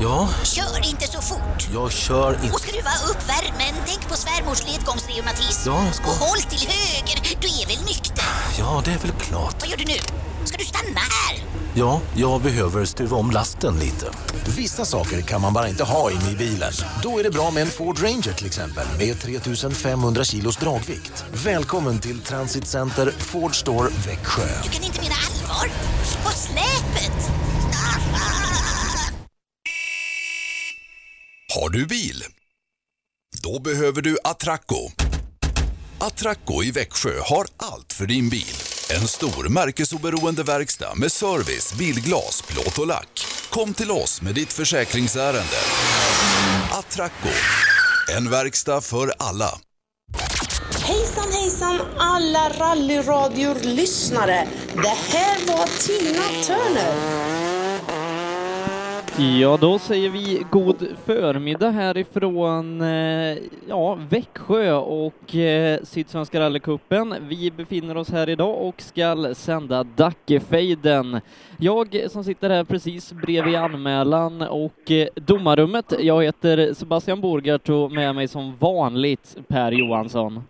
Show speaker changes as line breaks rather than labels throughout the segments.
Ja,
Kör inte så fort.
jag kör inte...
Och skruva upp värmen. Tänk på svärmors ledgångsreumatism.
Ja, ska-
Och håll till höger. Du är väl nykter?
Ja, det är väl klart.
Vad gör du nu? Ska du stanna här?
Ja, jag behöver stuva om lasten lite.
Vissa saker kan man bara inte ha inne i bilen. Då är det bra med en Ford Ranger till exempel med 3500 kilos dragvikt. Välkommen till Transit Center Ford Store Växjö.
Du kan inte mena allvar. På släpet!
Har du bil? Då behöver du Atracco. Atracco i Växjö har allt för din bil. En stor märkesoberoende verkstad med service, bilglas, plåt och lack. Kom till oss med ditt försäkringsärende. Atracco, en verkstad för alla.
Hejsan hejsan alla rallyradior-lyssnare. Det här var Tina Turner.
Ja, då säger vi god förmiddag härifrån eh, ja, Växjö och eh, Sydsvenska rallycupen. Vi befinner oss här idag och ska sända Dackefejden. Jag som sitter här precis bredvid anmälan och eh, domarrummet. Jag heter Sebastian Borgart och med mig som vanligt Per Johansson.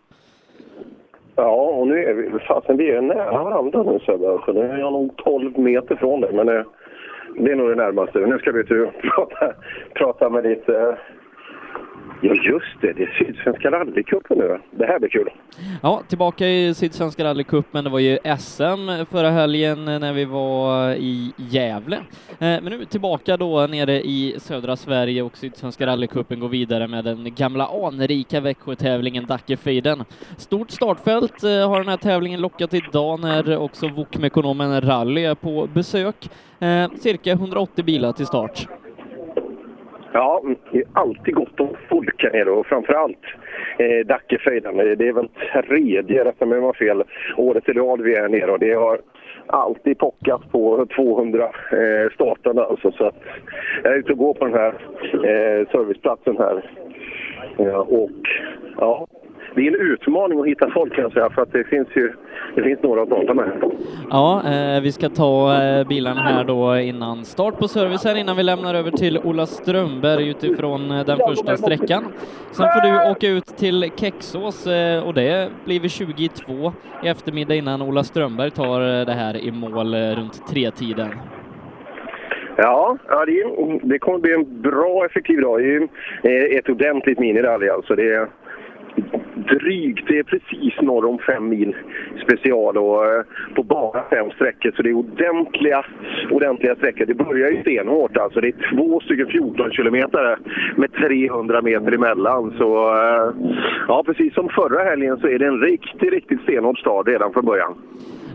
Ja, och nu är vi, fasen, vi är nära varandra nu Sebbe. Så nu är jag nog 12 meter från dig, men eh, det är nog det närmaste. Nu ska vi ut och prata, prata med ditt... eh, Ja, just det. Det är Sydsvenska rallycupen nu. Det här blir kul.
Ja, tillbaka i Sydsvenska rallycupen. Det var ju SM förra helgen eh, när vi var i Gävle. Eh, Men nu tillbaka då nere i södra Sverige och Sydsvenska rallycupen går vidare med den gamla anrika Växjötävlingen Dackefejden. Stort startfält eh, har den här tävlingen lockat idag när också Wokmekonomen Rally är på besök. Eh, Cirka 180 bilar till start.
Ja, det är alltid gott om folk här nere och framförallt eh, Dackefejden. Det är väl tredje, rätta mig om jag har fel, året i rad vi är nere och det har alltid pockat på 200 eh, startande alltså. Så att jag är ute och går på den här eh, serviceplatsen här. Ja, och ja, det är en utmaning att hitta folk kan jag säga för att det finns ju det finns några att prata med.
Ja, eh, vi ska ta eh, bilen här då innan start på servicen innan vi lämnar över till Ola Strömberg utifrån eh, den första sträckan. Sen får du åka ut till Kexås eh, och det blir vid 22 i eftermiddag innan Ola Strömberg tar eh, det här i mål eh, runt tretiden.
Ja, ja det, är- det kommer bli en bra effektiv dag. Det är ju, eh, ett ordentligt minirally alltså. Det är drygt, det är precis norr om fem mil special och eh, på bara fem sträckor. Så det är ordentliga, ordentliga sträckor. Det börjar ju stenhårt alltså. Det är två stycken 14 kilometer med 300 meter emellan. Så eh, ja, precis som förra helgen så är det en riktigt, riktigt stenhård start redan från början.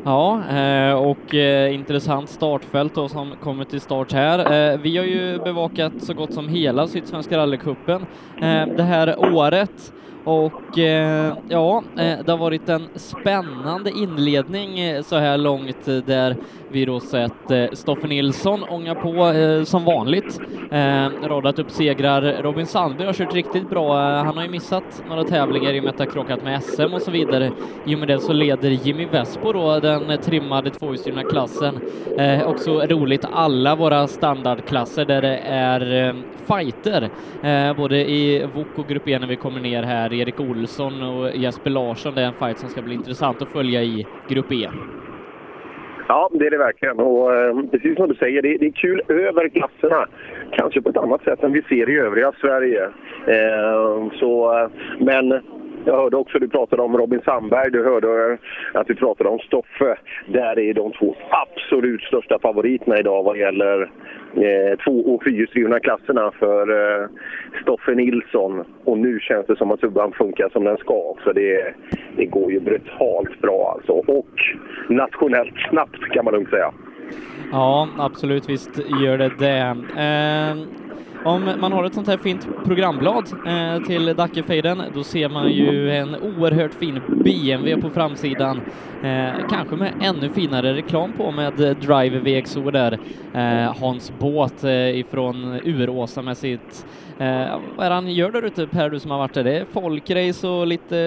Ja, eh, och eh, intressant startfält då som kommer till start här. Eh, Vi har ju bevakat så gott som hela Sydsvenska rallycupen eh, det här året. Och eh, ja, eh, det har varit en spännande inledning eh, så här långt eh, där vi då sett eh, Stoffe Nilsson ånga på eh, som vanligt. Eh, Radat upp segrar. Robin Sandberg har kört riktigt bra. Eh, Han har ju missat några tävlingar i och med att det har krockat med SM och så vidare. I och med det så leder Jimmy Vespo då den eh, trimmade tvåhjulsdrivna klassen. Eh, också roligt, alla våra standardklasser där det är eh, fighter. Eh, både i VOK och Grupp E när vi kommer ner här, Erik Olsson och Jesper Larsson, det är en fight som ska bli intressant att följa i Grupp E.
Ja, det är det verkligen. Och eh, precis som du säger, det, det är kul över klasserna. Kanske på ett annat sätt än vi ser i övriga Sverige. Eh, så, eh, men jag hörde också du pratade om Robin Sandberg. Du hörde eh, att vi pratade om Stoffe. Där är de två absolut största favoriterna idag vad gäller eh, två och fyrhjulsdrivna klasserna för eh, Stoffe Nilsson. Och nu känns det som att subban funkar som den ska. Så det, det går ju brutalt bra alltså. Och nationellt snabbt kan man lugnt säga.
Ja, absolut, visst gör det det. Eh, om man har ett sånt här fint programblad eh, till Dackefejden, då ser man ju en oerhört fin BMW på framsidan. Eh, kanske med ännu finare reklam på med Drive VXO där. Eh, Hans Båt eh, ifrån Uråsa med sitt Eh, vad är det han gör där ute Per, du som har varit där? Det är folkrace och lite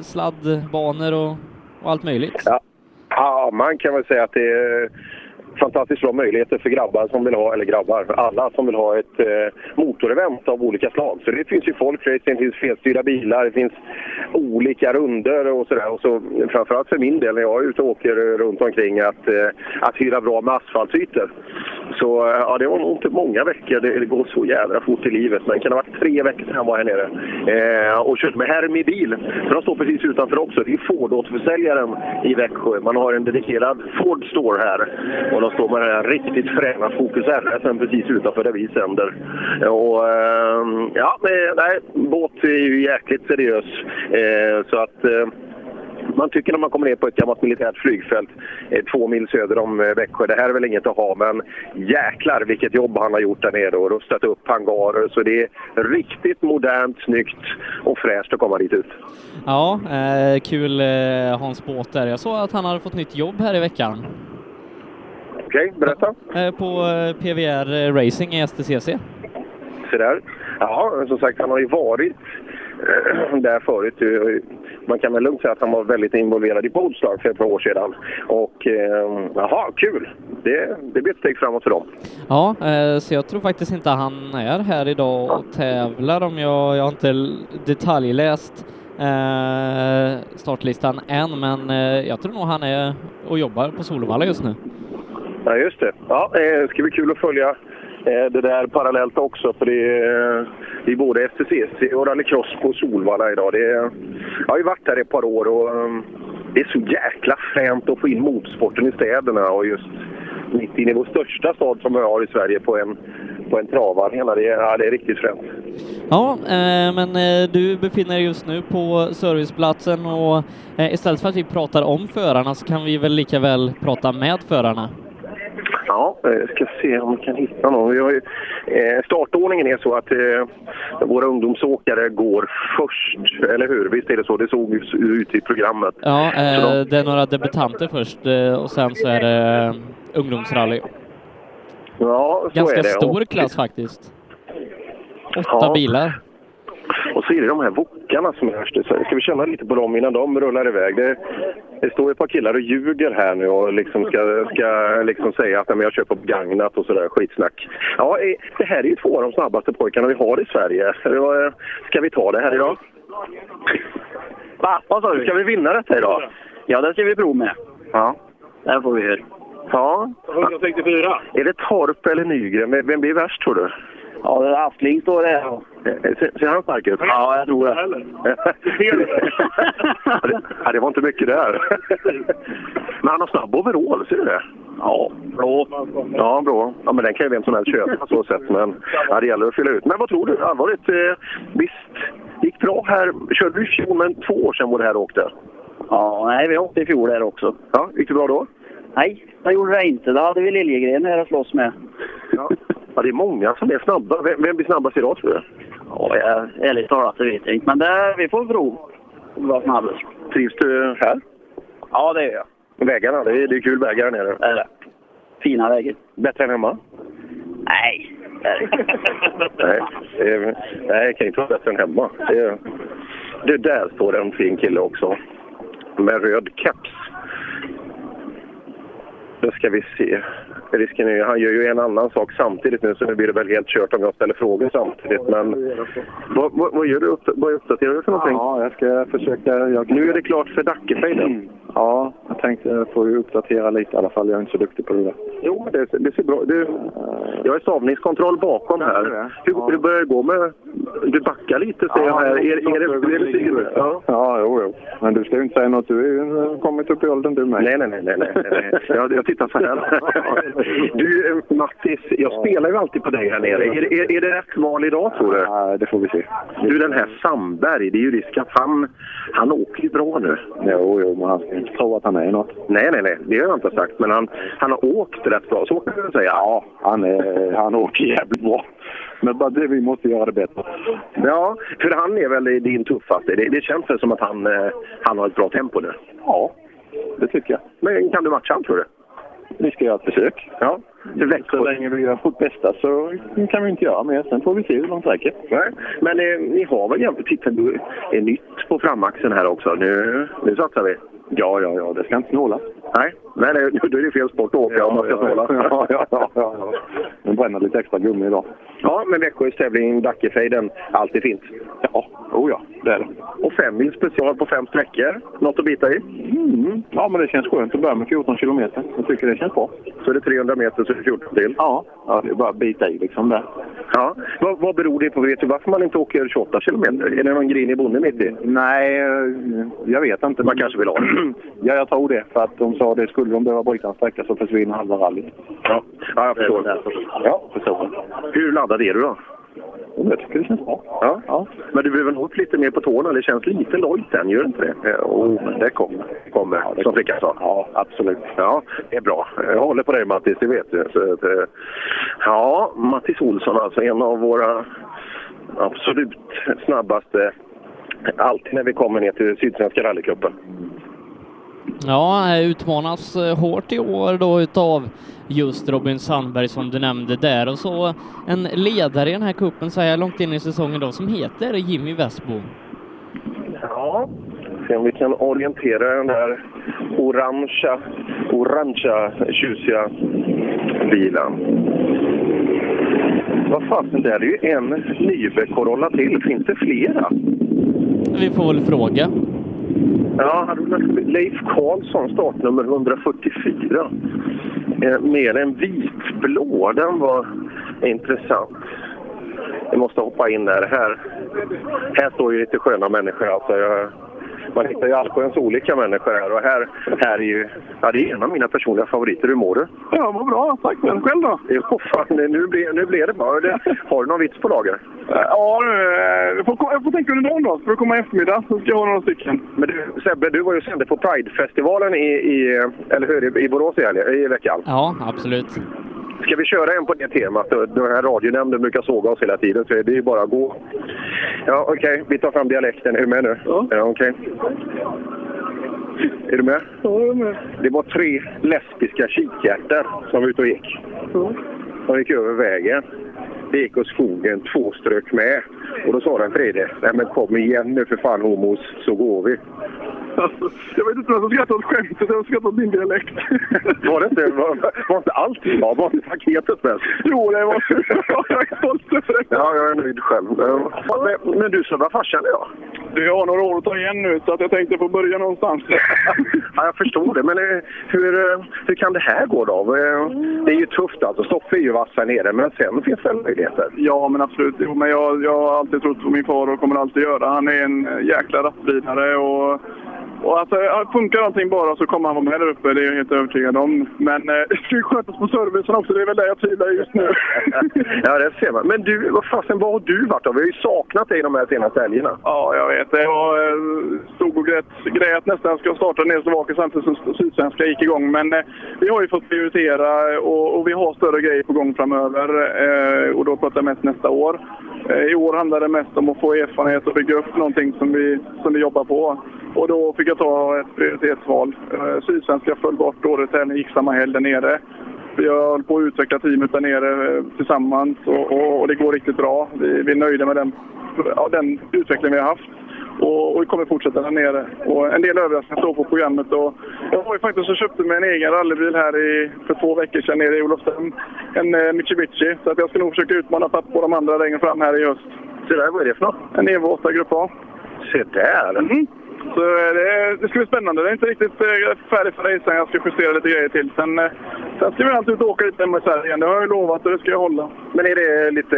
sladdbanor och, och allt möjligt.
Ja, man kan väl säga att det är fantastiskt bra möjligheter för grabbar som vill ha, eller grabbar, alla som vill ha ett eh, motorevent av olika slag. Så det finns ju folkracing, det finns felstyrda bilar, det finns olika runder och sådär. Och så framförallt för min del när jag är ute och åker runt omkring att, eh, att hyra bra med asfaltsytor. Så eh, ja, det var nog inte många veckor, det, det går så jädra fort i livet. Men det kan ha varit tre veckor sedan jag var här nere eh, och körde med Hermi bil. För de står precis utanför också. Det är Ford-återförsäljaren i Växjö. Man har en dedikerad Ford Store här och de står med den här riktigt fräna Focus RS precis utanför där vi sänder. Och, eh, ja, men, nej, båt är ju jäkligt seriös. Eh, så att, eh, man tycker när man kommer ner på ett gammalt militärt flygfält eh, två mil söder om eh, Växjö, det här är väl inget att ha, men jäklar vilket jobb han har gjort där nere och rustat upp hangarer. Så det är riktigt modernt, snyggt och fräscht att komma dit ut.
Ja, eh, kul eh, Hans Båt där. Jag såg att han hade fått nytt jobb här i veckan.
Okej, berätta.
Eh, på eh, PVR Racing i STCC.
Så där. Ja, som sagt, han har ju varit eh, där förut. Man kan väl lugnt säga att han var väldigt involverad i Boldslag för ett par år sedan. Och eh, jaha, kul! Det, det blir ett steg framåt för dem.
Ja, eh, så jag tror faktiskt inte han är här idag och tävlar om jag, jag har inte l- detaljläst eh, startlistan än, men eh, jag tror nog han är och jobbar på Solvalla just nu.
Ja, just det. Ja, eh, det ska bli kul att följa eh, det där parallellt också. För det är, eh, det är både FTCC och rallycross på Solvalla idag. Det är, jag har ju varit där i ett par år och eh, det är så jäkla fränt att få in motorsporten i städerna och just mitt inne i vår största stad som vi har i Sverige på en, på en travarena. Det, är- ja, det är riktigt fränt.
Ja, eh, men eh, du befinner dig just nu på serviceplatsen och eh, istället för att vi pratar om förarna så kan vi väl lika väl prata med förarna.
Ja, eh, ska se om vi kan hitta någon. Vi har ju, eh, startordningen är så att eh, våra ungdomsåkare går först, eller hur? Visst är det så? Det såg ju ut i programmet.
Ja,
Så
eh,
de-
det är några debutanter först eh, och sen så är det eh, ungdomsrally.
Ja, så är
Ganska
det.
stor
Och-
klass faktiskt. Åtta
Ja.
bilar.
Och så är det de här wokarna som är värst. Så Ska vi känna lite på dem innan de rullar iväg? Det, det står ju ett par killar och ljuger här nu och liksom ska, ska liksom säga att "Nej, men jag köper begagnat och sådär skitsnack. Ja, eh, det här är ju två av de snabbaste pojkarna vi har i Sverige. Så det var, eh, Ska vi ta det här idag?
Va? Vad sa du?
Ska vi vinna detta idag?
Ja, det ska vi prova med.
Ja.
Det här får vi höra.
Ja.
164.
Är det Torp eller Nygren? Vem- Vem blir värst tror du?
Ja, det är Aspling står det här.
Eh, Ser, ser han stark ut?
Ja, jag tror det.
Ja, det- ja, det var inte mycket där. Men han har snabb overall, ser du det?
Ja, blå.
Ja, bra. Ja, men den kan ju vem som helst köpa på så sätt. Men ja, det gäller att fylla ut. Men vad tror du? Allvarligt, eh, visst gick bra här. Körde du i fjol, men två år sedan var det här och åkte.
Ja, nej, vi åkte i fjol där också.
Ja, gick det bra då?
Nej, det gjorde det inte. Det hade vi Liljegren här att slåss med.
Ja. ja, det är många som är snabba. Vem, vem blir snabbast idag tror du?
Ja, jag, ärligt talat, det vet jag inte. Men det, vi får prova. om vi var snabbast.
Trivs du här?
Ja, det gör jag.
Vägarna, det är, det är kul vägar här nere.
Det är det. Fina vägen.
Bättre än hemma?
Nej, det är
Nej,
det
eh, nej, det kan inte vara bättre än hemma. Det, det där står en fin kille också. Med röd keps. Nu ska vi se. Risken är ju, han gör ju en annan sak samtidigt nu så nu blir det väl helt kört om jag ställer frågor samtidigt. Men vad, vad, vad gör du? Upp, vad uppdaterar du för någonting?
Ja, jag ska försöka. Jag,
Nu är det klart för Dackefejden.
ja, jag tänkte jag får ju uppdatera lite i alla fall. Jag är inte så duktig på det där.
Jo, men det, det ser bra ut. Jag är stavningskontroll bakom här. Hur, hur börjar det gå med... Du backar lite ser jag här. Är, är, det, är det synd? Ja.
Ja, jo, jo. Men du ska ju inte säga något. Du har ju eh, kommit upp i åldern du med.
Nej, nej, nej. nej, nej, nej. Jag, jag tittar så här. Du, eh, Mattis, jag spelar ju alltid på dig här nere. Är, det- är, är det rätt val idag, tror du?
Nej, det får vi se.
Du, den här Sandberg, det är ju risk att han, han åker ju bra nu.
Jo, jo, men han ska ju inte tro att han är något.
Nej, nej, nej, det har jag inte sagt. Men han, han har åkt rätt bra, så kan man säga.
Ja, han, är, han åker jävligt bra. Men bara det, vi måste göra det bättre.
Ja, för han är väl din tuffaste. Det, det känns väl som att han, eh, han har ett bra tempo nu.
Ja, det tycker jag.
Men kan du matcha honom, tror du?
Vi ska göra ett försök.
Ja. Det
Så
växer.
länge vi gör vårt bästa så kan vi inte göra mer. Sen får vi se hur långt det räcker.
Nej, men eh, ni har väl jämt... Titta, du är nytt på framaxeln här också. Nu, nu satsar vi.
Ja, ja, ja, det ska inte snålas.
Nej, nej, nej då är det fel sport att åka om man ska snåla.
ja, ja, ja, ja. Men bränner lite extra gummi idag.
Ja, men Växjös tävling Dackefejden, alltid fint.
Ja, oh ja, det är det.
Och fem mil special på fem sträckor. Något att bita i.
Mm. Ja, men det känns skönt att börja med 14 kilometer. Jag tycker det känns bra.
Så är det 300 meter så är det 14 till.
Ja, ja det är bara att bita i liksom där.
Ja. Vad, vad beror det på? Vet du varför man inte åker 28 kilometer? Är det någon grinig bonde mitt i?
Nej, eh, jag vet inte.
Man kanske vill ha det.
Ja, jag tror det. För att de sa det, skulle de behöva bryta en sträcka så försvinner halva rallyt.
Ja, ja jag förstår.
Ja, förstår.
Hur laddad är du då?
Ja, Jag tycker det känns bra.
Ja.
Ja.
Men du behöver nog upp lite mer på tårna. Det känns lite lojt än, gör det inte Eh, oh,
Jo,
det?
men det kommer.
Kommer, som flickan sa.
Ja, absolut.
Ja, det är bra. Jag håller på dig Mattis, det vet du. Så att, eh, ja, Mattis Olsson alltså, en av våra absolut snabbaste. Alltid när vi kommer ner till Sydsvenska rallycupen.
Ja, eh, utmanas eh, hårt i år då utav just Robin Sandberg som du nämnde där och så en ledare i den här kuppen så här långt in i säsongen då som heter Jimmy Westbom.
Ja, se om vi kan orientera den där orangea, orangea tjusiga bilen. Vad fasen, där är ju en Nybe Corolla till. Finns det flera?
Vi får väl fråga.
Ja, hade du lagt Leif Karlsson, startnummer 144. Eh, Mer en vitblå. Den var intressant. Vi måste hoppa in där. Här, här står ju lite sköna människor. Alltså, jag, man hittar ju allsköns olika människor här. Och här, här är ju... Ja, det är en av mina personliga favoriter. Hur mår du?
Ja, vad bra. Tack själv. Själv då?
Jo, fan, nu blir, nu blir det bra. Det- Har du någon vits på lager?
Ja, eh, jag får, jag får tänka under dagen då. Så får du komma i eftermiddag så ska jag ha några stycken.
Men du, Sebbe, du var ju och sände på Pride-festivalen i, i, eller hur, i Borås i, helgen- i veckan.
Ja, absolut.
Ska vi köra en på det temat? Den här radionämnden brukar såga oss hela tiden, så det är ju bara att gå. Ja, okej. Vi tar fram dialekten. Är du med nu?
Ja.
ja okej. Är du med?
Ja, jag är med.
Det var tre lesbiska kikhjärtar som var ute och gick. De gick över vägen. Det gick åt skogen, två strök med. Och då sa den tredje, nej men kom igen nu för fan homos, så går vi.
Jag vet inte vem som skrattar åt skämtet eller skrattar åt din dialekt.
Var det inte, var, var inte allt vi sa? Var inte paketet bäst?
Jo, det var Jag är stolt över det.
Ja, jag är nöjd själv. Eh, Men, men du servar farsan idag?
Du, jag har några år att ta igen nu så att jag tänkte få börja någonstans.
Ja, jag förstår det, men eh, hur, eh, hur kan det här gå då? Eh, Det är ju tufft alltså. Stoffe är ju vass här nere, men sen finns det möjligheter.
Ja, men absolut. Jo, men jag, jag har alltid trott på min far och kommer alltid göra. Han är en eh, jäkla rattvinare och, och alltså, ja, funkar allting bara så kommer han vara med där uppe. Det är jag helt övertygad om. Men eh, det ska ju skötas på servicen också. Det är väl det jag tvivlar i just nu.
Ja, det ser man. Men du, vad fasen, var har du varit då? Vi har ju saknat dig de här senaste helgerna.
Ja, jag vet det. Jag eh, stod och grät, grät nästan. Jag ska starta ner Slovakien samtidigt som Sydsvenska gick igång. Men eh, vi har ju fått prioritera och, och vi har större grejer på gång framöver. Eh, och då pratar jag mest nästa år. Eh, I år handlar det mest om att få erfarenhet och bygga upp någonting som vi, som vi jobbar på. Och då fick jag ta ett prioritetsval. Eh, Sydsvenska föll bort året här, gick samma helg där nere. Jag håller på att utveckla teamet där nere eh, tillsammans och, och, och det går riktigt bra. Vi, vi är nöjda med den, ja, den utveckling vi har haft och, och vi kommer fortsätta där nere. Och en del överraskningar står på programmet. Och jag var ju faktiskt och köpte mig en egen rallybil här i, för två veckor sedan nere i Olofström. En eh, Mitsubishi. Så att jag ska nog försöka utmana pappa och de andra längre fram här i höst.
Så där, vad är det för något?
En Evo 8 Grupp A.
Se där!
Så eh, det, det ska bli spännande. Det är inte riktigt eh, färdig för racen. Jag ska justera lite grejer till. Sen, eh, sen ska vi alltid ut och åka lite hemma i Sverige igen. Det har jag ju lovat och det ska jag hålla.
Men är det lite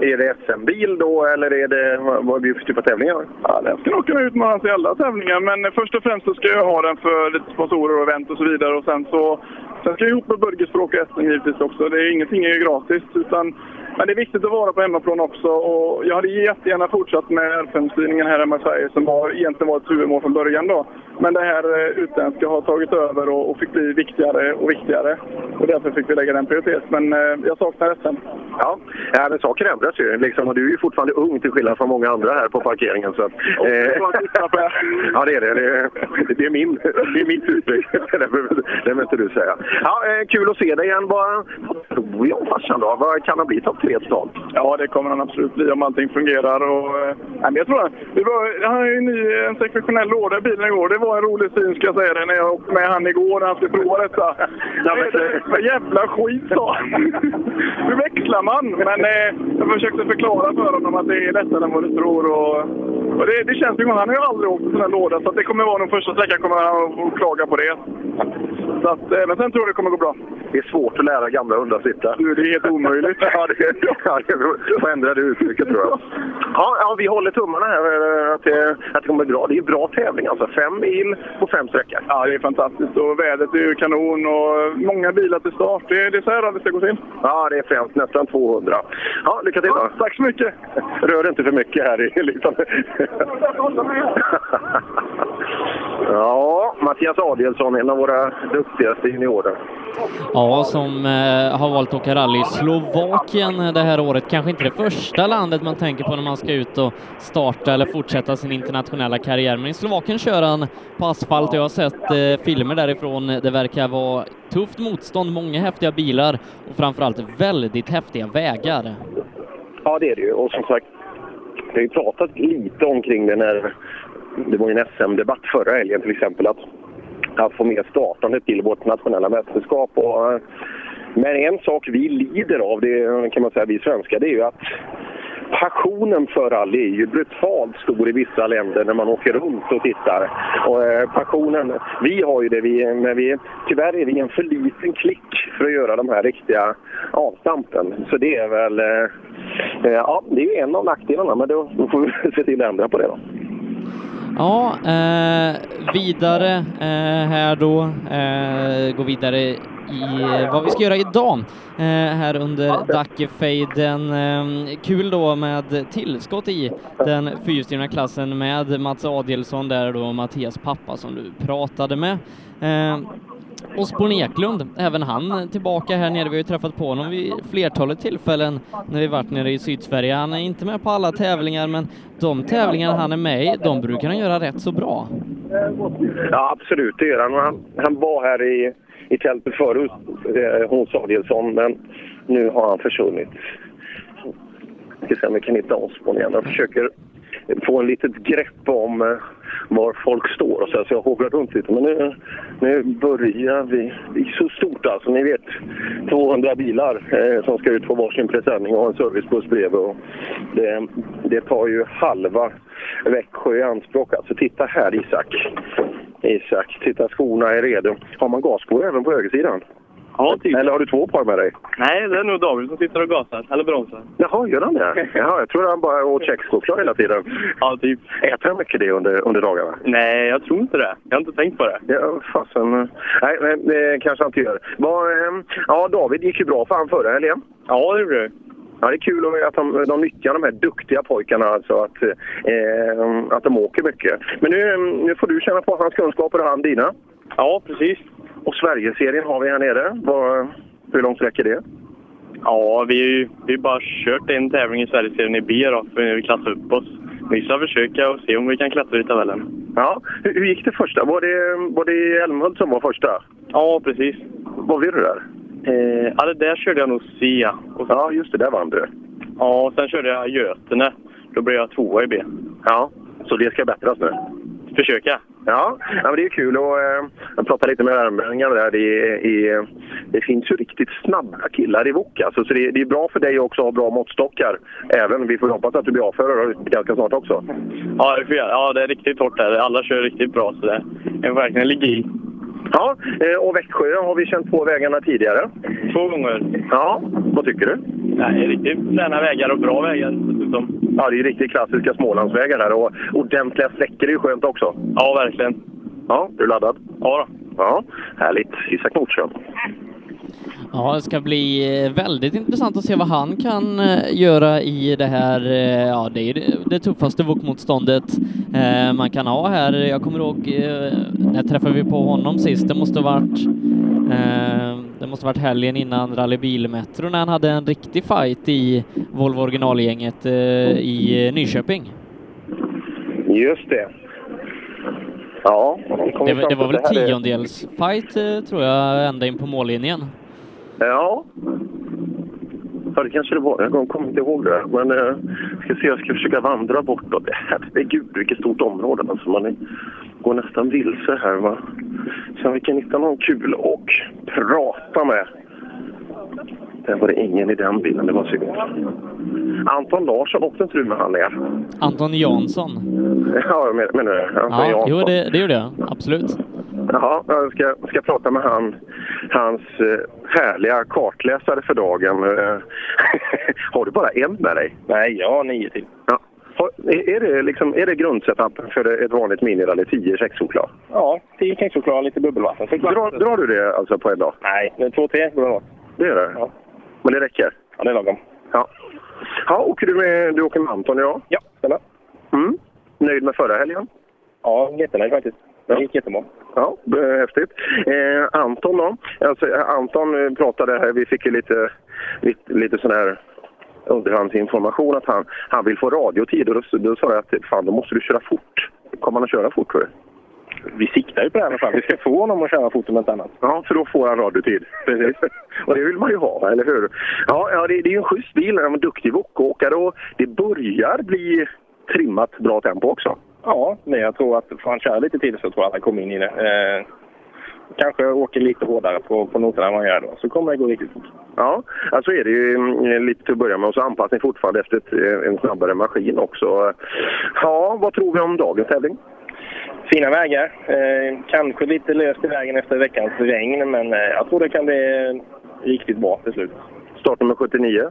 är det SM-bil då, eller är det, vad vad blir det för typ av tävlingar?
Ja, den ska nog kunna utmanas i alla tävlingar, men eh, först och främst så ska jag ha den för lite sponsorer och event och så vidare. Och sen, så, sen ska jag ihop med Burgers för att åka Estland givetvis också. Det är, ingenting är ju gratis. Utan, men det är viktigt att vara på hemmaplan också. Och jag hade jättegärna fortsatt med R5-styrningen här hemma i Sverige som har egentligen varit huvudmål från början. Då. Men det här eh, utländska har tagit över och, och fick bli viktigare och viktigare. Och därför fick vi lägga den prioritet. Men eh, jag saknar SM.
Ja, Ja, men saker ändras ju. Liksom, och du är ju fortfarande ung till skillnad från många andra här på parkeringen. Så att, eh, ja, det är det. Det är, det är, min, det är mitt uttryck. det behöver det behöver inte du säga. Ja, eh, kul att se dig igen. Vad vad tror vi om farsan då? Vad kan han bli topp tre totalt?
Ja, det kommer han absolut bli om allting fungerar. Och, eh, nej, men jag tror han, det var, han är ju ny i en sekventionell låda i bilen igår. Det var en rolig syn ska jag säga det, när jag åkte med han igår när han skulle prova detta.
Ja, men-
Det är Vad jävla skit sa han. Hur växlar man? Men eh, jag försökte förklara för honom att det är lättare än vad du tror. Och, och det, det känns ju, han har ju aldrig åkt en sån här låda så att det kommer vara den första sträckan kommer han att klaga på det. Så att, eh, men sen tror jag det kommer gå bra.
Det är svårt att lära gamla hundar sitta.
Du, det är helt omöjligt.
Ja, det, ja, det får ändra det uttrycket tror jag. Ja, ja, vi håller tummarna här eh, att det, att det kommer bli bra. Det är ju bra tävling alltså. Fem mil på fem sträckor.
Ja, det är fantastiskt och vädret är ju kanon och många bilar till start. Det är, det är så här det ska gå till.
Ja, det är främst. Nästan 200. Ja, lycka till då.
Tack så mycket!
Rör inte för mycket här. i- Liksom. Ja, Mattias Adielsson, en av våra duktigaste juniorer.
Ja, som eh, har valt att åka rally i Slovakien eh, det här året. Kanske inte det första landet man tänker på när man ska ut och starta eller fortsätta sin internationella karriär, men i Slovakien kör han på asfalt och jag har sett eh, filmer därifrån. Det verkar vara tufft motstånd, många häftiga bilar och framförallt väldigt häftiga vägar.
Ja, det är det ju. Och som sagt, vi har ju pratat lite omkring det när det var ju en SM-debatt förra helgen till exempel. Att, att få med startandet till vårt nationella mästerskap. Och, eh, men en sak vi lider av, det kan man säga vi svenskar, det är ju att passionen för rally är ju brutalt stor i vissa länder när man åker runt och tittar. Och eh, passionen, vi har ju det, vi, men vi, tyvärr är vi en för liten klick för att göra de här riktiga avstampen. Så det är väl, eh, eh, ja det är ju en av nackdelarna men då då får vi se till att ändra på det då.
Ja, eh, vidare eh, här då. Eh, gå vidare i eh, vad vi ska göra idag eh, här under Dackefejden. Eh, kul då med tillskott i den fyrhjulsdrivna klassen med Mats Adielsson där då och Mattias pappa som du pratade med. Eh, Osborn Eklund, även han tillbaka här nere. Vi har ju träffat på honom vid flertalet tillfällen när vi varit nere i Sydsverige. Han är inte med på alla tävlingar, men de tävlingar han är med i, de brukar han göra rätt så bra.
Ja, absolut. Det gör han. Och han. Han var här i, i tältet förut, eh, hos Adielsson, men nu har han försvunnit. Vi ska se om vi kan hitta Osborn igen. Jag försöker få en litet grepp om eh, var folk står och så, här, så jag hovrar runt lite. Men nu, nu börjar vi. Det är så stort alltså. Ni vet, 200 bilar eh, som ska ut på varsin presenning och en servicebuss bredvid. Och det, det tar ju halva Växjö i anspråk. Alltså titta här Isak. Isak, titta skorna är redo. Har man gaskor även på högersidan?
Ja, typ.
Eller har du två par med dig?
Nej, det är nog David som sitter och gasar. Eller bromsar.
Jaha, gör han det? Jaha, jag tror han bara åt kexchoklad hela tiden.
Ja, typ.
Äter han mycket det under, under dagarna?
Nej, jag tror inte det. Jag har inte tänkt på det.
Ja, fasen. Nej, nej, det kanske han inte gör. Vad, ehm, ja, David gick ju bra för han förra helgen.
Ja, det blir det.
Ja, det är kul att- att de, de nyttjar de här duktiga pojkarna, alltså att, eh, att de åker mycket. Men nu, ehm, nu får du känna på hans kunskaper och han dina.
Ja, precis.
Och Sverigeserien har vi här nere. Vad, hur långt räcker det?
Ja, vi har ju vi har bara kört en tävling i Sverigeserien i B då, för vi klassar upp oss. Vi ska försöka och se om vi kan klättra i tabellen.
Ja, hur, hur gick det första? Var det, var det Elmhult som var första?
Ja, precis.
Vad blev det där?
Eh, ja, det där körde jag nog C. Och sen,
Ja, just det, där vann du.
ja, och sen körde jag Götene. Då blev jag tvåa i B.
Ja, så det ska bättras nu.
Försöka.
Ja, ja men det är ju kul att eh, prata lite med värmlänningarna där. Det, är- är- det finns ju riktigt snabba killar i VOK. Alltså, så det, det är bra för dig också att ha bra måttstockar. Även, vi får hoppas att du blir avförare ganska snart också.
Ja, det, får jag- ja, det är riktigt hårt där. Alla kör riktigt bra så det är verkligen ligga i.
Ja, eh, och Växjö har vi känt på vägarna tidigare.
Två gånger.
Ja, vad tycker du?
Nej, riktigt fräna vägar och bra vägar dessutom.
Ja, det är ju riktigt klassiska Smålandsvägar där och ordentliga sträckor är ju skönt också.
Ja, verkligen.
Ja, är du laddad?
Ja, då.
Ja, härligt. Isak Nordström.
Ja, det ska bli eh, väldigt intressant att se vad han kan eh, göra i det här, eh, ja det är det- det tuffaste VOK-motståndet eh, man kan ha här. Jag kommer ihåg, eh, när träffade vi på honom sist? Det måste ha varit eh, det måste varit helgen innan rallybilmetro när han hade en riktig fight i Volvo originalgänget eh, i Nyköping.
Just det. Ja, de kom
Det,
ju fram
var- det
till
var väl
att här är-
tiondels fight eh, tror jag ända in på mållinjen.
Ja. Ja, det kanske det var. Jag kommer inte ihåg det. Men eh, ska se, jag ska försöka vandra bortåt. Det här- Det är gud, vilket stort område. Alltså, man är, går nästan vilse här. Va? Sen vi kan hitta någon kul och prata med. Där var det ingen i den bilen. Det var synd. Anton Larsson, åkte inte du med han ner?
Anton Jansson.
Ja, jag men- menar det. Anton
Ja,
Jansson.
jo, det, det gjorde jag. Absolut.
Ja, jag ska, ska prata med han, hans eh, härliga kartläsare för dagen. Eh, har du bara en med dig? Nej, jag har nio till. Ja. Har, är, är, det liksom, är det grundsetupen för ett vanligt minirally? 10 kexchoklad?
Ja, 10 kexchoklad och lite bubbelvatten.
Drar, drar du det alltså på en dag?
Nej, det är två, tre går det åt.
Det gör det?
Ja.
Men det räcker?
Ja, det är lagom.
Ja. ja åker du, med, du åker med Anton idag?
Ja, stämmer.
Mm. Nöjd med förra helgen?
Ja, jättenöjd faktiskt.
Ja.
Det gick jättebra.
Ja, eh, häftigt. Eh, Anton då? Alltså, eh, Anton eh, pratade här, vi fick ju lite, lite, lite sån här underhandsinformation att han, han vill få radiotid och då, s- då sa jag att fan då måste du köra fort. Kommer han att köra fort tror du?
Vi siktar ju på det här i alla fall. Vi ska få honom att köra fort om inte annat.
Ja, för då får han radiotid. Precis. och det vill man ju ha, eller hur? Ja, ja det, det är ju en schysst bil, han är en duktig wokåkare och det börjar bli trimmat bra tempo också.
Ja, men jag tror att får han köra lite till så tror jag att han kommer in i det. Eh, kanske åker lite hårdare på, på noterna än vad han gör då, så kommer det gå riktigt fort.
Ja, alltså är det ju mm, lite till att börja med och så anpassning fortfarande efter ett, eh, en snabbare maskin också. Ja, vad tror vi om dagens tävling?
Fina vägar. Eh, kanske lite löst i vägen efter veckans regn, men eh, jag tror det kan bli eh, riktigt bra till slut.
Startnummer 79.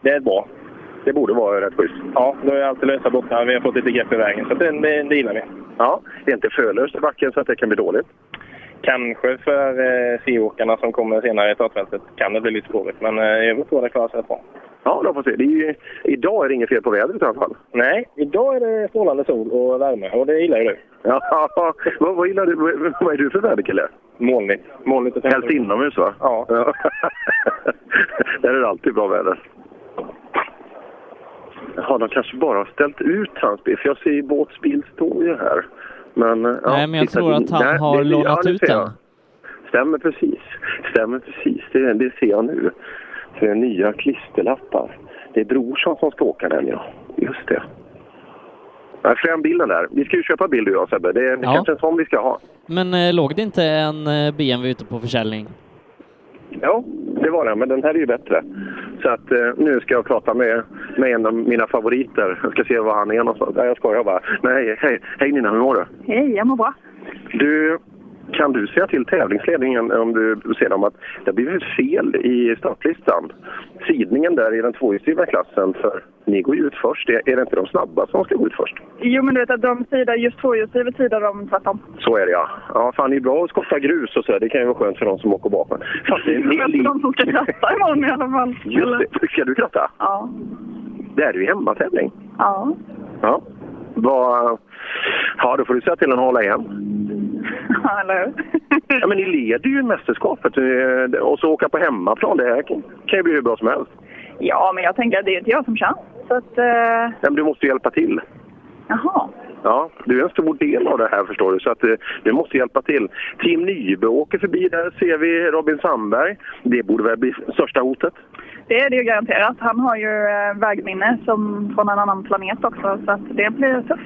Det är bra.
Det borde vara rätt schysst.
Ja, då är alltid lösa bottnar. Vi har fått lite grepp i vägen, så det, det, det gillar vi.
Ja, det är inte för löst i backen så att det kan bli dåligt.
Kanske för eh, C-åkarna som kommer senare i startfältet kan det bli lite spårigt, men eh, i övrigt tror jag det klarar sig rätt bra.
Ja, då får vi se. Det är ju, idag är det inget fel på vädret i alla fall.
Nej, idag är det strålande sol och värme och det gillar ju du.
Ja, vad, vad, gillar du, vad- vad är du för väderkille?
Molnigt. Molnigt och
Helst inomhus va?
Ja.
Där är det alltid bra väder. Ja, de kanske bara har ställt ut hans bil, för jag ser ju Båts bil står ju här. Men, eh, ja,
Nej, men jag
titta,
tror att han
nej,
har
det- ja,
lånat
det
ut
ser jag.
den.
Stämmer precis. Stämmer precis. Det, det ser jag nu. Det är nya klisterlappar. Det är Brorsson som ska åka den, ja. Just det. Ja, Fram bilden där. Vi ska ju köpa bil du och jag Sebbe. Det är det är
Ja.
kanske en sån vi ska ha.
Men eh, låg det inte en eh, BMW ute på försäljning?
Ja, det var den, men den här är ju bättre. Så att eh, nu ska jag prata med, med en av mina favoriter. Jag ska se var han är någonstans. Nej, jag skojar bara. Men hej, hej, hej Nina, hur mår du?
Hej, jag mår bra.
Du, kan du säga till tävlingsledningen om du ser dem att det har blivit fel i startlistan? Sidningen där i den tvåhjulsdrivna klassen, för ni går ju ut först. Är, är det inte de snabba som ska gå ut först?
Jo, men du vet att de sidar, just tvåhjulsdrivet sidar de tvärtom.
Så är det ja. Ja, fan det är bra att skotta grus och så. Det kan ju vara skönt för de som åker bakom. Fast det är en
För
del i-
de som ska kratta imorgon i alla fall.
Just det. Ska du kratta?
Ja.
Det här är ju hemmatävling.
Ja.
Ja. Vad... Ja, då får du säga till henne att hålla igen.
Ja, Eller hur?
Ja, men ni leder ju mästerskapet eh, och så åka på hemmaplan. Det här kan kan ju bli hur bra som helst.
Ja, men jag tänker att det är inte jag som kör. Så att, eh,
Ja, men du måste ju hjälpa till.
jaha.
Ja, du är en stor del av det här förstår du, så att eh, du måste hjälpa till. Team Nybe åker förbi där, ser vi Robin Sandberg. Det borde väl bli största hotet.
Det är det ju garanterat. Han har ju eh, vägminne som från en annan planet också, så att det blir tufft.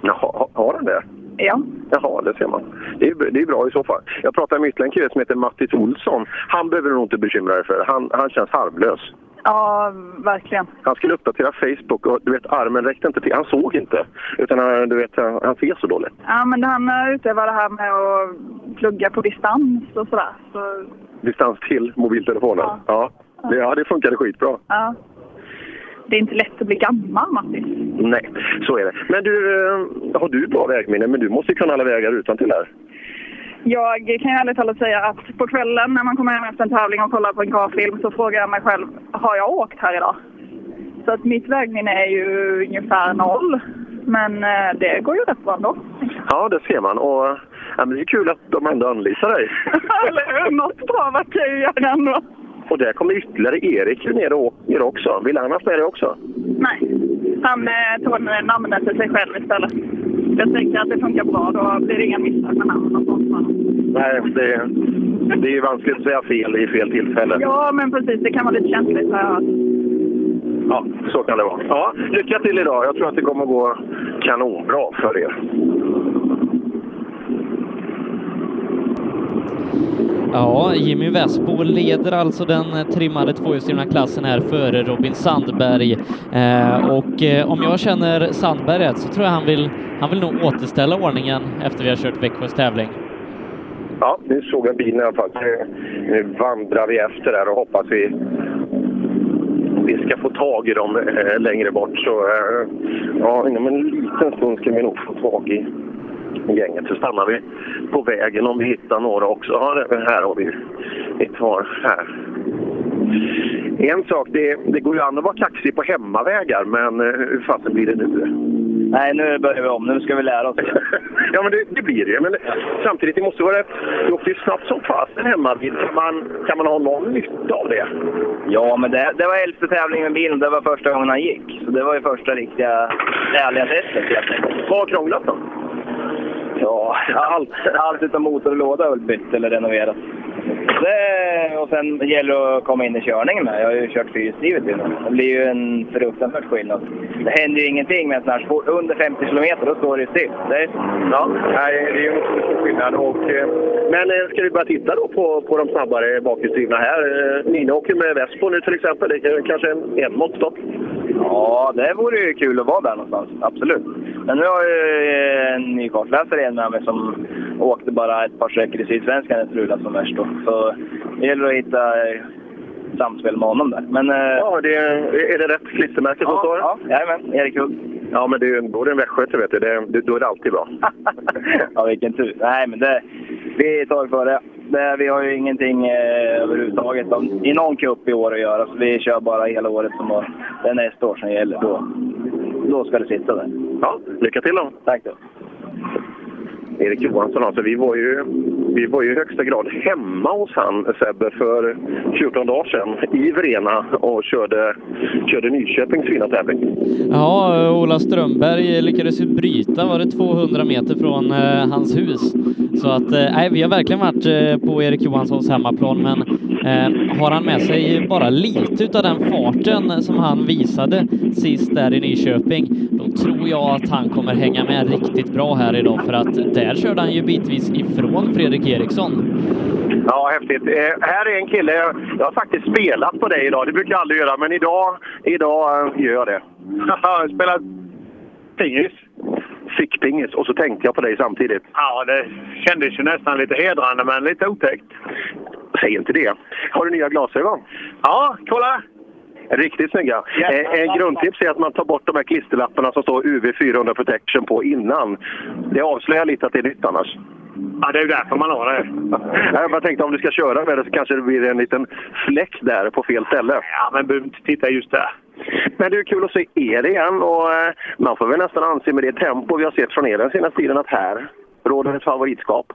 Jaha, har han det?
Ja.
Jaha, det ser man. Det är, det är bra i så fall. Jag pratade med ytterligare en kille som heter Mattis Olsson. Han behöver du nog inte bekymra dig för. Han, han känns harmlös.
Ja, verkligen.
Han skulle uppdatera Facebook och du vet, armen räckte inte till. Han såg inte. Utan han, du vet, han, han ser så dåligt.
Ja, men han eh, utövar det här med att plugga på distans och sådär. Så,
Distans till mobiltelefonen.
Ja.
Ja, det, ja, det funkade skitbra.
ja. Det är inte lätt att bli gammal, Mattis.
Nej, så är det. Men du, eh, har du bra vägminne? Men du måste ju kunna alla vägar utan till här.
Jag kan ju ärligt talat säga att på kvällen när man kommer hem efter en tävling och kollar på en kartfilm så frågar jag mig själv, har jag åkt här idag? Så att mitt vägminne är ju ungefär noll. Men eh, det går ju rätt bra ändå.
Ja, det ser man. Och Ja, men det är kul att de ändå anlitar dig.
Eller hur? Något bra verkar jag ju göra ändå.
Och där kommer ytterligare Erik ner, och, ner också. Vill han ha med dig också?
Nej, han eh, tog nu namnet till sig själv istället. Jag tänker att det funkar bra, då blir det inga misstag med namn och sånt.
Nej, det, det är ju vanskligt att säga fel i fel tillfälle.
Ja, men precis. Det kan vara lite känsligt har jag hört.
Ja, så kan det vara. Ja, lycka till idag. Jag tror att det kommer gå kanonbra för er.
Ja, Jimmy Westbo leder alltså den trimmade tvåhjulsdrivna klassen här före Robin Sandberg. Eh, och eh, om jag känner Sandberg rätt så tror jag han vill, han vill nog återställa ordningen efter vi har kört Växjös tävling.
Ja, nu såg jag bilen i alla fall. Nu- Nu vandrar vi efter där och hoppas vi, vi ska få tag i dem eh, längre bort. Så, eh, ja, inom en liten stund ska vi nog få tag i gänget. Så stannar vi på vägen om vi hittar några också. Ja, det- här har vi ett par. Här. En sak, det, det går ju an att vara kaxig på hemmavägar, men eh, hur fasen blir det nu?
Nej, nu börjar vi om. Nu ska vi lära oss.
Mm. ja, men det, det blir det. Men samtidigt, det måste vara rätt. Du åkte ju snabbt som fasen hemma. Kan man, kan man ha någon nytta av det?
Ja, men det, det var elfte tävlingen med bilen. Det var första gången han gick. Så det var ju första riktiga ärliga testet helt enkelt.
Vad har krånglat då?
Ja, allt, allt utom motor och låda har väl bytt eller renoverat. Det, och sen gäller det att komma in i körningen med. Jag har ju kört fyrhjulsdrivet innan. Det blir ju en fruktansvärd skillnad. Det händer ju ingenting med en sån här sport. Under 50 kilometer, då står det ju still. Det är...
Ja, nej, det är ju en otroligt stor skillnad. Och, eh, men eh, ska vi börja titta då på, på de snabbare bakhjulsdrivna här? Eh, Nina åker med Vespo nu till exempel. Det är kanske en, en måttstock.
Ja, det vore ju kul att vara där någonstans. Absolut. Men nu har jag ju eh, en ny kartläsare igen med mig som åkte bara ett par sträckor i Sydsvenskan när Strula som värst då. Så det gäller att hitta eh, samspel med honom där. Men, eh,
ja, det, är det rätt klistermärke som står?
Ja, jajamän. Erik Hult.
Ja, men du bor i en västgöte vet du. Det, det, då är det alltid bra.
ja, vilken tur. Nej, men det, vi tar för det. det. Vi har ju ingenting eh, överhuvudtaget om- i någon cup i år att göra. Så vi kör bara hela året som år. det är nästa år som gäller. Då, då ska det sitta där.
Ja, lycka till då.
Tack då.
Erik Johansson alltså, vi var ju, vi var ju i högsta grad hemma hos han Sebbe för 14 dagar sedan i Vrena och körde, körde Nyköpings fina tävling.
Ja, Ola Strömberg lyckades ju bryta, var det 200 meter från eh, hans hus. Så att, eh, nej, vi har verkligen varit eh, på Erik Johanssons hemmaplan, men eh, har han med sig bara lite utav den farten som han visade sist där i Nyköping, då tror jag att han kommer hänga med riktigt bra här idag, för att där körde han ju bitvis ifrån Fredrik Eriksson.
Ja, häftigt. Eh, här är en kille, jag, jag har faktiskt spelat på dig idag. Det brukar jag aldrig göra, men idag, idag eh, gör jag det. jag spelar pingis. Fickpingis, och så tänkte jag på dig samtidigt.
Ja, det kändes ju nästan lite hedrande men lite otäckt.
Säg inte det. Har du nya glasögon?
Ja, kolla!
Riktigt snygga. Eh, en grundtips är att man tar bort de här klisterlapparna som står UV400 Protection på innan. Det avslöjar lite att det är nytt annars.
Ja, det är ju därför man har det.
Jag bara tänkte om du ska köra med det så kanske det blir en liten fläck där på fel ställe.
Ja, men behöver inte titta just där.
Men det är kul att se er igen och eh, man får väl nästan anse med det tempo vi har sett från er den senaste tiden att här råder ett favoritskap.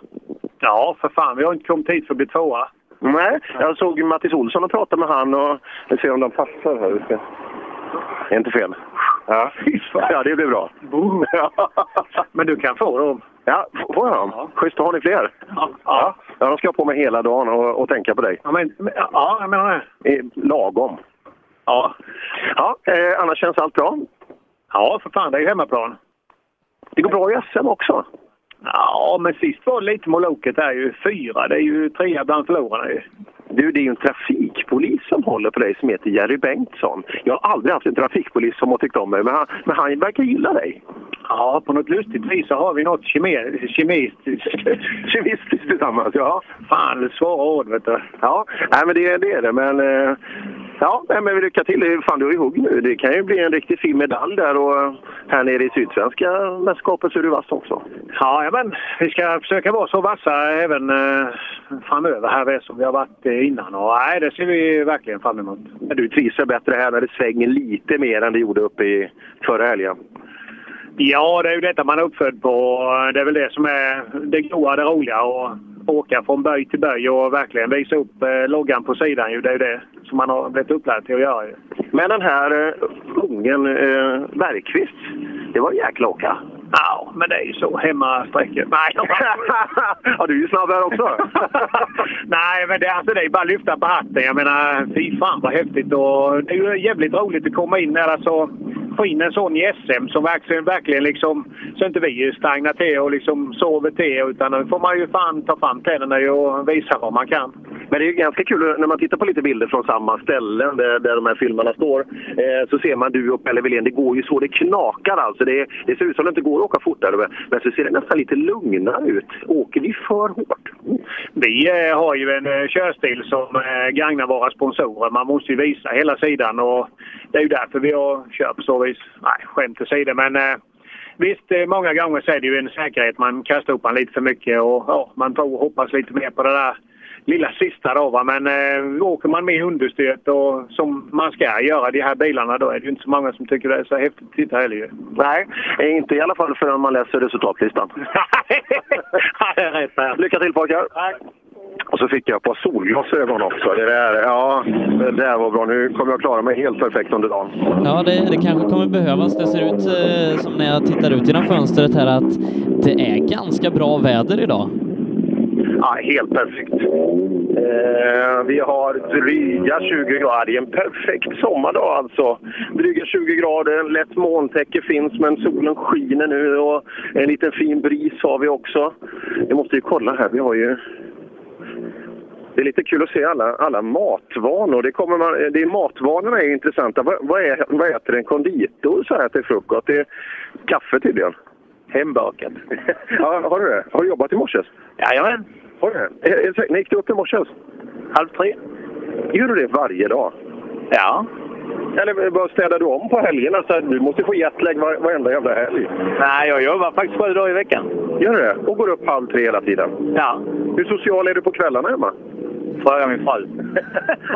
Ja, för fan, vi har inte kommit hit för att bli tvåa.
Nej, jag såg Mattis Olsson och pratade med han och vi ser om de passar här. Vi ska- Det är inte fel. Ja, ja det blir bra.
Men du kan få dem.
Ja, f- får jag dem? Schysst, har ni fler?
Ja.
Ja, de ska jag på mig hela dagen och, och tänka på dig.
Ja, men, men- ja jag menar det.
Eh, Lagom.
Ja.
Ja, eh, annars känns allt bra?
Ja, för fan, det är ju hemmaplan.
Det går bra i SM också.
Ja, men sist var det lite moloket där ju. Fyra, det är ju trea bland förlorarna ju.
Du, det är ju en trafikpolis som håller på dig som heter Jerry Bengtsson. Jag har aldrig haft en trafikpolis som har tyckt om mig, men han, men han verkar gilla dig.
Ja, på något lustigt vis så har vi något kemi- kemistiskt.
Kemistiskt tillsammans, ja.
Fan, svåra ord vet du.
Ja, nej, men det, det är det. Men, eh, ja, nej, men lycka till. Fan, du har ju hugg nu. Det kan ju bli en riktigt fin medalj där och här nere i Sydsvenska mästerskapet så är du vass också.
Ja, men vi ska försöka vara så vassa även eh, framöver här som vi har varit eh, innan. Och, nej, det ser vi verkligen fram emot.
Du trivs väl bättre här när det svänger lite mer än det gjorde uppe i förra helgen?
Ja, det är ju detta man är uppfödd på. Det är väl det som är det goa, det roliga. Och åka från böj till böj och verkligen visa upp eh, loggan på sidan. ju. Det är ju det som man har blivit upplärd till att göra. ju.
Men den här eh, ungen eh, Bergqvist, det var en jäkla åka.
Ja, men det är ju så. Hemmasträckor. Nej, ja, du är ju snabb här också. Nej, men det, alltså, det är bara att lyfta på hatten. Jag menar, fy fan vad häftigt. Och det är ju jävligt roligt att komma in där. Alltså, få in en sån i SM som verkligen, verkligen liksom... Så inte vi stagnar till och liksom sover till. Utan nu får man ju fan ta fram tänderna ju och visa vad man kan.
Men det är ju ganska kul när man tittar på lite bilder från samma ställen där, där de här filmerna står. Eh, så ser man du och Pelle Wilén, det går ju så det knakar alltså. Det, det ser ut som det inte går att åka fortare. men- Men så ser det nästan lite lugnare ut. Åker vi för hårt?
Vi eh, har ju en eh, körstil som eh, gagnar våra sponsorer. Man måste ju visa hela sidan och det är ju därför vi har kört på så vis. Nej, skämt åsido men eh, visst, eh, många gånger så är det ju en säkerhet. Man kastar upp han lite för mycket och ja, man tror och hoppas lite mer på det där lilla sista då va. Men eh, åker man med understöt och som man ska göra de här bilarna då är det ju inte så många som tycker det är så häftigt att titta heller ju.
Nej, eh, inte i alla fall förrän man läser resultatlistan. Lycka till pojkar!
Och så fick jag ett par solglasögon också. Det där, ja, det där var bra. Nu kommer jag klara mig helt perfekt under dagen.
Ja, det, det kanske kommer behövas. Det ser ut eh, som när jag tittar ut genom fönstret här att det är ganska bra väder idag.
Ja, helt perfekt. Eh, vi har dryga 20 grader. Det är en perfekt sommardag alltså. Dryga 20 grader, lätt molntäcke finns men solen skiner nu och en liten fin bris har vi också. Vi måste ju kolla här, vi har ju... Det är lite kul att se alla, alla matvanor. Det kommer man, det är, matvanorna är intressanta. Vad, vad, är, vad äter en konditor så här till frukost? Det är kaffe tydligen. Hembakat. ja, har du det? Har du jobbat i morse? Jajamän. Har du det? Eh, eh, säg, När gick du upp i morse? Halv tre. Gör du det varje dag? Ja. Eller vad städar du om på helgerna? Så du måste få jetlag var- varenda jävla helg. Nej, jag jobbar faktiskt sju dagar i veckan. Gör du det? Och går upp halv tre hela tiden? Ja. Hur social är du på kvällarna hemma? Fråga min fru.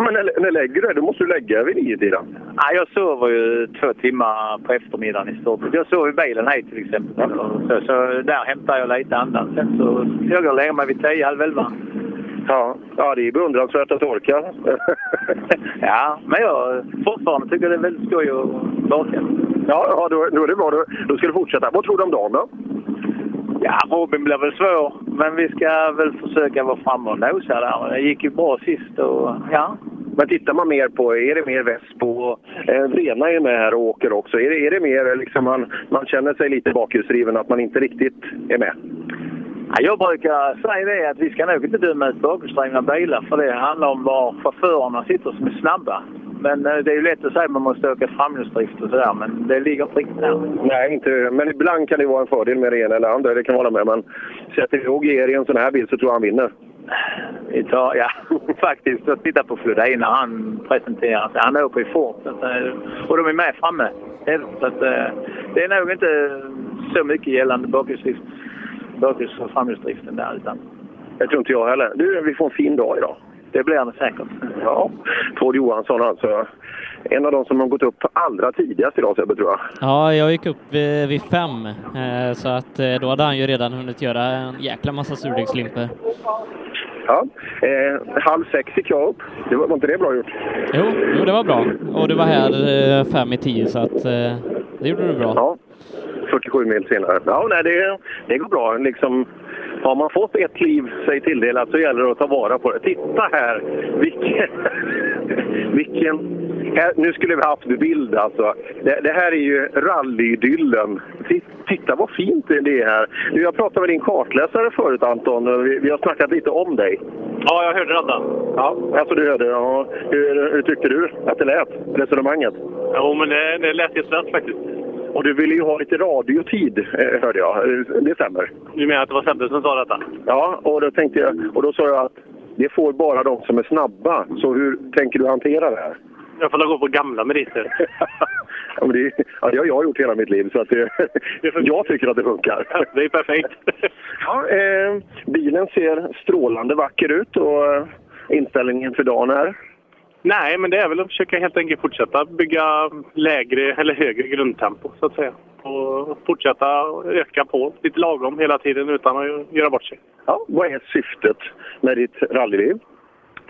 men när, när lägger du dig? Då måste du lägga dig vid niotiden.
Nej, jag sover ju två timmar på eftermiddagen i stort sett. Jag sover i bilen hit till exempel. Så, så där hämtar jag lite andan. Sen så jag går och lägger mig vid tio, halv elva.
Ja, ja, det är beundransvärt att orka.
ja, men jag fortfarande tycker det är väldigt skoj att baka.
Ja, ja då, då är det bra. Då, då ska du fortsätta. Vad tror du om dagen då?
Ja, Robin blir väl svår. Men vi ska väl försöka vara framme och nosa där. Det gick ju bra sist och ja.
Men tittar man mer på, är det mer Väsbo? Eh, Vrena är med här och åker också. Är det, är det mer liksom man, man känner sig lite bakhusdriven att man inte riktigt är med?
Ja, Jag brukar säga det att vi ska nog inte döma ut bakhjulsdrivna bilar för det handlar om var chaufförerna sitter som är snabba. Men eh, det är ju lätt att säga att man måste öka framhjulsdrift och sådär, men det ligger inte riktigt där.
Nej, inte, men ibland kan det vara en fördel med det ena eller andra. Det kan jag hålla med. Men sätter vi Ogier i en sån här bil så tror jag han vinner.
Vi tar, ja, faktiskt. Jag tittar på Flodin när han presenterar sig. Han åker i Ford. så att, eh, Och de är med framme. Så att, eh, det är nog inte så mycket gällande bakhjulsdrift, bakhjuls och framhjulsdriften där. Utan
Jag tror inte jag heller. Du, vi får en fin dag idag.
det blir det säkert.
Ja, Tord Johansson alltså. En av de som har gått upp allra tidigast idag Sebbe, tror jag.
Ja, jag gick upp eh, vid fem, eh, så att eh, då hade han ju redan hunnit göra en jäkla massa surdegslimpor.
Ja. Eh, halv sex gick jag upp. Det var, var inte det bra gjort?
Jo, jo, det var bra. Och du var här eh, fem i tio, så att eh, det gjorde du bra.
Ja, 47 mil senare. Ja, nej, det, det går bra. Liksom, har man fått ett liv sig tilldelat så gäller det att ta vara på det. Titta här! Vilken... vilken här, nu skulle vi haft bild alltså. Det, det här är ju rallydyllen. Ti- Titta vad fint det är här. Du, jag pratade med din kartläsare förut Anton. och Vi, vi har snackat lite om dig.
Ja, jag hörde detta.
Ja, alltså du hörde. Ja. Hur, hur tyckte du att det lät? Resonemanget?
Jo, men det, det lät ju snabbt faktiskt.
Och du ville ju ha lite radiotid, eh, hörde jag. Eh, Det stämmer.
Du menar att det var Sebbe som sa detta?
Ja, och då tänkte jag, och då sa jag att det får bara de som är snabba. Så hur tänker du hantera det här?
Jag får gå på gamla meriter.
Ja, men det, ja, det har jag gjort hela mitt liv, så att det, jag tycker att det funkar.
Det är perfekt.
Ja, eh, bilen ser strålande vacker ut och eh, inställningen för dagen är?
Nej, men det är väl att försöka helt enkelt fortsätta bygga lägre eller högre grundtempo så att säga. Och fortsätta öka på lite lagom hela tiden utan att göra bort sig.
Ja, vad är syftet med ditt rallyliv?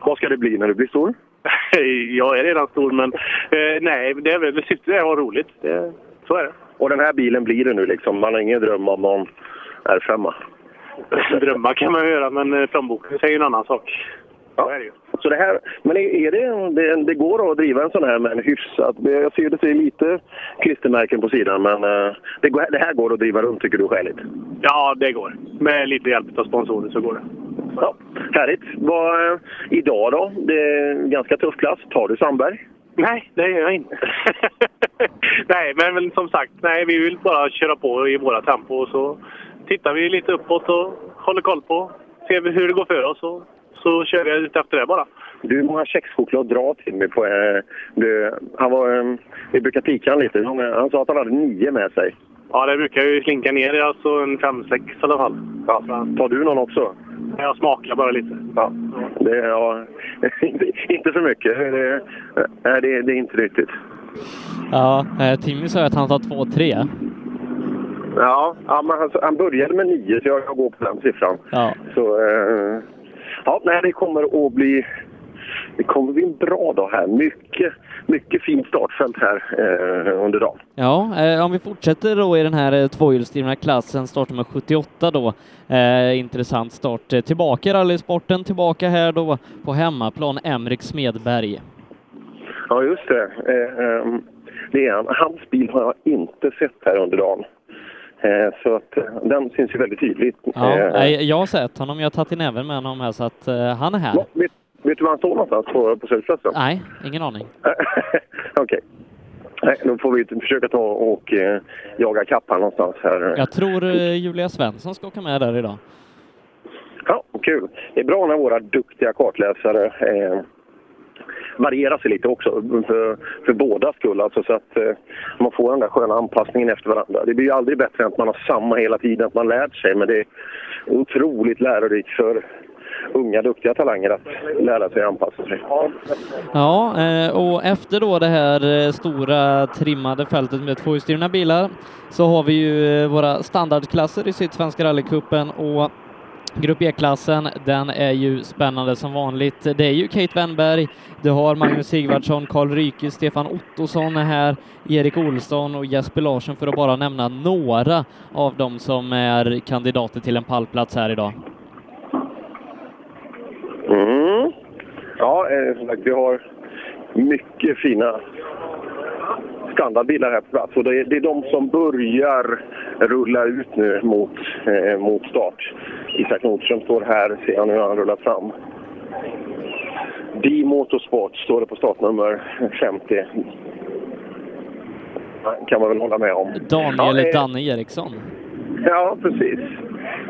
Vad ska det bli när du blir stor?
Jag är redan stor, men eh, nej, det är väl syftet är att ha roligt. Det, så är det.
Och den här bilen blir det nu liksom. Man har ingen dröm om någon R5.
Drömmar kan man göra, men eh, plånboken säger en annan sak.
Ja. Så det här, men är- är det, det, det går att driva en sån här med en hyfsat... Jag ser det ser lite klistermärken på sidan, men eh, det, går- det här går att driva runt tycker du skäligt?
Ja, det går. Med lite hjälp av sponsorer så går det.
Ja, härligt. Vad, eh, idag då? Det är en ganska tuff klass. Tar du Sandberg?
Nej, det gör jag inte. nej, men, men som sagt, nej, vi vill bara köra på i våra tempo och så tittar vi lite uppåt och håller koll på, ser vi hur det går för oss och så kör vi ut efter det bara.
Du, hur många kexchoklad drar till mig på... Eh, du, han var, eh, vi brukar pika han lite. Han, han sa att han hade nio med sig.
Ja, det brukar ju slinka ner i alltså en fem sex i alla fall.
Ja. Tar du någon också?
Jag smakar bara lite.
Ja. Det, ja, inte- inte för mycket. Det, eh, nej, det, det är inte riktigt.
Ja, eh, Timmy sa att han tar två, tre.
Ja, ja, men han, han började med nio, så jag, jag går på den siffran.
Ja.
Så, eh, ja, nej, det kommer att bli... Det kommer bli en bra dag här. Mycket, mycket fint startfält här eh, under dagen.
Ja, eh, om vi fortsätter då i den här eh, tvåhjulsdrivna klassen, startnummer 78 då. Eh, intressant start eh, tillbaka i rallysporten, tillbaka här då på hemmaplan, Emrik Smedberg.
Ja, just det. Eh, ehm, det är han. Hans bil har jag inte sett här under dagen. Eh, så att, eh, den syns ju väldigt tydligt.
Ja,
Eh,
eh, jag har sett honom, jag har tagit i näven med honom här så att eh, han är här.
ja, vet, vet du var han står någonstans på, på slutplatsen?
Nej, ingen aning.
Okej. Nej, Då får vi försöka ta och eh, jaga kapp här någonstans. Här.
Jag tror eh, Julia Svensson ska åka med där idag.
Ja, kul. Det är bra när våra duktiga kartläsare eh, varierar sig lite också för, för båda skull. Alltså, så att eh, man får den där sköna anpassningen efter varandra. Det blir ju aldrig bättre än att man har samma hela tiden, att man lärt sig. Men det är otroligt lärorikt för unga duktiga talanger att lära sig anpassa sig.
Ja, eh, och efter då det här eh, stora trimmade fältet med tvåhjulsdrivna bilar så har vi ju eh, våra standardklasser i Sydsvenska rallycupen och Grupp E-klassen, den är ju spännande som vanligt. Det är ju Kate Wennberg, du har Magnus Sigvardsson, Karl Ryke, Stefan Ottosson är här, Erik Olsson och Jesper Larsson för att bara nämna några av dem som är kandidater till en pallplats här idag.
Mm. Ja, eh, som sagt, vi har mycket fina standardbilar här på plats. Och det, är, det är de som börjar rulla ut nu mot, eh, mot start. Isak Nordström står här, ser jag nu när han rullar fram. Di Motorsport står det på startnummer 50. Det kan man väl hålla med om.
Daniel
Ja, eh,
Danne Eriksson.
Ja, precis.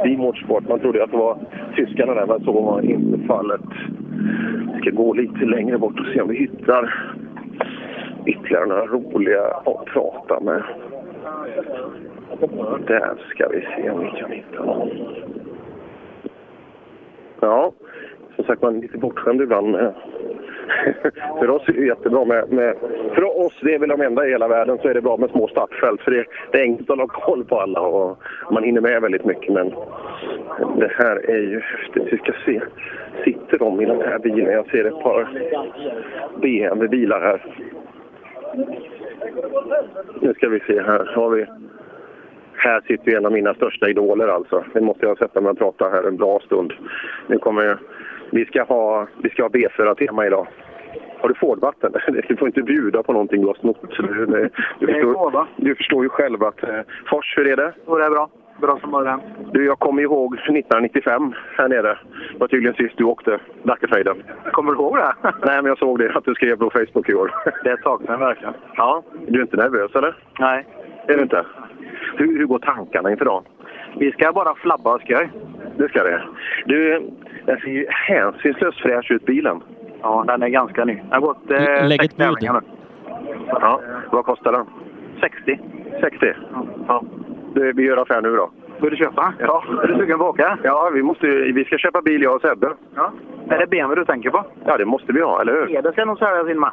I motorsport. Man trodde ju att det var tyskarna där, men så var inte fallet. Vi ska gå lite längre bort och se om vi hittar ytterligare några roliga att prata med. Där ska vi se om vi kan hitta någon. Ja, som sagt man är lite bortskämd ibland. eh. med- för oss är det jättebra med, med... För oss, det är väl de enda i hela världen, så är det bra med små startfält. För det, det är enkelt att hålla koll på alla och man hinner med väldigt mycket. Men det här är ju häftigt. Vi ska se. Sitter de i den här bilen? Jag ser ett par BMW-bilar här. Nu ska vi se här. Har vi... Här sitter ju en av mina största idoler alltså. Nu måste jag sätta mig och prata här en bra stund. Nu kommer jag... Vi ska ha, vi ska ha B4-tema idag. Har du Ford-vatten? Du får inte bjuda på någonting du har snott. Du, du, du,
Det är
förstår, du förstår ju själv att... Eh, Fors, hur är det?
Jo, det är bra. Bra som början.
Du, jag kommer ihåg 1995 här nere. Det var tydligen sist du åkte Dackefejden.
Kommer du ihåg det?
Nej, men jag såg det, att du skrev på Facebook i år.
Det saknar jag verkligen.
Ja, du är inte nervös eller?
Nej.
Är du inte? Hur, hur går tankarna inför dagen?
Vi ska bara flabba och skoj.
Det ska det. Du, den ser ju hänsynslöst fräsch ut, bilen.
Ja, den är ganska ny. Den har gått eh,
Lägg
sex
ett bud.
tävlingar nu.
Ja, vad kostar den?
60.
60? Ja. Du, vi gör affär nu då.
Vill du köpa? Ja. Är du sugen på att åka?
Ja, vi, måste, ju- vi ska köpa bil jag och Sebbe.
Ja.
Är det BMW du tänker på?
Ja, det måste vi ha, eller hur?
Peder ska nog sälja sin man.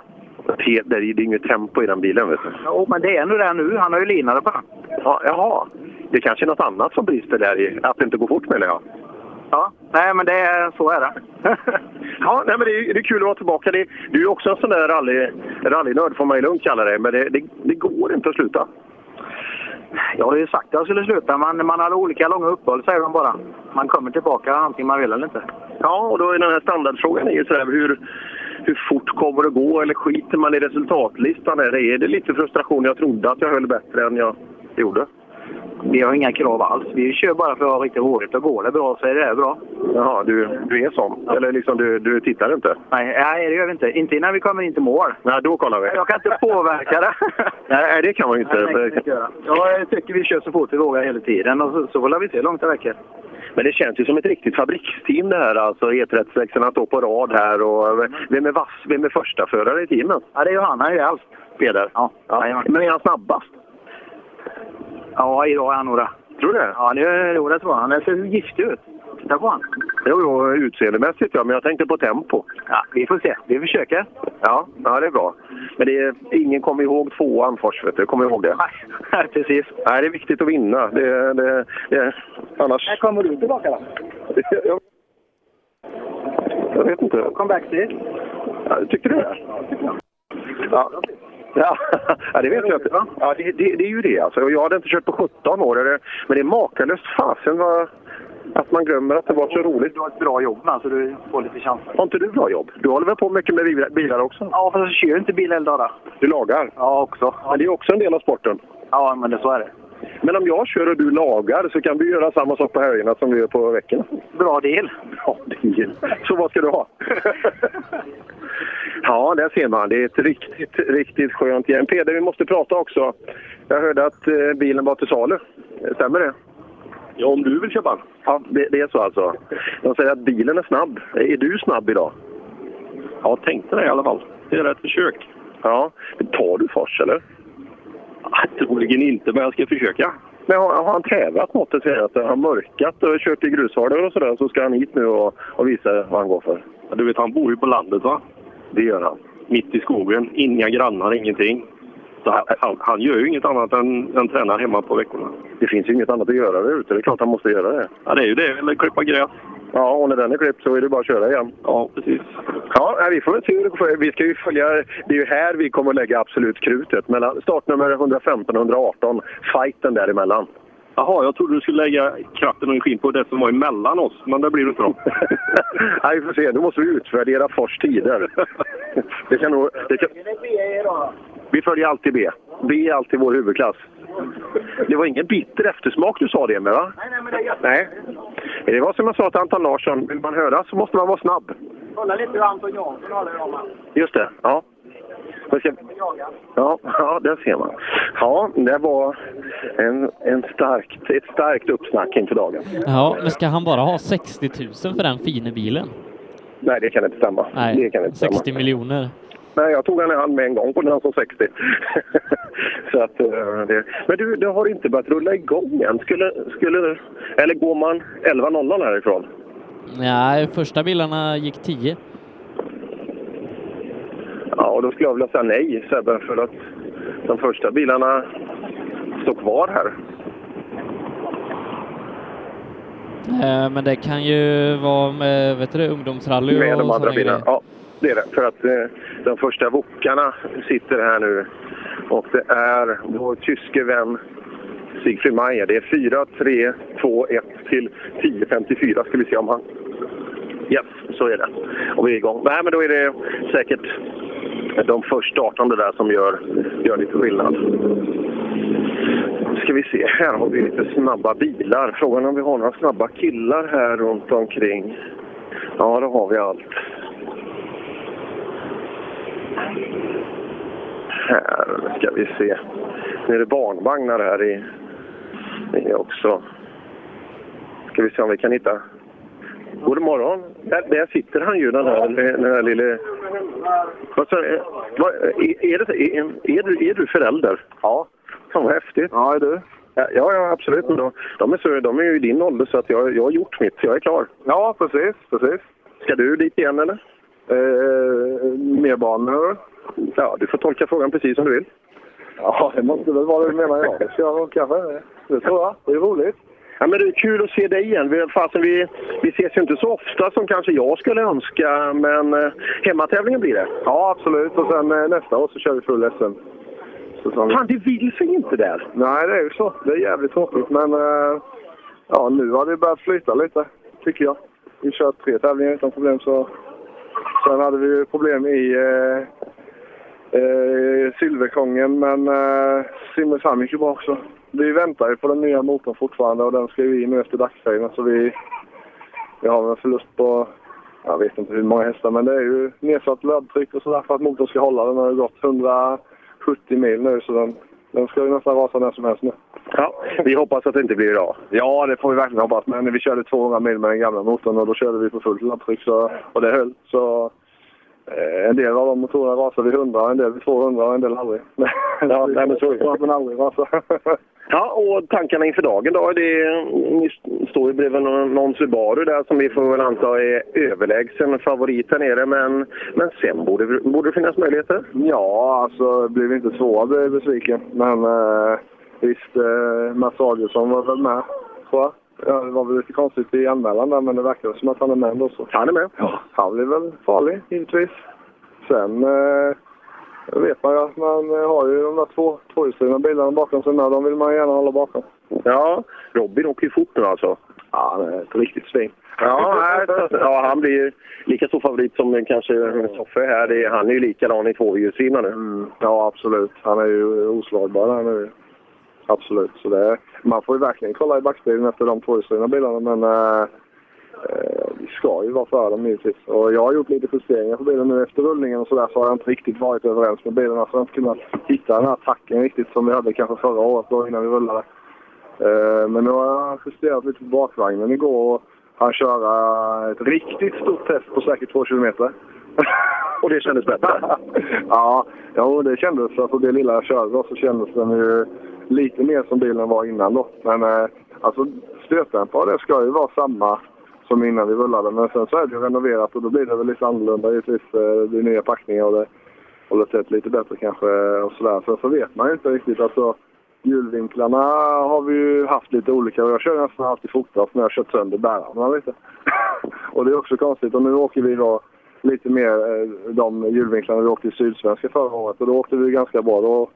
Peter, det är inget tempo i den bilen, vet du.
Jo, men det är nu det nu. Han har ju linare på den.
Ja, jaha. Det kanske är något annat som brister där i. Att det inte går fort, menar jag.
Ja, nej men det är, så är det.
Ja, nej, men det, är, det är kul att vara tillbaka. Det, du är ju också en sån där rally, rallynörd, får man ju lugnt kalla dig. Men det, det, det går inte att sluta.
Jag har ju sagt att jag skulle sluta, men man hade olika långa uppehåll säger de bara. Man kommer tillbaka antingen man vill eller inte.
Ja, och då är den här standardfrågan är ju sådär, hur, hur fort kommer det gå? Eller skiter man i resultatlistan? Eller är det lite frustration? Jag trodde att jag höll bättre än jag gjorde.
Vi har inga krav alls. Vi kör bara för att ha riktigt roligt och går det bra så är det bra.
Jaha, du, du är sån? Eller liksom, du, du tittar inte?
Nej, nej, det gör vi inte. Inte innan vi kommer in till mål.
Nej, då kollar vi.
Jag kan inte påverka det.
Nej, det kan man ju inte.
Nej, det kan vi inte göra. Jag tycker vi kör så fort vi vågar hela tiden och så, så får vi se hur långt det räcker.
Men det känns ju som ett riktigt fabriksteam det här, alltså E36 att står på rad här. Och vem är, vass, vem är första förare i teamet?
Ja, det är Johanna han är ju äldst.
Peder?
Ja.
Men är han snabbast?
Ja, idag är han nog det.
Tror du det?
Ja, det, jo, det tror jag. Han ser giftig ut. Titta på han.
Jo, jo, utseendemässigt ja, men jag tänkte på tempo.
Ja, vi får se. Vi försöker.
Ja, ja det är bra. Men det är, ingen kommer ihåg tvåan först, vet du. Kommer ihåg det?
Nej, precis.
Nej, det är viktigt att vinna. Det, det, det, annars...
När kommer du tillbaka då?
Jag, jag vet inte.
Comeback till?
Ja, tyckte du det? Ja. Ja, ja, det vet jag inte. Ja, det, det, det är ju det alltså. Och Jag hade inte kört på 17 år. Eller, men det är makalöst fasen vad, att man glömmer att det var så roligt.
Du har ett bra jobb med, så du får lite chanser.
Har inte du bra jobb? Du håller väl på mycket med bil- bilar också?
Ja, fast jag kör inte bil hela dagarna.
Du lagar?
Ja, också.
Men det är också en del av sporten.
Ja, men det, så är det.
Men om jag kör och du lagar så kan vi göra samma sak på helgerna som vi gör på veckorna.
Bra del.
Bra deal. Så vad ska du ha? ja, där ser man. Det är ett riktigt, riktigt skönt gäng. Peder, vi måste prata också. Jag hörde att eh, bilen var till salu. Stämmer det?
Ja, om du vill köpa den.
Ja, det, det är så alltså. De säger att bilen är snabb. Är du snabb idag?
Ja, tänkte det i alla fall. Det är ett försök.
Ja. Tar du fars, eller?
Ah, Troligen inte, men jag ska försöka.
Men har, har han tävlat något? Det säger att han har mörkat och kört i grushalvor och sådär. Så ska han hit nu och, och visa vad han går för.
Ja, Du vet, han bor ju på landet, va?
Det gör han.
Mitt i skogen. Inga grannar, ingenting. Så han, han, han gör ju inget annat än, än tränar hemma på veckorna.
Det finns ju inget annat att göra där ute. Det är klart han måste göra det.
Ja, det är ju det. Eller klippa gräs.
Ja, och när den är klippt så är det bara att köra igen.
Ja, precis.
Ja, nej, vi får väl se hur det går. Vi ska ju följa... Det är ju här vi kommer att lägga absolut krutet. Mellan startnummer 115 och 118. Fighten däremellan.
Jaha, jag trodde du skulle lägga kraften och energin på det som var emellan oss, men det blir det inte då.
Nej, vi får se. Nu måste vi utvärdera Fors tider. Det kan nog... Det kan... Vi följer alltid B. B är alltid vår huvudklass. Det var ingen bitter eftersmak du sa det med, va?
Nej, nej, men det gör
Nej. Det var som jag sa till Anton Larsson. Vill man höra så måste man vara snabb.
Kolla lite hur Anton Jansson håller om han.
Just det. Ja. Jag ska... Ja, ja, där ser man. Ja, det var en, en starkt, ett starkt uppsnack inför dagen.
Ja, men ska han bara ha 60 000 för den fina bilen?
Nej, det kan inte stämma. det
Nej,
kan inte
60
stämma.
miljoner.
Nej, jag tog han i hand med en gång på den han som 60. så att, eh, det. Men du, det har inte börjat rulla igång än. Skulle, skulle, eller går man 11.00 härifrån?
Nej, första bilarna gick 10.
Ja, och då skulle jag vilja säga nej, Sebbe, för att de första bilarna står kvar här.
Eh, Men det kan ju vara med, vet du det, ungdomsrally och
med de andra
såna
bilarna.
grejer.
Ja, det är det. För att eh, de första wokarna sitter här nu. Och det är vår tyske vän Siegfried Mayer. Det är 4, 3, 2, 1 till 10.54 ska vi se om han... Yes, så är det. Och vi är igång. Nej, men då är det säkert de först startande där som gör, gör lite skillnad. ska vi se. Här har vi lite snabba bilar. Frågan är om vi har några snabba killar här runt omkring. Ja, då har vi allt. Här ska vi se. Nu är det barnvagnar här i, i också. Ska vi se om vi kan hitta. God morgon. Där, där sitter han ju, den här, den här lille... Vad sa du? Vad- är, är, det, är, är, du, är du förälder? Ja. Fan vad häftigt. Ja, är du? Ja, ja absolut. Men de, de, är så, de är ju i din ålder så att jag, jag har gjort mitt. Jag är klar.
Ja, precis. precis.
Ska du dit igen eller?
Eh, mer banor?
Ja, du får tolka frågan precis som du vill.
Ja, det måste väl vara det du menar. Jag ska nog kanske det. tror jag. Det är roligt.
Ja, men det är kul att se dig igen. Vi, fasen, vi, vi ses ju inte så ofta som kanske jag skulle önska, men eh, hemmatävlingen blir det.
Ja, absolut. Och sen eh, nästa år så kör vi full SM. Så som...
Fan, det vill sig inte där!
Nej, det är ju så. Det är jävligt tråkigt, men eh, ja, nu har det börjat flyta lite, tycker jag. Vi kör tre tävlingar utan problem. Så... Sen hade vi ju problem i eh, eh, Silverkongen, men eh, Simrishamn gick ju bra också. Vi väntar ju på den nya motorn fortfarande och den ska ju in nu efter dagsfejden, så vi, vi har en förlust på jag vet inte hur många hästar, men det är ju nedsatt laddtryck och sådär för att motorn ska hålla. Den har ju gått 170 mil nu, så den, den ska ju nästan rasa när som helst nu.
Ja, vi hoppas att det inte blir idag.
Ja, det får vi verkligen hoppas. Men vi körde 200 mil med den gamla motorn och då körde vi på fullt laddtryck så, och det höll. Så eh, en del av de motorerna rasade vid 100, en del vid 200 och en del aldrig.
Ja, nej, men så är det.
Ja, men aldrig rasar.
Ja, och tankarna inför dagen då? Det är, ni står ju bredvid någon någon Subaru där som vi får väl anta är överlägsen favorit här nere. Men, men sen borde, borde det finnas möjligheter?
Ja, alltså blev inte svåra blev jag besviken. Men eh, visst, eh, Mats Adielsson var väl med, tror jag. Ja, det var väl lite konstigt i anmälan där, men det verkar som att han är med ändå. Så.
Han är med?
Ja. Han blir väl farlig, givetvis. Sen eh, vet man ju att man eh, har ju de där två tvåhjulsdrivna bilarna bakom sig med. De vill man gärna hålla bakom.
Ja, Robin åker ju fort nu alltså.
Ja, han är ett riktigt svin.
Ja, nej, ja, han blir ju lika stor favorit som kanske Soffe här. Det är- Han är ju likadan i tvåhjulsdrivna nu.
Mm, Ja, absolut. Han är ju oslagbar där nu. Absolut. Så det, man får ju verkligen kolla i backspegeln efter de tvåhjulsdrivna bilarna. Men eh, eh, vi ska ju vara före dem givetvis. Och jag har gjort lite justeringar på bilen nu efter rullningen och sådär. Så har jag inte riktigt varit överens med bilarna. Så jag har inte kunnat hitta den här tacken riktigt som vi hade kanske förra året då innan vi rullade. Eh, men nu har jag justerat lite på bakvagnen igår. Och han köra ett riktigt stort test på säkert två kilometer.
Och det kändes bättre?
ja, jo, det kändes. Alltså det lilla jag körde då så kändes den ju lite mer som bilen var innan då. Men eh, alltså stötdämpare och det ska ju vara samma som innan vi rullade. Men sen så är det ju renoverat och då blir det väl lite annorlunda givetvis. Eh, Det blir nya packningar och det håller tätt lite bättre kanske och sådär. Sen så vet man ju inte riktigt. Alltså, Hjulvinklarna har vi ju haft lite olika och jag kör nästan alltid fortast när jag kört sönder bärarna lite. och det är också konstigt. Och nu åker vi då lite mer eh, de hjulvinklarna vi åkte i Sydsvenska förra året och då åkte vi ganska bra. Då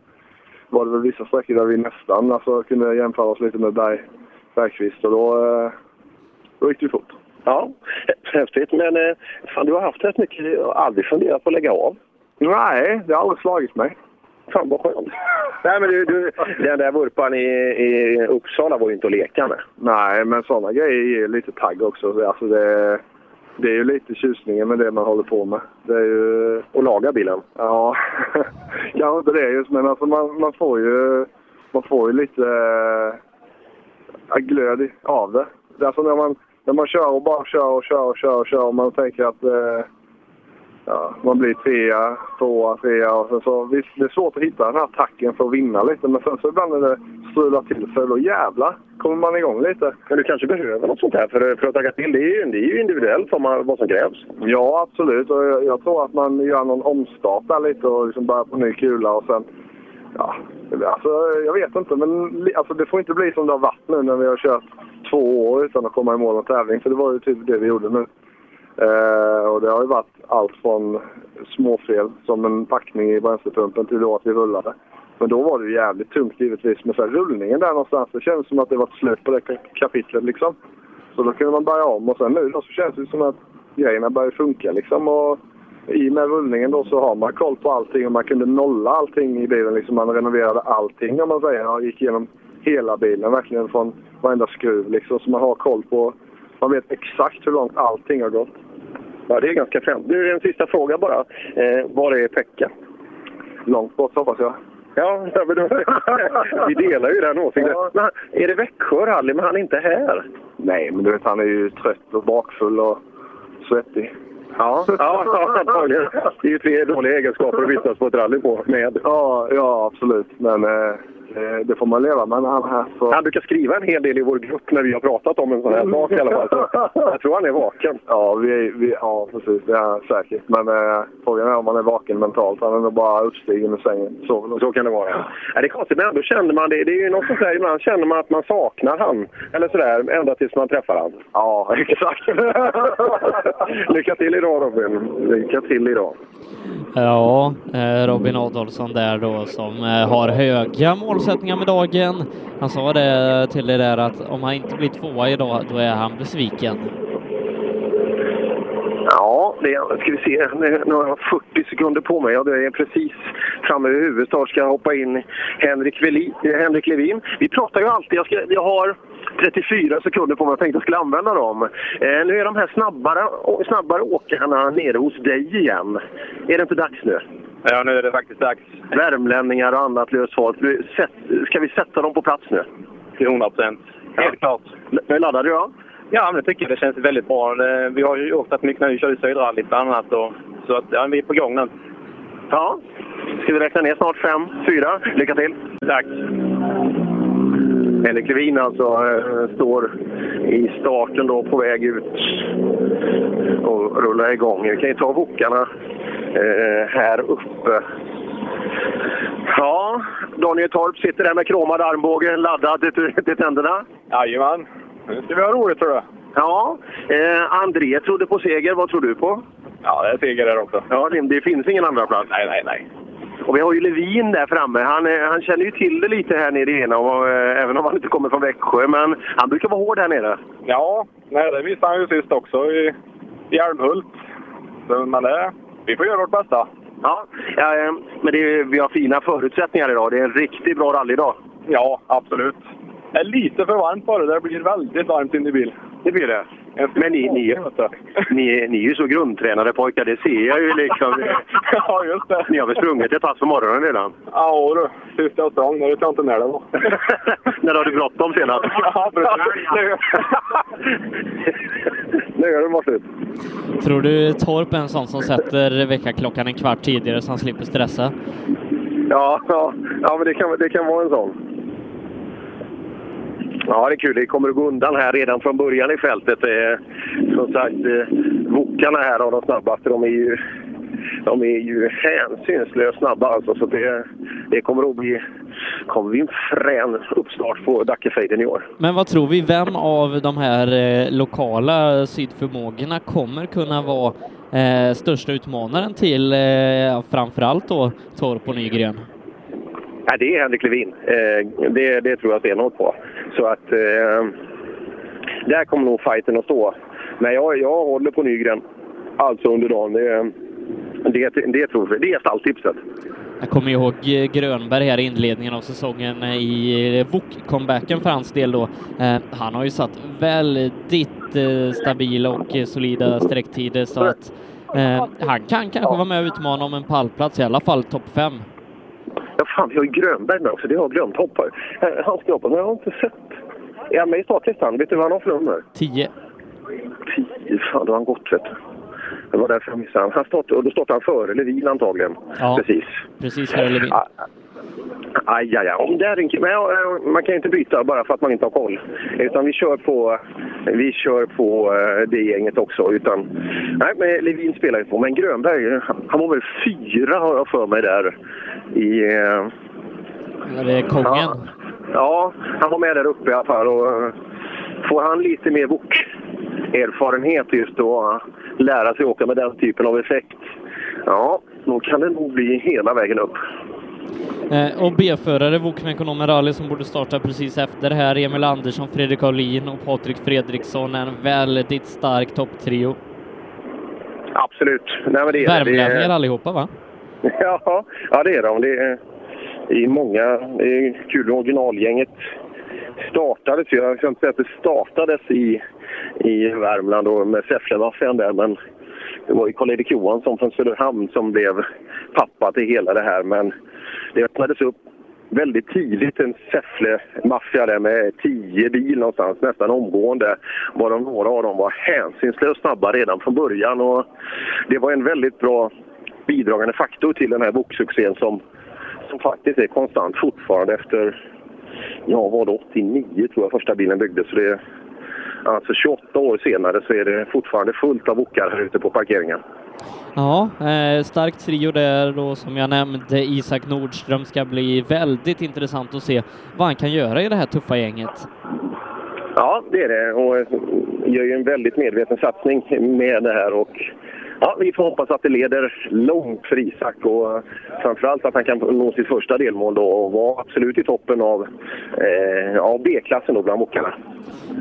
var det väl vissa sträckor där vi nästan alltså, kunde jämföra oss lite med Berg, Bergqvist och då, eh, då gick det ju fort.
Ja, häftigt. Men eh, fan, du har haft rätt mycket och aldrig funderat på att lägga av.
Nej, det har aldrig slagit mig.
Fan vad skönt. Nej, men du, du, den där vurpan i, i Uppsala var ju inte att leka med.
Nej, men sådana grejer ger lite tagg också. Alltså det, det är ju lite tjusningen med det man håller på med. Det är ju...
Och laga bilen?
Ja, kanske inte det just, men alltså man, man, får ju, man får ju lite äh, glöd i- av det. det är alltså när man, när man kör och bara kör och kör och kör och kör och man tänker att eh, ja, man blir trea, tvåa, trea och sen så visst, det är svårt att hitta den här tacken för att vinna lite men sen så ibland när det strular till sig då jävlar kommer man igång lite.
Men du kanske behöver något sånt här för, för att tagga till. Det är ju, det är ju individuellt vad, man, vad som krävs.
Ja, absolut. Och jag, jag tror att man gör någon omstart där lite och liksom börjar på ny kula och sen... Ja, alltså, jag vet inte, men li- alltså, det får inte bli som det har varit nu när vi har kört två år utan att komma i mål och tävling. För det var ju typ det vi gjorde nu. Eh, och det har ju varit allt från småfel, som en packning i bränslepumpen, till då att vi rullade. Men då var det ju jävligt tungt givetvis. Men sen rullningen där någonstans, det kändes som att det var ett slut på det ka- kapitlet liksom. Så då kunde man börja om och sen nu då så känns det som att grejerna börjar funka liksom. Och I och med rullningen då så har man koll på allting och man kunde nolla allting i bilen. Liksom man renoverade allting om man säger. Och gick igenom hela bilen verkligen från varenda skruv liksom. Så man har koll på, man vet exakt hur långt allting har gått.
Ja, det är ganska främt. Du, en sista fråga bara. Eh, var är Pekka?
Långt bort hoppas jag.
Ja, ja, men då, vi delar ju den åsikten. Men han- är det Växjö rally, men han är inte här?
Nej, men du vet han är ju trött och bakfull och svettig.
Ja, ja, ja antagligen. Det är ju tre dåliga egenskaper att vistas på ett rally på med.
Ja, ja absolut. Men eh, det, det får man leva med när han är här. Så.
Han brukar skriva en hel del i vår grupp när vi har pratat om en sån här sak i alla fall. Så jag tror han är vaken.
Ja, vi, vi, ja, precis. Det är han säkert. Men eh, frågan är om han är vaken mentalt. Han är nog bara uppstigen ur sängen. Så,
så kan det vara. Ja, det är konstigt, men ändå känner man det. Det är ju något sånt där, ibland känner man att man saknar han. Eller sådär, ända tills man träffar han.
Ja,
exakt. Lycka till idag Robin. Lycka till idag.
Ja, eh, Robin Adolfsson där då som eh, har höga målsättningar med dagen. Han sa det till dig där att om han inte blir tvåa idag, då är han besviken.
Ja, det ska vi se. Nu nu har jag 40 sekunder på mig. Ja, det är precis framme vid huvudet. Snart ska jag hoppa in Henrik, Veli, eh, Henrik Levin. Vi pratar ju alltid... Jag, ska, jag har 34 sekunder på mig. Jag tänkte jag skulle använda dem. Eh, nu är de här snabbare, å- snabbare åkarna nere hos dig igen. Är det inte dags nu?
Ja, nu är det faktiskt dags.
Värmlänningar och annat löst folk. Vi sätt- Ska vi sätta dem på plats nu?
Till 100 procent. Helt klart.
Nu laddade du, ja?
Ja, men det tycker jag. Det känns väldigt bra. Det- Vi har ju åkt rätt mycket nu. Vi körde Sydrallyt bland annat. Och, så att, ja, vi är på gång nu.
Ja. Ska vi räkna ner snart? Fem, fyra. Lycka till! Tack! Henrik Levin alltså eh, står i starten då på väg ut och rullar igång. Vi kan ju ta vokarna eh, här uppe. Ja, Daniel Torp sitter där med kromad armbåge laddad till, till tänderna. Jajamän. Nu ska vi ha roligt tror jag. Ja. Eh, André trodde på seger. Vad tror du på? Ja, det är seger där också. Ja, det, det finns ingen andra plats. Nej, nej, nej. Och vi har ju Levin där framme. Han, eh, han känner ju till det lite här nere igenom, eh, även om han inte kommer från Växjö. Men han brukar vara hård här nere.
Ja, nej, det visade han ju sist också i, i Älmhult. Så, Men det, vi får göra vårt bästa.
Ja, ja eh, men det, är- vi har fina förutsättningar idag. Det är en riktigt bra rallydag. Ja, absolut.
Det är lite för varmt bara. Det blir väldigt varmt in i bil.
Det blir det. Men ni, ni, ni, ni är ju så grundtränade pojkar, det ser jag ju liksom.
ja, just det.
Ni har väl sprungit ett pass på morgonen redan?
Ja, du. Sist jag sprang, det vet jag inte när det var.
När har du bråttom senast?
Ja, precis.
Nu är det bara slut.
Tror du Torp är en sån som sätter väckarklockan en kvart tidigare så han slipper stressa?
Ja, ja, ja men det kan, det kan vara en sån. Ja, det är kul. Det kommer att gå undan här redan från början i fältet. Eh, Som sagt, eh, wokarna här av de snabbaste, de är ju, de är ju hänsynslöst snabba alltså. Så det, det kommer att bli, kommer bli en frän uppstart på Dackefejden i år.
Men vad tror vi, vem av de här eh, lokala sydförmågorna kommer kunna vara eh, största utmanaren till eh, framförallt då Torp och Nygren?
Nej, det är Henrik Levin. Eh, det, det tror jag stenhårt på. Så att eh, där kommer nog fighten att stå. Men jag, jag håller på Nygren alltså under dagen. Det, det, det tror vi. Det är stalltipset.
Jag kommer ihåg eh, Grönberg här i inledningen av säsongen eh, i VOK-comebacken för hans del då. Eh, Han har ju satt väldigt eh, stabila och eh, solida sträcktider så att eh, han kan kanske vara med och utmana om en pallplats, i alla fall topp fem.
Ja, fan, vi har ju Grönberg med också. Det har jag glömt. Hoppa. Eh, Han ska hoppa, men jag har inte sett. Är han med i startlistan? Vet du vad han har för nummer?
Tio.
Tio? Fan, då har han gått, vet du. Det var därför jag missade han. han start, och då startade han före Levin antagligen.
Ja.
Precis.
Precis före Levin.
Aj, aj, aj. Om det är en, men, eh, man kan ju inte byta bara för att man inte har koll. Utan vi kör på, vi kör på eh, det gänget också. Utan, nej, men Levin spelar ju på. Men Grönberg, eh, han var väl fyra har jag för mig där. I, eh,
Det är Kongen.
ja, han var med där uppe i alla fall. Och, eh, får han lite mer bok erfarenhet just då, eh, lära sig åka med den typen av effekt. Ja, då kan det nog bli hela vägen upp.
Eh, Och B-förare, Wokmekonomen Rally, som borde starta precis efter här. Emil Andersson, Fredrik Aulin och Patrik Fredriksson. En väldigt stark topptrio.
Absolut. Nej, men det är det. Det är-
Värmlänningar allihopa, va?
Ja, ja det är de. Det är, det är många. Det är kul. Originalgänget startades ju. Jag kan inte säga att det startades i, i Värmland och med Säfflevaffen där, men det var ju Karl-Erik Johansson från Söderhamn som blev pappa till hela det här. Men det öppnades upp väldigt tidigt en Säffle-maffia där med tio bil någonstans, nästan omgående. Varav några av dem var hänsynslöst snabba redan från början. Och det var en väldigt bra bidragande faktor till den här boksuccén som, som faktiskt är konstant fortfarande efter, ja vad då, 89 tror jag första bilen byggdes. Så det är, alltså 28 år senare så är det fortfarande fullt av åkare här ute på parkeringen.
Ja, eh, stark trio där då som jag nämnde. Isak Nordström ska bli väldigt intressant att se vad han kan göra i det här tuffa gänget.
Ja, det är det. Och eh, gör ju en väldigt medveten satsning med det här. Och, ja, vi får hoppas att det leder långt för Isak och eh, framförallt att han kan nå sitt första delmål då och vara absolut i toppen av, eh, av B-klassen då bland åkarna.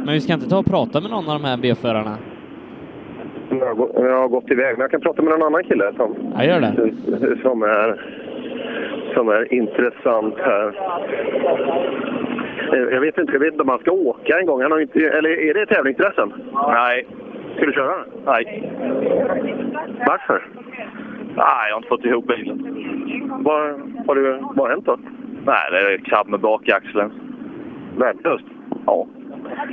Men vi ska inte ta och prata med någon av de här B-förarna.
Jag har, gå- jag har gått iväg, men jag kan prata med någon annan kille som,
Ja, gör det.
som, är, som är intressant här. Eh, Jag vet inte, jag vet inte om han ska åka en gång. Han har ju inte, eller är det tävlingsdressen? Nej. Ska du köra den? Nej. Varför?
Nej, jag har inte fått ihop bilen.
Vad har du, vad har hänt då?
Nej, det är krabb med bakaxeln.
Värdelöst? Ja.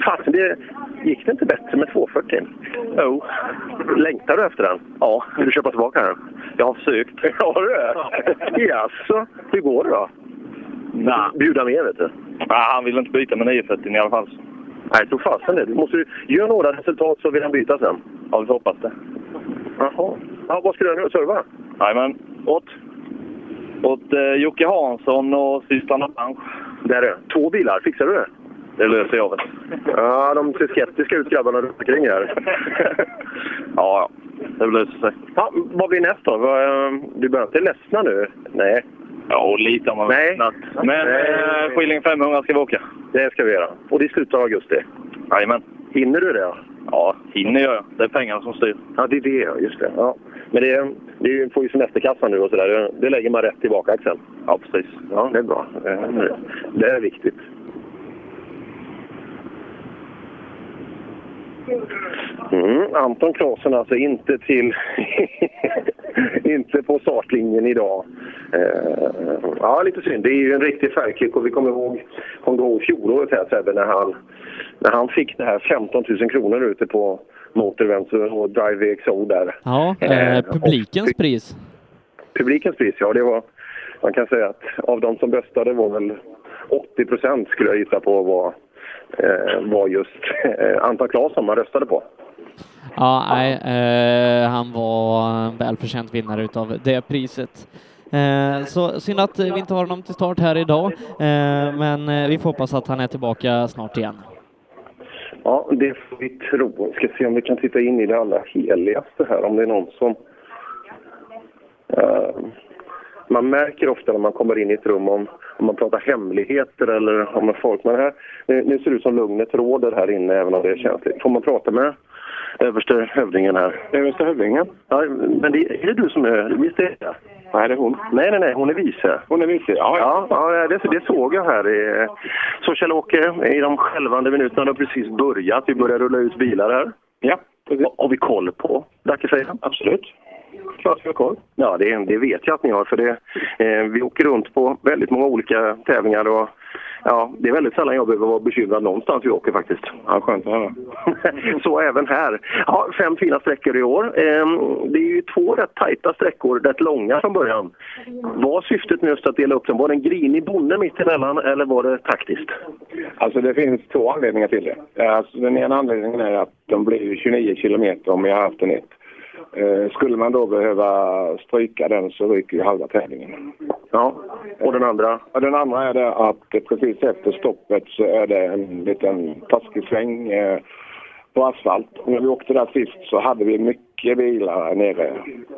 Fasen, det, gick det inte bättre med 240? Jo. Längtar du efter den? Ja. Vill du köpa tillbaka den? Jag har försökt. Har du det? Jaså? Hur går det då?
Nej.
Bjuda med, vet du.
Nej, han vill inte byta med 940 i alla fall.
Nej, tro fasen det. Du måste ju göra några resultat så vill han byta sen.
Ja, vi får hoppas det.
Jaha. Ja, vad ska du göra nu? Serva?
Jajamän. Åt? Åt eh, Jocke Hansson och systrarna Blanche.
Där är Två bilar, fixar du det?
Det löser jag väl.
Ja, de ser skeptiska ut grabbarna runt omkring här.
Ja, ja. Det löser sig.
Ja, vad blir nästa då? Vad, eh, Du behöver inte ledsna nu? Nej.
Ja, och lite om man
Nej.
vittnat. Men eh, Skilling 500 ska vi åka.
Det ska vi göra. Och det är slutet av augusti?
Jajamän.
Hinner du det? då?
Ja, hinner gör jag. Det är pengarna som styr.
Ja, det är det. ja, Just det. Ja. Men det, det är ju- får ju semesterkassan nu och sådär. Det, det lägger man rätt i bakaxeln. Ja, precis. Ja, det är bra. Det- Det är viktigt. Mm, Anton Claesson alltså inte till... inte på startlinjen idag. Eh, ja, lite synd. Det är ju en riktig färgkick och vi kommer ihåg, kommer ihåg fjolåret här Sebbe när han, när han fick det här 15 000 kronor ute på Motorvents och Drive VXO där.
Ja, eh, publikens pris.
Publikens pris, ja det var... Man kan säga att av de som röstade var väl 80 procent skulle jag gissa på var, eh, var just eh, Anton Claesson man röstade på.
Ja, nej, eh, han var en välförtjänt vinnare utav det priset. Eh, så synd att vi inte har honom till start här idag, eh, men eh, vi får hoppas att han är tillbaka snart igen.
Ja, det får vi tro. Vi ska se om vi kan titta in i det allra heligaste här, om det är någon som... Eh, man märker ofta när man kommer in i ett rum om, om man pratar hemligheter eller om folk. Men här, nu, nu ser det ut som lugnet råder här inne, även om det är känsligt. Får man prata med överste hövdingen här? Överste hövdingen? Ja, men det, är det du som är... Visst är det? Nej, det är hon. Nej, nej, nej, hon är vice. Hon är vice, ja. Ja, ja det, det såg jag här. i- Så Kjell-Åke, i de skälvande minuterna har precis börjat. Vi börjar rulla ut bilar här. Ja. Har vi koll på Dackefejden? Absolut. Klart vi har koll. Ja, det, det vet jag att ni har. För det, eh, vi åker runt på väldigt många olika tävlingar. Och, ja, det är väldigt sällan jag behöver vara bekymrad någonstans vi åker faktiskt. Ja, skönt att höra. Så även här. Ja, fem fina sträckor i år. Eh, det är ju två rätt tajta sträckor, rätt långa från början. Var syftet med just att dela upp dem? Var det en grinig bonde mittemellan eller var det taktiskt?
Alltså det finns två anledningar till det. Alltså, den ena anledningen är att de blir ju 29 kilometer om jag har haft en ett. Eh, skulle man då behöva stryka den så ryker ju halva tävlingen.
Ja, och den andra?
Ja, den andra är det att eh, precis efter stoppet så är det en liten taskig sväng eh, på asfalt. Och när vi åkte där sist så hade vi mycket bilar här nere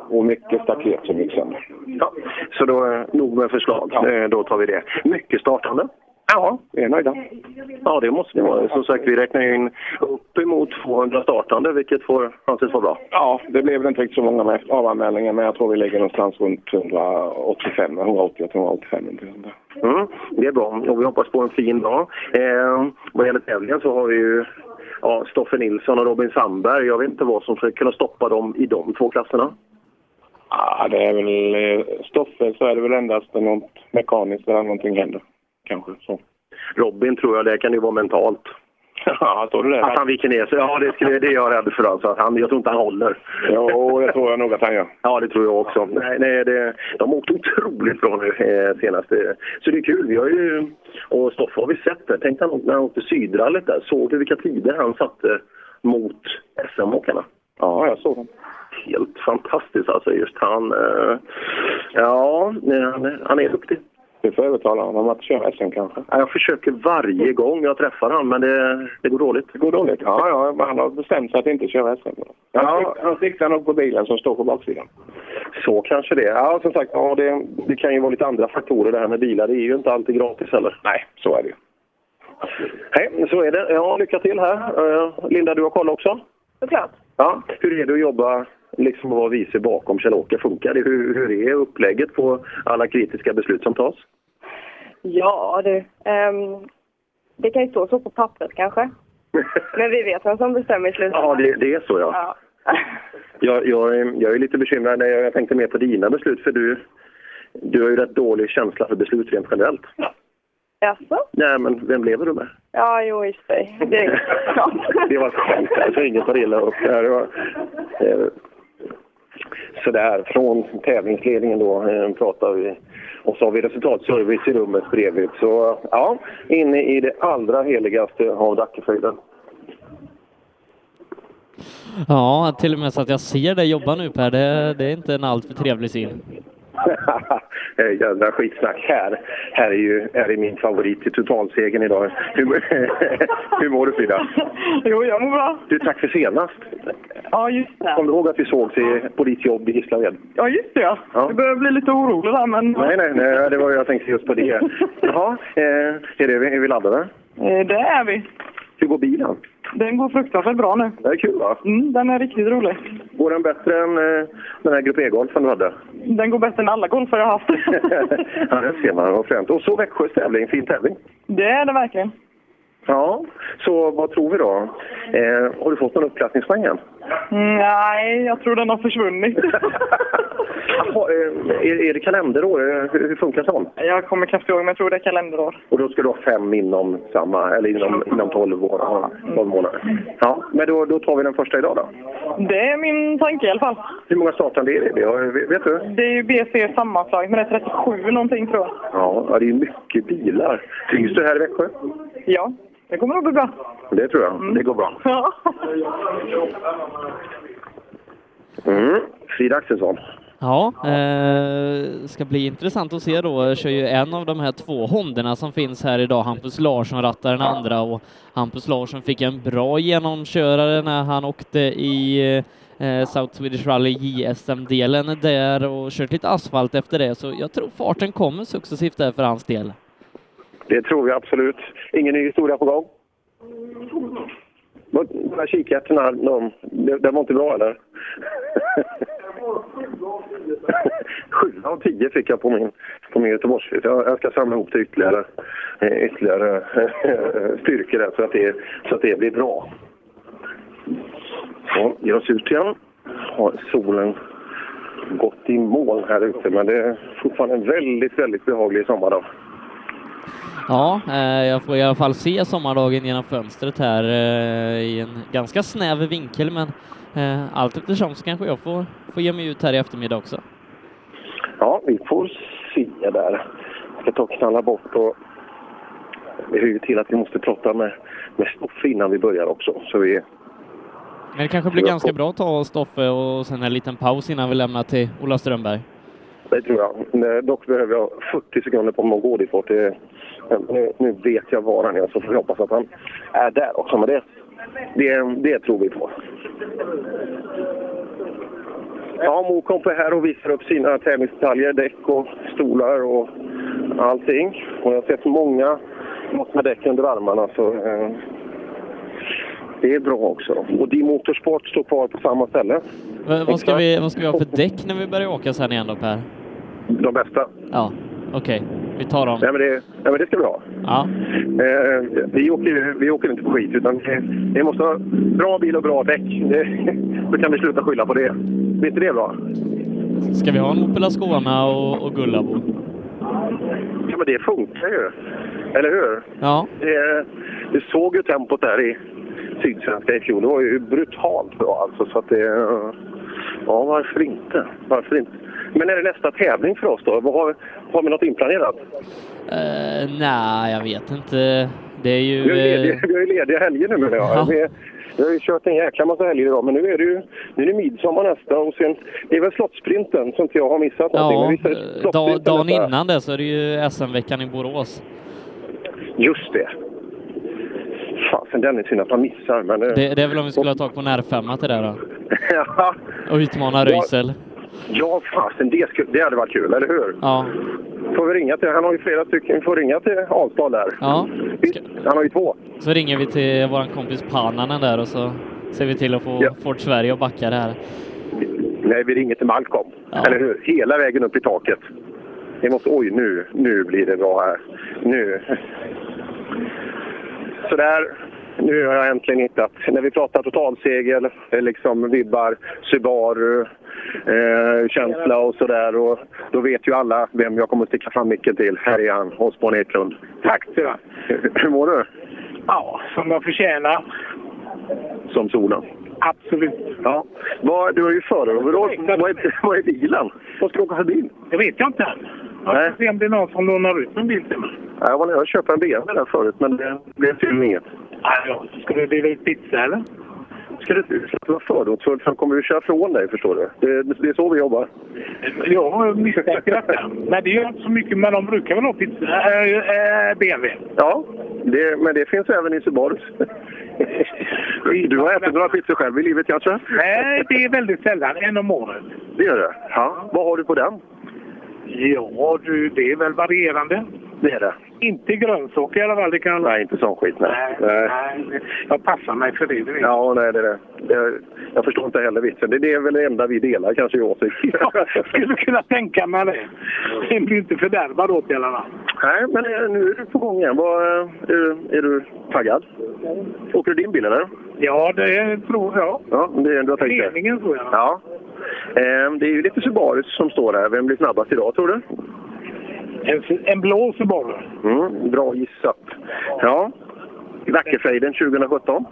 och mycket staket som gick sönder.
Ja, så då eh, nog med förslag. Eh, Då tar vi det. Mycket startande. Ja,
vi är nöjda.
Ja, det måste vi vara. Som sagt, vi räknar ju in uppemot 200 startande, vilket får anses vara bra.
Ja, det blev väl inte riktigt så många med avanmälningar men jag tror vi ligger någonstans runt 185, 180, 185 någonting sånt där.
Mm, det är bra och vi hoppas på en fin dag. Eh, vad gäller tävlingen så har vi ju ja, Stoffe Nilsson och Robin Sandberg. Jag vet inte vad som skulle kunna stoppa dem i de två klasserna.
Ja, det är väl eh, Stoffe så är det väl endast något mekaniskt eller någonting händer. Kanske så.
Robin tror jag, det kan ju vara mentalt.
Ja, står det där?
Att han viker ner sig. Ja, det, skulle, det är jag rädd för. Alltså. Att Han, jag tror inte han håller.
Jo, det tror jag nog att han gör.
Ja, det tror jag också. Nej, nej, det, de åkte otroligt bra nu eh, senast. Så det är kul. Vi har ju, och Stoffe har vi sett det. Tänk när han- när han åkte Sydrallet där. Såg du vilka tider han satte mot SM-åkarna?
Ja, jag såg dem.
Helt fantastiskt alltså. Just han. Eh, ja, nej, han, är- han är duktig.
Du får övertala honom att köra SM kanske. Mm.
Ja, Jag försöker varje gång jag träffar honom, men det, det går dåligt.
Det går dåligt? Ja, ja, men han har bestämt sig att inte köra SM. Han, ja. han siktar nog på bilen som står på baksidan.
Så kanske det. Ja, som sagt, ja, det, det kan ju vara lite andra faktorer det här med bilar. Det är ju inte alltid gratis heller.
Nej, så är det ju.
Nej, så är det. Ja, lycka till här. Eh, Linda, du har koll också?
Såklart.
Ja. Hur är det att jobba liksom att vara vice bakom Kjell-Åke? Funkar det? Hur, hur är upplägget på alla kritiska beslut som tas?
Ja, du. Ehm, det kan ju stå så på pappret kanske. Men vi vet vem som bestämmer i slutändan.
Ja, det, det är så ja.
Ja.
Jag, jag, är- jag är lite bekymrad. när Jag jag tänkte mer på dina beslut för du, du har ju rätt dålig känsla för beslut rent generellt.
Jaså?
Nej, men vem lever du med?
Ja, jo, i och för sig. Det- ja.
Det var ett skämt. Alltså, ingen tar illa upp. Det här var, eh, sådär, från tävlingsledningen då eh, pratar vi. Och så har vi resultatservice i rummet bredvid. Så ja, inne i det allra heligaste av Dackefriden.
Ja, till och med så att jag ser dig jobba nu Per, det, det är inte en alltför trevlig syn.
Det är Jädra Eh, skitsnack. Här, här är ju här är min favorit i totalsegern idag. Hur, hur mår du Frida?
Jo, jag mår bra.
Du, tack för senast.
Ja, just det.
Kommer du ihåg att vi sågs i, på ditt jobb i Gislaved?
Ja, just det. Ja.
Ja.
Jag börjar bli lite orolig där, men...
Nej, nej, nej, det var jag tänkte just på det. Jaha, eh, är, det, är vi laddade?
Eh, Det är vi.
Hur går bilen?
Den går fruktansvärt bra nu.
Det är kul va?
Mm, den är riktigt rolig.
Går den bättre än eh, den här Grupp E-golfen du hade?
Den går bättre än alla golfare jag har haft.
ja, det ser man. Vad fränt. Och så Växjös tävling. Fin tävling.
det är det verkligen.
Ja, så vad tror vi då? Eh, har du fått någon uppklassningspoäng än?
Mm, Nej, jag tror den har försvunnit.
Jaha, eh, är, är det kalenderår? Eh, Hur, hur funkar sånt?
jag kommer knappt ihåg, men jag tror det är kalenderår.
Och då ska du ha fem inom samma, eller inom, inom 12, år, ja, 12 månader. Ja, men då, då tar vi den första idag då.
Det är min tanke i alla fall.
Hur många startande är det? det? har- Vet vet du?
Det är ju BC sammanslaget, men det är 37 någonting tror jag.
Ja, ja, det är mycket bilar. Trivs du här i Växjö?
Ja, det kommer nog bli bra.
Det tror jag. Det går bra.
Ja.
Mm. Frida Axelsson.
Ja, eh, ska bli intressant att se då. Jag kör ju en av de här två Honderna som finns här idag. Hampus Larsson rattar den andra och Hampus Larsson fick en bra genomkörare när han åkte i eh, South Swedish Rally JSM-delen där och kört lite asfalt efter det. Så jag tror farten kommer successivt där för hans del.
Det tror jag absolut. Ingen ny historia på gång? Vad- De här kikärtorna, de, de, de var inte bra eller? Sju av tio fick jag på min, på min Göteborgsflytt. Jag, jag ska samla ihop till ytterligare, eh, ytterligare eh, styrkor där så att, det, så att det blir bra. Så, ger oss ut igen. Har solen gått i moln här ute men det är fortfarande en väldigt, väldigt behaglig sommardag.
Ja, eh, jag får i alla fall se sommardagen genom fönstret här eh, i en ganska snäv vinkel, men eh, allt eftersom så kanske jag får, får ge mig ut här i eftermiddag också.
Ja, vi får se där. Jag ska ta och knalla bort och vi hör ju till att vi måste prata med, med Stoffe innan vi börjar också. Så vi,
Men det kanske blir ganska bra att ta Stoffe och sen en liten paus innan vi lämnar till Ola Strömberg.
det tror jag. Men eh, Dock behöver jag 40 sekunder på mig att gå dit bort. Det, nu, nu vet jag var han är så får vi hoppas att han är där också. Men det, det, det tror vi på. Ja, Mokomp är här och visar upp sina tävlingsdetaljer, däck och stolar och allting. Och jag har sett många gått med däck under armarna. Så, eh, det är bra också. Och Di Motorsport står kvar på samma ställe.
V- vad, ska vi, vad ska vi ha för däck när vi börjar åka sen igen då Per?
De bästa.
Ja, okej. Vi tar dem.
Nej, men det, nej, men det ska vi ha.
Ja.
Eh, vi, åker, ju- vi åker inte på skit, utan vi, vi måste ha bra bil och bra däck. Det- Då kan vi sluta skylla på det. Blir inte det bra?
Ska vi ha en Opel Ascona och, och Gullabo?
Ja, men det funkar ju. Eller hur?
Ja.
Det, Vi såg ju tempot där i Sydsvenska i fjol. Det var ju brutalt bra alltså. Så att det, ja, varför inte? Varför inte? Men är det nästa tävling för oss då? Vad Har, har vi något inplanerat?
Eh, nej, jag vet inte. Det är ju...
Vi är ju
eh,
lediga, vi är ju lediga helger nu menar jag. Vi, vi har ju kört en jäkla massa helger idag, men nu är det ju nu är det midsommar nästa och sen det är väl slottsprinten som inte jag har missat någonting.
ja,
men visst är det
eh, dag,
slottsprinten
dagen
nästa?
innan det så är det ju SM-veckan i Borås.
Just det. Fasen, den är synd att man missar. Men, eh,
Det, det är väl om vi skulle ha tag på en R5 till det då.
ja,
Och utmana
Ja.
Röisel.
ja, fasen, det, skulle, det hade varit kul, eller hur?
Ja.
Får vi ringa till, han har ju flera stycken, vi får ringa till Alstad där.
ja.
Han har ju två.
Så ringer vi till våran kompis Pananen där och så ser vi till att få Ford Sverige att backa det här.
Nej, vi ringer till Malcolm. Eller hur? Hela vägen upp i taket. Vi måste, oj, nu, nu blir det bra här. Nu. Sådär. Nu har jag äntligen hittat. När vi pratar totalsegel, eh, liksom vibbar, Subaru, eh, känsla och sådär. Och då vet ju alla vem jag kommer att sticka fram micken till. Här är han, Osborne Eklund. Tack Tyra! Hur mår du?
Ja, som jag förtjänar.
Som solen.
Absolut.
Ja. Vad, du har ju föraroverall. Vad, är- vad är bilen? Vad ska du åka för bil?
Det vet jag inte än. Jag får se om det är någon som lånar ut en bil till mig.
Ja, Jag var nere och köpte en BMW där förut, men det blev tydligen inget.
Ja, Ska du dela ut pizza eller?
Ska du inte vara fördomsfull, för han kommer ju köra från dig, förstår du. Det, det är så vi jobbar.
Jag misstänker detta. Men det gör inte så mycket, men de brukar väl ha pizza? Äh, äh, BMW.
Ja, det, men det finns även i Subarus. Du har ätit några pizzor själv i livet kanske?
Nej, det är väldigt sällan. En om året.
Det gör du? Ja. Vad har du på den?
Ja du, det är väl varierande.
Det är det.
Inte grönsaker i alla fall. Det kan...
Nej, inte sån skit. Nej. nej.
nej. Jag passar mig för det. det vet jag.
Ja, nej, det är det. Jag, jag förstår inte heller vitsen. Det, det är väl det enda vi delar kanske i åsikt.
Jag skulle kunna tänka mig det. Den blir inte fördärvad åt i alla fall.
Nej, men eh, nu är du på gång igen. Vad, eh, är, är du taggad? Åker du din bil eller?
Ja, det tror jag.
Ja, det är det du har tänkt dig.
Meningen tror jag.
Ja. Ehm, Det är ju lite Subaru som står här. Vem blir snabbast idag tror du?
En, en blå Subaru.
Mm, bra gissat. Ja. Nackerfejden 2017.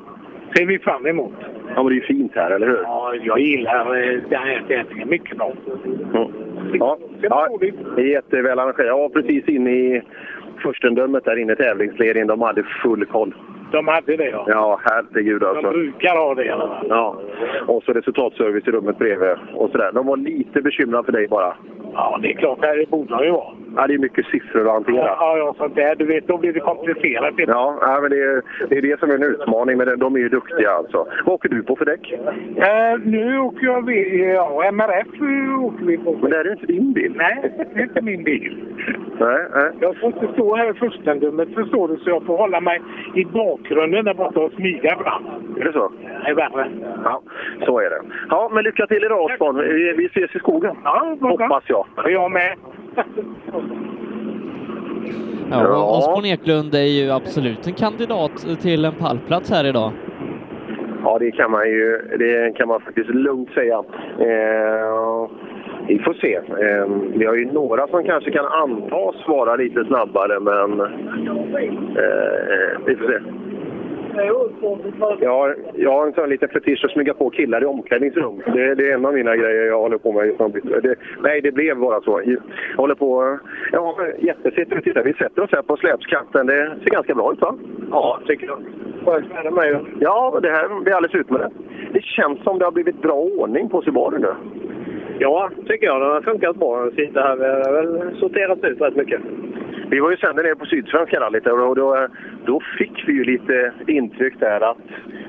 Ser vi fram emot.
Ja, men det är ju fint här, eller hur?
Ja, jag gillar eh, den här tävlingen mycket bra.
Mm. Ja. ja, det är jätteväl arrangerat. Jag var precis inne i furstendömet där inne i tävlingsledningen. De hade full koll.
De hade det ja.
Ja, herregud alltså.
De brukar ha det i alla fall.
Ja, och så resultatservice i rummet bredvid och sådär. De var lite bekymrade för dig bara.
Ja, det är klart. Det borde de ju vara.
Ja, det är mycket siffror att hantera.
Ja, ja, ja, sånt där. Du vet, då blir det komplicerat.
Ja, nej, men det, är, det är det som är en utmaning. Men de är ju duktiga alltså. Vad åker du på för däck?
Eh, nu åker jag vi, ja, MRF eh, åker vi på. Men
det här är ju inte din bil.
Nej, det är inte min bil.
Nej, nej.
Jag får inte stå här i furstendömet förstår du, så jag får hålla mig i bakgrunden där borta och smyga fram.
Är det så?
Det är värre.
Ja, så är det. Ja, men lycka till idag Osborn. Vi, vi ses i skogen.
Ja,
Hoppas jag.
Jag med.
Ja.
Ja, ja. Osborne Eklund är ju absolut en kandidat till en pallplats här idag.
Ja, det kan man ju det kan man faktiskt lugnt säga. Eh, vi får se. Eh, vi har ju några som kanske kan antas vara lite snabbare, men eh, vi får se. Jag har, jag har en sån liten fetisch att smyga på killar i omklädningsrum. Det, det är en av mina grejer jag håller på med just nu. Det, nej, det blev bara så. Jag håller på... Ja, men jättesitter och tittar. Vi sätter oss här på släpskatten. Det ser ganska bra ut, va? Ja, tycker jag. Ja, det här blir alldeles utmärkt. Det känns som det har blivit bra ordning på Subaru nu.
Ja, tycker jag. Den har funkat bra den sista här. Vi har väl sorterat ut rätt mycket.
Vi var ju sänder nere på Sydsvenska rallyt där och då, då fick vi ju lite intryck där att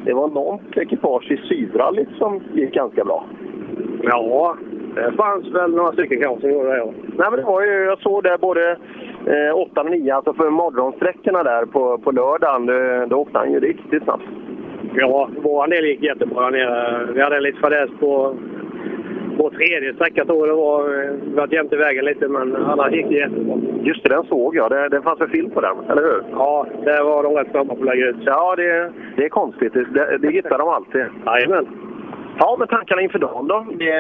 det var något ekipage i Sydrallyt som gick ganska bra.
Ja, det fanns väl några stycken kanske som gjorde det. ja.
Nej, men det var ju, jag såg där både eh, 8 och 9, alltså för morgonsträckorna där på, på lördagen, eh, då, då åkte han ju riktigt snabbt.
Ja, vår del gick jättebra där nere. Vi hade en liten fadäs på vår tredje sträcka tror jag det var. Eh, Vi vart jämte vägen lite men annars gick det jättebra.
Just det, den såg jag. Det, det fanns en film på den, eller hur?
Ja, det var de rätt snabba på att lägga ut.
Ja, det, det är konstigt. Det, det, det hittar de alltid.
Jajamän.
Ja, men tankarna inför dagen då? Det,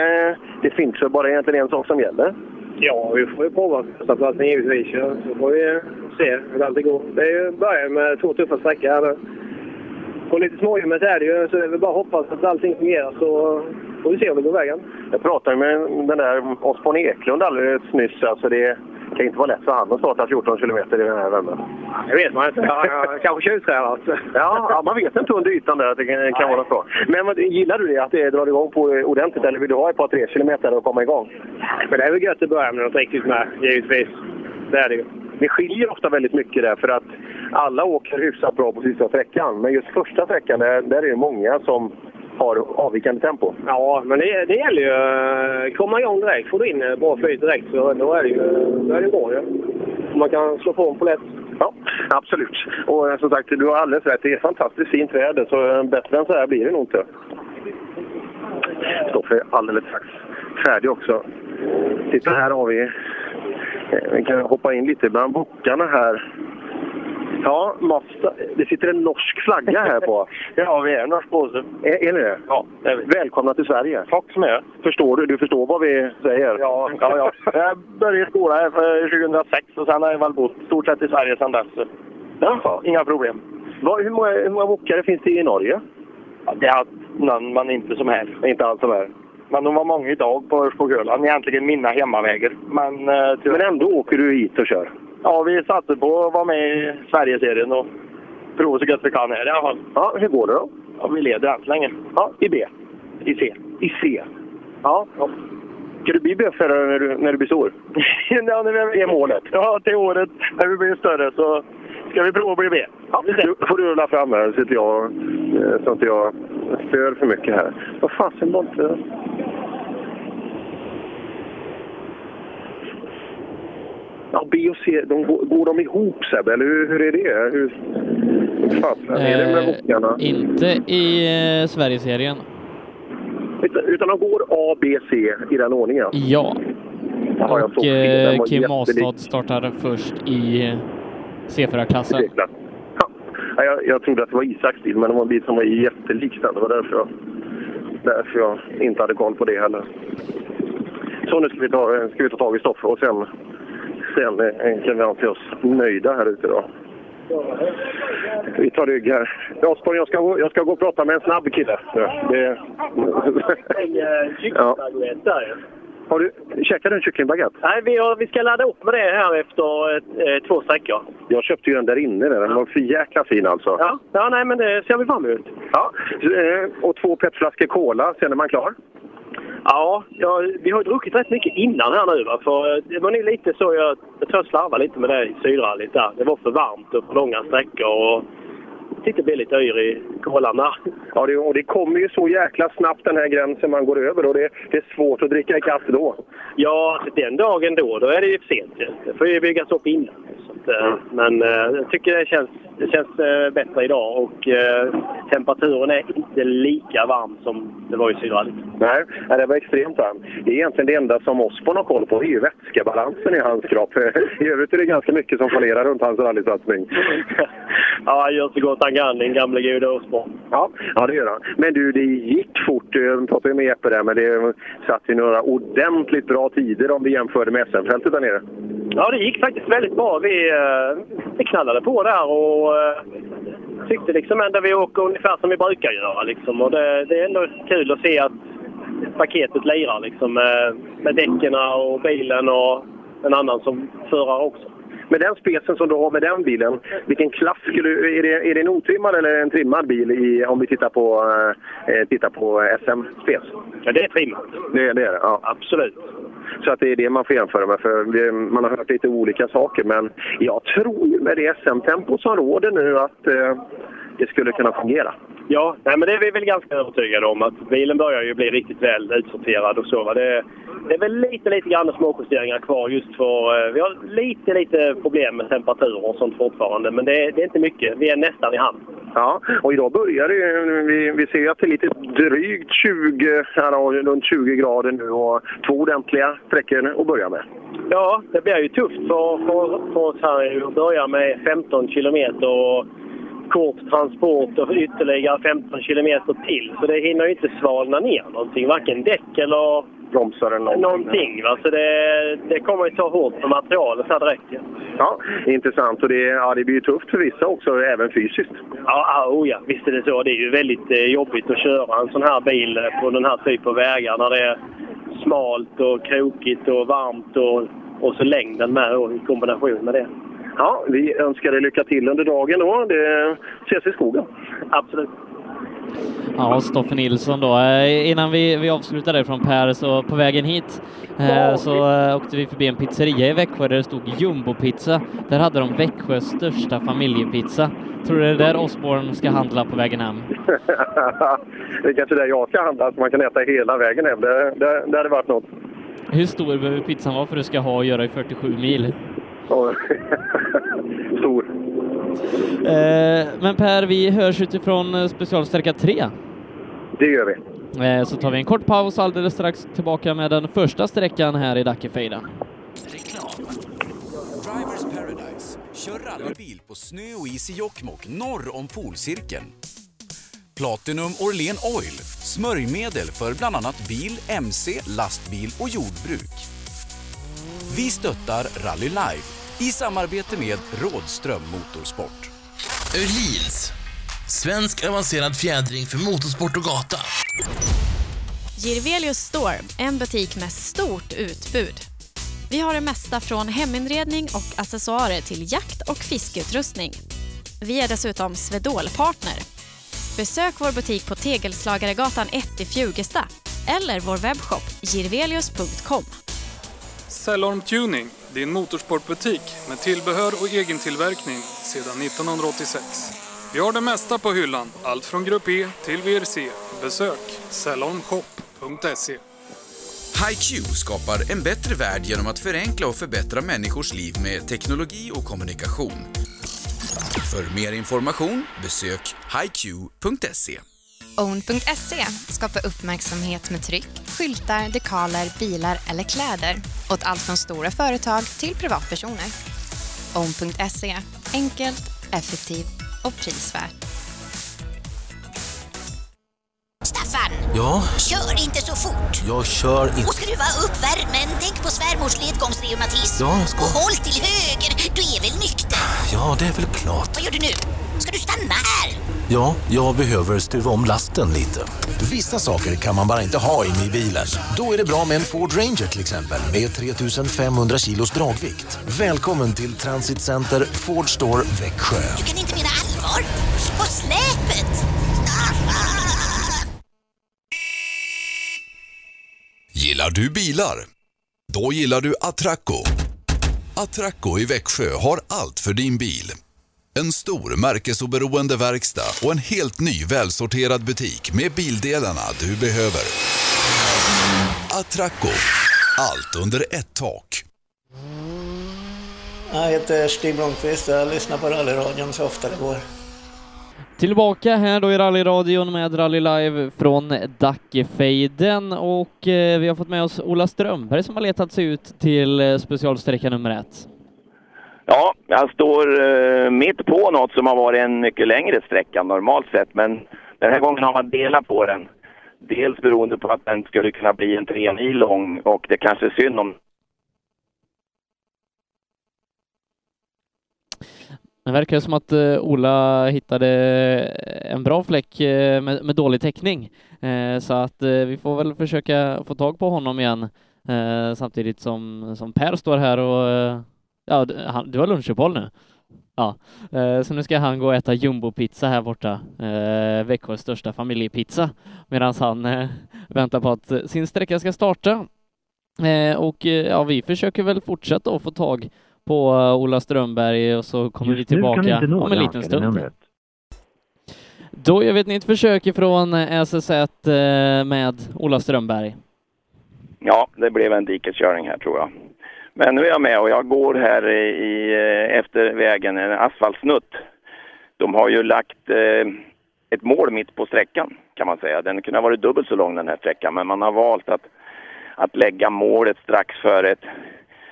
det finns ju bara egentligen en sak som gäller.
Ja, vi får ju prova första platsen givetvis. Ja. Så får vi se hur allt det går. Det är ju början med två tuffa sträckor här nu. Och lite småljummet är det ju, så det är väl bara att hoppas att allting fungerar så får vi se om det går vägen.
Jag pratade med den där Osborn Eklund alldeles nyss. Alltså det kan inte vara lätt för han att starta 14 kilometer i den här värmen.
Det vet man inte. Ja, ja, kanske tjuvtränar.
Ja, ja, man vet inte under ytan där att det kan, kan vara så. Men vad- gillar du det att det drar igång på ordentligt eller vill du ha ett par tre kilometer och komma igång?
Men det är väl gött att börja med något riktigt med, givetvis. Det är det ju.
Det skiljer ofta väldigt mycket där för att alla åker hyfsat bra på sista sträckan. Men just första sträckan, där, där är det många som har avvikande tempo.
Ja, men det, det gäller ju att komma igång direkt. Får du in eh, bra flyt direkt så då är det ju då är det bra ju. Man kan slå på en polett.
Ja, absolut. Och eh, som sagt, du har alldeles rätt. Det är fantastiskt fint väder, så eh, bättre än så här blir det nog inte. Stoffe är alldeles strax färdig också. Titta, här har vi... eh, Vi kan hoppa in lite bland bockarna här. Ja, Masta. Det sitter en norsk flagga här på. ja, vi är en norsk påse. Är, är ni det? Ja, det är vi. Välkomna till Sverige. Tack så mycket. Förstår du? Du förstår vad vi säger? Ja,
ja, ja. Jag började skola här för 2006 och sen har jag väl bott stort sett i Sverige sedan dess.
Jaha.
Inga problem.
hur många, hur många bokare finns det i Norge?
Ja, det är någon, men inte som här.
Inte alls som här.
Men de var många idag på Örskoghölan. Egentligen mina hemmavägar. Men, eh, tyvärr-
Men ändå åker du hit och kör?
Ja, vi satte på att vara med i Sverigeserien och prova så gott vi kan här i alla fall.
Ja, hur går det då?
Ja, vi leder än så länge.
Ja, i B?
I C.
I C? Ja. Ska du bli B-förare när du, när du blir stor?
ja, när vi är målet. Ja, till året när vi blir större så ska vi prova att bli B.
Ja, då får du rulla fram här så att jag, eh, så att jag stör för mycket här. Vad fasen var inte... Ja, B och C, de, går- går de ihop Sebbe? Eller hur, hur är det? Hur hur fasen är det med
Eh,
bokarna?
Inte i eh, Sverigeserien.
Utan, utan de går A, B, C i den ordningen?
Ja.
Ja, jag såg
Och
filmen. Den
eh,
var
Kim
jättelik.
Astad startar först i eh,
Det är
C4-klassen.
klart. Ja, jag, jag trodde att det var Isaks bil, men det var en bil som var jättelik den. Det var därför jag, därför jag inte hade koll på det heller. Så nu ska vi ta, ska vi ta tag i Stoffe och sen, sen eh, kan vi anse oss nöjda här ute då. Vi tar rygg här. Osborn, jag ska, gå- jag ska gå och prata med en snabb kille. Det, ja. Har du, käkar du en kycklingbaguette?
Nej, vi, har, vi ska ladda upp med det här efter eh, två sträckor.
Jag köpte ju den där inne. där. Den var för jäkla fin alltså.
Ja. ja, nej men det ser vi fram emot.
Ja, eh, och två petflaskor cola, sen är man klar.
Ja, ja, vi har ju druckit rätt mycket innan här nu va? för eh, det var nog lite så jag, jag tror jag slarvade lite med det i sydrallyt där. Det var för varmt och för långa sträckor och lite billigt yr i kolarna.
Ja, det, och det kommer ju så jäkla snabbt den här gränsen man går över och det, det är svårt att dricka ikapp då.
Ja, alltså, den dagen då, då är det ju för sent ju. Det får ju byggas upp innan. Så att, eh, Men eh, jag tycker det känns, det känns eh, bättre idag och eh, temperaturen är inte lika varm som det var i sydrallyt.
Nej, nej, det var extremt varmt. Det är egentligen det enda som Osborn har koll på, det är ju vätskebalansen i hans kropp. I övrigt är det ganska mycket som fallerar runt hans rallysatsning.
Ja, han gör så gott han kan, den gamle gode Osborn.
Ja, ja, det gör han. Men du, det gick fort. Jag pratade ju med Jeppe där, men det satt ju några ordentligt bra tider om vi jämförde med SM-fältet där nere.
Ja, det gick faktiskt väldigt bra. Vi, eh, vi knallade på där och eh, tyckte liksom ändå vi åker ungefär som vi brukar göra. Liksom. Och det, det är ändå kul att se att paketet lirar liksom, eh, med däcken och bilen och en annan som förare också.
Med den specen som du har med den bilen, vilken klass skulle du... Är det, är det en otrimmad eller en trimmad bil i, om vi tittar på, eh, tittar på SM-spec?
Ja, det är trimmat.
Det, det är det, ja.
Absolut.
Så att det är det man får jämföra med, för vi, man har hört lite olika saker. Men jag tror ju med det SM-tempo som råder nu att eh, det skulle kunna fungera.
Ja, nej, men det är vi väl ganska övertygade om att bilen börjar ju bli riktigt väl utsorterad och så. Va? Det, det är väl lite, lite grann småjusteringar kvar just för eh, vi har lite, lite problem med temperaturer och sånt fortfarande. Men det, det är inte mycket. Vi är nästan i hamn.
Ja, och idag börjar det ju- vi, vi ser ju att det är lite drygt 20, här har vi runt 20 grader nu och två ordentliga sträckor att börja med.
Ja, det blir ju tufft för, för, för oss här att börja med 15 kilometer och kort transport och ytterligare 15 kilometer till. Så det hinner ju inte svalna ner någonting, varken däck eller
bromsar eller någonting.
Någonting va, så det, det kommer ju ta hårt på materialet så här direkt. ju.
Ja, intressant. Och det, ja, det blir ju tufft för vissa också, även fysiskt.
Ja, ah, oh ja, visst är det så. Det är ju väldigt eh, jobbigt att köra en sån här bil eh, på den här typen av vägar när det är smalt och krokigt och varmt och, och så längden med då, i kombination med det.
Ja, vi önskar dig lycka till under dagen då. Det ses i skogen.
Absolut.
Ja, Stoffe Nilsson då. Eh, Innan vi, vi avslutar där från Per, så på vägen hit eh, så eh, åkte vi förbi en pizzeria i Växjö där det stod Jumbo-pizza. Där hade de Växjös största familjepizza. Tror du det är där Osborn ska handla på vägen hem?
det är kanske där jag ska handla, så man kan äta hela vägen hem. Det, det, det hade varit något.
Hur stor behöver pizzan vara för att du ska ha och göra i 47 mil?
Ja. Stor.
Eh, Men Per, vi hörs utifrån eh, specialsträcka 3.
Det gör vi.
Eh, Så tar vi en kort paus alldeles strax tillbaka med den första sträckan här i Dackefejden.
Drivers Paradise. Kör rallybil på snö och is i Jokkmokk norr om polcirkeln. Platinum Orlen Oil. Smörjmedel för bland annat bil, mc, lastbil och jordbruk. Vi stöttar Rally Live i samarbete med Rådström Motorsport.
Öhlins. Svensk avancerad fjädring för motorsport och gata.
Girvelius Store, en butik med stort utbud. Vi har det mesta från heminredning och accessoarer till jakt och fiskeutrustning. Vi är dessutom Swedol-partner. Besök vår butik på Tegelslagaregatan 1 i Fjugesta eller vår webbshop girvelius.com.
Cellorm Tuning, din motorsportbutik med tillbehör och egentillverkning sedan 1986. Vi har det mesta på hyllan, allt från Grupp E till VRC. Besök cellormshop.se.
HiQ skapar en bättre värld genom att förenkla och förbättra människors liv med teknologi och kommunikation. För mer information besök hiq.se.
Own.se skapar E, uppmärksamhet med tryck, skyltar, dekaler, bilar eller kläder åt allt från stora företag till privatpersoner. Own.se E, enkelt, effektivt och prisvärt.
Staffan!
Ja?
Kör inte så fort!
Jag kör
Och
inte...
skruva upp värmen. Tänk på svärmors ledgångsreumatism.
Ja, ska-
Och håll till höger. Du är väl nykter?
Ja, det är väl klart.
Vad gör du nu? Ska du stanna här?
Ja, jag behöver stuva om lasten lite.
Vissa saker kan man bara inte ha inne i bilen. Då är det bra med en Ford Ranger till exempel med 3500 kilos dragvikt. Välkommen till Transit Center Ford Store Växjö.
Du kan inte mena allvar. På släpet! Ah!
Gillar du bilar? Då gillar du Atracco. Atracco i Växjö har allt för din bil. En stor märkesoberoende verkstad och en helt ny välsorterad butik med bildelarna du behöver. Atracco. Allt under ett tak.
Jag heter Stig Blomqvist och jag lyssnar på rallyradion så ofta det går.
Tillbaka här då i rallyradion med Rally Live från Dackefejden och eh, vi har fått med oss Ola Strömberg som har letat sig ut till eh, specialsträcka nummer ett.
Ja, jag står eh, mitt på något som har varit en mycket längre sträcka normalt sett, men den här gången har man delat på den. Dels beroende på att den skulle kunna bli en tre mil lång och det kanske är synd om...
Det verkar som att eh, Ola hittade en bra fläck eh, med, med dålig täckning, eh, så att eh, vi får väl försöka få tag på honom igen eh, samtidigt som, som Per står här och eh, ja, d- han, du har lunchuppehåll nu. Ja, eh, så nu ska han gå och äta jumbopizza här borta, eh, Växjös största familjepizza, medan han eh, väntar på att eh, sin sträcka ska starta. Eh, och eh, ja, vi försöker väl fortsätta att få tag på eh, Ola Strömberg och så kommer vi
Just nu kan vi
tillbaka
inte nå
om en
det
liten
hackade
stund.
numret.
Då gör vi ett nytt försök ifrån eh, SSZ eh, med Ola Strömberg.
Ja, det blev en dikeskörning här tror jag. Men nu är jag med och jag går här i, i, eh, efter vägen, en asfaltsnutt. De har ju lagt eh, ett mål mitt på sträckan kan man säga. Den kunde ha varit dubbelt så lång den här sträckan men man har valt att, att lägga målet strax före ett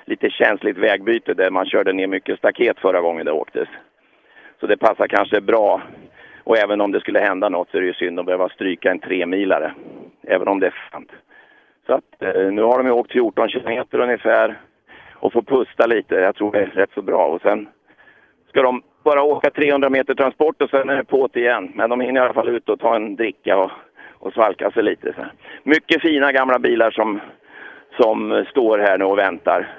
lite känsligt vägbyte där man körde ner mycket staket förra gången det åktes. Så det passar kanske bra. Och även om det skulle hända något så är det ju synd att behöva stryka en tremilare. Även om det är sant. Så att, eh, nu har de ju åkt 14 kilometer ungefär och får pusta lite. Jag tror det är rätt så bra. Och sen ska de bara åka 300 meter transport och sen är det på't igen. Men de hinner i alla fall ut och ta en dricka och, och svalka sig lite. Så. Mycket fina gamla bilar som, som står här nu och väntar.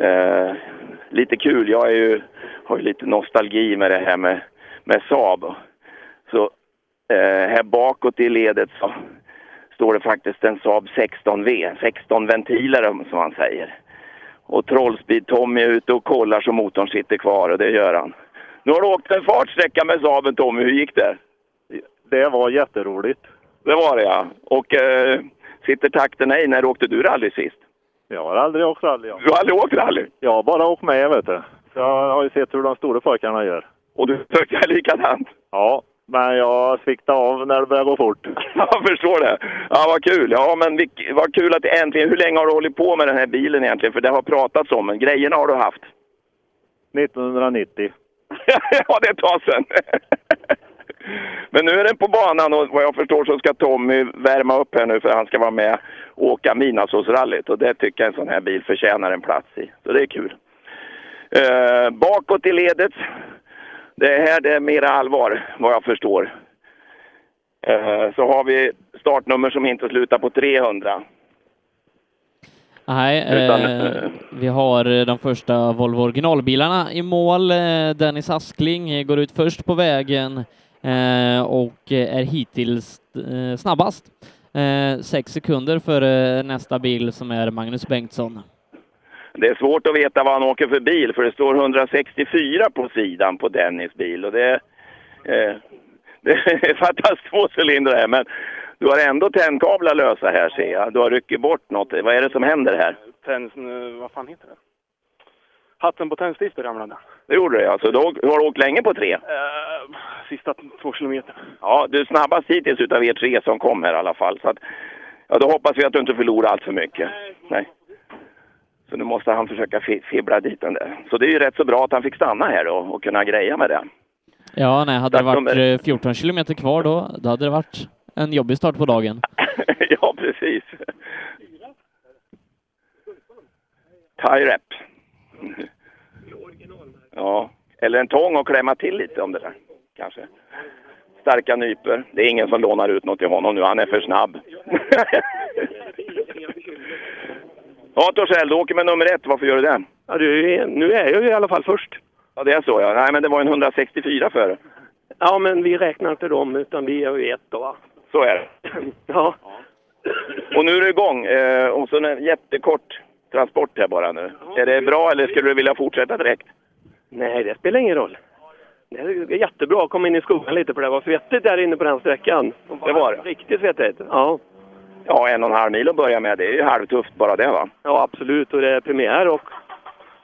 Eh, lite kul, jag är ju, har ju lite nostalgi med det här med, med Saab. Så eh, här bakåt i ledet så står det faktiskt en Saab 16V, 16 ventiler som man säger. Och Trollspeed-Tommy är ute och kollar så motorn sitter kvar och det gör han. Nu har du åkt en fartsträcka med Saaben Tommy, hur gick det?
Det var jätteroligt.
Det var det ja. Och eh, sitter takten i, när åkte du rally sist?
Jag har aldrig åkt rally. Jag.
Du har aldrig åkt rally?
Jag har bara åkt med vet du. Jag har ju sett hur de stora pojkarna gör.
Och du pojkar likadant?
Ja, men jag sviktade av när det började gå fort.
Jag förstår det. Ja, vad kul. Ja, men vilk- vad kul att det äntligen... Hur länge har du hållit på med den här bilen egentligen? För det har pratats om den. Grejerna har du haft.
1990.
ja, det är ett tag sedan. men nu är den på banan och vad jag förstår så ska Tommy värma upp här nu för han ska vara med och åka Midnattssolsrallyt. Och det tycker jag en sån här bil förtjänar en plats i. Så det är kul. Eh, bakåt i ledet. Det här det är mera allvar, vad jag förstår. Eh, så har vi startnummer som inte slutar på 300.
Nej,
Utan,
Ah, eh, vi har de första Volvo originalbilarna i mål. Eh, Dennis Askling eh, går ut först på vägen eh, och eh, är hittills eh, snabbast. Eh, sex sekunder före nästa bil som är Magnus Bengtsson.
Det är svårt att veta vad han åker för bil för det står 164 på sidan på Dennis bil och det, eh, det fattas två cylindrar här men du har ändå tändkablar lösa här ser jag. Du har ryckt bort något. Vad är det som händer här?
Tänds, nu-
eh,
vad fan heter det? Hatten på tändstiftet ramlade.
Det gjorde det alltså. Du har du har åkt länge på tre.
Eh,
Uh, sista två kilometer.
Ja, du är snabbast hittills utav er tre som kom här i alla fall. Så att, ja, då hoppas vi att du inte förlorar allt för mycket. Nej. Så nu måste han försöka fi- fibbla dit den där. Så det är ju rätt så bra att han fick stanna här då och kunna greja med det.
Ja, nej, hade det varit
Startnummer.
eh, 14 kilometer kvar då, då hade det varit en jobbig start på dagen.
ja, precis. Tyrep. Ja, eller en tång och klämma till lite om det där, kanske. Starka nyper. Det är ingen som lånar ut något till honom nu, han är för snabb. ja, Torssell, du åker med nummer ett. Varför gör du det?
Ja, du, är- nu är jag ju i alla fall först.
Ja, det är så ja. Nej, men det var en 164 före.
Ja, men vi räknar inte dem, utan vi är ju ett då. va?
Så är det.
Ja.
Och nu är du igång. Eh, och så en jättekort transport här bara nu. Är det bra eller skulle du vilja fortsätta direkt?
Nej, det spelar ingen roll. Det är jättebra att komma in i skogen lite, för det var svettigt där inne på den sträckan.
Det var det.
Riktigt svettigt. Ja.
Ja, en och en halv mil att börja med. Det är ju halvtufft bara det va?
Ja, absolut. Och det är premiär och...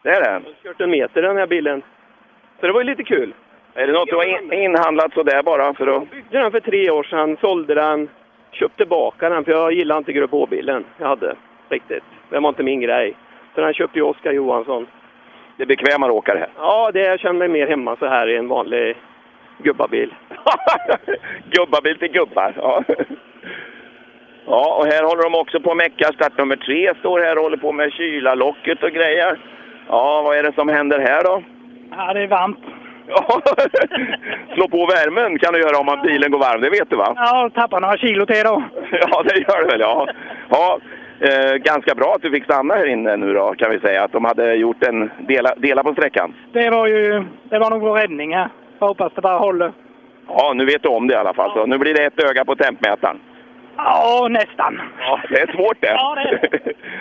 Det är det.
kört en meter i den här bilen. Så det var ju lite kul.
Är det något du har in- inhandlat sådär bara för att...
byggde den för tre år sedan, sålde den, köpte tillbaka den för jag gillade inte Grupp H-bilen jag hade riktigt. Det var inte min grej. Så den köpte ju Oskar Johansson.
Det är bekvämare att åka det här.
Ja, det jag känner mig mer hemma så här i en vanlig gubbabil.
Gubbabil till gubbar, ja. Ja, och här håller de också på och mecka. Start nummer tre står här och håller på med kylarlocket och grejer. Ja, vad är det som händer här då?
Ja, det är varmt.
Ja, slå på värmen kan du göra om bilen går varm, det vet du va?
Ja, tappar några kilo till då.
Ja, det gör det väl, ja. ja eh, ganska bra att du fick stanna här inne nu då, kan vi säga. Att de hade gjort en dela, dela på sträckan.
Det var ju, det var nog vår räddning här. Jag hoppas det bara håller.
Ja, nu vet du om det i alla fall. Så nu blir det ett öga på tempmätaren.
Ja, nästan.
Ja, det är svårt det.
Ja, det är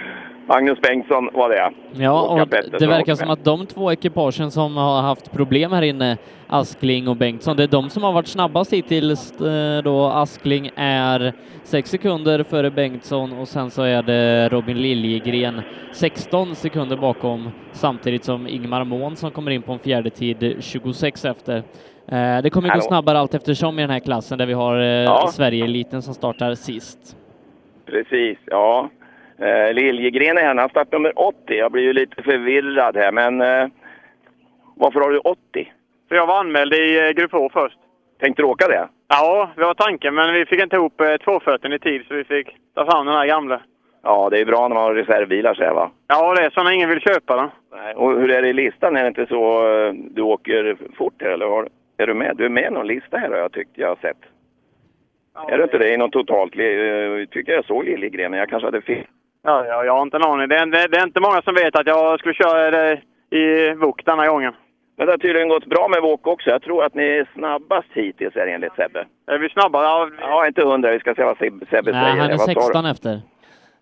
Magnus Bengtsson var det.
Ja, och
Pettersson
det verkar
också
som
med.
att de två ekipagen som har haft problem här inne, Askling och Bengtsson, det är de som har varit snabbast hittills eh, då Askling är sex sekunder före Bengtsson och sen så är det Robin Liljegren 16 sekunder bakom samtidigt som Ingmar Mån som kommer in på en fjärde tid 26 efter. Eh, Det kommer gå
Hallå.
snabbare allt eftersom i den här klassen där vi har eh,
Ja.
Sverige-eliten som startar sist.
Precis, ja. Eh, Liljegren är här, han startar nummer 80. Jag blir ju lite förvirrad här, men eh, varför har du 80?
För jag var anmäld i eh, Grupp H först.
Tänkte du åka det?
Ja, det var tanken, men vi fick inte ihop eh, tvåföten i tid så vi fick ta fram den här gamla.
Ja, det är bra när man har reservbilar så här va?
Ja, det är så när ingen vill köpa den.
Nej, Och hur är det i listan? Är det inte så eh, du åker fort här, eller har, är du med? Du är med i någon lista här har jag tyckt jag har sett. är du inte det i någon totalt? Jag tycker jag såg Liljegren, men jag kanske hade fel.
Ja, ja, jag har inte en aning. Det är, det, det är inte många som vet att jag skulle köra det i Vok den här gången.
Men det har tydligen gått bra med Wok också. Jag tror att ni är snabbast hittills här enligt Sebbe.
Är vi snabbare? Ja,
Ja, inte hundra. Vi ska se vad Seb- Sebbe
Nej,
säger.
han är
Vad sa du?
16 efter.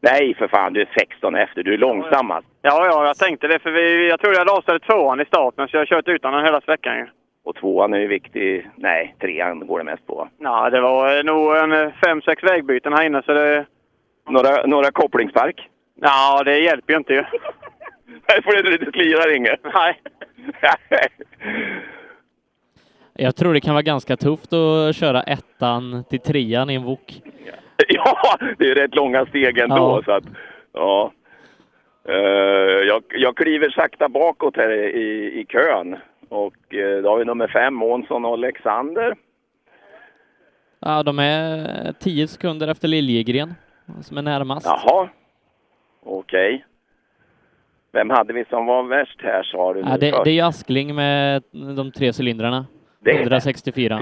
Nej, för fan. Du är 16 efter. Du är alltså. långsammast.
Ja, ja, jag tänkte det. För vi, jag tror jag lasade tvåan i starten, så jag har kört utan den hela veckan ju.
Och tvåan är ju viktig. Nej, trean går det mest på.
Nej, det var eh, nog en eh, fem, sex vägbyten här inne, så det...
Några, några kopplingspark?
Ja, det hjälper ju inte ju.
Nej, för det, det slirar inget.
Nej.
Jag tror det kan vara ganska tufft att köra ettan till trean i en wok.
Ja, det är rätt långa steg ändå.
Ja.
Så att, ja. Eh, jag, jag kliver sakta bakåt här i, i kön. Och eh, då har vi nummer fem, Månsson och Alexander.
Ja, de är 10 sekunder efter Liljegren, som är närmast.
Jaha, okej. Vem hade vi som var värst här sa du?
Ja, det, det är ju Askling med de tre cylindrarna.
Det är-
164.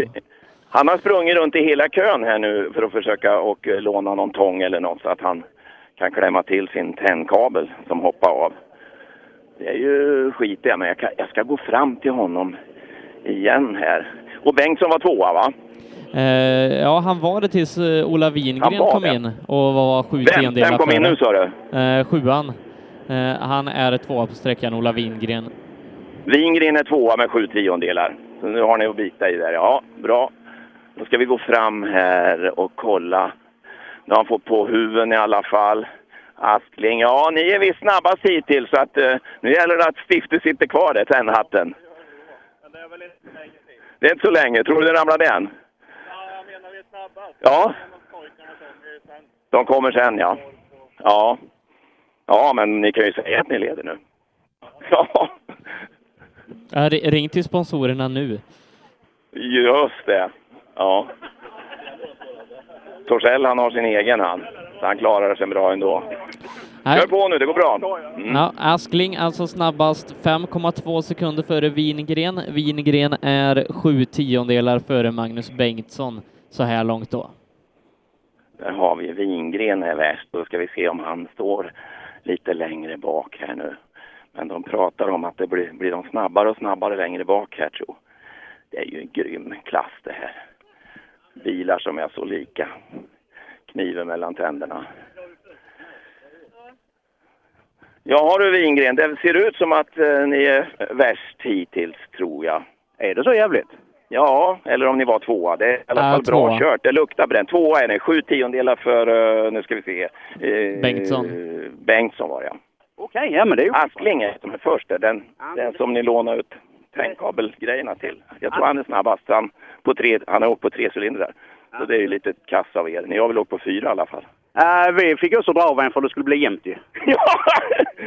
Han har sprungit runt i hela kön här nu för att försöka och eh, låna någon tång eller något så att han kan klämma till sin tändkabel som hoppar av. Det är ju skit det, men jag, kan, jag ska gå fram till honom igen här. Och Bengtsson var tvåa va?
Eh, ja, han var det tills eh, Ola
Han
Wingren
var
kom
det.
in och var sju
Vem?
tiondelar
Vem kom in
före.
nu, sa
Eh, sjuan. Eh, han är tvåa på sträckan, Ola Wingren.
Wingren är tvåa med sju tiondelar. Så nu har ni att bita i där. Ja, bra. Då ska vi gå fram här och kolla. Nu har han fått på huven i alla fall. Askling, ja ni är visst snabbast hittills så att eh, nu gäller det att Stifte sitter kvar där, tändhatten. Det är inte så länge. Tror du det ramlar den? Ja. De kommer sen ja. Ja. Ja, men ni kan ju säga att ni leder nu. Ja.
Eh, ri- ring till sponsorerna nu.
Just det. Ja. Torssell han har sin egen han. Så han klarar sig bra ändå.
Nej.
Kör på nu, det går bra. Mm.
Ja, Askling alltså snabbast 5,2 sekunder före Wingren. Wingren är sju tiondelar före Magnus Bengtsson så här långt då.
Där har vi Wingren är värst. Då ska vi se om han står lite längre bak här nu. Men de pratar om att det blir, blir de snabbare och snabbare längre bak här tror Det är ju en grym klass det här. Bilar som är så lika. Kniven mellan tänderna. Ja du Wingren, det ser ut som att eh, ni är värst hittills tror jag. Är det så jävligt? Ja, eller om ni var tvåa. Det är i alla
Ja,
fall bra
tvåa.
kört. Det luktar bränt. Tvåa är ni, sju tiondelar för, eh, nu ska vi se. eh,
Bengtsson.
eh, Bengtsson var jag.
Okej, ja men det är ju...
Askling är som är först där. den, den som ni lånar ut tändkabelgrejerna till. Jag tror han är snabbast. Han, på tre, han har åkt på tre cylindrar. Så det är ju lite kass av er. Ni har väl åkt på fyra i alla fall.
Eh, vi fick också dra av en för det skulle bli jämnt ju.
Ja,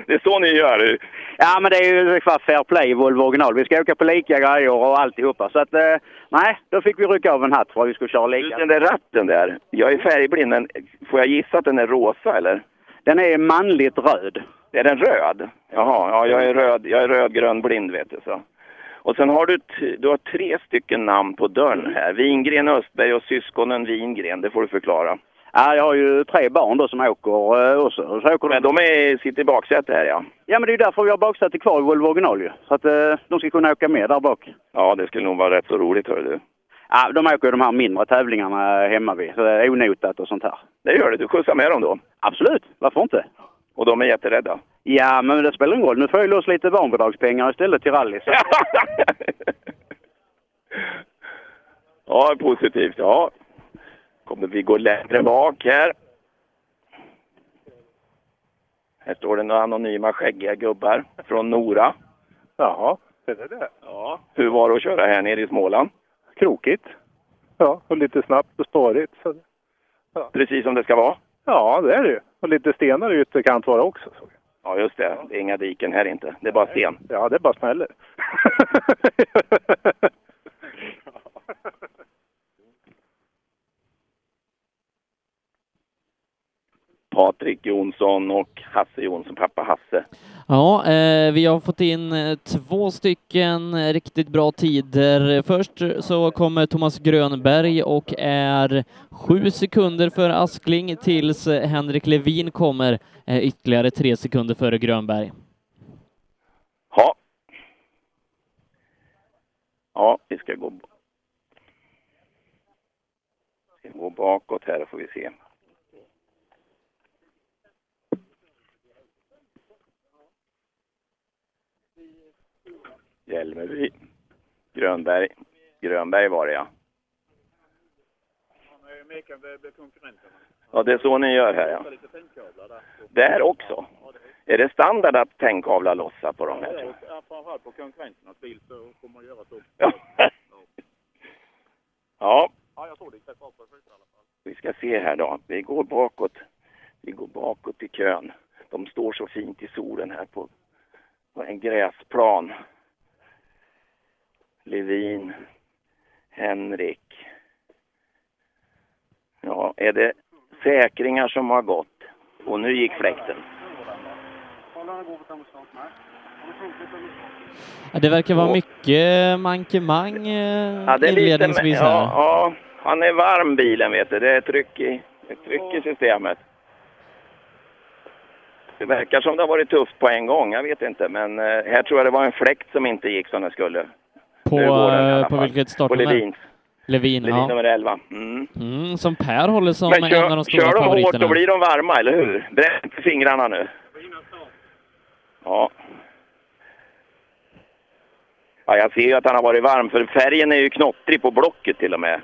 det är så ni gör.
Ja, men det är ju ungefär fair play i Volvo original. Vi ska åka på lika grejer och alltihopa. Så att, eh, nej, då fick vi rycka av en hatt för att vi skulle köra lika.
Den där ratten där, jag är färgblind men får jag gissa att den är rosa eller?
Den är manligt röd.
Är den röd? Jaha, ja, jag är röd, jag är rödgrön blind vet du så. Och sen har du, t- du har tre stycken namn på dörren här. Wingren, Östberg och syskonen Wingren, det får du förklara.
Ja, jag har ju tre barn då som åker eh, också. Och Så åker
Men de är, sitter i baksätet här ja.
Ja, men det är ju därför vi har baksätet kvar i Volvo original ju. Så att eh, de ska kunna åka med där bak.
Ja, det skulle nog vara rätt så roligt hör du.
Ja, de åker ju de här mindre tävlingarna hemma vid. Så det är onotat och sånt här.
Det gör det, du skjutsar med dem då?
Absolut, varför inte?
Och de är jätterädda?
Ja, men det spelar ingen roll. Nu får jag loss lite barnbidragspengar istället till rally. Så.
Ja, positivt. Ja. Kommer vi gå längre bak här? Här står det några anonyma skäggiga gubbar från Nora.
Jaha, är det det? Ja.
Hur var det att köra här nere i Småland?
Krokigt. Ja, och lite snabbt och stårigt. Så...
Precis som det ska vara.
Ja, det är det ju. Och lite stenar i ytterkant var det också. Så.
Ja, just det. Det är inga diken här inte. Det är bara sten.
Ja, det bara smäller.
Patrik Jonsson och Hasse Jonsson, pappa Hasse.
Ja, eh, vi har fått in eh, två stycken eh, riktigt bra tider. Först så kommer Thomas Grönberg och är sju sekunder före Askling tills eh, Henrik Levin kommer eh, ytterligare tre sekunder före Grönberg.
Ja. Ja, vi ska gå... Vi ska gå bakåt här får vi se. Hjälmeby. Grönberg. Grönberg var det ja.
Mikael börjar bli konkurrenten.
Ja, det är så ni gör här ja. Där också. Är det standard att tändkavla lossa på de här? tror jag?
Framförallt på konkurrenternas bil så kommer man göra så.
Ja,
Ja, jag såg det. Det var på första i alla fall.
vi ska se här då. Vi går bakåt. Vi går bakåt i kön. De står så fint i solen här på, på en gräsplan. Levin, Henrik. Ja, är det säkringar som har gått? Och nu gick fläkten.
Ja, Det verkar vara mycket mankemang eh,
Ja, det är lite, men,
inledningsvis
ja,
här.
ja, han är varm bilen vet du. Det är tryck i, ett tryck i systemet. Det verkar som det har varit tufft på en gång, jag vet inte. Men eh, här tror jag det var en fläkt som inte gick som den skulle.
På,
nu går den i alla
eh, på
fall.
vilket
På
startnummer?
Levin,
Levin,
Levin
ja.
nummer 11. Mm.
Mm, som Per håller som
Men
en av
kör,
de stora
kör de hårt
favoriterna.
då blir de varma, eller hur? Bränn fingrarna nu. Ja. ja. Jag ser ju att han har varit varm, för färgen är ju knottrig på blocket till och med.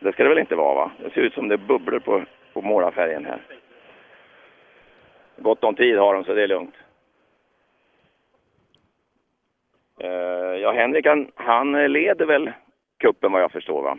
Det ska det väl inte vara, va? Det ser ut som det bubblar på, på målarfärgen här. Gott om tid har de, så det är lugnt. Eh, ja, Henrik, han, han leder väl kuppen vad jag förstår, va?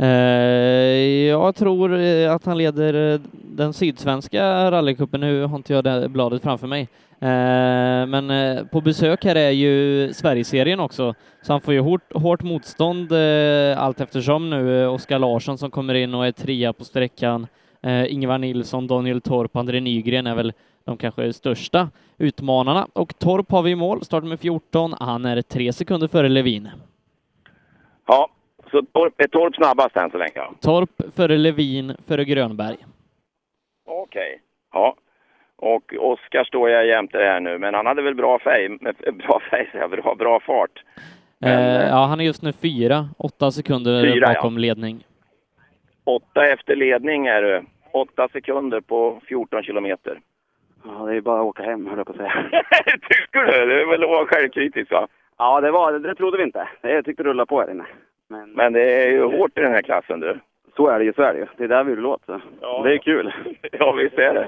Eh, jag tror eh, att han leder eh, den sydsvenska rallycupen. Nu har inte jag det bladet framför mig. Eh, men eh, på besök här är ju Sverigeserien också, så han får ju hårt, hårt motstånd eh, allt eftersom nu. Eh, Oskar Larsson som kommer in och är trea på sträckan. Eh, Ingvar Nilsson, Daniel Torp, André Nygren är väl de kanske största utmanarna. Och Torp har vi i mål, startnummer 14. Han är tre sekunder före Levin.
Ja, så Torp, är Torp snabbast än så länge? ja.
Torp före Levin, före Grönberg.
Okej. Ja. Och Oskar står jag jämte här nu, men han hade väl bra färg, med- bra färg, säger jag, bra, bra fart.
Eh, ja, han är just nu fyra, åtta sekunder
Fyra, ja.
bakom ledning.
Åtta efter ledning är du. Åtta sekunder på 14 kilometer.
Ja, det är bara att åka hem, höll jag på att säga.
Tycker du? Det är väl att vara självkritisk va?
ja, det, var, det trodde vi inte. Jag tyckte det rullade på här inne. Men,
Men det är ju hårt i den här klassen du.
så är det ju, så är det ju. Det är där vi vill åt. Så. Det är kul.
Ja, visst är det.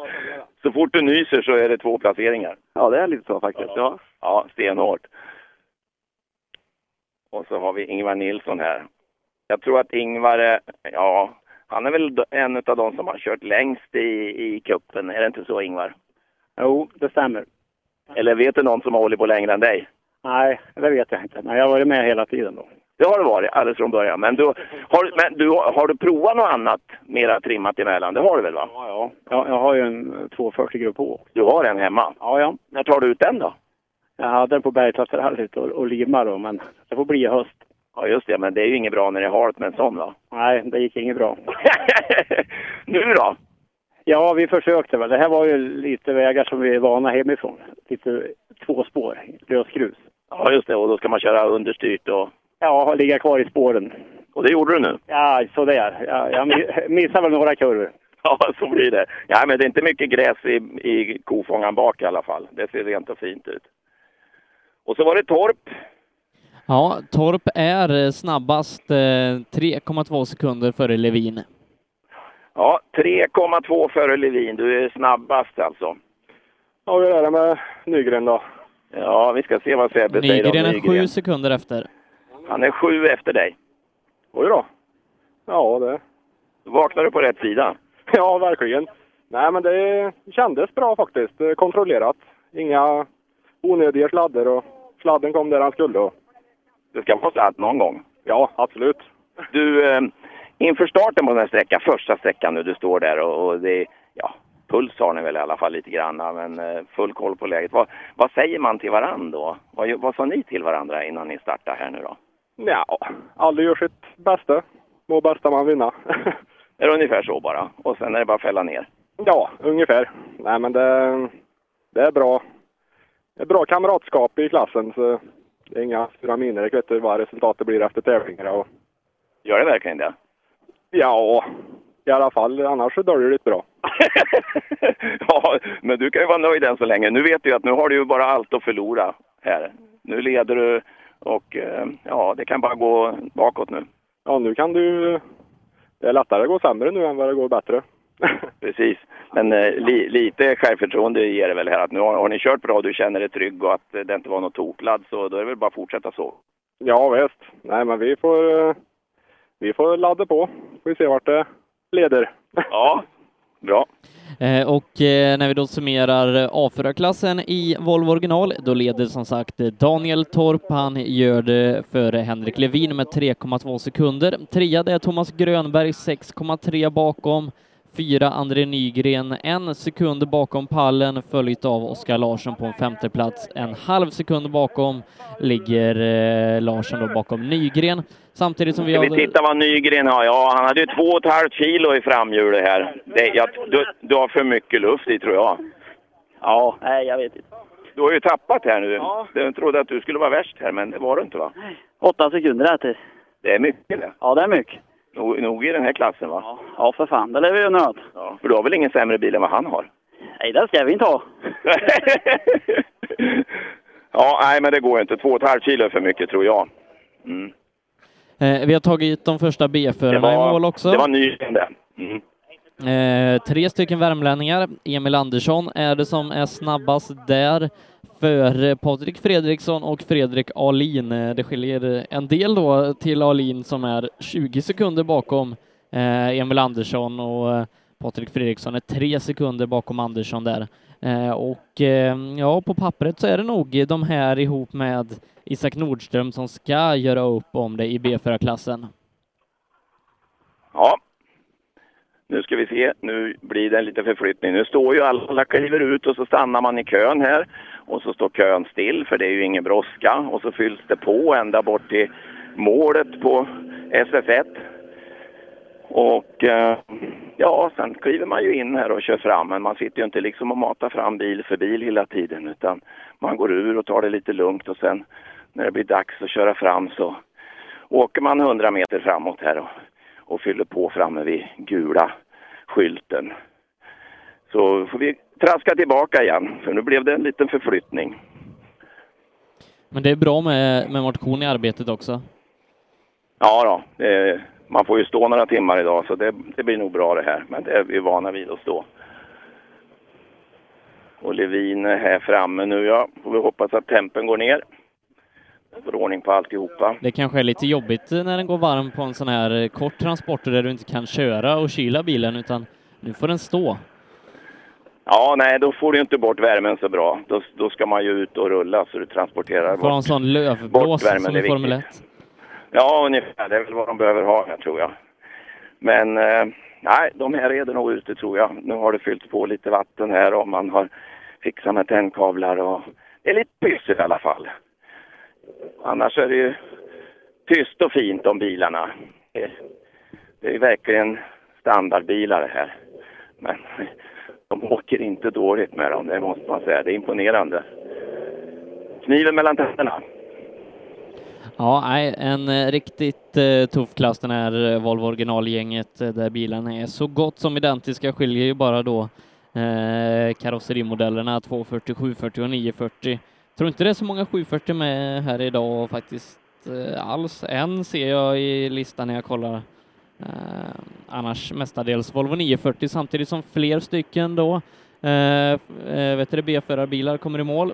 Så fort du nyser så är det två placeringar.
Ja, det är lite så faktiskt. Ja.
Ja, stenhårt. Och så har vi Ingvar Nilsson här. Jag tror att Ingvar, är- ja, han är väl en av de som har kört längst i, i kuppen. Är det inte så Ingvar?
Jo, det stämmer.
Eller vet du någon som har hållit på längre än dig?
Nej, det vet jag inte. Men jag har varit med hela tiden då.
Det har det varit alldeles från början. Men, du, har, men du, har du provat något annat mera trimmat emellan? Det har du väl va?
Ja, ja. Jag, jag har ju en eh, 240 grupp H.
Du har en hemma?
Ja, ja.
När tar du ut den då?
Jag hade den på Bergslagsrallyt och, och Lima då, men det får bli i höst.
Ja just det, men det är ju inget bra när det är halt med en sån va?
Nej, det gick inget bra.
nu då?
Ja, vi försökte väl. Det här var ju lite vägar som vi är vana hemifrån. Lite två spår, lösgrus.
Ja just det, och då ska man köra understyrt och...
Ja, ligga kvar i spåren.
Och det gjorde du nu?
Ja, sådär. Ja, jag mi- missade väl några kurvor.
Ja, så blir det. Ja, men det är inte mycket gräs i, i kofångaren bak i alla fall. Det ser rent och fint ut. Och så var det Torp.
Ja, Torp är eh, snabbast, eh, 3,2 sekunder före Levin.
Ja, 3,2 före Levin. Du är snabbast alltså.
Ja, hur är det med Nygren då?
Ja, vi ska se vad Sebbe säger om
Nygren är
Nygren.
sju sekunder efter.
Han är sju efter dig.
Oj då. Ja, det...
Vaknar du på rätt sida?
Ja, verkligen. Nej, men det kändes bra faktiskt. Det är Kontrollerat. Inga onödiga sladder och sladden kom där han skulle. Och...
Det ska vara sladd någon gång.
Ja, absolut.
Du, eh, inför starten på den här sträckan, första sträckan nu, du står där och, och det, ja, puls har ni väl i alla fall lite grann, men eh, full koll på läget. Vad, vad säger man till varandra då? Vad, gör- vad sa ni till varandra innan ni startade här nu då?
Ja, alla gör sitt bästa. Må bästa man vinna.
Är det ungefär så bara? Och sen är det bara att fälla ner?
ja, ungefär. Nej, men det, det är bra. Det är bra kamratskap i klassen, så det är inga sura miner. Jag vet du vad resultatet blir efter tävlingarna. Och,
Gör det verkligen det?
ja, i alla fall. Annars så döljer det lite bra.
Ja, men du kan ju vara nöjd än så länge. Nu vet du ju att nu har du ju bara allt att förlora här. Nu leder du och eh, ja, det kan bara gå bakåt nu.
Ja, nu kan du... Det är lättare att gå sämre nu än vad det går bättre.
Precis. Men eh, li, lite självförtroende ger det väl här att nu har, har ni kört bra, du känner dig trygg och att eh, det inte var något tokladd så då är det väl bara att fortsätta så.
Ja, visst. Nej, men vi får, eh, vi får ladda på. Får vi se vart det leder.
Ja, bra.
Eh, Och eh, när vi då summerar A4-klassen i Volvo original, då leder som sagt eh, Daniel Torp. Han gör det före Henrik Levin med 3,2 sekunder. Trea det är Thomas Grönberg, 6,3 bakom. Fyra André Nygren, en sekund bakom pallen, följt av Oskar Larsson på en femte plats. En halv sekund bakom ligger eh, Larsson då bakom Nygren. Samtidigt som vi
Ska vi titta vad Nygren har? Ja, han hade ju två och ett halvt kilo i framhjulet här. Det, jag, du, du har för mycket luft i tror jag. Ja,
Nej, jag vet inte.
du har ju tappat här nu. Jag trodde att du skulle vara värst här, men det var du inte va?
Åtta sekunder här till.
Det är mycket det.
Ja, det är mycket.
Nog, nog i den här klassen va?
Ja, för fan. Det lär vi ju nöd.
Ja, för du har väl ingen sämre bil än vad han har?
Nej, det ska vi inte ha.
Ja, nej men det går ju inte. Två och ett halvt kilo är för mycket tror jag. Mm.
Eh, Vi har tagit de första B-förarna i mål också.
det var Nygren det. Mm.
Eh, tre stycken värmlänningar. Emil Andersson är det som är snabbast där före Patrik Fredriksson och Fredrik Ahlin. Eh, Det skiljer en del då till Ahlin som är 20 sekunder bakom eh, Emil Andersson och eh, Patrik Fredriksson är tre sekunder bakom Andersson där. Eh, och eh, ja, på pappret så är det nog de här ihop med Isak Nordström som ska göra upp om det i B4-klassen.
Ja. Nu ska vi se. Nu blir det en liten förflyttning. Nu står ju alla, alla kliver ut och så stannar man i kön här. Och så står kön still för det är ju ingen brådska. Och så fylls det på ända bort till målet på SF1. Och eh, ja, sen kliver man ju in här och kör fram. Men man sitter ju inte liksom och matar fram bil för bil hela tiden. Utan man går ur och tar det lite lugnt och sen när det blir dags att köra fram så åker man 100 meter framåt här och och fyller på framme vid gula skylten. Så får vi traska tillbaka igen, för nu blev det en liten förflyttning.
Men det är bra med, med motion i arbetet också.
Ja då, eh, man får ju stå några timmar idag så det, det blir nog bra det här, men det är vi vana vid att stå. Och Levin är här framme nu ja, får vi hoppas att tempen går ner. Får ordning på alltihopa.
Det kanske är lite jobbigt när den går varm på en sån här eh, kort transport där du inte kan köra och kyla bilen utan nu får den stå.
Ja, nej, då får du inte bort värmen så bra. Då, då ska man ju ut och rulla så du transporterar
Får ha en
bort.
sån lövblås
värmen,
som
det
i
är
Formel 1.
viktigt. Ja, ungefär. Det är väl vad de behöver ha här, tror jag. Men eh, nej, de här reder nog ute, tror jag. Nu har det fyllt på lite vatten här och man har fixat med tändkablar och det är lite pyssel i alla fall. Annars är det ju tyst och fint om bilarna. Det- Det är ju verkligen standardbilar det här. Men de åker inte dåligt med dem, det måste man säga. Det är imponerande. Kniven mellan tänderna.
Ja, nej, en eh, riktigt eh, tuff klass den här eh, Volvo originalgänget eh, där bilarna är så gott som identiska, skiljer ju bara då eh, karosserimodellerna 240, 740 och 940. Tror inte det är så många 740 med här idag faktiskt eh, alls. En ser jag i listan när jag kollar. Eh, annars mestadels Volvo 940 samtidigt som fler stycken då eh, eh, vet du, B-förarbilar kommer i mål.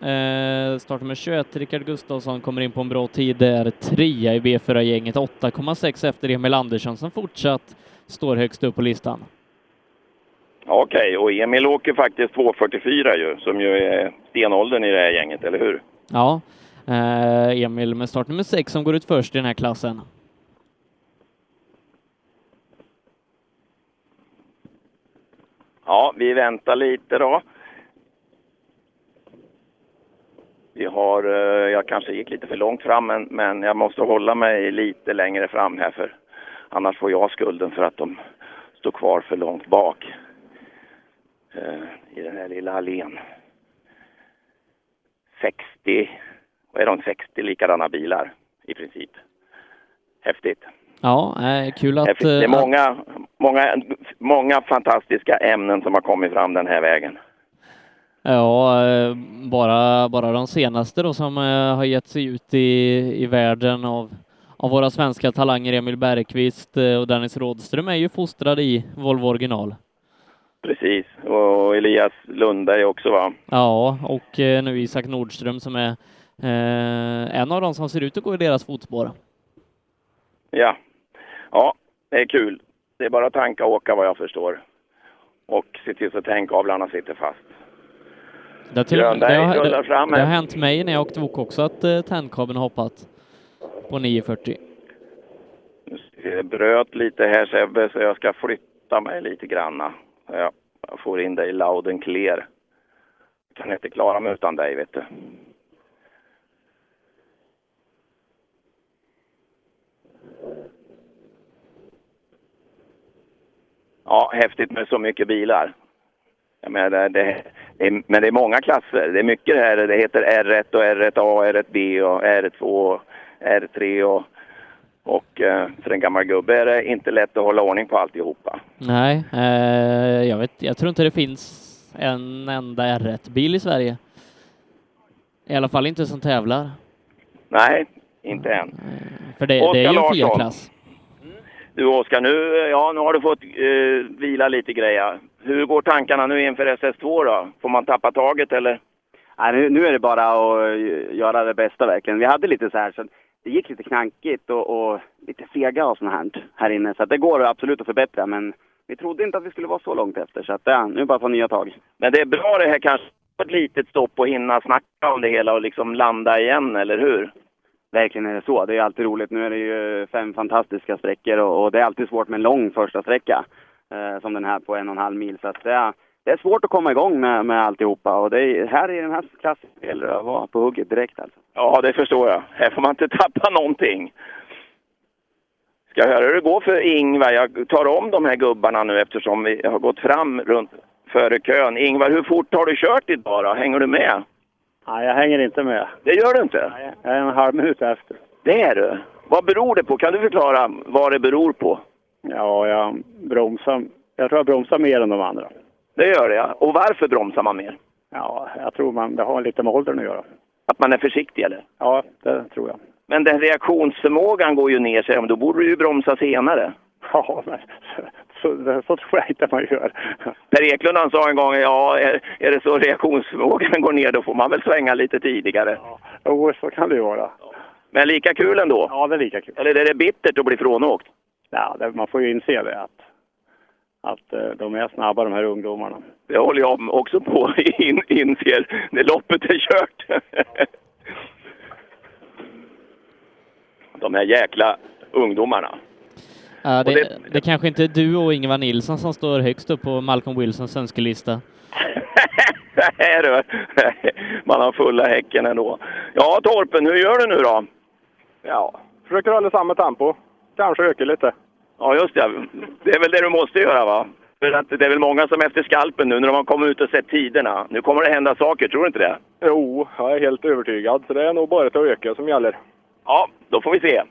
Eh, startnummer 21, Rickard Gustafsson, kommer in på en bra tid där. Trea i B4-gänget, 8,6 efter Emil Andersson som fortsatt står högst upp på listan.
Ja, Okej, och Emil åker faktiskt 2.44 ju, som ju är stenåldern i det här gänget, eller hur?
Ja, eh, Emil med startnummer 6 som går ut först i den här klassen.
Ja, vi väntar lite då. Vi har, eh, jag kanske gick lite för långt fram men, men jag måste hålla mig lite längre fram här för annars får jag skulden för att de står kvar för långt bak eh, i den här lilla allén. 60, vad är de, 60 likadana bilar i princip. Häftigt.
Ja, eh, kul att...
Det är
eh,
många, många, många fantastiska ämnen som har kommit fram den här vägen.
Ja, eh, bara, bara de senaste då som eh, har gett sig ut i, i världen av, av våra svenska talanger Emil Bergqvist eh, och Dennis Rådström är ju fostrade i Volvo original.
Precis. Och Elias Lundberg också va?
Ja, och eh, nu Isak Nordström som är eh, en av de som ser ut att gå i deras fotspår.
Ja. Ja, det är kul. Det är bara att tanka och åka vad jag förstår. Och se till så att tändkablarna sitter fast.
Det har, till och med, det,
Grönberg
har,
rullar
det,
fram
det har
här.
hänt mig när jag åkte vok också att eh, tändkabeln har hoppat på 940.
Det bröt lite här Sebbe så jag ska flytta mig lite granna. Ja, Jag får in dig loud and clear. Jag kan inte klara mig utan dig vet du. Ja, häftigt med så mycket bilar. Jag menar, det, det är, men det är många klasser. Det är mycket här. Det heter R1 och R1A, R1B och R2 och R3 och, och eh, för en gammal gubbe är det inte lätt att hålla ordning på alltihopa.
Nej, eh, jag, vet, jag tror inte det finns en enda R1-bil i Sverige. I alla fall inte som tävlar.
Nej, inte än.
Mm, För det, det är ju en
Oskar Larsson.
felklass.
Du Oskar, nu, ja, nu har du fått eh, vila lite grejer. Hur går tankarna nu inför SS2 då? Får man tappa taget eller?
Nej, nu, nu är det bara att eh, göra det bästa verkligen. Vi hade lite så här, så det gick lite knankigt och, och lite sega och sånt här, här inne. Så att det går absolut att förbättra, men vi trodde inte att vi skulle vara så långt efter. Så att, ja, nu är det bara att ta nya tag.
Men det är bra det här kanske, ett litet stopp och hinna snacka om det hela och liksom landa igen, eller hur?
Verkligen är det så. Det är alltid roligt. Nu är det ju fem fantastiska sträckor och, och det är alltid svårt med en lång första sträcka. Eh, som den här på en och en halv mil. Så att det, är- det är svårt att komma igång med, med alltihopa. Och det är, här i den här klassen gäller det att vara på hugget direkt alltså.
Ja, det förstår jag. Här får man inte tappa någonting. Ska jag höra hur det går för Ingvar? Jag tar om de här gubbarna nu eftersom vi har gått fram runt före kön. Ingvar, hur fort har du kört idag då? Hänger du med?
Nej, jag hänger inte med.
Det gör du inte?
Jag är en halv minut efter.
Det är du. Vad beror det på? Kan du förklara vad det beror på?
Ja, jag bromsar. Jag tror jag bromsar mer än de andra.
Det gör det, ja. Och varför bromsar man mer?
Ja, jag tror man, det har lite med åldern att göra.
Att man är försiktig, eller?
Ja, det tror jag.
Men den reaktionsförmågan går ju ner sig, men då borde du ju bromsa senare.
Ja, men så, så, så tror jag inte man gör.
Per Eklund han sa en gång, ja, är, är det så reaktionsförmågan går ner, då får man väl svänga lite tidigare.
Jo, så kan det ju vara.
Men lika kul ändå.
Ja, det är lika kul.
Eller är det bittert att bli frånåkt?
Ja, det, man får ju inse det att, att eh, de är snabba de här ungdomarna.
Det håller jag också på och in, inser när loppet är kört. De här jäkla ungdomarna.
Ja, det,
det-
det, kanske inte är du och Ingvar Nilsson som står högst upp på Malcolm Wilsons önskelista.
Nej du, man har fulla häcken ändå. Ja Torpen, hur gör du nu då? Ja,
Försöker hålla samma tempo. Kanske öka lite.
Ja, just det. Det är väl det du måste göra, va? För att det är väl många som är efter skalpen nu när de har kommit ut och sett tiderna. Nu kommer det hända saker, tror du inte det?
Jo, jag är helt övertygad. Så det är nog bara att öka som gäller.
Ja, då får vi se.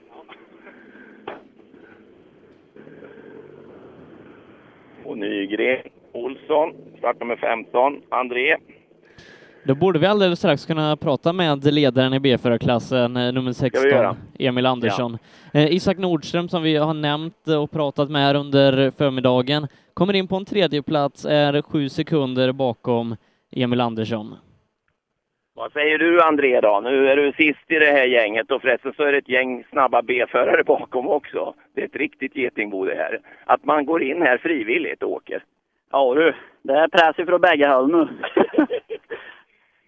Och Nygren, Olsson, start nummer 15, André.
Då borde vi alldeles strax kunna prata med ledaren i B4-klassen, eh, nummer
vi göra?
16, Emil Andersson. Eh, Isak Nordström, som vi har nämnt eh, och pratat med här under förmiddagen, kommer in på en tredje plats, är sju sekunder bakom Emil Andersson.
Vad säger du, André, då? Nu är du sist i det här gänget och förresten så är det ett gäng snabba B-förare bakom också. Det är ett riktigt getingbo det här. Att man går in här frivilligt och åker.
Ja du, det är press från bägge håll nu.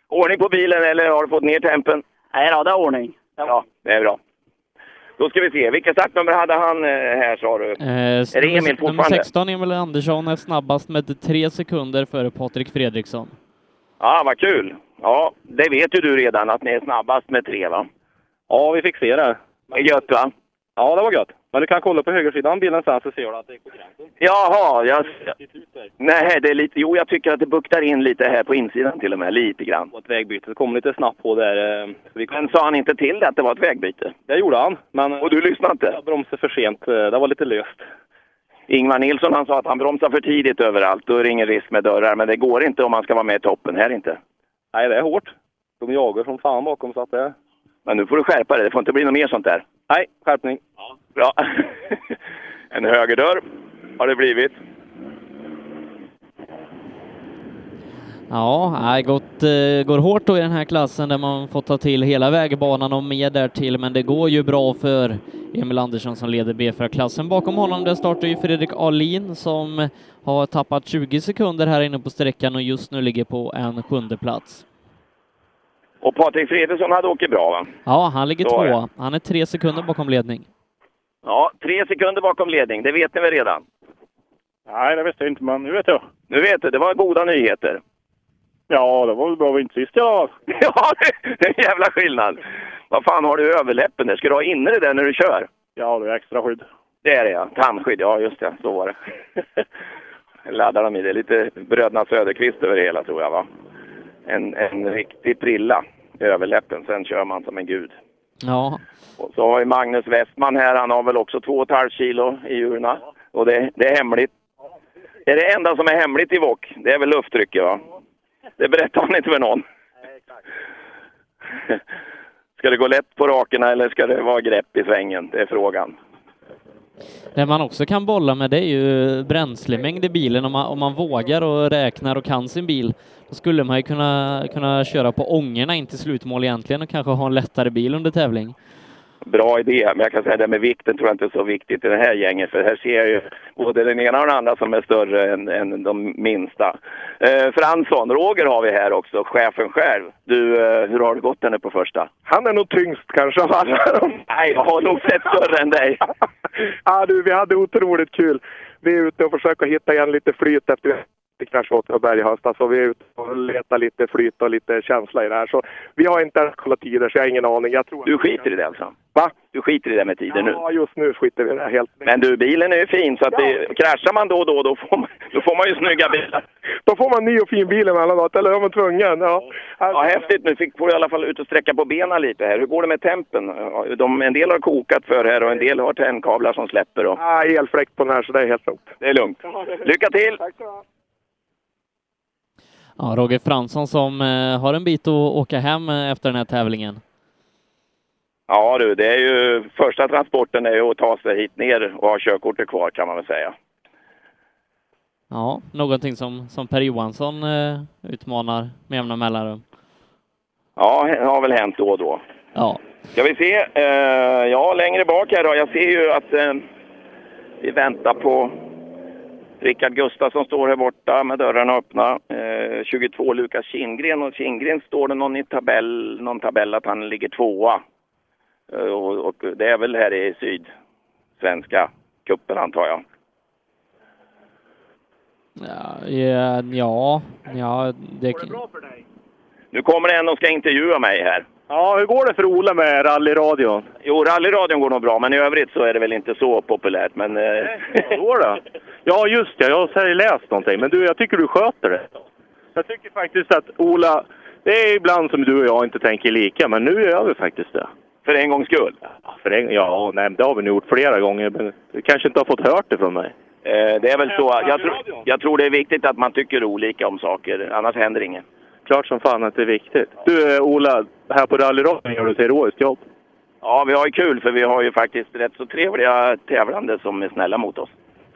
Ordning på bilen eller har du fått ner tempen?
Nej då, det är ordning.
Ja, det är bra. Då ska vi se, vilka startnummer hade han eh, här sa du? är det Emil
Eh, Nummer
fortfarande?
16, Emil Andersson, är snabbast med tre sekunder före Patrik Fredriksson.
Ja, vad kul! Ja, det vet ju du redan att ni är snabbast med tre va? Ja, vi fick se det. Gött va?
Ja, det var gött. Men du kan kolla på högersidan av bilen sen så ser du att det är på gränsen.
Jaha, jag... Nej, det är lite... Jo, jag tycker att det buktar in lite här på insidan till och med, lite grann.
Ett vägbyte. Det kom lite snabbt på där. eh, Vi kom...
Men sa han inte till dig att det var ett vägbyte?
Det gjorde han. Men... Och
du lyssnade inte?
Jag bromsade för sent. eh, Det var lite löst.
Ingvar Nilsson han sa att han bromsar för tidigt överallt, då är det ingen risk med dörrar. Men det går inte om man ska vara med i toppen här inte.
Nej, det är hårt. De jagar som fan bakom så att det...
Men nu får du skärpa dig, det får inte bli något mer sånt där.
Nej, skärpning.
Bra. en högerdörr har det blivit.
Ja, nej, gått, eh, går hårt då i den här klassen där man får ta till hela vägbanan och mer därtill, men det går ju bra för Emil Andersson som leder B4-klassen. Bakom honom där startar ju Fredrik Ahlin som har tappat 20 sekunder här inne på sträckan och just nu ligger på en sjunde plats.
Och Patrik Fredriksson hade åkt bra va?
Ja, han ligger
Så är
tvåa. Han är tre sekunder bakom ledning.
Ja, tre sekunder bakom ledning, det vet ni väl redan?
Nej, det visste jag inte, men nu vet jag.
Nu vet du, det var goda nyheter.
Ja, det var väl bra vinst sist i alla fall.
Ja, det är en jävla skillnad. Vad fan har du i överläppen där? Ska du ha inne det där när du kör?
Ja, det är extra skydd.
Det är det ja. Tandskydd, ja just det. Så var det. Laddar de i det. Lite Bröderna Söderqvist över det hela tror jag va. En, en riktig prilla i överläppen. Sen kör man som en gud.
Ja,
Och så har ju Magnus Westman här, han har väl också 2,5 kilo i djurna. Och det, det är hemligt. Det är det enda som är hemligt i VOK, det är väl lufttrycket va? Det berättar han inte för någon. Ska det gå lätt på rakerna eller ska det vara grepp i svängen? Det är frågan.
det man också kan bolla med det är ju bränslemängd i bilen. Om man, om man vågar och räknar och kan sin bil, då skulle man ju kunna, kunna köra på ångorna in till slutmål egentligen och kanske ha en lättare bil under tävling.
Bra idé, men jag kan säga det med vikten tror jag inte är så viktigt i det här gänget för här ser jag ju både den ena och den andra som är större än, än de minsta. Eh, Fransson, Roger har vi här också, chefen själv. Du, eh, hur har det gått där nu på första?
Han är nog tyngst kanske av alla.
Nej, jag har nog sett större än dig.
ja, du, vi hade otroligt kul. Vi är ute och försöker hitta igen lite flyt efter kraschat på Berg i höstas. Så vi är ute och letar lite flyt och lite känsla i det här. Så vi har inte ens kollat tider, så jag har ingen aning. Jag tror
Du skiter i det alltså? Va? Du skiter i det med tiden nu?
Ja, just nu skiter vi i det här helt.
Men du, bilen är ju fin så att det, kraschar man då och då, då får man, då får man ju snygga bilar.
Då får man ny och fin bil emellanåt, eller är man tvungen? Ja.
Ja, häftigt. Nu fick, får du i alla fall ut och sträcka på benen lite här. Hur går det med tempen? Ja, De, en del har kokat för här och en del har tändkablar som släpper. Och
Ah, elfläkt på den här, så det är helt lugnt.
det är lugnt. Lycka till!
Ja, Roger Fransson som eh, har en bit att åka hem eh, efter den här tävlingen.
Ja du, det är ju första transporten är ju att ta sig hit ner och ha körkortet kvar kan man väl säga.
Ja, någonting som, som Per Johansson eh, utmanar med jämna mellanrum.
Ja, det har väl hänt då och då.
Ja.
Ska vi se? Eh, ja, längre bak här då. Jag ser ju att eh, vi väntar på Rickard Gustafsson står här borta med dörrarna öppna. Eh, 22 Lukas Kindgren och Kindgren står det någon i tabell, någon tabell att han ligger tvåa. Eh, och, och det är väl här i sydsvenska cupen antar jag.
Ja, eh, ja, ja det,
Nu kommer det en och ska intervjua mig här.
Ja, hur går det för Ola med rallyradion?
Jo, rallyradion går nog bra, men i övrigt så är det väl inte så populärt. Men, eh,
Vadå då? Ja, just det. Jag har läst någonting. Men du, jag tycker du sköter det. Jag tycker faktiskt att Ola... Det är ibland som du och jag inte tänker lika, men nu gör vi faktiskt det.
För en gångs skull?
Ja, för en, ja nej, men det har vi nog gjort flera gånger. Men du kanske inte har fått hört det från mig.
eh, det är väl så. att- Jag, tror- jag tror det är viktigt att man tycker olika om saker, annars händer inget.
Klart som fan att det är viktigt. Du, eh, Ola, här på rallyradion gör du ett heroiskt jobb.
Ja, vi har ju kul för vi har ju faktiskt rätt så trevliga tävlande som är snälla mot oss.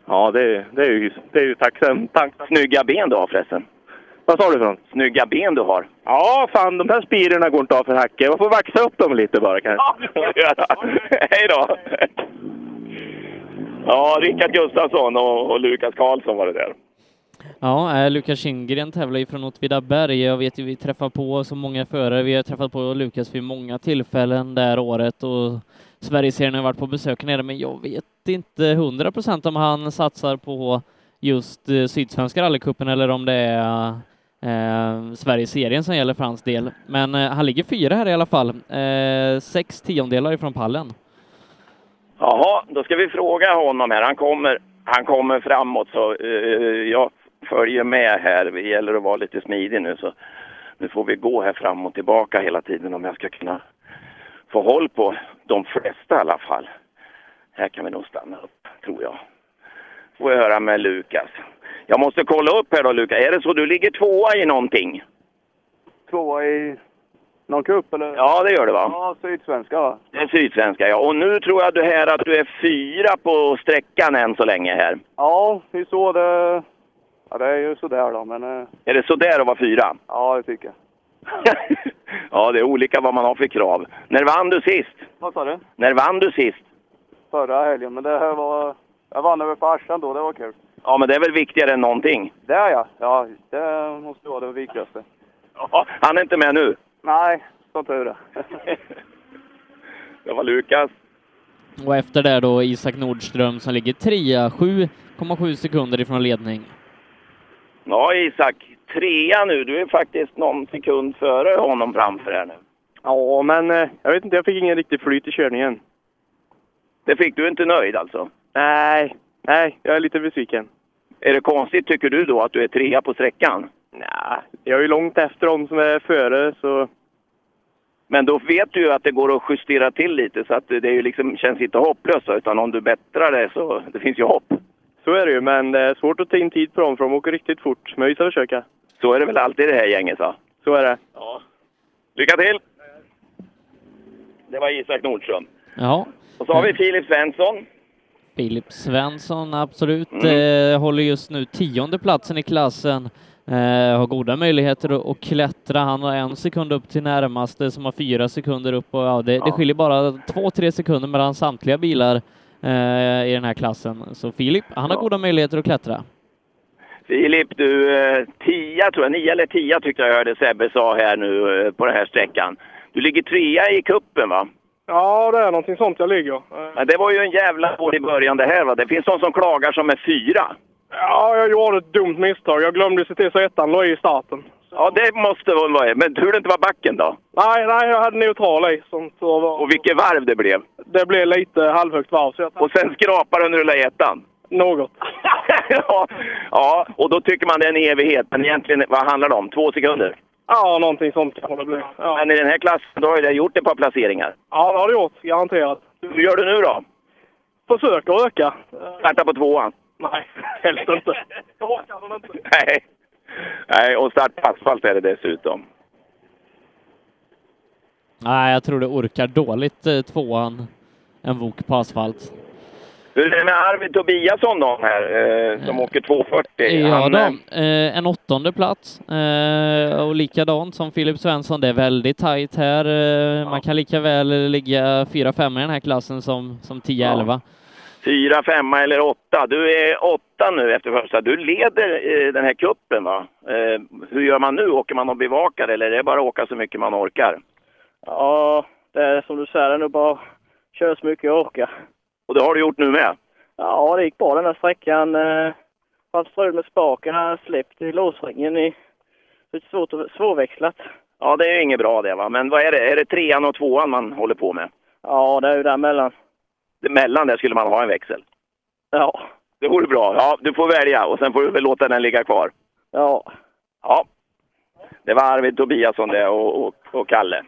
Ja, det är, det är ju, det är ju tacksam, tacksam.
Snygga ben du har förresten.
Vad sa du för något?
Snygga ben du har.
Ja, fan, de här spirorna går inte av för hacke. Man får vaxa upp dem lite bara kanske.
Ja, det får vi göra. Hej då! Ja, Rickard Gustafsson och, och Lukas Karlsson var det där.
ja, eh, Lukas Kindgren tävlar ju från Åtvidaberg. Jag vet ju vi träffar på så många förare. Vi har träffat på Lukas vid många tillfällen det här året och Sverigeserien har varit på besök nere, men jag vet inte hundra procent om han satsar på just eh, Sydsvenska rallycupen eller om det är eh, Sverigeserien som gäller för hans del. Men eh, han ligger fyra här i alla fall, eh, sex tiondelar ifrån pallen.
Jaha, då ska vi fråga honom här. Han kommer, han kommer framåt så eh, jag följer med här. Det gäller att vara lite smidig nu så nu får vi gå här fram och tillbaka hela tiden om jag ska kunna få håll på de flesta i alla fall. Här kan vi nog stanna upp, tror jag. Får jag höra med Lukas. Jag måste kolla upp här då Lukas. Är det så du ligger tvåa i någonting?
Tvåa i någon cup eller?
Ja, det gör det, va?
Ja, sydsvenska va?
Det är Sydsvenska ja. Och nu tror jag du här att du är fyra på sträckan än så länge här.
Ja, det är så det... Ja, det är ju sådär då, men... eh,
Är det sådär att vara fyra?
Ja, det tycker jag.
Ja, det är olika vad man har för krav. När vann du sist?
Vad sa du?
När vann du sist?
Förra helgen, men det här var... Jag vann över farsan då, det var kul.
Ja, men det är väl viktigare än någonting.
Det är jag. Ja, det måste vara det viktigaste.
Ja, han är inte med nu.
Nej, som tur är.
Det var Lukas.
Och efter det då Isak Nordström som ligger trea, 7,7 sekunder ifrån ledning.
Ja, Isak. Trea nu. Du är faktiskt någon sekund före honom framför här nu.
Ja, men eh, jag vet inte. Jag fick ingen riktig flyt i körningen.
Det fick du inte nöjd alltså?
Nej, nej, jag är lite besviken.
Är det konstigt tycker du då att du är trea på sträckan?
Nej, jag är ju långt efter dem som är före, så...
Men då vet du ju att det går att justera till lite så att det är ju liksom, känns inte hopplöst utan om du bättrar det så det finns ju hopp.
Så är det ju, men det är svårt att ta in tid på dem för de åker riktigt fort. Men vi ska försöka.
Så är det väl alltid i det här gänget va?
Så är det.
Lycka till! Det var Isak Nordström.
Ja,
Och så har vi Filip Svensson.
Filip Svensson, absolut. Eh, håller just nu tionde platsen i klassen. Eh, har goda möjligheter att, att klättra. Han har en sekund upp till närmaste som har fyra sekunder upp. Och, ja, det, det skiljer bara två, tre sekunder mellan samtliga bilar eh, i den här klassen. Så Filip, han har goda möjligheter att klättra.
Filip, du, eh, tia tror jag, nio eller tia tyckte jag hörde Sebbe sa här nu eh, på den här sträckan. Du ligger trea i kuppen va?
Ja, det är någonting sånt jag ligger. Eh,
Men det var ju en jävla hård i början det här va? Det finns de som klagar som är fyra.
Ja, jag gjorde ett dumt misstag. Jag glömde se till så ettan låg i starten.
Ja, det måste väl vara Men tur det inte var backen då.
Nej, nej, jag hade neutral i som tur var.
Och vilket varv det blev.
Det blev lite halvhögt varv så jag
Och sen skrapar du när du la i ettan.
något.
ja, ja, och då tycker man det är en evighet. Men egentligen, vad handlar det om? Två sekunder?
Ja, någonting sånt kan det bli. Ja,
Men i den här klassen, då har jag gjort ett par placeringar.
ja det har du gjort. Garanterat.
Hur gör du nu då?
Försöker öka. Eh,
Starta på tvåan?
Nej, helst inte. Jag orkar den inte.
Nej. Nej, och start på asfalt är det dessutom.
Nej, jag tror det orkar dåligt eh, tvåan, en vok på asfalt.
Hur är det med Arvid Tobiasson då, här, eh, som åker 240?
Ja,
Han,
då.
eh,
Eh, en åttonde plats eh, och likadant som Filip Svensson. Det är väldigt tajt här. Eh, man kan lika väl ligga fyra 5 i den här klassen som, som 10-11.
Fyra, femma eller åtta. Du är åtta nu efter första. Du leder eh, den här kuppen va? Eh, hur gör man nu? Åker man och bevakar eller är det bara att åka så mycket man orkar?
Ja, det är som du säger, det är nog bara att köra så mycket jag orkar.
Och det har du gjort nu med?
Ja, det gick bra den här sträckan. eh, Fanns strul med spaken, jag släppte i låsringen. i- Lite svårt att, svårväxlat.
Ja, det är ju inget bra det va. Men vad är det? Är det trean och tvåan man håller på med?
Ja, det är ju däremellan.
Det- Mellan det skulle man ha en växel.
Ja,
Det vore bra. Ja, du får välja och sen får du väl låta den ligga kvar.
ja.
Ja. Det var Arvid Tobiasson det och, och, och Kalle.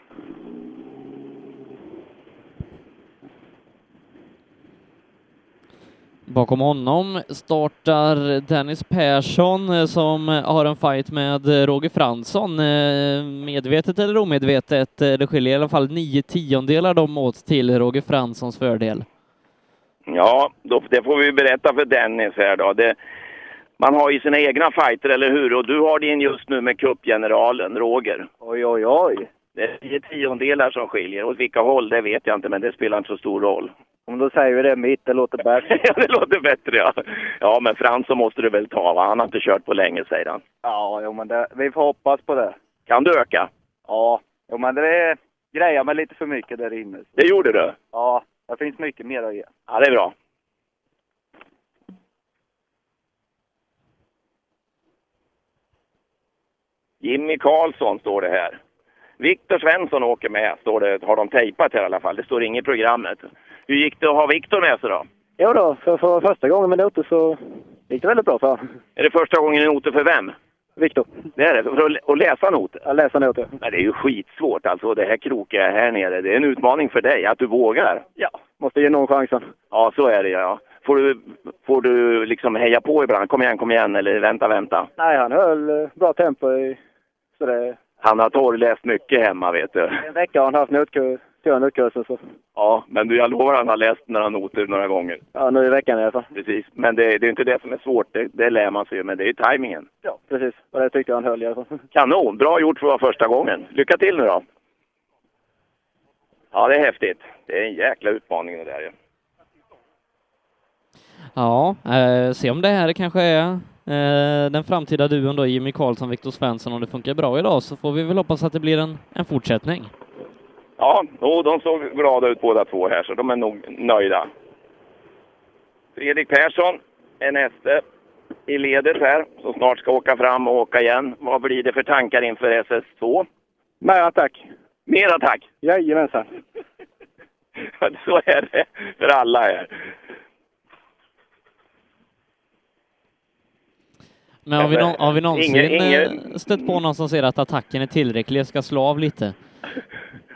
Bakom honom startar Dennis Persson eh, som har en fight med eh, Roger Fransson. Eh, Medvetet eller omedvetet, eh, det skiljer i alla fall nio tiondelar dem åt till Roger Franssons fördel.
Ja, då, det får vi berätta för Dennis här då. Det, man har ju sina egna fighter, eller hur? Och du har din just nu med cupgeneralen, Roger.
Oj, oj, oj.
Det är tio tiondelar som skiljer. Åt vilka håll, det vet jag inte, men det spelar inte så stor roll.
Om då säger vi det mitt, det låter bättre.
ja, det låter bättre ja. Ja, men Frans så måste du väl ta va? Han har inte kört på länge, säger han.
ja, jo, men det, vi får hoppas på det.
Kan du öka?
Ja, jo, men det är grejer med lite för mycket där inne.
Det gjorde du?
Ja,
Det finns mycket mer att ge.
Ja, det är bra. Jimmy Karlsson står det här. Viktor Svensson åker med, står det, har de tejpat här i alla fall. Det står inget i programmet. Hur gick det att ha Viktor med sig då?
Jo då, för, för första gången med Lotus så gick det väldigt bra för
Är det första gången i noter för vem?
Viktor.
Det är det, för att lä- att läsa noter?
Jag läser noter.
Nej, det är ju skitsvårt alltså, det här krokiga här nere. Det är en utmaning för dig, att du vågar.
Ja, måste ge någon chansen.
Ja, så är det ja. Får du, får du liksom heja på ibland? Kom igen, kom igen, eller vänta, vänta.
Nej, han höll eh, bra tempo i... Så det...
Han har torrläst mycket hemma, vet du.
En vecka har han haft notkurs, stora notkurser så...
Ja, men du, jag lovar han har läst några noter några gånger.
Ja, nu i veckan i alla fall.
Precis. Men det, det är inte det som är svårt, det, det lär man sig ju, men det är ju tajmingen.
Ja, precis. Och det tyckte jag han höll i alla fall.
Kanon! Bra gjort för att vara första gången. Lycka till nu då! Ja, det är häftigt. Det är en jäkla utmaning det där ju.
Ja, eh, se om det här kanske är eh, den framtida duon då, Jimmy Karlsson, Viktor Svensson, om det funkar bra idag så får vi väl hoppas att det blir en, en fortsättning.
Ja, jo, de såg glada ut båda två här, så de är nog nöjda. Fredrik Persson, en häste i ledet här, som snart ska åka fram och åka igen. Vad blir det för tankar inför SS2?
Mer attack.
Mer attack!
Jajamensan.
Så är det för alla här.
Men har vi, nå- har vi någonsin
Ingen- ingen-
eh, stött på någon som säger att attacken är tillräcklig, jag ska slå av lite?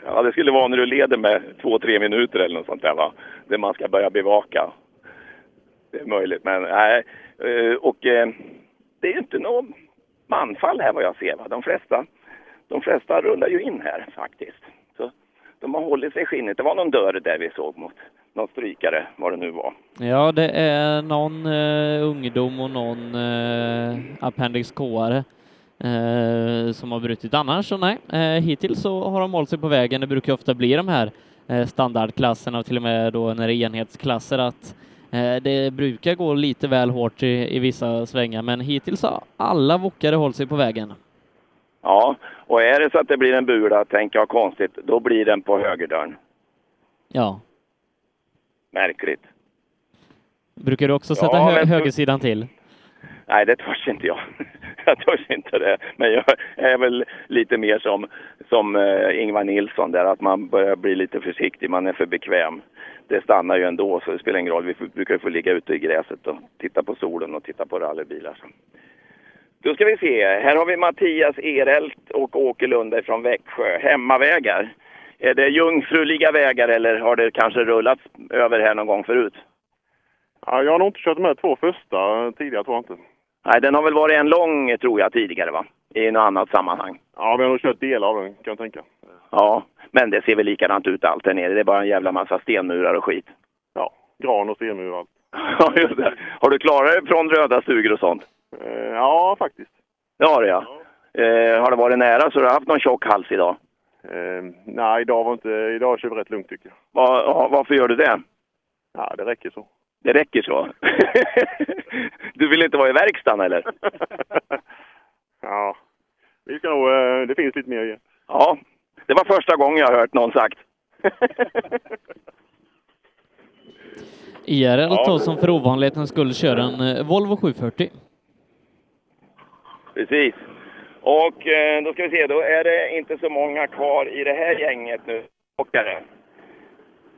Ja, det skulle vara när du leder med två, tre minuter eller något sånt där va? Det man ska börja bevaka. Det är möjligt, men nej. Eh, Och eh, det är ju inte något manfall här vad jag ser va? De flesta, de flesta rullar ju in här faktiskt. Så de har hållit sig i skinnet. Det var någon dörr där vi såg mot någon strykare, vad det nu var.
Ja, det är någon eh, ungdom och någon eh, appendix K-are eh, som har brutit. Annars så nej, eh, hittills så har de hållit sig på vägen. Det brukar ofta bli de här eh, standardklasserna och till och med då när det är enhetsklasser att eh, det brukar gå lite väl hårt i, i vissa svängar, men hittills har alla wokare hållit sig på vägen.
Ja, och är det så att det blir en bula, tänker jag konstigt, då blir den på högerdörren.
Ja,
Märkligt.
brukar du också sätta
Ja,
hö-
men-
högersidan till?
Nej, det törs inte jag. Jag törs inte det. Men jag är väl lite mer som, som eh, Ingvar Nilsson där, att man börjar bli lite försiktig, man är för bekväm. Det stannar ju ändå, så det spelar ingen roll. Vi får- brukar ju få ligga ute i gräset och titta på solen och titta på rallybilar. så. Då ska vi se. Här har vi Mattias Erelt och Åke Lundberg från Växjö. Hemmavägar. Är det jungfruliga vägar eller har det kanske rullat över här någon gång förut?
Ja, jag har nog inte kört med två första eh, tidigare tror jag inte.
Nej, den har väl varit en lång, tror jag, tidigare va? I något annat sammanhang.
Ja, vi har nog kört delar av den kan jag tänka.
Ja, men det ser väl likadant ut allt där nere. Det är bara en jävla massa stenmurar och skit.
Ja, gran och stenmur och allt.
Ja, just det. Har du klarat dig från röda stugor och sånt?
Eh, Ja, faktiskt.
Det har du ja. Eh, har det varit nära så har du haft någon tjock hals idag?
Eh, Nej, idag var inte... Idag kör vi rätt lugnt tycker jag.
Va, ja, varför gör du det?
Ja, det räcker så.
Det räcker så. du vill inte vara i verkstaden eller?
Ja. Vi ska nog... eh, Det finns lite mer att ge.
Ja, det var första gången jag har hört någon sagt.
IRL då som för ovanlighetens skull kör en eh, Volvo 740.
Precis. Och eh, då ska vi se, då är det inte så många kvar i det här gänget nu. Åkare.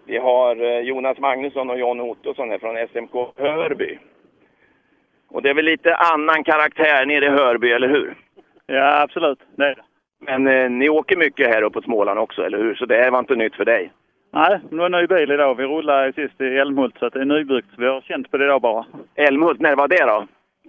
Vi har eh, Jonas Magnusson och John Ottosson här från SMK Hörby. Och det är väl lite annan karaktär nere i Hörby, eller hur?
Ja, absolut. Det är det.
Men eh, ni åker mycket här uppåt Småland också, eller hur? Så det här var inte nytt för dig.
Nej, men det var en ny bil idag. Vi rullade sist i Älmhult så att det är nybyggt. Vi har känt på det idag bara.
Älmhult, när var det då?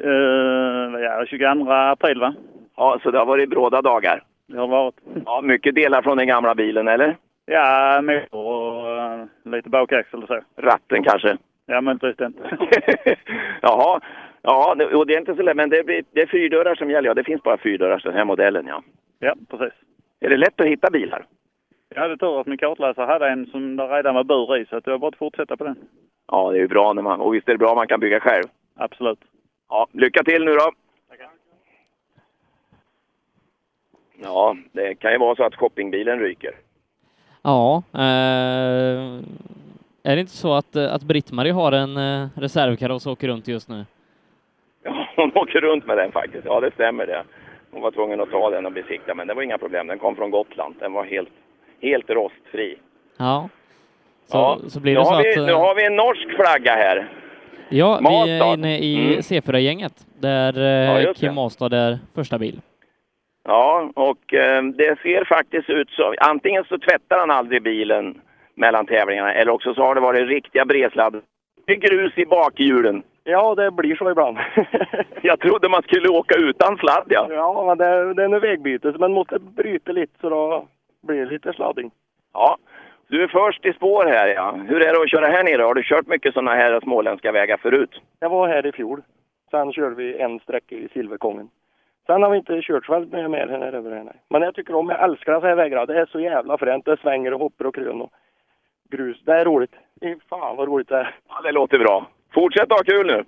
Uh, ja, 22 april va?
Ja, så det har varit bråda dagar.
Det har varit.
Ja, mycket delar från den gamla bilen, eller?
Ja, motor och eh, lite bakaxel och så.
Ratten kanske?
Ja, men precis den.
Jaha. Ja, det, och det är inte så lätt, men det, blir, det är fyrdörrar som gäller. Ja, det finns bara fyrdörrar, den här modellen, ja.
ja, precis.
Är det lätt att hitta bilar?
Jag hade tur att min kartläsare hade en som där redan var bur i så att det var bara att fortsätta på den.
Ja, det är ju bra när man... Och visst är det bra om man kan bygga själv?
Absolut.
Ja, lycka till nu då! Ja, det kan ju vara så att shoppingbilen ryker.
Ja, eh, Är det inte så att, eh, att Britt-Marie har en eh, reservkaross och åker runt just nu?
Ja, hon åker runt med den faktiskt. Ja, det stämmer det. Hon var tvungen att ta den och besikta, men det var inga problem. Den kom från Gotland. Den var helt, helt rostfri.
Ja. Så,
ja.
så blir
nu,
det så
har
att...
vi, nu
eh,
har vi en norsk flagga här.
Ja, vi är
Mastad.
inne i
Mm.
C4-gänget där eh,
Ja, just det.
Kim Mastad är första bil.
Ja, och eh, det ser faktiskt ut så. Antingen så tvättar han aldrig bilen mellan tävlingarna eller också så har det varit riktiga bredsladd. Det är grus i bakhjulen.
Ja, det blir så ibland.
Jag trodde man skulle åka utan sladd, ja.
ja, men det, det är nu vägbyte, så man måste bryta lite så då blir det lite sladding.
Ja, du är först i spår här ja. Hur är det att köra här nere? Har du kört mycket sådana här småländska vägar förut?
Jag var här i fjol. Sen körde vi en sträcka i Silverkongen. Sen har vi inte kört själv med mer här nere över här, nej. Men jag tycker om, jag älskar så här vägarna. Det är så jävla fränt. Det svänger och hoppar och krön och grus. Det är roligt. Fy Fan vad roligt det är.
Ja, det låter bra. Fortsätt ha kul nu!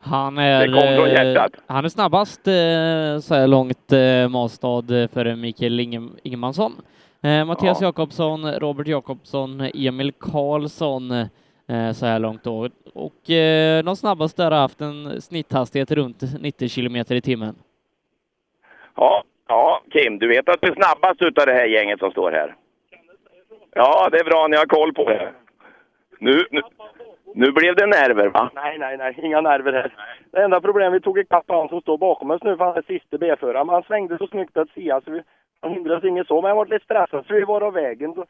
Han är,
Det kom från
eh,
hjärtat.
han är snabbast eh, så här långt eh, Mastad eh, före Mikael Inge- Ingemansson. Eh, Mattias Jakobsson, Robert Jakobsson, Emil Karlsson eh, så här långt då. Och eh, de snabbaste där har haft en snitthastighet runt 90 kilometer i timmen.
Ja, ja, Kim, du vet att du är snabbast utav det här gänget som står här? Ja, det är bra, ni har koll på det. Nu, nu, nu blev det nerver va?
Nej, nej, nej. Inga nerver här. Det enda problemet vi tog ikapp han som står bakom oss nu, för han är sista B-föraren. Men han svängde så snyggt att sia, så vi han hindrades inget så. Men jag var lite stressad, så vi var av vägen. Så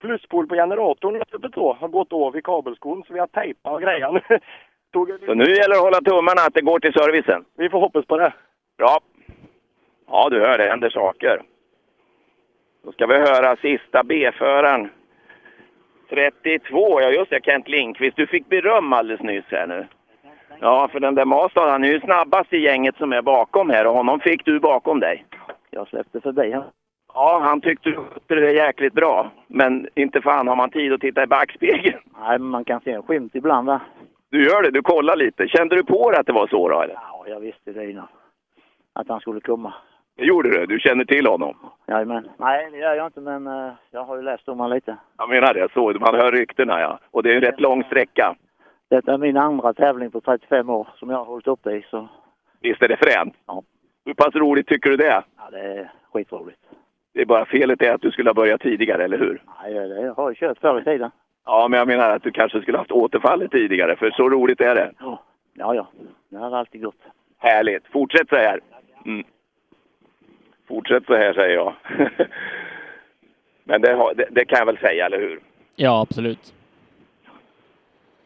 Pluspol på generatorn löste på tå. Har gått av i kabelskon, så vi har tejpat och grejen. tog en...
Så nu gäller det att hålla tummarna att det går till servicen.
Vi får hoppas på det.
Bra. Ja, du hör, det händer saker. Då ska vi höra sista B-föraren. 32, ja just det, Kent Lindqvist. Du fick beröm alldeles nyss här nu. Ja, för den där Mazda, han är ju snabbast i gänget som är bakom här och honom fick du bakom dig.
Jag släppte förbi honom.
Ja, han tyckte du skötte det jäkligt bra. Men inte fan har man tid att titta i backspegeln.
Nej, men man kan se en skymt ibland, va?
Du gör det, du kollar lite. Kände du på det att det var så då eller?
Ja, jag visste det innan. Att han skulle komma.
Det gjorde du, du känner till honom.
Jajamän. Nej, det gör jag inte, men eh, jag har ju läst om honom lite.
Jag menar det, så. Man hör ryktena ja. Och det är en rätt lång sträcka.
Detta är min andra tävling på 35 år som jag har hållit uppe i, så
Visst är det fränt?
Ja.
Hur pass roligt tycker du det?
ja, det är skitroligt.
Det är bara felet är att du skulle ha börjat tidigare, eller hur?
Nej, det jag har ju kört förr i tiden.
Ja, men jag menar att du kanske skulle haft återfallet tidigare, för så roligt är det.
Ja, ja. Det har alltid gått.
Härligt! Fortsätt så här! Mm. Fortsätt så här, säger jag. men det, har, det, det kan jag väl säga, eller hur?
Ja, absolut.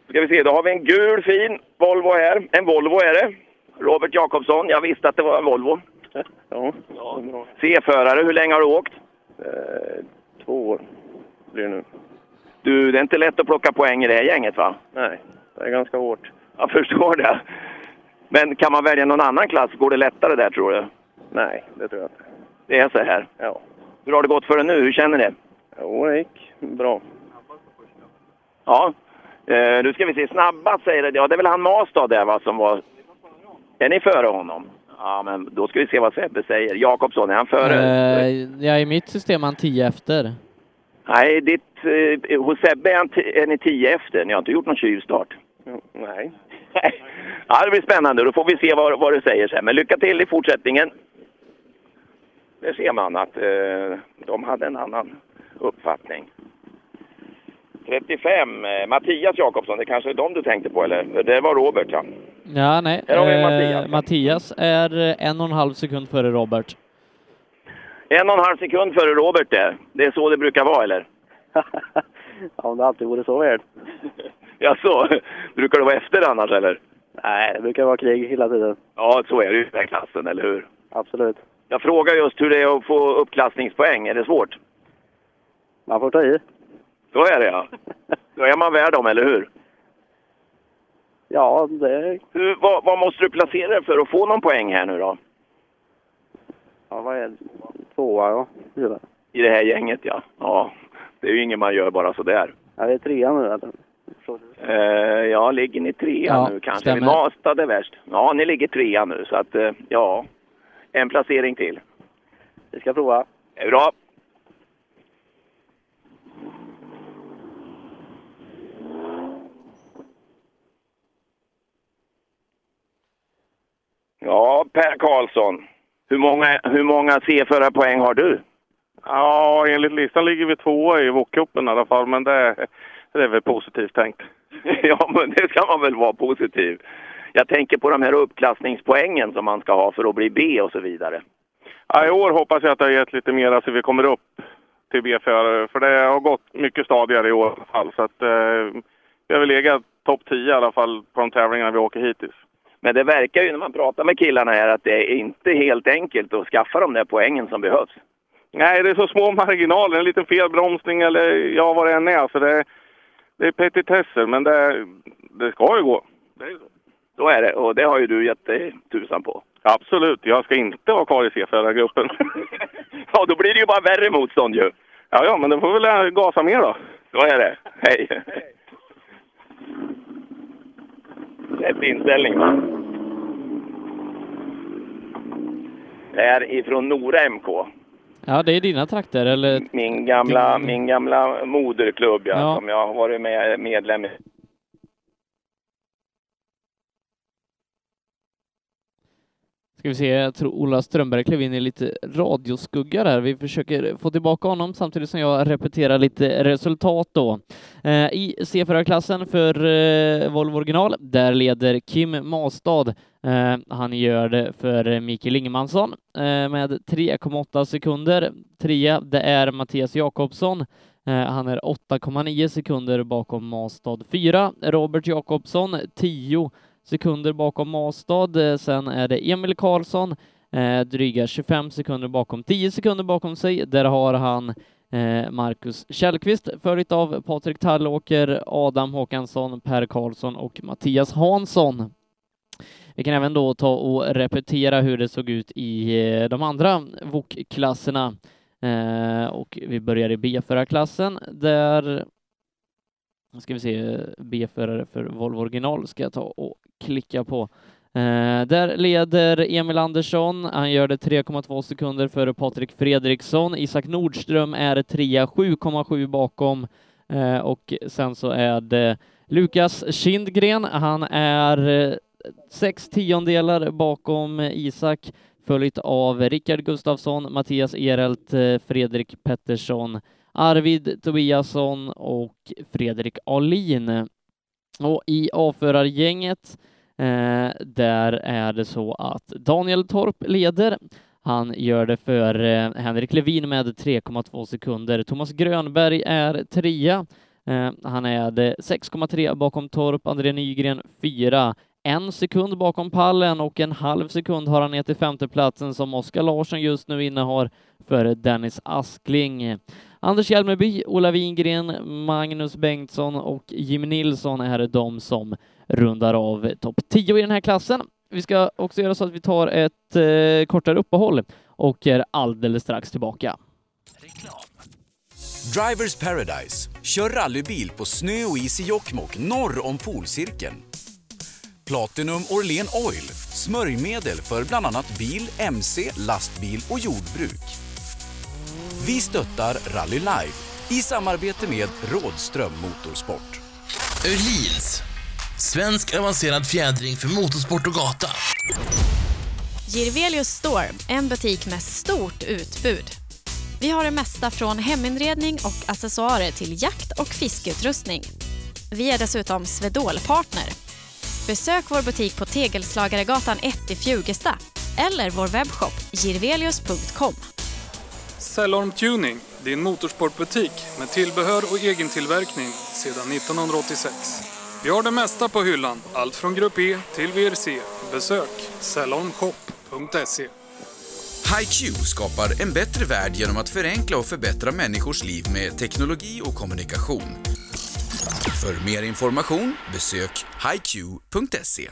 ska vi se, då har vi en gul fin Volvo här. En Volvo är det. Robert Jakobsson, jag visste att det var en Volvo.
Ja.
C-förare, hur länge har du åkt?
Eh, två år blir det nu.
Du, det är inte lätt att plocka poäng i det här gänget va?
Nej, det är ganska hårt.
Jag förstår det. Men kan man välja någon annan klass, går det lättare där tror du?
Nej, det tror jag inte.
Det är så här.
Ja.
Hur har det gått för dig nu? Hur känner du?
Jo, det gick bra.
Ja. Eh, nu ska vi se, snabbast säger det. Ja, det är väl han Mastad där va, som var... Är ni före honom? Ja, men då ska vi se vad Sebbe säger. Jakobsson, är han före?
Eh, ja, i mitt system är han 10 efter.
Nej, ditt, eh, hos Sebbe är, han t- är ni tio efter. Ni har inte gjort någon tjuvstart.
Nej.
Ja, det blir spännande. Då får vi se vad, vad du säger sen. Men lycka till i fortsättningen. Där ser man att eh, de hade en annan uppfattning. 35, eh, Mattias Jakobsson. Det kanske är de du tänkte på, eller? Det var Robert, ja.
Ja, nej.
Här har vi
Eh,
Mattias.
Mattias är eh, en och en halv sekund före Robert.
En och en halv sekund före Robert där. Det är så det brukar vara, eller?
Ja, om det alltid vore så väl.
Ja, så Brukar det vara efter annars, eller?
Nej, det brukar vara krig hela tiden.
Ja, så är det ju i den här klassen, eller hur?
Absolut.
Jag frågar just hur det är att få uppklassningspoäng. Är det svårt?
Man får ta i.
Så är det, ja. Då är man värd dem, eller hur?
Ja, det...
hur vad, vad måste du placera dig för att få någon poäng här nu då?
Ja, vad är det? Tvåa, ja. Fyra.
I det här gänget, ja. Ja, det är ju inget man gör bara sådär.
Ja, det är trea nu. Eller?
Eh, ja, ligger ni trea
Ja,
nu kanske?
stämmer.
Stämmer. Mastad är värst. Ja, ni ligger trea nu, så att eh, ja. En placering till.
Vi ska prova.
Det är bra. Ja, Per Karlsson. Hur många, hur många C4-poäng har du?
Ja, enligt listan ligger vi tvåa i VOK-cupen i alla fall, men det, det är väl positivt tänkt.
ja, men det ska man väl vara positiv. Jag tänker på de här uppklassningspoängen som man ska ha för att bli B och så vidare.
Ja, I år hoppas jag att det har gett lite mer så vi kommer upp till B-förare, för det har gått mycket stadigare i år i alla fall. Så att, eh, vi har väl legat topp 10 i alla fall på de tävlingarna vi åker hittills.
Men det verkar ju när man pratar med killarna här att det är inte helt enkelt att skaffa de där poängen som behövs.
Nej, det är så små marginaler. En liten felbromsning eller ja, vad det än är. Så det, det är petitesser, men det, det ska ju gå.
Så är det, och det har ju du gett dig tusan på.
Absolut, jag ska inte vara kvar i C4-gruppen.
ja, då blir det ju bara värre motstånd ju.
Ja, ja, men då får vi väl eh, gasa mer då.
Så är det. Hej! Rätt inställning, va? Det är ifrån Nora MK.
Ja, det är dina trakter, eller?
Min gamla, min gamla moderklubb, ja,
Mm. Ja.
som jag har varit med, medlem i.
Ska vi se, jag tror Ola Strömberg klev in i lite radioskugga där. Vi försöker få tillbaka honom samtidigt som jag repeterar lite resultat då. Eh, I C4-klassen för eh, Volvo original, där leder Kim Mastad. Eh, han gör det för Mikael Ingemansson eh, med 3,8 sekunder. Trea, det är Mattias Jakobsson. Eh, Han är 8,9 sekunder bakom Mastad 4. Robert Jakobsson 10 sekunder bakom Mastad. Eh, Sen är det Emil Karlsson, eh, dryga 25 sekunder bakom, 10 sekunder bakom sig. Där har han eh, Marcus Källqvist, följt av Patrik Tallåker, Adam Håkansson, Per Karlsson och Mattias Hansson. Vi kan även då ta och repetera hur det såg ut i eh, de andra VOK-klasserna. Eh, och vi börjar i B-förarklassen där nu ska vi se, eh, B-förare för Volvo original ska jag ta och klicka på. Eh, där leder Emil Andersson, han gör det 3,2 sekunder före Patrik Fredriksson. Isak Nordström är trea, 7,7 bakom. Eh, och sen så är det Lukas Kindgren, han är eh, sex tiondelar bakom Isak, följt av Rickard Gustafsson, Mattias Erelt, eh, Fredrik Pettersson, Arvid Tobiasson och Fredrik Ahlin. Och i avförargänget eh, där är det så att Daniel Torp leder. Han gör det för eh, Henrik Levin med 3,2 sekunder. Thomas Grönberg är trea. Eh, han är det 6,3 bakom Torp, André Nygren fyra. En sekund bakom pallen och en halv sekund har han ner till femteplatsen som Oskar Larsson just nu innehar före Dennis Askling. Anders Hjelmeby, Ola Wingren, Magnus Bengtsson och Jim Nilsson är de som rundar av topp 10 i den här klassen. Vi ska också göra så att vi tar ett eh, kortare uppehåll och är alldeles strax tillbaka.
Drivers Paradise. Kör rallybil på snö och is i Jokkmokk norr om polcirkeln. Platinum Orlen Oil. Smörjmedel för bland annat bil, mc, lastbil och jordbruk. Vi stöttar Rally Live i samarbete med Rådström Motorsport.
Öhlins. Svensk avancerad fjädring för motorsport och gata.
Girvelius Store, en butik med stort utbud. Vi har det mesta från heminredning och accessoarer till jakt och fiskeutrustning. Vi är dessutom Swedol-partner. Besök vår butik på Tegelslagaregatan 1 i Fjugesta eller vår webbshop girvelius.com.
Cellorm Tuning, din motorsportbutik med tillbehör och egen tillverkning sedan 1986. Vi har det mesta på hyllan, allt från Grupp E till VRC. Besök cellormshop.se.
HiQ skapar en bättre värld genom att förenkla och förbättra människors liv med teknologi och kommunikation. För mer information besök hiq.se.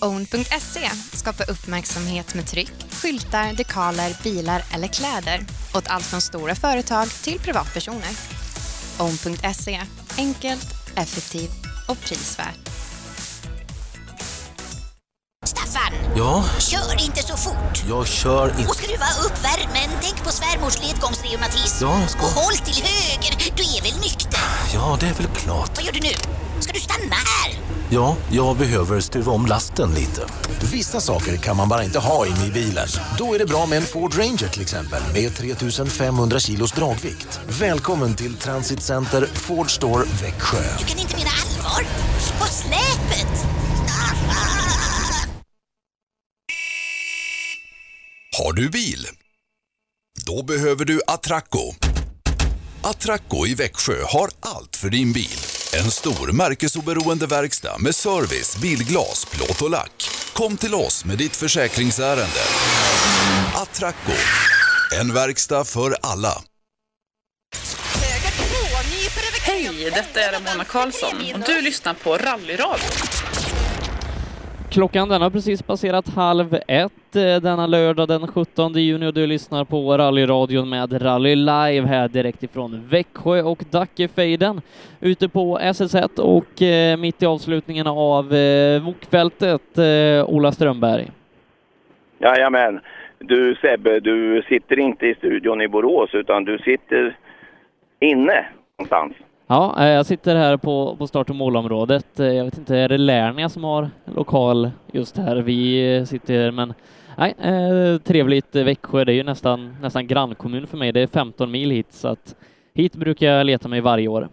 Own.se skapar E. uppmärksamhet med tryck, skyltar, dekaler, bilar eller kläder åt allt från stora företag till privatpersoner. Own.se, E. enkelt, effektivt och prisvärt.
Staffan!
Ja?
Kör inte så fort!
Jag kör
Och skruva upp värmen. Tänk på svärmors ledgångsreumatism.
Ja, ska-
Och håll till höger. Du är väl nykter?
Ja, det är väl klart.
Vad gör du nu? Ska du stanna här?
Ja, jag behöver stuva om lasten lite. Vissa saker kan man bara inte ha inne i bilen. Då är det bra med en Ford Ranger till exempel med 3500 kilos dragvikt. Välkommen till Transit Center Ford Store Växjö.
Du kan inte mena allvar! På släpet!
Har du bil? Då behöver du Atracco. Atracco i Växjö har allt för din bil. En stor märkesoberoende verkstad med service, bilglas, plåt och lack. Kom till oss med ditt försäkringsärende. Atracco, en verkstad för alla.
Hej, detta är Ramona Karlsson och du lyssnar på Rallyradion.
Klockan den har precis passerat halv ett eh, denna lördag den 17 juni och du lyssnar på rallyradion med Rally Live här direkt ifrån Växjö och Dackefejden ute på SS1 och eh, mitt i avslutningen av eh, Wokfältet, eh, Ola Strömberg.
Jajamän. Du Sebbe, du sitter inte i studion i Borås utan du sitter inne någonstans.
Ja, eh, jag sitter här på, på start och målområdet. Eh, Jag vet inte, är det Lernia som har lokal just här vi eh, sitter? Men nej, eh, trevligt eh, Växjö. Det är ju nästan, nästan grannkommun för mig. Det är 15 mil hit, så att hit brukar jag leta mig varje år.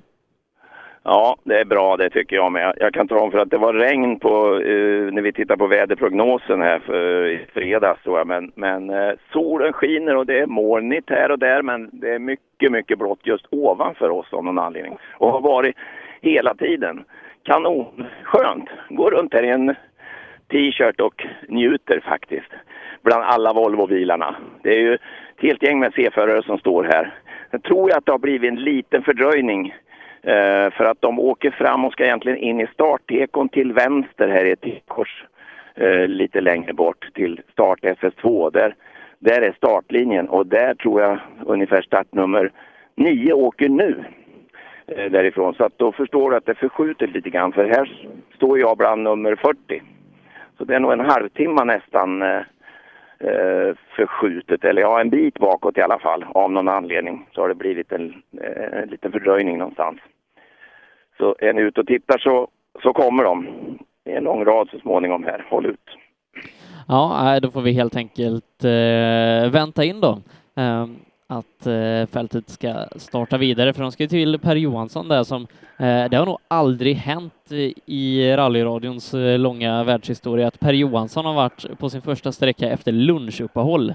Ja, det är bra det tycker jag med. Jag kan ta om för att det var regn på, eh, när vi tittar på väderprognosen här för, i fredags tror jag. Men, men eh, solen skiner och det är molnigt här och där men det är mycket, mycket blått just ovanför oss av någon anledning. Och har varit hela tiden. Kanonskönt! Går runt här i en t-shirt och njuter faktiskt. Bland alla Volvo-bilarna. Det är ju ett helt gäng med C-förare som står här. Jag tror att det har blivit en liten fördröjning Eh, för att de åker fram och ska egentligen in i starttekon till vänster här i ett T-kors eh, lite längre bort till start SS2. Där, där är startlinjen och där tror jag ungefär startnummer 9 åker nu eh, därifrån. Så att då förstår du att det förskjuter lite grann för här står jag bland nummer 40. Så det är nog en halvtimme nästan eh, eh, förskjutet, eller ja en bit bakåt i alla fall. Av någon anledning så har det blivit en, eh, en liten fördröjning någonstans. Så är ni ute och tittar så, så kommer de. Det är en lång rad så småningom här. Håll ut.
Ja, nej, då får vi helt enkelt eh, vänta in då eh, att eh, fältet ska starta vidare, för de ska ju till Per Johansson där som, eh, det har nog aldrig hänt i- i rallyradions eh, långa världshistoria att Per Johansson har varit på sin första sträcka efter lunchuppehåll.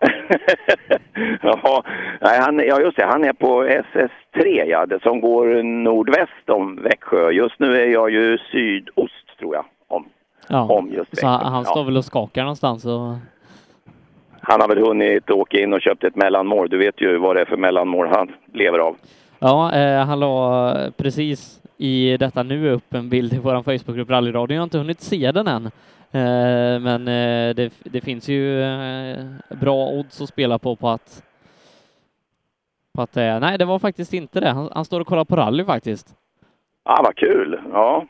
Ja, nej, han, ja just det, han är på SS3 ja, det som går nordväst om Växjö. Just nu är jag ju sydost tror jag. Om.
Ja,
Om just
så han,
Växjö,
han
ja.
står väl och skakar någonstans och
Han har väl hunnit åka in och köpt ett mellanmål. Du vet ju vad det är för mellanmål han lever av.
Ja, eh, han la precis i detta nu upp en bild i vår Facebookgrupp Rallyradion. Jag har inte hunnit se den än. Eh, men eh, det, det finns ju eh, bra odds att spela på på att, på att eh, nej, det var faktiskt inte det. Han, han står och kollar på rally faktiskt.
Ja, vad kul! Ja.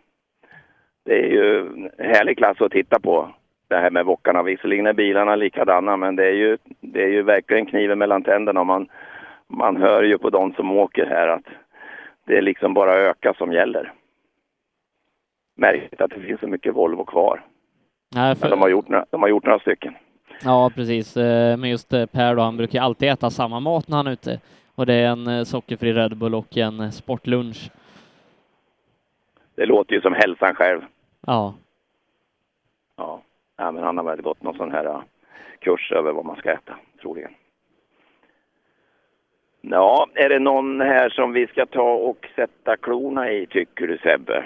Det är ju en härlig klass att titta på, det här med Wockarna. Visserligen är bilarna likadana, men det är ju, det är ju verkligen kniven mellan tänderna. Och Man, man hör ju på de som åker här att det är liksom bara öka som gäller. Märkligt att det finns så mycket Volvo kvar.
Nej,
Men
för,
de har gjort några, de har gjort några stycken.
Ja, precis. Eh, Men just eh, Per då, han brukar ju alltid äta samma mat när han är ute. Och det är en eh, sockerfri Red Bull och en eh, sportlunch.
Det låter ju som hälsan själv.
Ja.
Ja, ja men han har väl gått någon sån här eh, kurs över vad man ska äta, troligen. Ja, är det någon här som vi ska ta och sätta klorna i, tycker du Sebbe?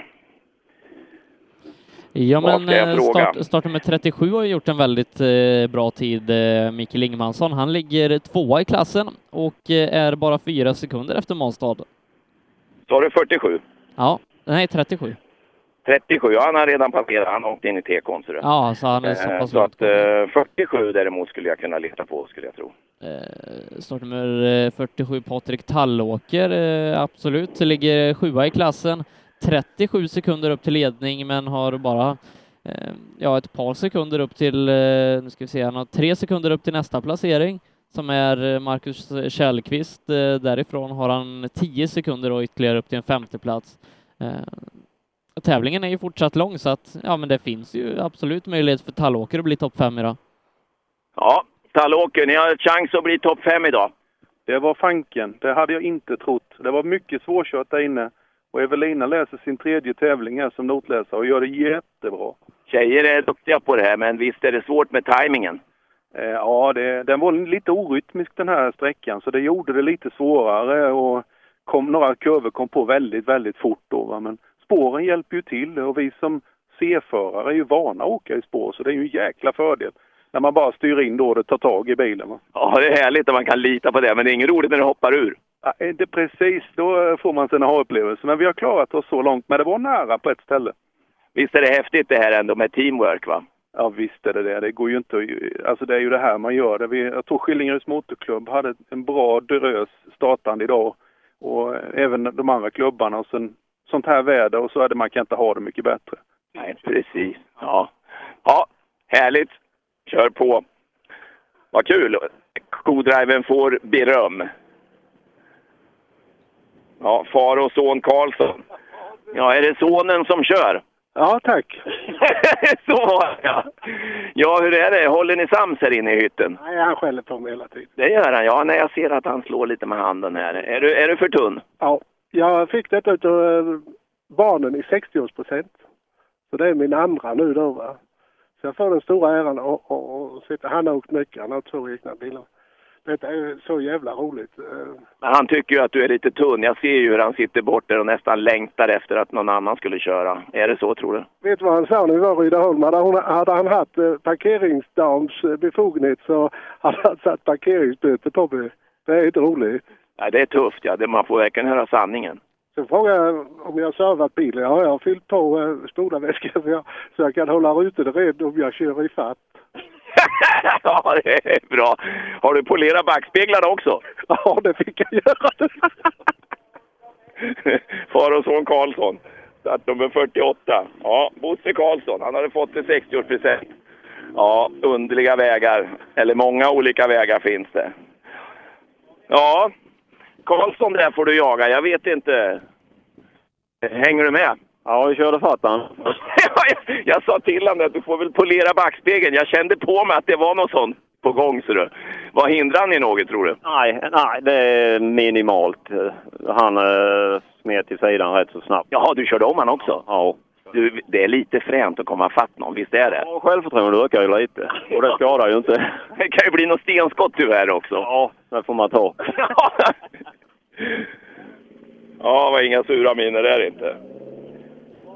Ja,
Vad
men
ska jag
eh,
fråga?
start, startnummer 37 har gjort en väldigt eh, bra tid, eh, Mikael Ingemansson. Han ligger tvåa i klassen och eh, är bara fyra sekunder efter Månstad.
Sa du 47?
Ja, nej 37.
37, ja, han har redan passerat. Han har åkt in i tekon, ser du.
Ja, så han är så
Eh,
pass
så
långt.
att eh, 47 däremot skulle jag kunna leta på, skulle jag tro.
Eh, startnummer eh, 47 Patrik Tallåker, eh, absolut, ligger sjua i klassen. 37 sekunder upp till ledning, men har bara eh, ja, ett par sekunder upp till, eh, nu ska vi se, han har tre sekunder upp till nästa placering som är eh, Marcus Kjellqvist. Eh, därifrån har han 10 sekunder och ytterligare upp till en femteplats. Eh, tävlingen är ju fortsatt lång så att ja, men det finns ju absolut möjlighet för Tallåker att bli topp fem idag.
Ja, Tallåker, ni har chans att bli topp fem idag.
Det var fanken. Det hade jag inte trott. Det var mycket svårkört där inne. Och Evelina läser sin tredje tävling här som notläsare och gör det jättebra.
Tjejer är duktiga på det här, men visst är det svårt med tajmingen.
Eh, Ja, det, den var lite orytmisk den här sträckan så det gjorde det lite svårare och kom, några kurvor kom på väldigt, väldigt fort då. Va? Men spåren hjälper ju till och vi som C-förare är ju vana att åka i spår så det är ju en jäkla fördel när man bara styr in då och det tar tag i bilen. Va?
Ja, det är härligt att man kan lita på det, men det är inget roligt när det hoppar ur.
Ja, inte precis, då eh, får man sina ha-upplevelser. Men vi har klarat oss så långt, men det var nära på ett ställe.
Visst är det häftigt det här ändå med teamwork, va?
Ja visst är det det. Det går ju inte att- Alltså det är ju det här man gör. Det vi, jag tror Skillingaryds motorklubb hade en bra drös startande idag. Och eh, även de andra klubbarna. Och sen sånt här väder och så är det, man kan inte ha det mycket bättre.
Nej, precis. Ja. ja, härligt. Kör på. Vad kul. Kodriven får beröm. Ja, far och son Karlsson. Ja, är det sonen som kör?
Ja, tack.
Så var jag. Ja, hur är det? Håller ni sams här inne i hytten?
Nej, han skäller på mig hela tiden.
Det gör han, ja. Nej, jag ser att han slår lite med handen här. Är du, är du för tunn?
Ja, jag fick detta utav barnen i 60-årspresent. Så det är min andra nu då va. Så jag får den stora äran att att- att sitta. Han har åkt mycket, han har två egna bilar. Detta är så jävla roligt. Eh,
Men han tycker ju att du är lite tunn. Jag ser ju hur han sitter bort där och nästan längtar efter att någon annan skulle köra. Är det så, tror du?
Vet du vad han sa när vi var i Rydaholm? Hade, hon, hade han haft eh, parkeringsdams eh, befogenhet så hade han satt parkeringsböter på mig. Det är inte roligt.
Nej, det är tufft, ja. Det, man får verkligen höra sanningen.
Sen frågade jag om jag servat bilen. Ja, jag har fyllt på eh, spolarväskan så jag, så jag kan hålla rutan ren om jag kör i fatt.
ja, det är bra. Har du polerat backspeglarna också?
Ja, det fick jag göra.
Far och son Karlsson, start nummer 48. Ja, Bosse Karlsson, han hade fått en 60-årspresent. Ja, underliga vägar. Eller många olika vägar finns det. Ja, Karlsson där får du jaga. Jag vet inte. Hänger du med?
Ja, vi körde fatt han.
Jag sa till honom att du får väl polera backspegeln. Jag kände på mig att det var något sånt på gång. Så du. Vad hindrar ni något tror du?
Nej, nej, det är minimalt. Han eh, smet till sidan rätt så snabbt.
Jaha, du körde om han också?
Ja.
Du, det är lite fränt att komma fatt någon, visst är det?
Och Självförtroendet ökar ju lite. Och det skadar ju inte.
Det kan ju bli något stenskott tyvärr också.
Ja, det får man ta.
Ja, var inga sura miner där inte.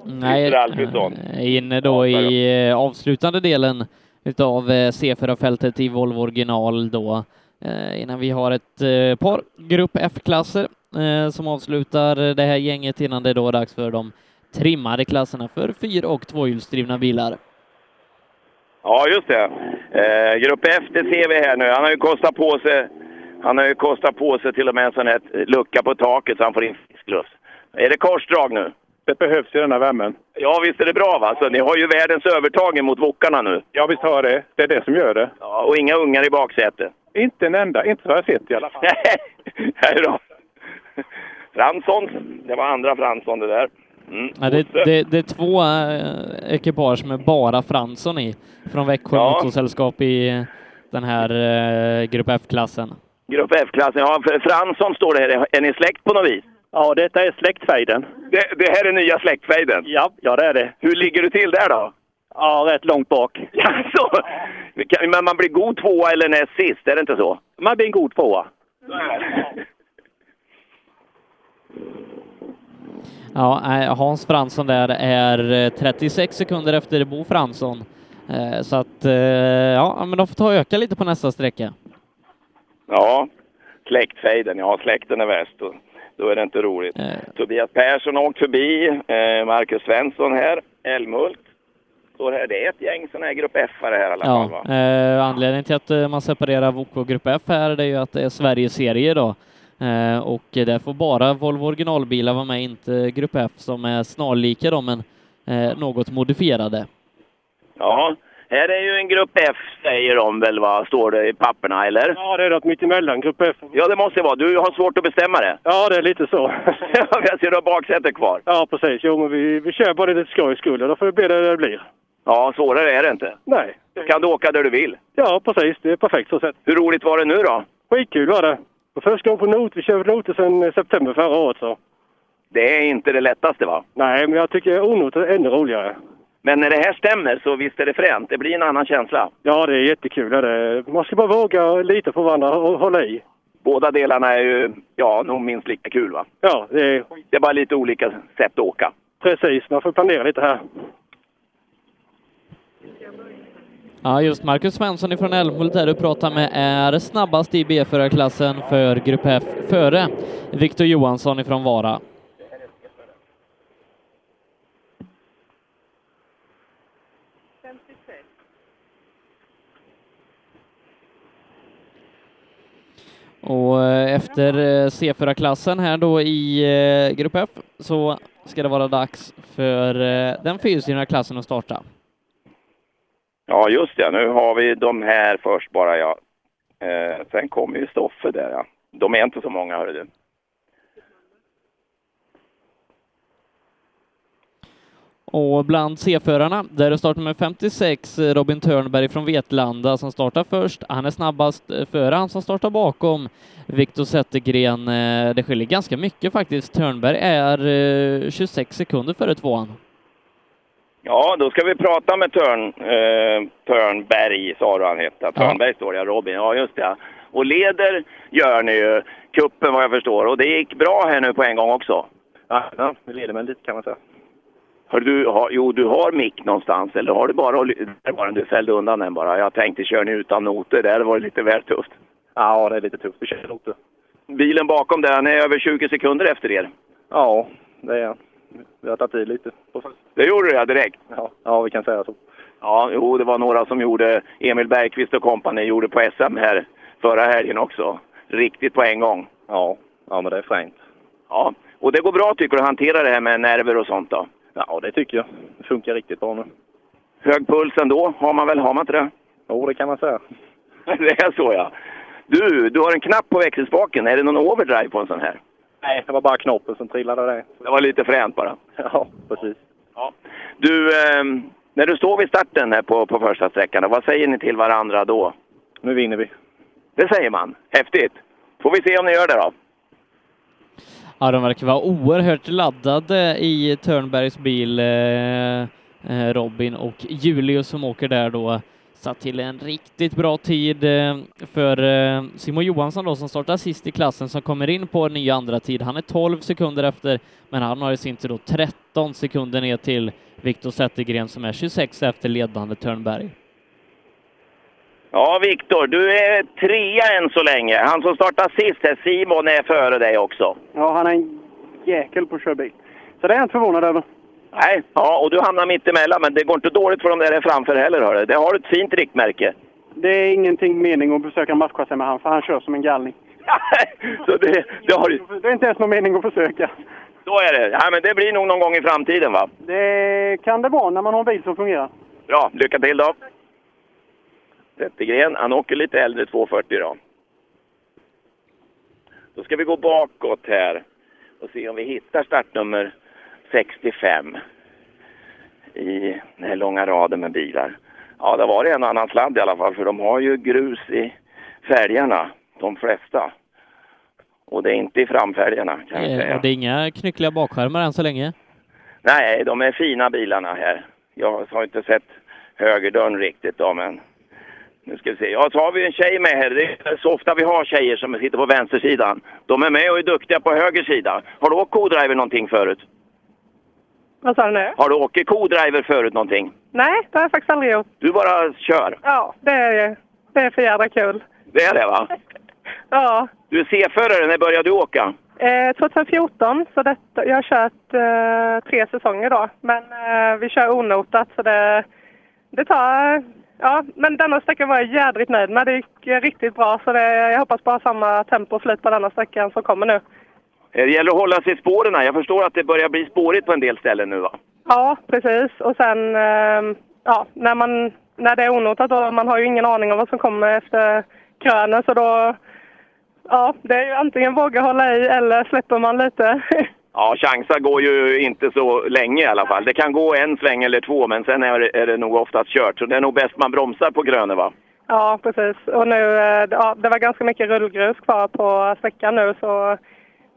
Nej,
Christer Alfredsson.
eh, inne då i eh, avslutande delen utav eh, C4-fältet i Volvo original då, eh, innan vi har ett eh, par grupp F-klasser eh, som avslutar det här gänget innan det då är dags för de trimmade klasserna för fyr och tvåhjulsdrivna bilar.
Ja, just det. Eh, grupp F, det ser vi här nu. Han har ju kostat på sig, han har ju kostat på sig till och med en sån här lucka på taket så han får in frisk luft. Är det korsdrag nu?
Det behövs ju den här värmen.
Ja, visst är det bra va? Så ni har ju världens övertag mot Wokarna nu.
Ja, visst har det. Det är det som gör det.
Ja, och inga ungar i baksätet.
Inte en enda. Inte så jag har sett i alla fall.
Nej då. Fransson, det var andra Fransson det där. Mm.
Ja, det, det, det är två eh, ekipage med bara Fransson i, från Växjö
Ja.
Motorsällskap i den här eh, Grupp F-klassen.
Grupp F-klassen, ja för Fransson står det här. Är ni släkt på något vis?
Ja, detta är släktfejden.
Det, det här är nya släktfejden?
Ja, ja det är det.
Hur ligger du till där då?
Ja, rätt långt bak.
Alltså, kan- men man blir god tvåa eller näst sist, är det inte så?
Man blir en god tvåa.
Ja, nej, Hans Fransson där är eh, 36 sekunder efter Bo Fransson. Eh, Så att, eh, ja, men de får ta och öka lite på nästa sträcka.
Ja, släktfejden. Ja, släkten är värst. Då, då är det inte roligt. Tobias Persson har åkt förbi. Eh, Marcus Svensson här. Älmhult. Står här. Det är ett gäng sådana här grupp F-are här i alla fall.
Ja,
Va?
eh, anledningen till att eh, man separerar VOK och Grupp F här det är ju att det är Sverigeserie då. Eh, och där får bara Volvo originalbilar vara med, inte Grupp F som är snarlika då, men eh, något modifierade.
Ja, Här är ju en grupp F säger de väl va, står det i papperna eller?
Ja, det är något mittemellan, grupp F.
Ja, det måste det vara. Du har svårt att bestämma det.
Ja, det är lite så.
Jag ser du har baksätet kvar.
Ja, precis. Jo, men vi, vi kör bara lite skojs skull och då får det bli det det blir.
Ja, svårare är det inte.
Nej.
Kan du åka där du vill?
Ja, precis. Det är perfekt så sett.
Hur roligt var det nu då?
Skitkul var det. Och första gången på not. Vi körde noter
eh,
sedan september förra året så.
Det är inte det lättaste va?
Nej, men jag tycker onoter är ännu roligare.
Men när det här stämmer så visst är det fränt. Det blir en annan känsla.
Ja, det är jättekul. är Det. Man ska bara våga lita på varandra och hålla i.
Båda delarna är ju, ja, nog minst lika kul va?
Ja, det är
Det är bara lite olika sätt att åka.
precis. Man får planera lite här.
Ja, just Marcus Svensson ifrån Älmhult där du pratar med är snabbast i B4-klassen för Grupp F före Viktor Johansson ifrån Vara. Och eh, efter eh, C4-klassen här då i eh, Grupp F så ska det vara dags för eh, den fyrhjulsdrivna klassen att starta.
Ja, just det. Nu har vi de här först bara, ja. Eh, sen kommer ju Stoffe där, ja. De är inte så många, hörru du.
Och bland C-förarna, där är startnummer 56, eh, Robin Törnberg från Vetlanda som startar först. Han är snabbast eh, före han som startar bakom Viktor Zettergren. Eh, Det skiljer ganska mycket faktiskt. Törnberg är eh, 26 sekunder före tvåan.
Ja, då ska vi prata med Törn, eh, Törnberg, sa du han hette. Törnberg står det, ja, Robin. Ja, just det. ja. Och leder gör ni ju kuppen vad jag förstår. Och det gick bra här nu på en gång också. Ja, ja vi leder med lite kan man säga. Hör du, har, jo, du har mick någonstans eller har du bara... Där var den, du fällde undan den bara. Jag tänkte, kör ni utan noter? Där var det lite väl tufft.
Ja, det är lite tufft. Vi kör noter.
Bilen bakom där, han är över 20 sekunder efter er.
Ja, det är Vi har tagit i lite.
Det gjorde du ja, direkt.
Ja, ja, vi kan säga så.
Ja, jo, det var några som gjorde, Emil Bergqvist och kompani gjorde på SM här förra helgen också. Riktigt på en gång.
Ja, ja men det är fränt.
Ja, och det går bra tycker du att hantera det här med nerver och sånt då?
Ja, det tycker jag. Det funkar riktigt bra nu.
Hög puls ändå, har man väl, har man inte det?
Jo, det kan man säga.
Det är så ja. Du, du har en knapp på växelspaken. Är det någon overdrive på en sån här?
Nej, det var bara knoppen som trillade det.
Det var lite fränt bara.
Ja, precis.
Du, ehm, när du står vid starten här på, på första sträckan, då, vad säger ni till varandra då?
Nu vinner vi.
Det säger man. Häftigt! Får vi se om ni gör det då.
Ja, de verkar vara oerhört laddade i Törnbergs bil. eh, eh, Robin och Julius som åker där då satt till en riktigt bra tid eh, för eh, Simon Johansson då som startar sist i klassen som kommer in på en ny andra tid. Han är 12 sekunder efter, men han har i sin tur då 13 sekunder ner till Viktor Zettergren som är 26 efter ledande Törnberg.
Ja, Viktor, du är trea än så länge. Han som startar sist här, Simon, är före dig också.
Ja, han är en jäkel på att köra bil. Så det är jag inte förvånad över.
Nej, ja, och du hamnar mitt emellan, men det går inte dåligt för de där framför heller, hörru. Det har ett fint riktmärke.
Det är ingenting mening att försöka matcha sig med han, för han kör som en galning.
Så det, det, har, du-
Det är inte ens någon mening att försöka.
så är det. Ja, men det blir nog någon gång i framtiden, va?
Det kan det vara när man har en bil som fungerar.
Bra, lycka till då! Zettergren, han åker lite äldre 240 då. Då ska vi gå bakåt här och se om vi hittar startnummer 65 i den här långa raden med bilar. Ja, det var det en och annan sladd i alla fall för de har ju grus i fälgarna, de flesta. Och det är inte i framfälgarna kan jag
Eh,
säga.
och det är inga knyckliga bakskärmar än så länge.
Nej, de är fina bilarna här. Jag har inte sett högerdörren riktigt då, men nu ska vi se. Ja, så har vi en tjej med här. Det är så ofta vi har tjejer som sitter på vänstersidan. De är med och är duktiga på höger sida. Har du åkt co-driver någonting förut?
Vad sa du nu?
Har du åkt co-driver förut någonting?
Nej, det har jag faktiskt aldrig gjort.
Du bara kör.
Ja, det är, det är för jävla kul.
Det är det va?
Ja,
Du är C-förare, när började du åka?
eh, 2014, så detta, jag har kört eh, tre säsonger då. Men eh, vi kör onotat, så det, det tar... Ja, men denna sträckan var jag jädrigt nöjd med. Det gick eh, riktigt bra, så det, jag hoppas på att ha samma tempo och flyt på denna sträckan som kommer nu.
Eh, Det gäller att hålla sig i spåren. här. Jag förstår att det börjar bli spårigt på en del ställen nu va?
ehm, Ja, precis. Och sen, eh, ja, när man när det är onotat och man har ju ingen aning om vad som kommer efter krönen så då... Ja, det är ju antingen våga hålla i eller släpper man lite.
Ja, chansar går ju inte så länge i alla fall. Det kan gå en sväng eller två, men sen är det, är det nog oftast kört. Så det är nog bäst man bromsar på gröne, va?
ja, precis. Och nu... eh, Ja, det var ganska mycket rullgrus kvar på sträckan nu så...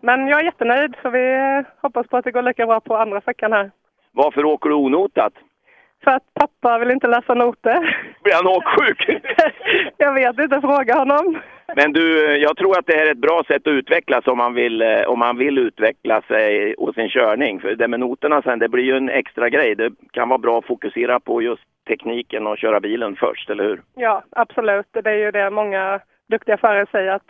Men jag är jättenöjd så vi eh, hoppas på att det går lika bra på andra sträckan här.
Varför åker du onotat?
För att pappa vill inte läsa noter.
Blir han åksjuk?
Jag vet inte, fråga honom.
Men du, jag tror att det här är ett bra sätt att utvecklas om man vill, eh, om man vill utveckla sig och sin körning. För det med noterna sen, det blir ju en extra grej. Det kan vara bra att fokusera på just tekniken och köra bilen först, eller hur?
Ja, absolut. Det är ju det många duktiga förare säger att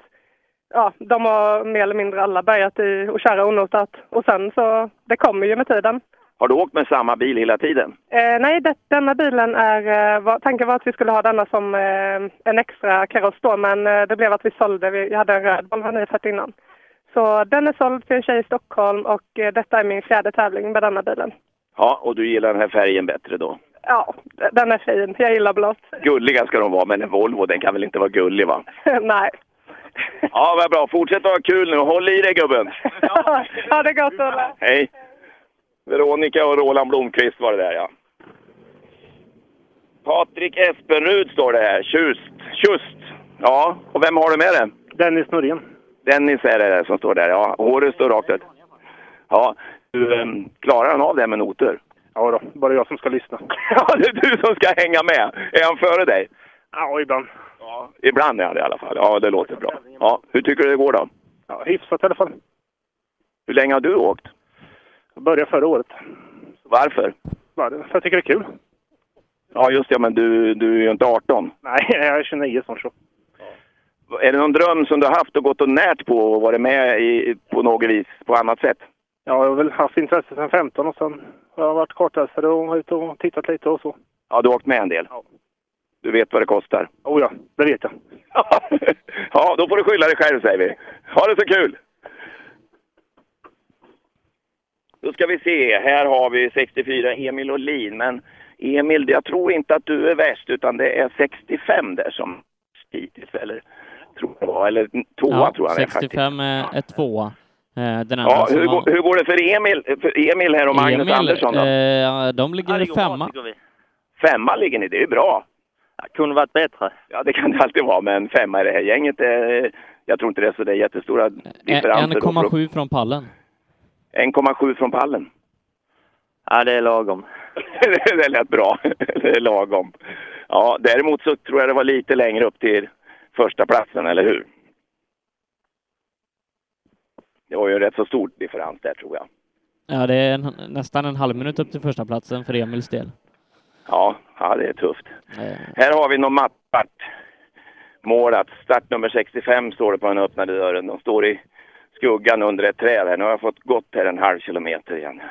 ja, de har mer eller mindre alla börjat i att köra onotat. Och sen så, det kommer ju med tiden.
Har du åkt med samma bil hela tiden?
Eh, nej, det, denna bilen är... Eh, var, tanken var att vi skulle ha denna som eh, en extra kaross då, men eh, det blev att vi sålde. Vi, jag hade en röd Volvo 940 innan. Så den är såld till en tjej i Stockholm och eh, detta är min fjärde tävling med denna bilen.
Ja, och du gillar den här färgen bättre då?
Ja, d- den är fin. Jag gillar blått.
Gulliga ska de vara, men en Volvo den kan väl inte vara gullig va?
nej.
Ja, vad bra. Fortsätt att ha kul nu. Håll i dig gubben.
ha det gott, Olle!
Hej. Veronica och Roland Blomqvist var det där ja. Patrik Espenrud står det här. Tjust. Tjust. Ja, och vem har du med dig?
Dennis Norén.
Dennis är det där som står där ja. Håret står rakt ut. Ja, du, ehm, klarar han av det här med noter?
Ja då, bara jag som ska lyssna.
Ja, det är du som ska hänga med. Är han före dig?
Ja, ibland.
Ja. Ibland är han det i alla fall. Ja, det låter bra. Ja, hur tycker du det går då?
Ja, hyfsat i alla fall.
Hur länge har du åkt?
Jag började förra året.
Varför?
Bara det, För jag tycker det är kul.
Ja, just det. Men du, du är ju inte 18.
Nej, jag är 29 snart så.
Är det någon dröm som du har haft och gått och närt på och varit med i, på något vis, på annat sätt?
Jag har väl haft intresse sedan 15 och sen har jag varit kartläsare och varit ute och tittat lite och så.
Ja, du har åkt med en del. Du vet vad det kostar.
Oh ja, det vet jag.
Ja, då får du skylla dig själv säger vi. Ha det så kul! Då ska vi se, här har vi 64 Emil Olin, men Emil, jag tror inte att du är värst utan det är 65 där som hittills, eller tror jag, det var, eller tvåa tror jag det är faktiskt.
65 är, är tvåa. Eh, Den andra
Ja,
som
hur,
har-
går- hur går det för Emil, för Emil här och Magnus
Emil,
Andersson då?
Eh, de ligger i femma.
Femma ligger ni, det är ju bra. Ja, kunde varit bättre. Ja, det kan det alltid vara, men femma i det här gänget, eh, jag tror inte det är så det är jättestora
Eh,
differenser. då.
1,7 från pallen.
1,7 från pallen.
Ja, det är lagom.
det lät bra. det är lagom. Ja, däremot så tror jag det var lite längre upp till första platsen, eller hur? Det var ju en rätt så stor differens där, tror jag.
Ja, det är en, nästan en halv minut upp till första platsen för Emils del.
Ja, ja det är tufft. Här har vi någon mappart. Målat. Start nummer 65 står det på den öppnade dörren. De står i skuggan under ett träd här. Nu har jag fått gått här en halv kilometer igen.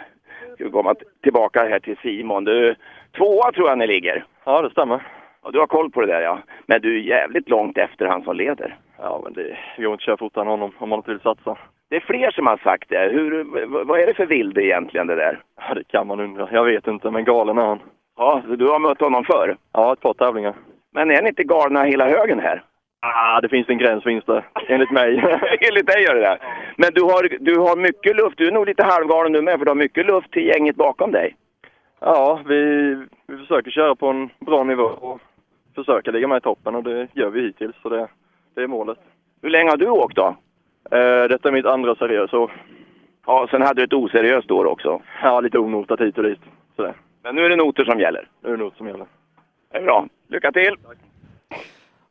Ska vi komma t- tillbaka här till Simon. Du, tvåa tror jag ni ligger.
Ja, det stämmer.
Och du har koll på det där ja. Men du är jävligt långt efter han som leder.
Ja, men det går inte att köra fortare än honom om man inte vill satsa.
Det är fler som har sagt det. Hur, v- vad är det för vilde egentligen det där?
Ja, det kan man undra. Jag vet inte, men galen är han.
Ja, så du har mött honom förr?
Ja, ett par tävlingar.
Men är ni inte galna hela högen här?
Ah, det finns en gräns, finns det. Enligt mig.
Enligt dig gör det där. Men du har, du har mycket luft. Du är nog lite halvgalen du med, för du har mycket luft till gänget bakom dig.
ja, vi, vi försöker köra på en bra nivå och försöka ligga med i toppen och det gör vi hittills. Så det, det är målet.
Hur länge har du åkt då?
Eh, detta är mitt andra seriösa år.
Ja, sen hade du ett oseriöst år också.
Ja, lite onotat hit och dit. Sådär.
Men nu är det noter som gäller.
Nu är det något som gäller.
Det är bra. Lycka till!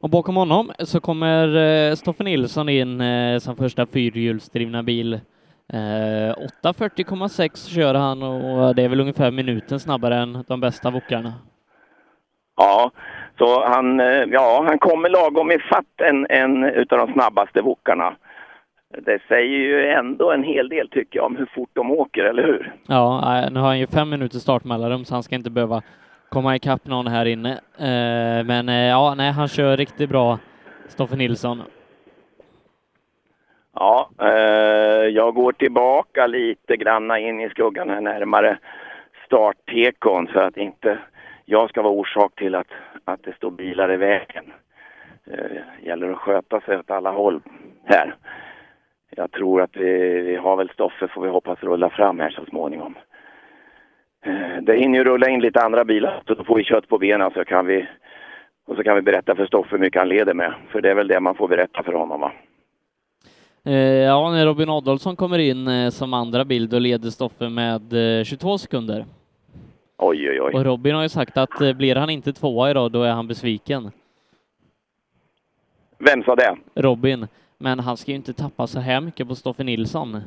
Och bakom honom så kommer eh, Stoffe Nilsson in eh, som första fyrhjulsdrivna bil. Eh, 8.40,6 kör han och det är väl ungefär minuten snabbare än de bästa wokarna.
Ja, så han, eh, ja, han kommer lagom ifatt en, en utav de snabbaste wokarna. Det säger ju ändå en hel del tycker jag om hur fort de åker, eller hur?
Ja, eh, nu har han ju fem minuter startmellanrum så han ska inte behöva komma ikapp någon här inne. Eh, Men eh, ja, nej, han kör riktigt bra, Stoffe Nilsson.
Ja, eh, jag går tillbaka lite granna in i skuggan här närmare starttekon för att inte jag ska vara orsak till att att det står bilar i vägen. Eh, gäller att sköta sig åt alla håll här. Jag tror att vi, vi har väl Stoffe får vi hoppas rulla fram här så småningom. Eh, det hinner ju rulla in lite andra bilar så då får vi kött på benen så kan vi och så kan vi berätta för Stoffe hur mycket han leder med. För det är väl det man får berätta för honom va.
Eh, Ja, när Robin Adolfsson kommer in eh, som andra bild, då leder Stoffe med eh, 22 sekunder.
Oj, oj, oj.
Och Robin har ju sagt att eh, blir han inte tvåa idag, då är han besviken.
Vem sa det?
Robin. Men han ska ju inte tappa så här mycket på Stoffe Nilsson.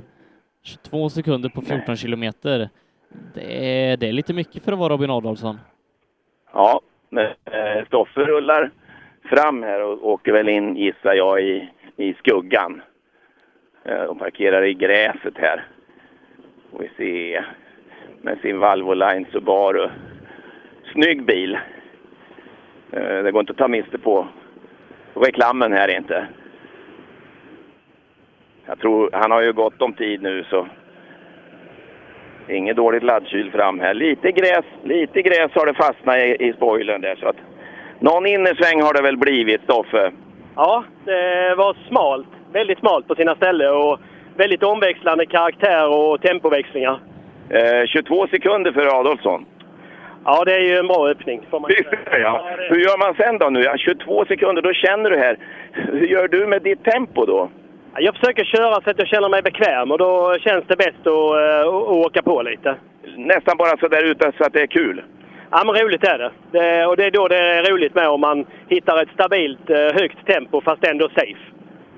22 sekunder på 14 kilometer. Det är, det är lite mycket för att vara Robin Adolfsson.
Ja, men, eh, Stoffe rullar fram här och åker väl in, gissar jag, i, i skuggan. Eh, De parkerar i gräset här. Och vi ser med sin Valvo Line Subaru. Snygg bil. Eh, Det går inte att ta miste på reklamen här inte. Jag tror, han har ju gott om tid nu så Inget dåligt laddkyl fram här. Lite gräs, lite gräs har det fastnat i, i spoilern där. Så att någon innersväng har det väl blivit, Stoffe?
Ja, det var smalt. Väldigt smalt på sina ställen och väldigt omväxlande karaktär och tempoväxlingar.
Eh, 22 sekunder för Adolfsson.
Ja, det är ju en bra öppning. Får man
säga. Ja. Hur gör man sen då nu? Ja, 22 sekunder, då känner du här. Hur gör du med ditt tempo då?
Ja, Jag försöker köra så att jag känner mig bekväm och då känns det bäst att, eh, att åka på lite.
Nästan bara så där ute så att det är kul.
Ja, men roligt är det. det. Och det är då det är roligt med om man hittar ett stabilt eh, högt tempo fast ändå safe.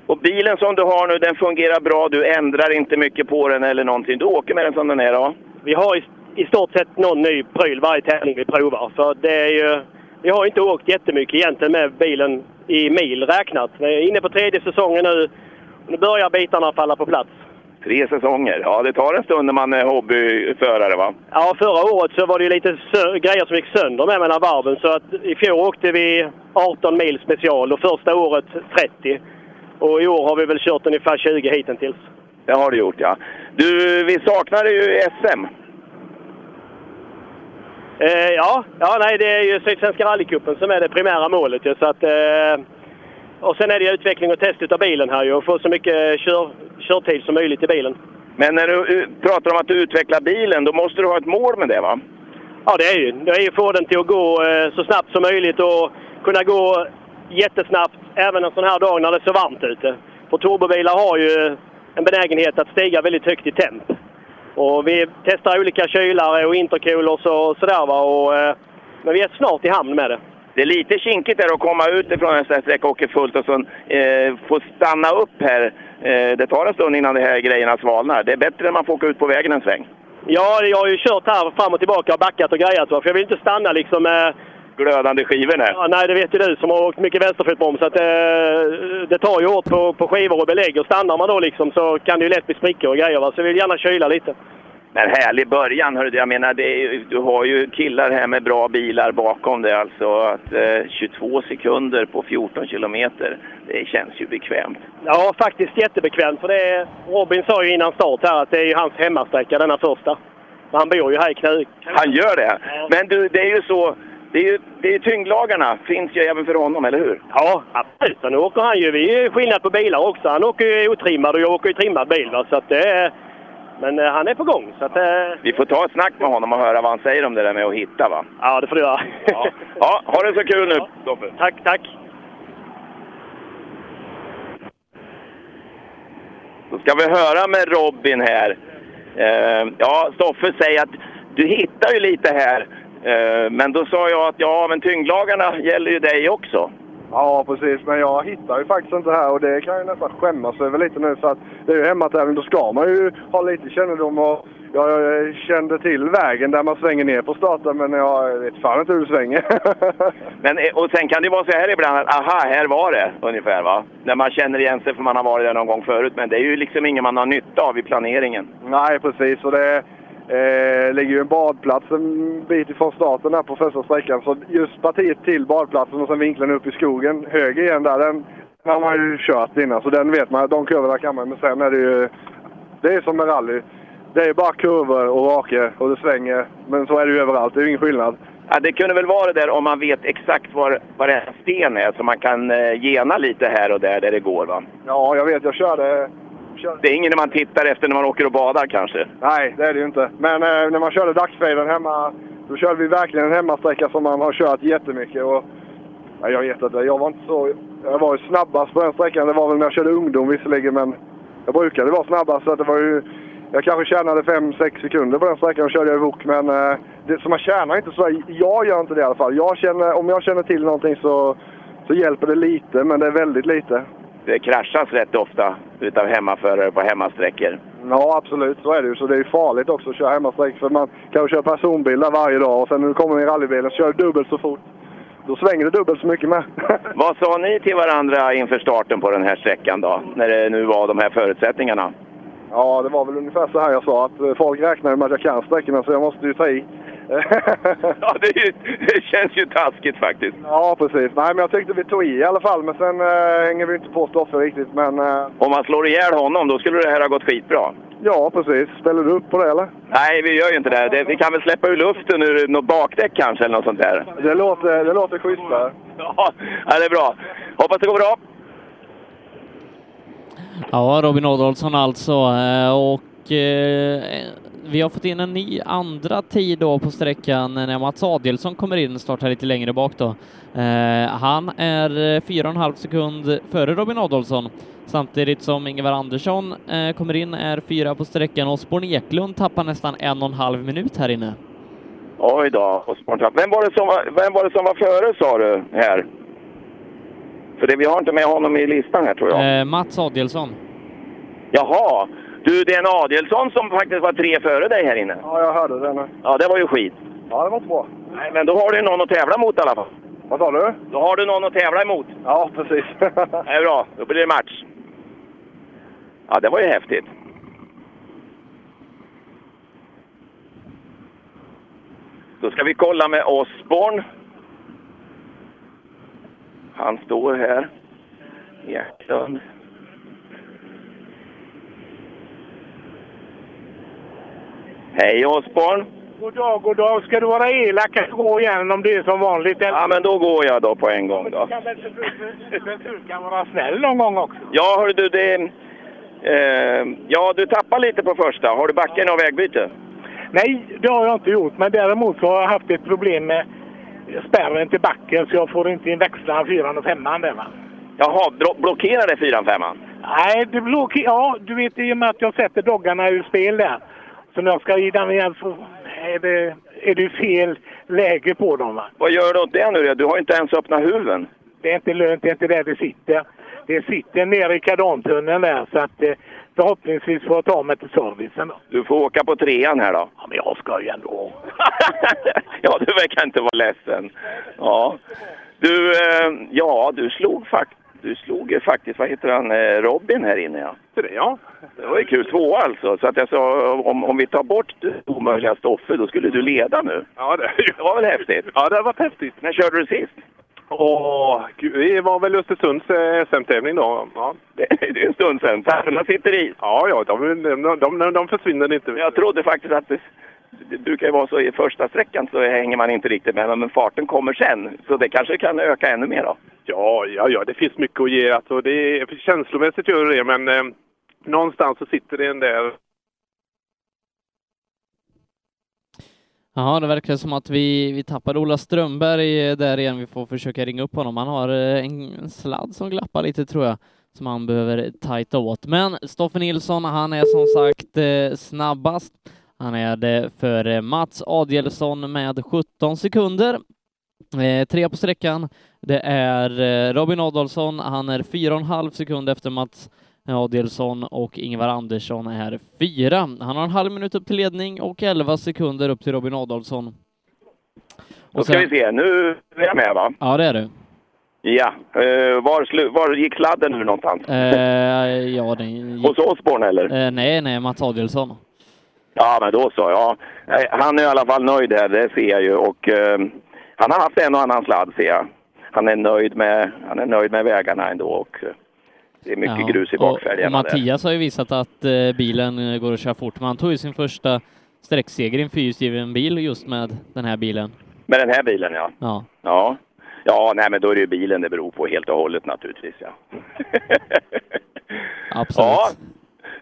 Och bilen som du har nu, den fungerar bra. Du ändrar inte mycket på den eller någonting. Du åker med den som den är då?
Vi har i, i stort sett någon ny pryl varje tävling vi provar. För det är ju, vi har inte åkt jättemycket egentligen med bilen i mil räknat. Vi är inne på tredje säsongen nu. Nu börjar bitarna falla på plats.
Tre säsonger. Ja, det tar en stund när man är hobbyförare va?
Ja, förra året så var det ju lite sö- grejer som gick sönder med mellan varven. Så att i fjol åkte vi 18 mil special och första året 30. Och i år har vi väl kört ungefär 20 hittills.
Det har du gjort ja. Du, vi saknade ju SM.
Eh, ja, ja, nej det är ju Sydsvenska rallycupen som är det primära målet ju, så att, eh, Och sen är det ju utveckling och test utav bilen här ju och få så mycket kör, körtid som möjligt i bilen.
Men när du eh, pratar om att du utvecklar bilen, då måste du ha ett mål med det va?
Ja, det är ju. Det är ju få den till att gå eh, så snabbt som möjligt och kunna gå jättesnabbt även en sån här dag när det är så varmt ute. För turbobilar har ju en benägenhet att stiga väldigt högt i temp. Och vi testar olika kylare och intercoolers och sådär va. Och, eh, men vi är snart i hamn med det.
Det är lite kinkigt där att komma ut ifrån en sån här sträcka och åka fullt och sen eh, få stanna upp här. Eh, det tar en stund innan de här grejerna svalnar. Det är bättre när man får åka ut på vägen en sväng.
Ja, jag har ju kört här fram och tillbaka och backat och grejat. va, För jag vill inte stanna liksom med...
Glödande skivor nej.
Ja, nej, det vet ju du som har åkt mycket vänsterfotbroms. Att, eh, det tar ju hårt på, på skivor och belägg. Och stannar man då liksom så kan det ju lätt bli sprickor och grejer. Va? Så jag vill gärna kyla lite.
Men härlig början hörru du. Jag menar, det är, ju- du har ju killar här med bra bilar bakom dig alltså. Att, eh, 22 sekunder på 14 kilometer, det känns ju bekvämt.
Ja, faktiskt jättebekvämt. För det är, Robin sa ju innan start här att det är ju hans hemmasträcka, denna första. Men Han bor ju här i Knut.
Han gör det. Men du, det är ju så. Det är ju, det är ju tyngdlagarna finns ju även för honom, eller hur?
Ja, absolut. Nu åker han ju... Det är ju skillnad på bilar också. Han åker ju otrimmad och jag åker ju trimmad bil. Va? Så att det är, men eh, han är på gång. Så att, eh,
Vi får ta ett snack med honom och höra vad han säger om det där med att hitta va?
ja, det får du göra.
Ja, ja ha det så kul nu Stoffe.
Tack, tack.
Då ska vi höra med Robin här. Eh, ja, Stoffe säger att du hittar ju lite här. Eh, men då sa jag att ja, men tyngdlagarna gäller ju dig också.
Ja, precis. Men jag hittar ju faktiskt inte här och det kan jag ju nästan skämmas över lite nu för att det är ju hemmatävling. Då ska man ju ha lite kännedom och jag, jag kände till vägen där man svänger ner på starten men jag vet fan inte hur det svänger.
Men, eh, och sen kan det vara så här ibland att aha, här var det ungefär va? När man känner igen sig för man har varit där någon gång förut. Men det är ju liksom ingen man har nytta av i planeringen.
Nej, precis. Och det eh, ligger ju en badplats en bit ifrån starten här på första sträckan. Så just partiet till badplatsen och sen vinkeln upp i skogen, höger igen där, den den har man ju kört innan. Så den vet man, de kurvorna kan man. Men sen är det ju, det är som med rally. det är bara kurvor och raka och det svänger. Men så är det ju överallt. Det är ju ingen skillnad.
Ja, det kunde väl vara det där om man vet exakt var varenda sten är så man kan eh, gena lite här och där, där det går. Va?
Ja, jag vet. Jag körde... körde.
Det är ingen man tittar efter när man åker och badar kanske.
Nej, det är det ju inte. Men eh, när man körde dagsfejden hemma, då körde vi verkligen en hemmasträcka som man har kört jättemycket. Och, ja, jag vet inte. Jag var inte så... Jag var ju snabbast på den sträckan. Det var väl när jag körde ungdom visserligen, men jag brukade vara snabbast. Så att det var ju... Jag kanske tjänade 5-6 sekunder på den sträckan och körde jag i vok, men eh, det, så man tjänar inte så. Jag gör inte det i alla fall. Jag känner, om jag känner till någonting så, så hjälper det lite, men det är väldigt lite.
Det kraschas rätt ofta utav hemmaförare på hemmasträckor.
Ja, absolut. Så är det ju. Så det är ju farligt också att köra hemmasträck. För man kan ju köra personbilar varje dag och sen när du kommer i rallybilen så kör du dubbelt så fort. Då svänger du dubbelt så mycket med.
Vad sa ni till varandra inför starten på den här sträckan då? När det nu var de här förutsättningarna?
Ja, det var väl ungefär så här jag sa. Att eh, folk räknar ju med att jag kan sträckorna så jag måste ju ta i.
ja, det, är ju, det känns ju taskigt faktiskt.
Ja, precis. Nej, men jag tyckte vi tog i i alla fall. Men sen eh, hänger vi inte på Stoffe riktigt. Men, eh,
Om man slår ihjäl honom, då skulle det här ha gått skitbra.
ja, precis. Ställer du upp på det eller?
Nej, vi gör ju inte det. det vi kan väl släppa ur luften ur något bakdäck kanske, eller något sånt där.
Det låter, det låter schysst där.
Ja, ja, det är bra. Hoppas det går bra.
Ja, Robin Adolfsson alltså. eh, Och eh, vi har fått in en ny andra tid då på sträckan när Mats Adielsson kommer in, startar lite längre bak då. Eh, Han är eh, fyra och en halv sekund före Robin Adolfsson, samtidigt som Ingvar Andersson eh, kommer in, är fyra på sträckan och Sporn Eklund tappar nästan en och en halv minut här inne.
Oj då, och spontant. Vem var, det som var, vem var det som var före sa du här? För det, vi har inte med honom i listan här tror jag.
Eh, Mats Adielsson.
Jaha! Du, det är en Adielsson som faktiskt var tre före dig här inne.
Ja, jag hörde det nu.
Ja, det var ju skit.
Ja, det var inte bra.
Nej, men då har du någon att tävla mot i alla fall.
Vad sa du?
Då har du någon att tävla emot.
Ja, precis.
Det är bra, då blir det match. Ja, det var ju häftigt. Då ska vi kolla med Osborn. Han står här. Eklund. Hej Osborn!
God dag, god dag. Ska du vara elak att gå igenom det som vanligt? Eller?
Ja, men då går jag då på en gång då.
Kan väl för- för- för- för- kan vara snäll någon gång också.
Ja, hör du, det... Eh, ja, du tappar lite på första. Har du backen av vägbyte?
Nej, det har jag inte gjort. Men däremot så har jag haft ett problem med spärren till backen så jag får inte in växlarna fyran och femman där va.
Jaha, bro- blockerar det 4 5
Nej, det blåker... Ja, du vet i och med att jag sätter doggarna ur spel där. Så när jag ska i den igen så är det, är det fel läge på dem va.
Vad gör du åt det nu då? Du har ju inte ens öppnat huven.
Det är inte lönt, det är inte där det sitter. Det sitter nere i kardantunneln där så att eh, förhoppningsvis får jag ta mig till servicen då.
Du får åka på trean här då.
Ja, men jag ska ju ändå.
Ja, du verkar inte vara ledsen. Ja. Du, eh, ja, du slog faktiskt... Du slog ju faktiskt, vad heter han, eh, Robin här inne ja.
Ja.
Det var ju kul, två alltså. Så att jag sa, om, om vi tar bort det omöjliga Stoffe, då skulle du leda nu.
Ja, det,
Det var väl häftigt?
ja, det har varit häftigt.
När körde du sist?
Åh, gud, det var väl Östersunds eh, SM-tävling då. Ja.
Det, är en stund sedan. Tarmarna sitter i.
Ja, ja, de, de, de, de försvinner inte.
Jag trodde faktiskt att det, det brukar ju vara så i första sträckan så hänger man inte riktigt med, men farten kommer sen. Så det kanske kan öka ännu mer då.
Ja, ja, ja, det finns mycket att ge. Alltså, det är, känslomässigt gör det det, men eh, någonstans så sitter det en där
Ja, det verkar som att vi, vi tappade Ola Strömberg eh, där igen. Vi får försöka ringa upp honom. Han har eh, en sladd som glappar lite tror jag, som han behöver tajta åt. Men Stoffe Nilsson, han är som sagt eh, snabbast. Han är det före Mats Adielsson med 17 sekunder. Eh, tre på sträckan. Det är eh, Robin Adolfsson. Han är fyra och en halv sekund efter Mats Adelsson och Ingvar Andersson är fyra. Han har en halv minut upp till ledning och 11 sekunder upp till Robin Adolfsson.
Då ska vi se, nu är jag med va?
Ja, det är du.
Ja, eh, var, slu, var gick sladden nu någonstans?
Eh, ja, den...
Hos Osborn eller?
Eh, nej, nej, Mats Adelsson.
Ja, men då så. Ja. Nej, Han är i alla fall nöjd här, det ser jag ju. Och, eh, han har haft en och annan sladd ser jag. Han är nöjd med, han är nöjd med vägarna ändå. Och, eh, Det är mycket grus i bakfälgarna
Och Mattias har ju visat att eh, bilen eh, går att köra fort, men han tog ju sin första sträckseger i en fyrhjulsdriven bil just med den här bilen.
Med den här bilen ja.
Ja.
Ja. Ja, nej men då är det ju bilen det beror på helt och hållet naturligtvis ja.
Absolut.
Ja,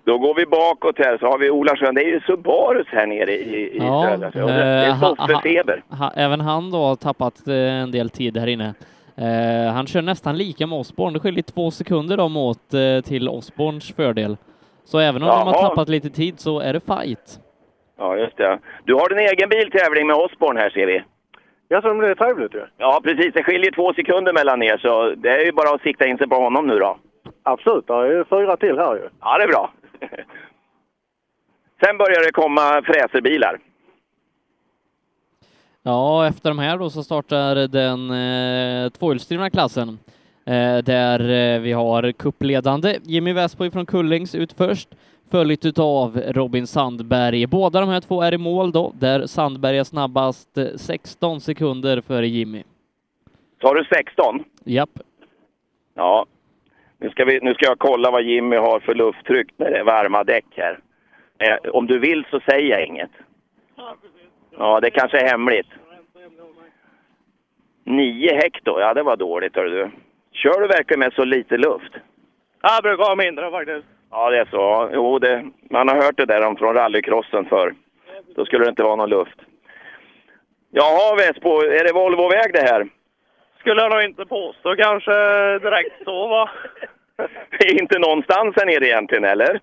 då går vi bakåt här så har vi Ola Sjön. Det är ju Subarus här nere i, i södra Sverige. Det
eh,
är
ha- ha-
Soffe-feber.
ha- även han då har tappat eh, en del tid här inne. Eh, han kör nästan lika med Osborn. Det skiljer två sekunder dem åt eh, till Osborns fördel. Så även om de har
Jaha.
tappat lite tid så är det fight.
Ja, just det. Du har din egen biltävling med Osborn här ser vi.
Jag tror det är trevligt ju.
Ja, precis. Det skiljer två sekunder mellan er så det är ju bara att sikta in sig på honom nu då.
Absolut, det är ju fyra till här ju.
Ja, det är bra. Sen börjar det komma fräserbilar.
Ja, efter de här då så startar den eh, tvåhjulsdrivna klassen eh, där eh, vi har kuppledande Jimmy Westboy från Kullings ut först, följt utav Robin Sandberg. Båda de här två är i mål då, där Sandberg är snabbast eh, 16 sekunder före Jimmy.
Tar du 16?
Japp.
Ja. Nu ska, vi, nu ska jag kolla vad Jimmy har för lufttryck när det är varma däck här. Eh, om du vill så säger jag inget. Ja, det kanske är hemligt. 9 hekto, ja det var dåligt hör du. Kör du verkligen med så lite luft?
Jag brukar ha mindre faktiskt.
Ja, det är så. Ja, Jo, det, man har hört det där om från rallycrossen förr. Då skulle det inte vara någon luft. Jaha Vespo, är det Volvoväg det här?
Skulle jag nog inte påstå kanske direkt så va?
Det är inte någonstans här nere egentligen, eller?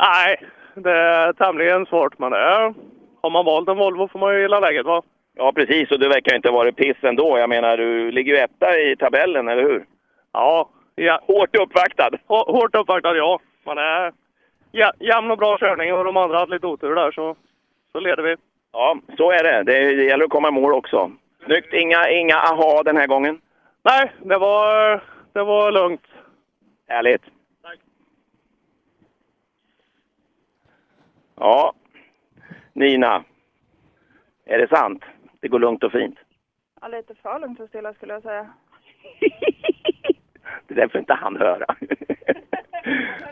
Nej, det är tämligen svårt men det är, har man valt en Volvo får man ju gilla läget va?
Ja, precis. Och du verkar ju inte vara piss ändå. Jag menar, du ligger ju etta i tabellen, eller hur?
Ja. ja.
Hårt uppvaktad?
hårt uppvaktad ja. Men det är ja, jämn och bra körning och de andra hade lite otur där så, så leder vi.
Ja, så är det. Det, det gäller att komma i mål också. Snyggt. Inga, inga aha den här gången.
Nej, det var, det var lugnt.
Härligt. Tack. Ja, Nina. Är det sant? Det går lugnt och fint.
Ja, lite för lugnt och stilla skulle jag säga.
Det där får inte han höra.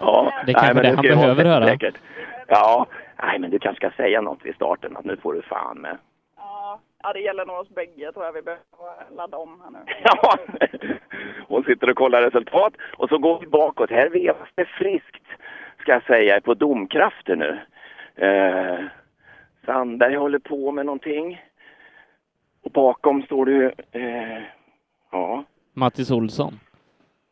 ja,
Det kanske
men
det
nu
han
ska jag
behöver
hålla-
höra.
Säkert. Ja, nej men du kanske ska säga något vid starten att nu får du fan med.
Ja, det gäller nog oss bägge tror jag. Vi behöver ladda om här nu.
Ja. Hon sitter och kollar resultat och så går vi bakåt. Här vevas det friskt, ska jag säga, på domkrafter nu. Eh, Sandberg håller på med någonting. Och bakom står det ju, eh, ja,
Mattis Olsson.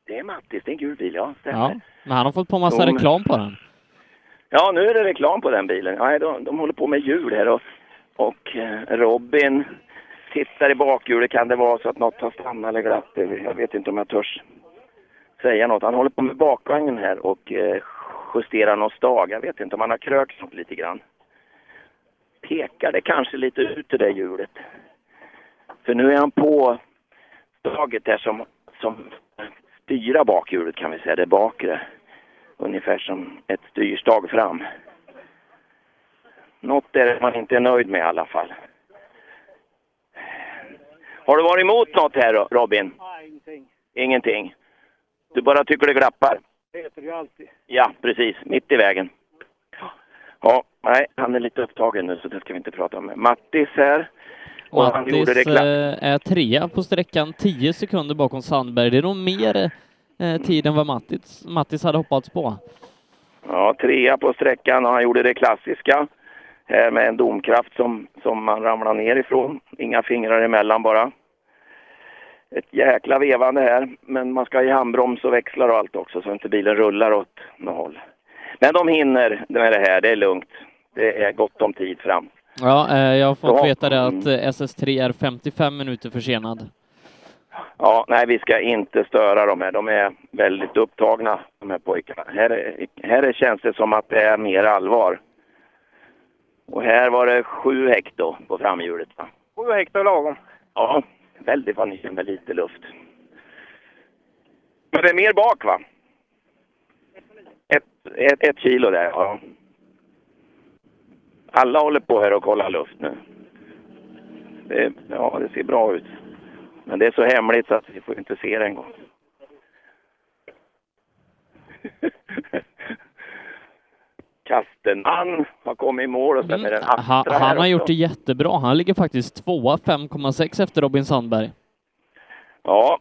det är Mattis, det är en gul bil, ja. stämmer.
Ja, men han har fått på massa
De-
reklam på den.
Ja, nu är det reklam på den bilen. Nej, de, de håller på med hjul här och, och eh, Robin tittar i bakhjulet. Kan det vara så att något har stannat eller glatt? Jag vet inte om jag törs säga något. Han håller på med bakvagnen här och eh, justerar någon stag. Jag vet inte om han har krört något lite grann. Pekar det kanske lite ut det där hjulet. För nu är han på staget där som, som styrar bakhjulet kan vi säga, det bakre. Ungefär som ett styrstag fram. Något är det man inte är nöjd med i alla fall. Har du varit emot något här då, Robin?
Nej, ingenting.
Ingenting. Du bara tycker det glappar?
Det heter ju alltid.
Ja, precis. Mitt i vägen. Ja, nej, han är lite upptagen nu så det ska vi inte prata om. Mattis här. Och han gjorde det
Mattis
glatt.
eh, är trea på sträckan, 10 sekunder bakom Sandberg. Det är nog mer eh, tid än vad Mattis, Mattis hade hoppats på.
Ja, trea på sträckan och han gjorde det klassiska. Här med en domkraft som, som man ramlar ner ifrån. Inga fingrar emellan bara. Ett jäkla vevande här. Men man ska ha i handbroms och växlar och allt också så inte bilen rullar åt något håll. Men de hinner med det här. Det är lugnt. Det är gott om tid fram.
Ja, eh, jag har fått
Ja.
veta det att eh, SS3 är 55 minuter försenad.
Ja, nej, vi ska inte störa dem här. De är väldigt upptagna, de här pojkarna. Här, är- här är- känns det som att det är mer allvar. Och här var det sju hekto på framhjulet. Va?
Sju hektar lagom.
Ja, väldigt vad ni känner lite luft. Men det är mer bak, va? Ett, ett, ett kilo där, ja. Alla håller på här och kollar luft nu. Det, ja, det ser bra ut. Men det är så hemligt så att vi får inte se det en gång. Kastenman har kommit i mål och sen är det en Astra
Mm.
här
Han, han har
också.
gjort det jättebra. Han ligger faktiskt tvåa, 5,6 efter Robin Sandberg.
Ja,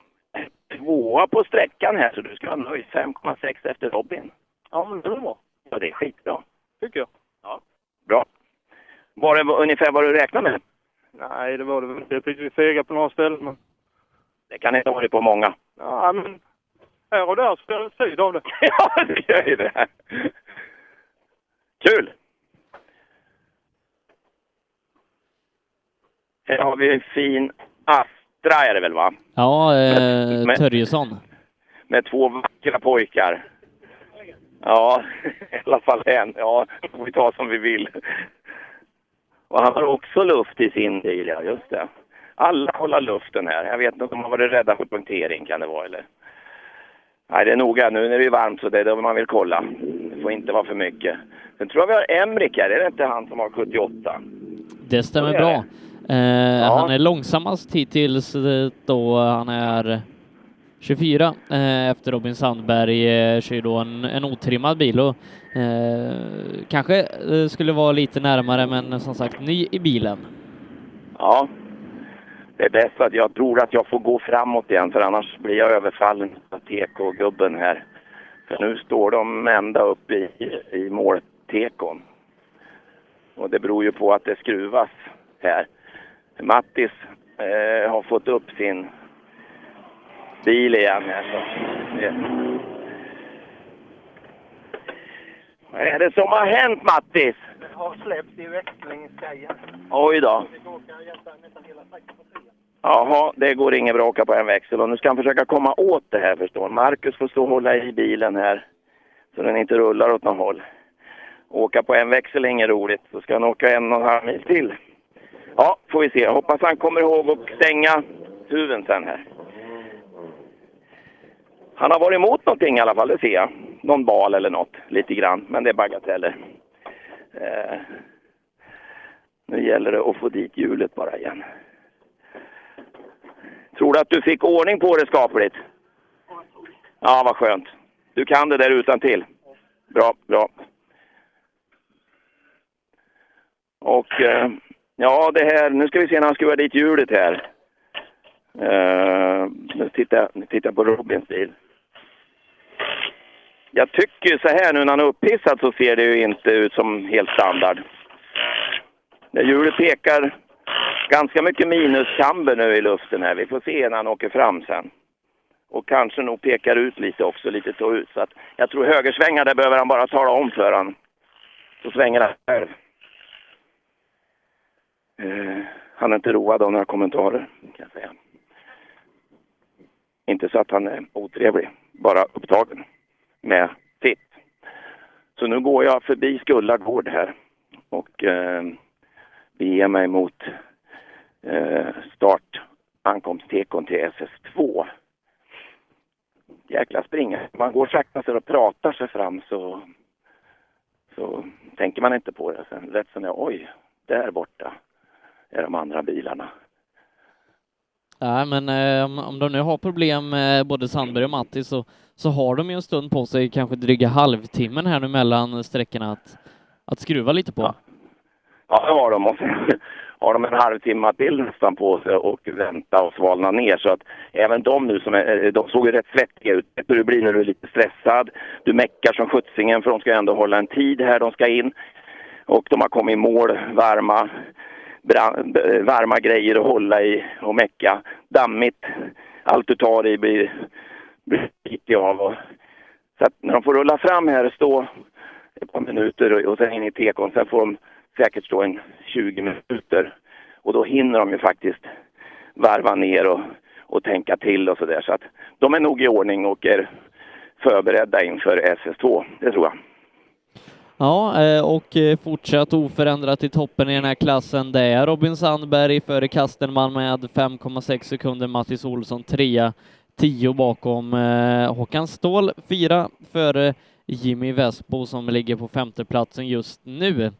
tvåa på sträckan här så du ska vara nöjd. 5,6 efter Robin. Ja, men det är bra. Ja, det är skitbra.
tycker jag.
Bra. Var det ungefär vad du räknade med?
Nej, det var det väl inte. Jag tyckte vi fegade på några ställen. Men...
Det kan inte ha varit på många.
Ja, men här och där spelar det tid av det.
ja, det gör ju det. Kul! Här har vi en fin Astra är det väl va?
Ja, eh,
Men-
Törjesson.
Med två vackra pojkar. Ja, i alla fall en. Ja, det får vi ta som vi vill. Och han har också luft i sin bil, ja just det. Alla kollar luften här. Jag vet inte om de har varit rädda för punktering kan det vara eller? Nej, det är noga. Nu när det är varmt så det är det man vill kolla. Det får inte vara för mycket. Sen tror jag vi har Emrik här. Är det inte han som har 78?
Det stämmer
Så är
bra. Eh, Han är långsammast hittills eh, då han är 24 eh, efter Robin Sandberg eh, kör då en, en otrimmad bil och eh, kanske eh, skulle vara lite närmare men som sagt ny i bilen.
Ja. Det är bäst att jag tror att jag får gå framåt igen för annars blir jag överfallen av TK-gubben här. För nu står de ända upp i, i måltekon. Och det beror ju på att det skruvas här. Mattis eh, har fått upp sin bil igen här. Så. det- Vad är det som har hänt Mattis?
har släppt i växlingsgrejen.
Oj då.
Vi går och kan jämföra nästan hela sträckan på trean.
Jaha, det går inget bra att åka på en växel och nu ska han försöka komma åt det här förstår han. Marcus får stå och hålla i bilen här så den inte rullar åt något håll. Åka på en växel är inget roligt, så ska han åka en och en halv mil till. Ja, får vi se. Jag hoppas han kommer ihåg att stänga huven sen här. Han har varit emot någonting i alla fall, det ser jag. Någon bal eller något, lite grann, men det är bagateller. Eh, nu gäller det att få dit hjulet bara igen. Tror du att du fick ordning på det skapligt? Ja, vad skönt. Du kan det där utan till. Bra, bra. Och eh, ja, det här, nu ska vi se när han skruvar dit hjulet här. Eh, nu tittar jag- nu tittar jag på Robins bil. Jag tycker så här nu när han är upphissad så ser det ju inte ut som helt standard. När hjulet pekar ganska mycket minuskamber nu i luften här. Vi får se när han åker fram sen. Och kanske nog pekar ut lite också, lite tå ut. Så att jag tror högersvängar, där behöver han bara tala om för han. Så svänger han själv. Eh, han är inte road av några kommentarer, kan jag säga. Inte så att han är otrevlig, bara upptagen med sitt. Så nu går jag förbi Skulla gård här och eh, beger mig mot eh, start ankomsttekon till SS2. Jäkla springa. Man går sakta så och pratar sig fram så, så tänker man inte på det. Sen rätt som det är, oj, där borta är de andra bilarna.
Nej, men eh, om- om de nu har problem, eh, både Sandberg och Matti, så, så har de ju en stund på sig, kanske dryga halvtimmen här nu mellan sträckorna att, att skruva lite på.
Ja, det har de. Och sen har de en halvtimme till nästan på sig och vänta och svalna ner. Så att även de nu som är, eh, de såg ju rätt svettiga ut. Det du blir när du är lite stressad. Du meckar som sjuttsingen för de ska ändå hålla en tid här de ska in. Och de har kommit i mål, varma, bra- eh, varma grejer att hålla i och mecka. Dammigt. Allt du tar i blir, blir skitig av. Och, så att när de får rulla fram här och stå ett par minuter och, och sen in i tekon. Sen får de säkert stå en 20 minuter. Och då hinner de ju faktiskt varva ner och, och tänka till och sådär. Så att de är nog i ordning och är förberedda inför SS2, det tror jag.
Ja, eh, och eh, fortsatt oförändrat i toppen i den här klassen. Det är Robin Sandberg före Kastenman med 5,6 sekunder, Mattis Olsson trea, 10 bakom eh, Håkan Ståhl fyra före Jimmy Vespo som ligger på femteplatsen just nu.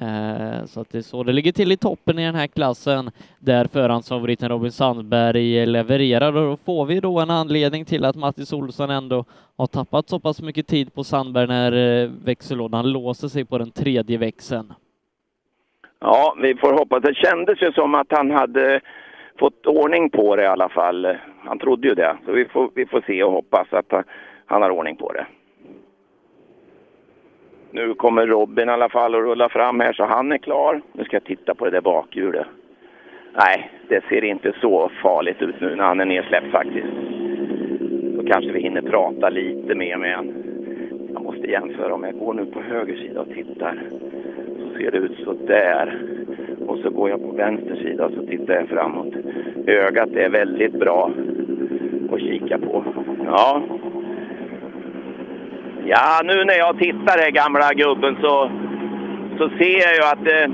Eh, Så att det är så det ligger till i toppen i den här klassen där förhandsfavoriten Robin Sandberg levererar och då får vi då en anledning till att Mattis Olsson ändå har tappat så pass mycket tid på Sandberg när eh, växellådan låser sig på den tredje växeln.
Ja, vi får hoppas. Det kändes ju som att han hade fått ordning på det i alla fall. Han trodde ju det. Så vi får, vi får se och hoppas att han- han har ordning på det. Nu kommer Robin i alla fall att rulla fram här så han är klar. Nu ska jag titta på det där bakhjulet. Nej, det ser inte så farligt ut nu när han är nedsläppt faktiskt. Då kanske vi hinner prata lite mer med honom. Jag måste jämföra om jag går nu på höger sida och tittar så ser det ut så där. Och så går jag på vänster sida och så tittar jag framåt. Ögat är väldigt bra att kika på. Ja. Ja, nu när jag tittar här gamla gubben så, så ser jag ju att det,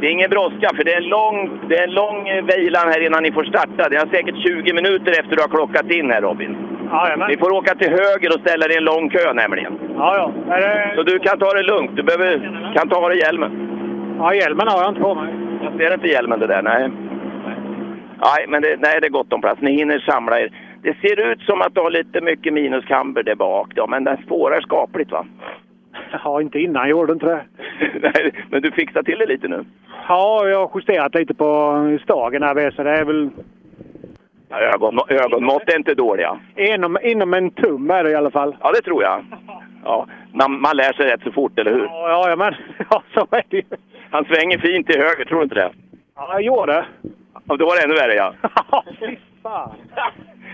det är ingen brådska för det är en lång, det är en lång eh, vilan här innan ni får starta. Det är säkert 20 minuter efter du har klockat in här Robin.
Jajamän.
Ni får åka till höger och ställa dig i en lång kö nämligen.
Ja, ja. Nej, det...
Så du kan ta det lugnt. Du behöver, kan ta av dig hjälmen.
ja, hjälmen har jag inte på mig.
Jag ser inte hjälmen det där, nej. Nej, men det, nej, det är gott om plats. Ni hinner samla er. Det ser ut som att du har lite mycket minuskamber där bak då, men den spårar skapligt va?
Ja, inte innan gjorde inte det.
nej, men du fixar till det lite nu.
Ja, jag har justerat lite på stagen här vid, så det är väl
Ja, ögon, ögonmått är inte dåliga.
inom, inom en tum är det i alla fall.
Ja, det tror jag. Ja, man, man lär sig rätt så fort, eller hur?
Ja, ja, men ja, så är det ju.
Han svänger fint till höger, tror du inte det?
Ja, jag gjorde det.
Ja, då var det ännu värre ja.
Fan.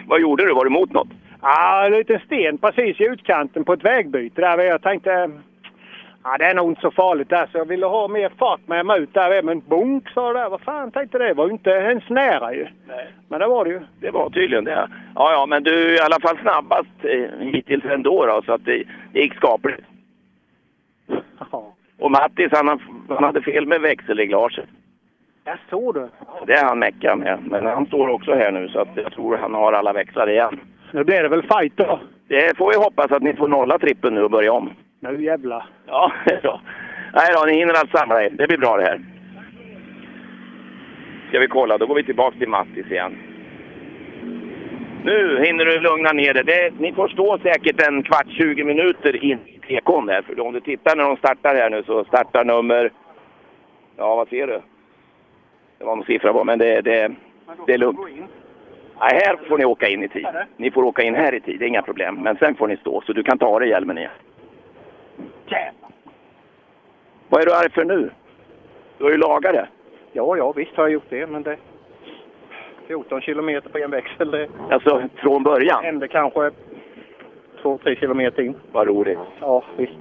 Vad gjorde du? Var du mot något?
Ja, lite sten precis i utkanten på ett vägbyte där vid. Jag tänkte, ja, det är nog inte så farligt där, så jag ville ha mer fart med mig ut där vid. Men bonk sa det där. Vad fan tänkte det? var ju inte ens nära ju. Men det var det ju.
Det var tydligen det. Ja, ja, men du är i alla fall snabbast eh, hittills ändå då, så att det, det gick skapligt. Och Mattis, han, har- han hade fel med växelreglaget.
Jag såg det.
Det är han mecka med. Men han står också här nu, så att jag tror han har alla växlar igen.
Nu blir det väl fight då.
Det får vi hoppas att ni får nolla trippen nu och börja om.
Nu jävlar.
Ja, ja. Nej då, ni hinner allt samla er. Det blir bra det här. Ska vi kolla, då går vi tillbaka till Mattis igen. Nu hinner du lugna ner dig. Det, ni får stå säkert en kvart, 20 minuter in i tekon där. För om du tittar när de startar här nu så startar nummer... Ja, vad ser du? Det var någon siffra på, men det, det, det är lugnt. Nej, här får ni åka in i tid. Ni får åka in här i tid, det är inga problem. Men sen får ni stå, så du kan ta av dig hjälmen igen. Vad är du arg för nu? Du har ju lagat det.
Ja, ja, visst har jag gjort det, men det... 14 kilometer på en växel, det
Alltså, från början?
hände kanske 2-3 kilometer in.
Vad roligt.
Ja, visst.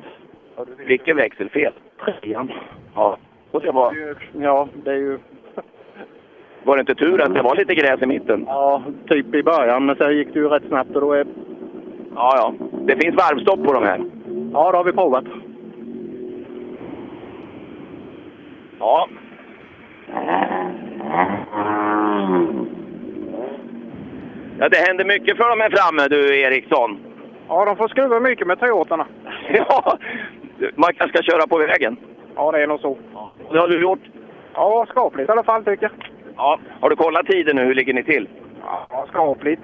Vilken växelfel? Trean. Ja. Och det var,
Ja, det är ju...
var det inte tur att det var lite gräs i mitten?
Ja, typ i början, men sen gick det ju rätt snabbt och då är...
Ja, ja. Det finns varvstopp på de här.
Ja, det har vi provat.
Ja. Ja, det händer mycket för de här framme du, Eriksson.
Ja, de får skruva mycket med Toyotarna.
Ja, man kanske ska köra på vägen.
Ja, det är nog så.
Det har du gjort?
Ja, skapligt i alla fall tycker jag.
Ja. Har du kollat tiden nu? Hur ligger ni till?
Ja, skapligt.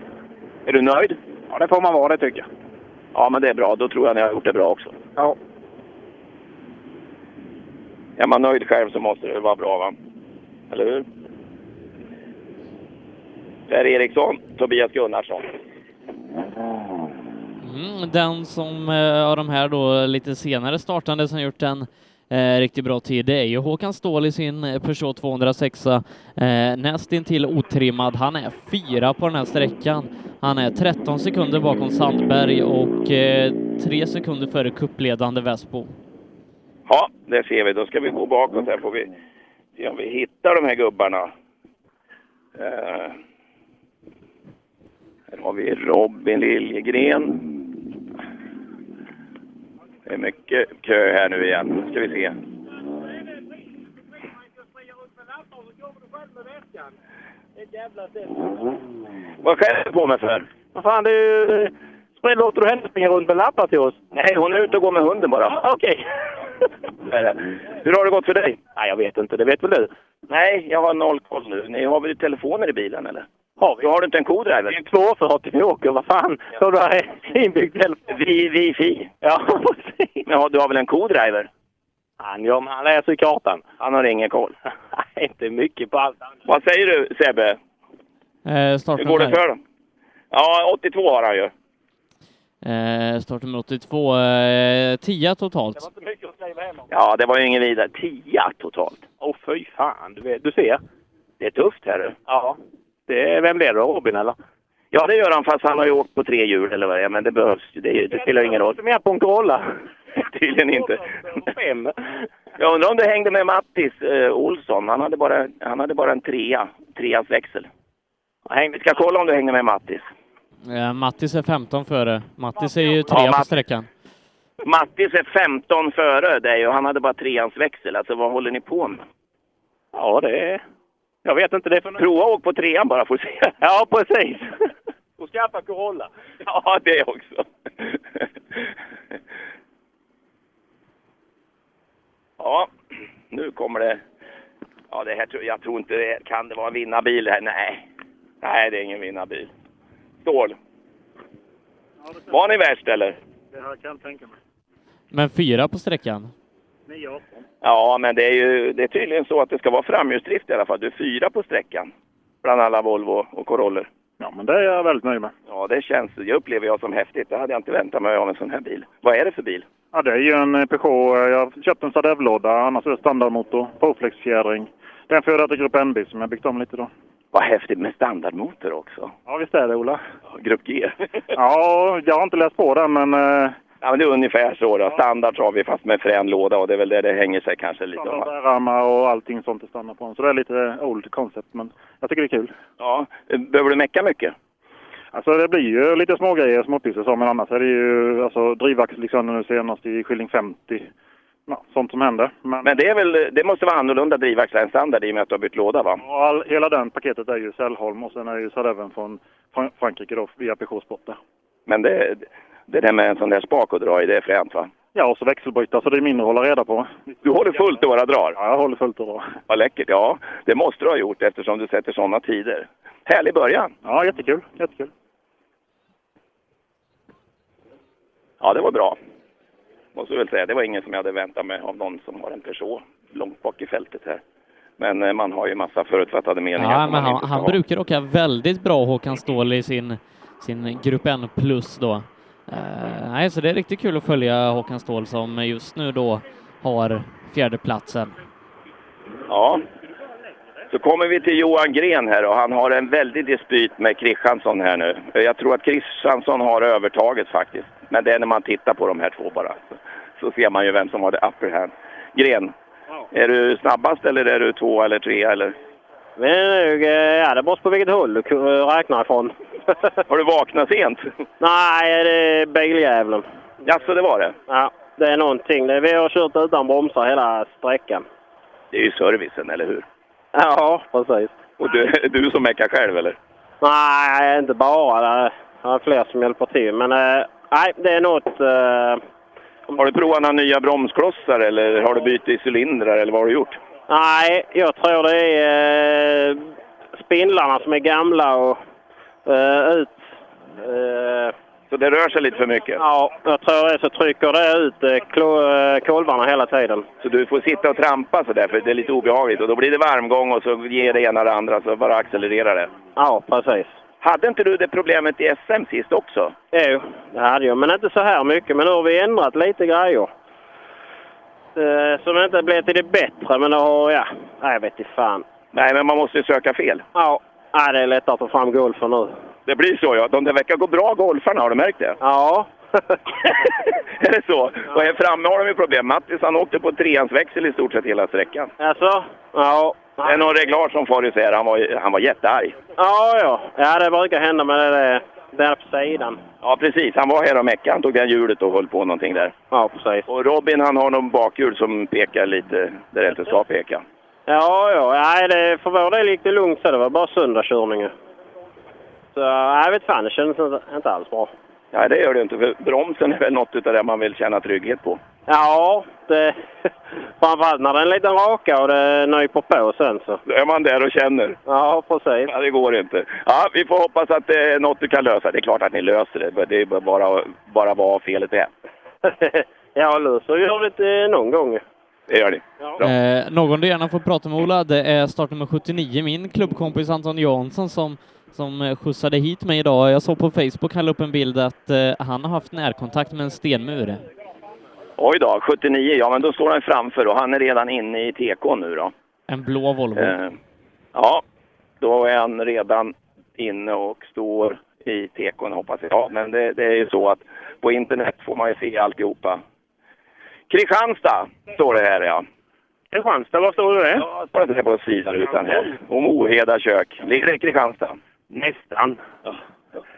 Är du nöjd?
Ja, det får man vara det tycker jag.
Ja, men det är bra. Då tror jag ni har gjort det bra också.
Ja.
Är man nöjd själv så måste det vara bra, va? Eller hur? Per Eriksson, Tobias Gunnarsson.
Mm, den som eh, av de här då lite senare startande som gjort en eh, riktigt bra tid, det är ju Håkan Ståhl i sin eh, Peugeot 206 eh, nästintill otrimmad. Han är fyra på den här sträckan. Han är 13 sekunder bakom Sandberg och eh, tre sekunder före kuppledande Väsbo.
Ja, det ser vi. Då ska vi gå bakåt här får vi se om vi hittar de här gubbarna. Eh, här har vi Robin Liljegren. Det är mycket kö här nu igen. Nu ska vi se. Vad skäller du på mig för?
Vad fan, det är ju... Låter du henne springa runt med lappar till oss?
Nej, hon är ute och går med hunden bara.
Okej.
Det är det. Hur har det gått för dig? Nej, jag vet inte. Det vet väl du? Nej, jag har noll koll nu. Ni har väl telefoner i bilen eller? Har vi? Har du inte en co-driver? Det är två för att vi åker. Vad fan? Så du har inbyggd telefon? Vi, wifi. Ja, precis. Ja, du har väl en co-driver? Han, ja, men han läser kartan. Han har ingen koll. Nej, inte mycket på allt Vad säger du, Sebbe?
Eh,
Hur går
startnummer.
det för dem? Ja, 82 har han ju.
Eh, startnummer 82, eh, 10 totalt.
Ja, det var ju ingen vidare. 10 totalt. Åh, oh, fy fan. Du, vet, du ser. Det är tufft här du. Ja. Det, vem blir det? Robin eller? Ja, det gör han fast han har ju åkt på tre hjul eller vad det är. Men det behövs ju. Det, är ju- det spelar ingen roll.
Som är på en Corolla.
Tydligen inte. Jag undrar om det hängde med Mattis eh, Olsson. Han hade, bara, han hade bara en trea. Treans växel. Häng- Vi ska kolla om du hängde med Mattis.
Eh, Mattis är 15 före. Mattis är ju trea på
Matt-
sträckan.
Mattis är 15 före dig och han hade bara treans växel. Alltså vad håller ni på med? Ja, det är... Jag vet inte. Det Prova att åka på trean bara får du se. Ja, precis.
Och skaffa Corolla.
Ja, det också. Ja, nu kommer det... Ja, det här tror jag tror inte det kan det vara en vinnarbil här. Nej, nej det är ingen vinnarbil. Stål. Var ni värst eller?
Det här kan jag tänka mig.
Men fyra på sträckan.
9
Ja, men det är ju det är tydligen så att det ska vara framhjulsdrift i alla fall. Du är fyra på sträckan bland alla Volvo och Corollor.
Ja, men det är jag väldigt nöjd med.
Ja, det känns, det upplever jag som häftigt. Det hade jag inte väntat mig av en sån här bil. Vad är det för bil?
Ja, det är ju en eh, Peugeot. eh, Jag köpte en Sadev-låda, annars är det standardmotor. Proflex-fjädring. Det är en 4 Grupp NB som jag byggt om lite då.
Vad häftigt med standardmotor också.
Ja, visst är det, Ola?
Grupp G.
Ja, jag har inte läst på den, men... eh,
Ja, men det är ungefär så. Då. Standard har vi fast med frän låda och det är väl där det hänger sig kanske lite. om.
Bärarmar och allting sånt det stannar på den. Så det är lite old concept, men jag tycker det är kul.
Ja, behöver du mecka mycket?
Alltså det blir ju lite små grejer som upplyser som men annars är det ju alltså drivaxel liksom nu senast i skilling 50. Ja, sånt som händer. Men,
Men det, är väl, det måste vara annorlunda drivaxlar än standard i och med att du har bytt låda va?
och all, hela den paketet är ju Sällholm och sen är ju Sadeven från Fran- Frankrike då via Peugeot Sport där.
Men det, det där med en sån där spak att dra i, det är fränt va?
Ja, och så växelbrytare så det är mindre att hålla reda på.
Du håller fullt och bara drar?
Ja, jag håller fullt och bra.
Vad läckert. Ja, det måste du ha gjort eftersom du sätter sådana tider. Härlig början!
Ja, jättekul. Jättekul.
Ja, det var bra. Måste jag väl säga. Det var ingen som jag hade väntat mig av någon som har en Peugeot långt bak i fältet här. Men eh, man har ju massa förutfattade meningar.
Ja,
som
men
man
han,
inte ska
han
ha.
brukar åka väldigt bra Håkan Ståhl i sin, sin Grupp N plus då. Eh, nej, så det är riktigt kul att följa Håkan Ståhl som just nu då har fjärdeplatsen.
Ja. Så kommer vi till Johan Gren här och han har en väldig dispyt med Kristiansson här nu. Jag tror att Kristiansson har övertaget faktiskt. Men det är när man tittar på de här två bara. Så, så ser man ju vem som har det upper hand. Gren, är du snabbast eller är du två eller tre eller?
Men nu, ja, det beror på vilket håll du eh, räknar ifrån.
Har du vaknat sent?
Nej, det är biljäveln.
Ja, så det var det?
Ja, det är någonting. Det- Vi har kört utan bromsar hela sträckan.
Det är ju servicen, eller hur?
Ja, precis.
Och du, du som meckar själv eller?
Nej, inte bara. Det är fler som hjälper till. Men eh, nej, det är något... eh,
Har du provat några nya bromsklossar eller har du bytt i cylindrar eller vad har du gjort?
Nej, jag tror det är eh, spindlarna som är gamla och eh, ut. Eh,
så det rör sig lite för mycket?
Ja, jag tror det. Så trycker det ut eh, klo- eh, kolvarna hela tiden.
Så du får sitta och trampa sådär för det är lite obehagligt och då blir det varmgång och så ger det ena det andra så bara accelererar det.
Ja, precis.
Hade inte du det problemet i SM sist också?
Jo, det hade jag. Men inte så här mycket. Men nu har vi ändrat lite grejer. Eh, som inte blev till det bättre, men det har... Ja, nej, jag vet inte fan.
Nej, men man måste ju söka fel.
Ja, nej, det är lättare att ta fram golfen nu.
Det blir så ja. De där verkar gå bra golfarna, har du märkt det?
Ja.
är det så? Och här framme har de ju problem. Mattis han åkte på treans växel i stort sett hela sträckan.
Alltså, ja.
Det är någon reglage som far isär. Han var, han var jättearg.
Ja, ja. Ja, det brukar hända men det är där på sidan.
Ja, precis. Han var här och meckade. Han tog det hjulet och höll på någonting där.
Ja, precis.
Och Robin han har någon bakhjul som pekar lite där det inte ska peka.
Ja, ja. Nej, det, för vår del gick det lugnt så det var bara söndagskörning ju. Så jag vet fan, det kändes inte, inte alls bra.
Nej, det gör det ju inte. För bromsen är väl något utav det man vill känna trygghet på.
Ja, det, framförallt när den är en liten raka och det nyper på sen så.
Då är man där och känner.
Ja, precis.
Ja, det går inte. Ja, vi får hoppas att det är något du kan lösa. Det är klart att ni löser det. Det är bara, bara vad felet är.
ja, löser gör vi det någon gång.
Det gör ni.
Ja.
Eh, någon du gärna får prata med Ola, det är startnummer 79, min klubbkompis Anton Jansson som, som eh, skjutsade hit mig idag. Jag såg på Facebook, han la upp en bild att eh, han har haft närkontakt med en stenmur.
Oj då, 79. Ja, men då står han framför och han är redan inne i TK nu då.
En blå Volvo.
Mm.
Eh, ja, då är han redan inne och står i tekon hoppas jag. Ja, men det, det är ju så att på internet får man ju se alltihopa. Kristianstad står det här ja.
Kristianstad, vad står det?
Ja, står inte det på sidan utan här. Om Oheda kök. Ligger det i Kristianstad?
Nästan.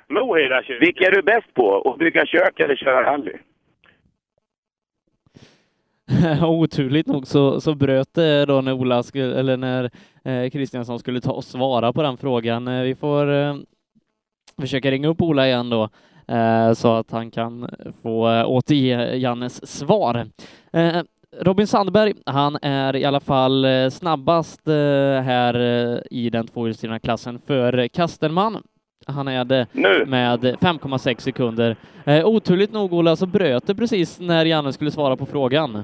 Med Oheda kök.
Vilka är du bäst på? Att bygga kök eller köra rally?
Oturligt nog så, så bröt det då när Ola skulle, eller när eh, Kristiansson skulle ta och svara på den frågan. Eh, vi får eh, försöka ringa upp Ola igen då eh, så att han kan få eh, återge Jannes svar. Eh, Robin Sandberg, han är i alla fall eh, snabbast eh, här eh, i den tvåhjulsdrivna klassen för Kastenman. Han är det med 5,6 sekunder. Eh, oturligt nog, Ola, så bröt det precis när Janne skulle svara på frågan.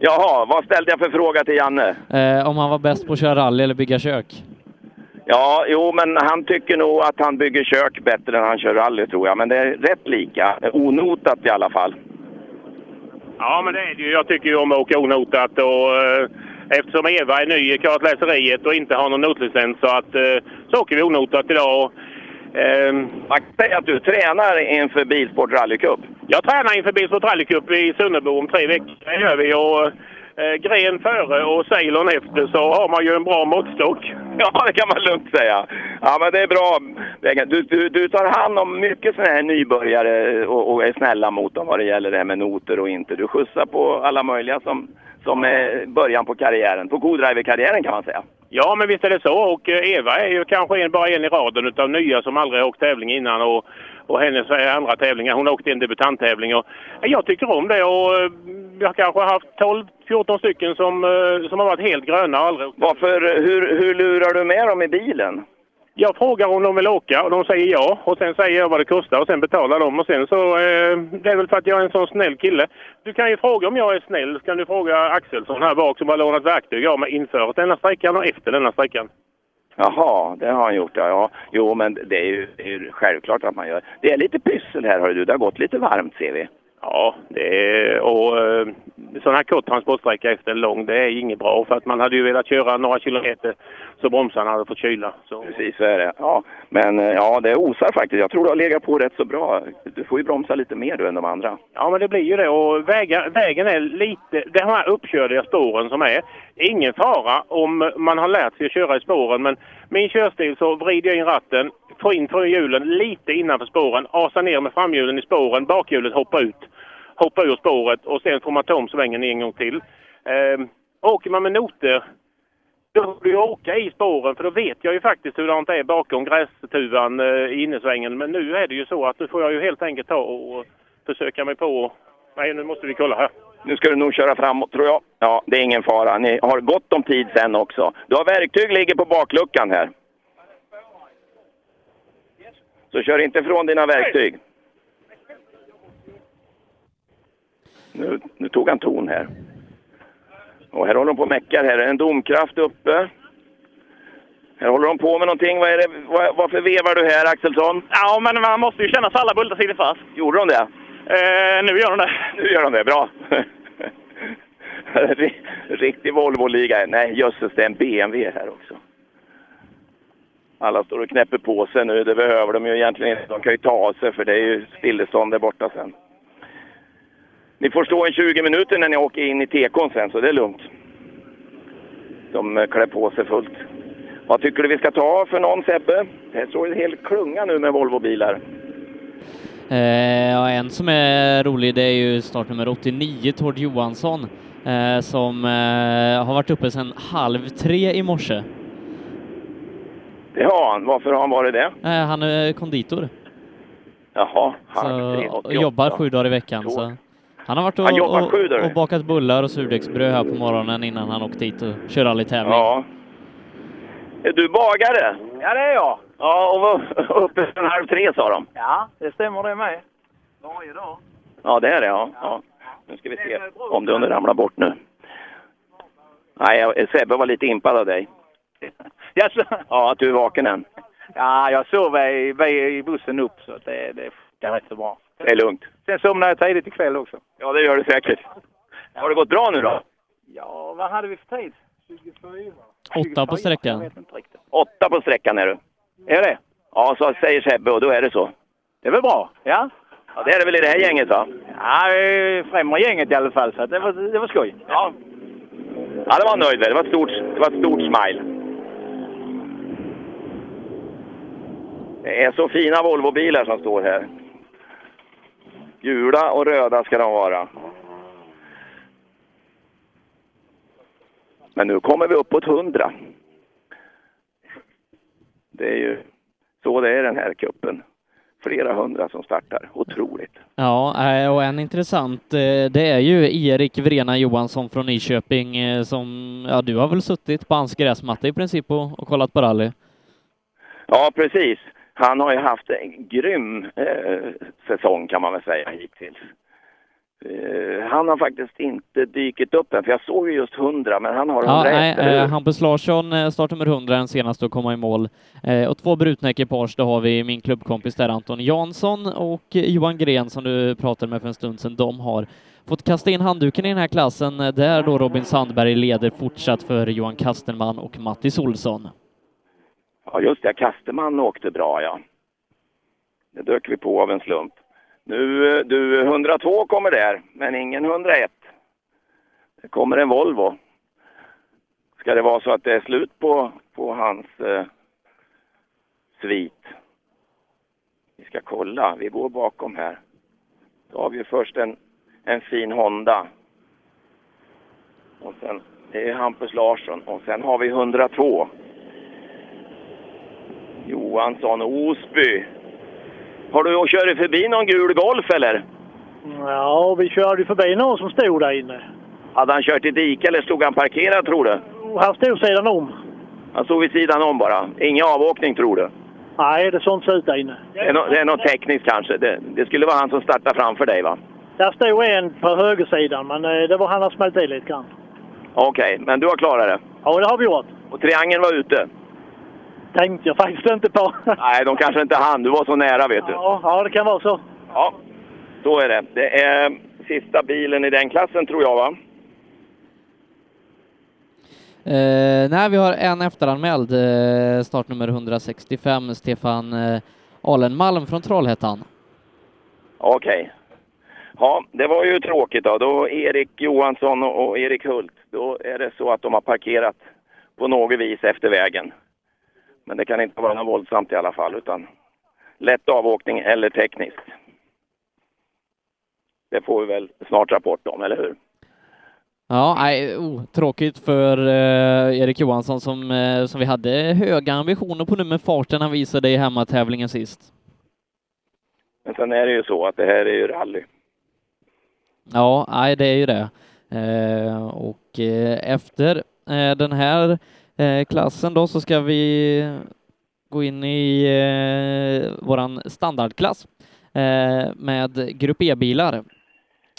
Jaha, vad ställde jag för fråga till Janne?
Eh, om han var bäst på att köra rally eller bygga kök.
Ja, jo, men han tycker nog att han bygger kök bättre än han kör rally, tror jag. Men det är rätt lika. Onotat i alla fall.
Ja, men det är det ju. Jag tycker ju om att åka onotat och eh, eftersom Eva är ny i kartläseriet och inte har någon notlicens så att eh, så åker vi onotat idag. Och, ehm,
Man kan säga att du tränar inför Bilsport Rally Cup.
Jag tränar inför Bilsport Rally Cup i Sunnebo om tre veckor. Det gör vi. Och, eh, gren före och Ceylon efter så har man ju en bra måttstock.
Ja, det kan man lugnt säga. Ja, men det är bra. Du, du, du tar hand om mycket sådana här nybörjare eh, och, och är snälla mot dem vad det gäller det här med noter och inte. Du skjutsar på alla möjliga som, som är början på karriären. På co-driver-karriären kan man säga.
Ja, men visst är det så. Och eh, Eva är ju kanske en, bara en i raden utav nya som aldrig har åkt tävling innan. Och, och hennes eh, andra tävlingar, hon har åkt en debutanttävling. Och, eh, jag tycker om det och eh, jag kanske har haft 12-14 stycken som, eh, som har varit helt gröna och aldrig åkt.
Varför, hur, hur lurar du med dem i bilen?
Jag frågar om de vill åka och de säger ja. Och sen säger jag vad det kostar och sen betalar de. Och sen så, eh, det är väl för att jag är en sån snäll kille. Du kan ju fråga om jag är snäll. Så kan du fråga Axelsson här bak som har lånat verktyg av mig inför denna sträckan och efter denna sträckan.
Jaha, det har han gjort ja. ja. Jo, men det är ju, det är ju självklart att man gör. Det är lite pyssel här hör du. Det har gått lite varmt ser vi.
Ja, det är, och eh, sån här kort transportsträcka efter en lång, det är inget bra. För att man hade ju velat köra några kilometer så bromsarna hade fått kyla. Så.
Precis så är det. Ja, men eh, ja, det osar faktiskt. Jag tror du har legat på rätt så bra. Du får ju bromsa lite mer du än de andra.
Ja, men det blir ju det. Och vägen, vägen är lite... De här uppkörda spåren som är, det är ingen fara om man har lärt sig att köra i spåren. Men min körstil så vrider jag in ratten, får in hjulen lite innanför spåren, asar ner med framhjulen i spåren, bakhjulet hoppar ut, hoppar ur spåret och sen får man ta om svängen en gång till. Ehm, åker man med noter då får du ju åka i spåren för då vet jag ju faktiskt hur det är bakom grästuvan eh, i innersvängen. Men nu är det ju så att nu får jag ju helt enkelt ta och försöka mig på... Nej, nu måste vi kolla här.
Nu ska du nog köra framåt tror jag. Ja, det är ingen fara. Ni har gott om tid sen också. Du har verktyg ligger på bakluckan här. Så kör inte ifrån dina verktyg. Nu, nu tog han ton här. Och här håller de på och meckar. Här är en domkraft uppe. Här håller de på med någonting. Vad är det, vad, varför vevar du här Axelsson?
Ja, men man måste ju känna för alla bultar sitter fast.
Gjorde de det?
Eh, nu gör de det.
Nu gör de det, bra. Ri- Riktig Volvo-liga. Nej, jösses, det är en BMW här också. Alla står och knäpper på sig nu. Det behöver de ju egentligen inte. De kan ju ta av sig, för det är ju stillestånd där borta sen. Ni får stå en 20 minuter när ni åker in i tekon sen, så det är lugnt. De eh, klär på sig fullt. Vad tycker du vi ska ta för någon, Sebbe? Det här står en hel klunga nu med Volvo-bilar.
Eh, ja, en som är rolig det är ju startnummer 89, Tord Johansson, eh, som eh, har varit uppe sedan halv tre i morse.
Det har han. Varför har han varit det?
Eh, han är konditor
Jaha,
så,
halv tre,
och
88.
jobbar sju dagar i veckan. Så Han har varit och,
Han jobbar
och,
sju där.
och bakat bullar och surdegsbröd här på morgonen innan han åkte hit och kör rallytävling.
Ja. Är du bagare?
Ja, det är jag.
Ja, och var uppe sen halv tre sa de.
Ja, det stämmer det med. Varje dag.
Ja, det är det. Ja. Ja. Nu ska vi se om du inte ramlar bort nu. Nej, jag- Sebbe var lite impad av dig.
Yes.
Ja, att du är vaken än.
Ja, jag sov i, i bussen upp så att det, det funkar rätt så bra.
Det är lugnt.
Sen somnade jag tidigt ikväll också.
Ja, det gör du säkert. Har det gått bra nu då?
Ja, vad hade vi för tid? 24.
Åtta på
Jag
sträckan.
vet inte riktigt.
Åtta på sträckan är du.
Är det?
Ja, så säger Sebbe och då är det så.
Det är väl bra? Ja.
Ja, det är det väl i det här gänget va?
Ja, vi är främre gänget i alla fall så att det var, det var skoj.
Ja. Ja, det var han nöjd med. Det var ett stort, det var ett stort smile. Det är så fina Volvo-bilar som står här. Gula och röda ska de vara. Men nu kommer vi uppåt 100. Det är ju så det är i den här kuppen. Flera hundra som startar. Otroligt.
Ja, eh, och en intressant, eh, det är ju Erik Vrena Johansson från Nyköping eh, som, ja du har väl suttit på hans gräsmatta i princip och, och kollat på rally?
Ja, precis. Han har ju haft en grym eh, säsong kan man väl säga hittills. Eh, han har faktiskt inte dykt upp än, för jag såg ju just 100, men han har 100
Ja, nej,
eller hur?
eh, Hampus Larsson eh, startnummer 100 den senaste att komma i mål. Eh, och två brutna ekipage, då har vi min klubbkompis där Anton Jansson och eh, Johan Gren som du pratade med för en stund sedan. De har fått kasta in handduken i den här klassen eh, där då Robin Sandberg leder fortsatt för Johan Kastenman och Mattis Olsson.
Ja, just det. Kasterman åkte bra, ja. Det dök vi på av en slump. Nu, eh, du, 102 kommer där, men ingen 101. Det kommer en Volvo. Ska det vara så att det är slut på, på hans eh, svit? Vi ska kolla. Vi går bakom här. Då har vi först en, en fin Honda. Och sen, det är Hampus Larsson. Och sen har vi 102. Johansson, Osby. Har du och kört förbi någon gul Golf eller?
Ja, vi körde ju förbi någon som stod där inne.
Hade han kört i dike eller stod han parkerad tror du?
Och han stod sidan om.
Han stod vid sidan om bara. Ingen avåkning tror du?
Nej, det sånt ser ut där inne.
Det är, no- det är något tekniskt kanske. Det, det skulle vara han som startar framför dig va?
Där stod en på högersidan, men eh, det var han som smält i lite grann.
Okej, men du har klarat det?
Ja, det har vi gjort.
Och triangeln var ute?
Tänkte jag faktiskt inte på.
Nej, de kanske inte hann. Du var så nära vet du.
Ja, ja det kan vara så.
Ja, så är det. Det är sista bilen i den klassen tror jag va?
Eh, nej, vi har en efteranmäld, eh, startnummer 165, Stefan eh, Alenmalm från Trollhättan.
Okej. Ja, det var ju tråkigt då. Då Erik Johansson och och Erik Hult, då är det så att de har parkerat på något vis efter vägen. Men det kan inte vara något våldsamt i alla fall, utan lätt avåkning eller tekniskt. Det får vi väl snart rapport om, eller hur?
Ja, nej, oh, tråkigt för eh, Erik Johansson som, eh, som vi hade höga ambitioner på nu med farten han visade i hemmatävlingen sist.
Men sen är det ju så att det här är ju rally.
Ja, nej, det är ju det. Eh, och eh, efter eh, den här eh, klassen då så ska vi gå in i eh, våran standardklass eh, med Grupp E-bilar.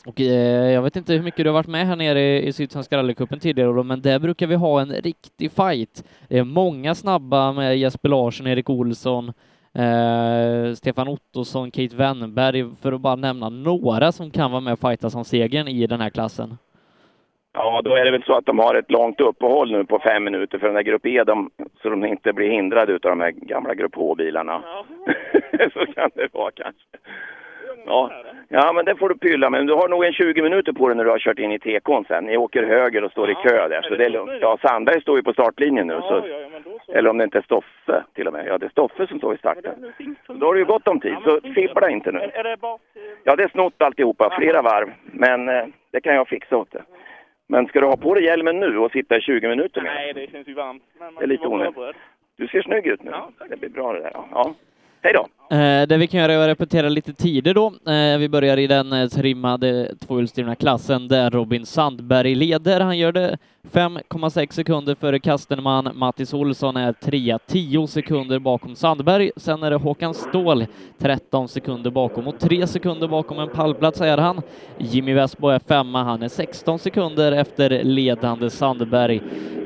Och eh, jag vet inte hur mycket du har varit med här nere i, i Sydsvenska rallycupen tidigare, Olof, men där brukar vi ha en riktig fight. Det är många snabba med Jesper Larsson, Erik Olsson, eh, Stefan Ottosson, Kate Wennberg, för att bara nämna några som kan vara med och fighta som segern i den här klassen.
Ja, då är det väl så att de har ett långt uppehåll nu på fem minuter för den där Grupp E, de, så de inte blir hindrade utav de här gamla Grupp H-bilarna. så kan det vara kanske. Ja. ja, men det får du pylla med. Du har nog en 20 minuter på dig när du har kört in i tekon sen. Ni åker höger och står i kö där, så det är lugnt. Ja, Sandberg står ju på startlinjen nu. Så, Eller om det inte är Stoffe till och med. Ja, det är Stoffe som står i starten. Så Då har du ju gott om tid, så fippla inte nu.
Är det bara...
Ja, det är snott alltihopa, flera varv. Men eh, det kan jag fixa åt det. Men ska du ha på dig hjälmen nu och sitta i 20 minuter med?
Nej, det känns ju varmt. Men man
Det är lite
kan vara
onödigt.
förberedd.
Du ser snygg ut nu. det blir bra det där. Ja. Ja. Hej då!
Eh, Det vi kan göra är att repetera lite tider då. Eh, Vi börjar i den eh, trimmade tvåhjulsdrivna klassen där Robin Sandberg leder. Han gör det 5,6 sekunder före Kastenman. Mattis Olsson är trea, 10 sekunder bakom Sandberg. Sen är det Håkan Ståhl 13 sekunder bakom och 3 sekunder bakom en pallplats är han. Jimmy Westbo är femma, han är 16 sekunder efter ledande Sandberg.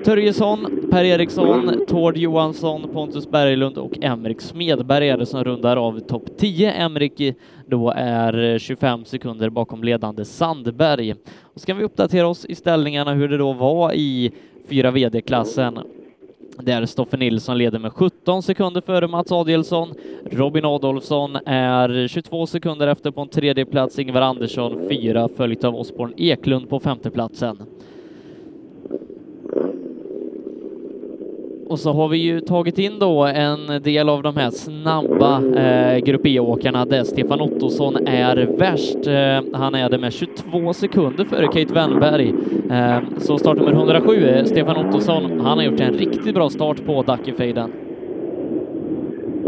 Törjesson, Per Eriksson, Tord Johansson, Pontus Berglund och Emrik Smedberg är det som rundar av topp 10. Emrik i- då är eh, 25 sekunder bakom ledande Sandberg. Och ska vi uppdatera oss i ställningarna hur det då var i 4 VD-klassen där Stoffe Nilsson leder med 17 sekunder före Mats Adielsson. Robin Adolfsson är 22 sekunder efter på en tredje plats. Ingvar Andersson fyra, följt av Osborn Eklund på femteplatsen. Och så har vi ju tagit in då en del av de här snabba eh, Grupp E-åkarna där Stefan Ottosson är värst. Eh, han är det med 22 sekunder före Kate Wennberg. Eh, så startnummer 107, eh, Stefan Ottosson, han har gjort en riktigt bra start på Dackefejden.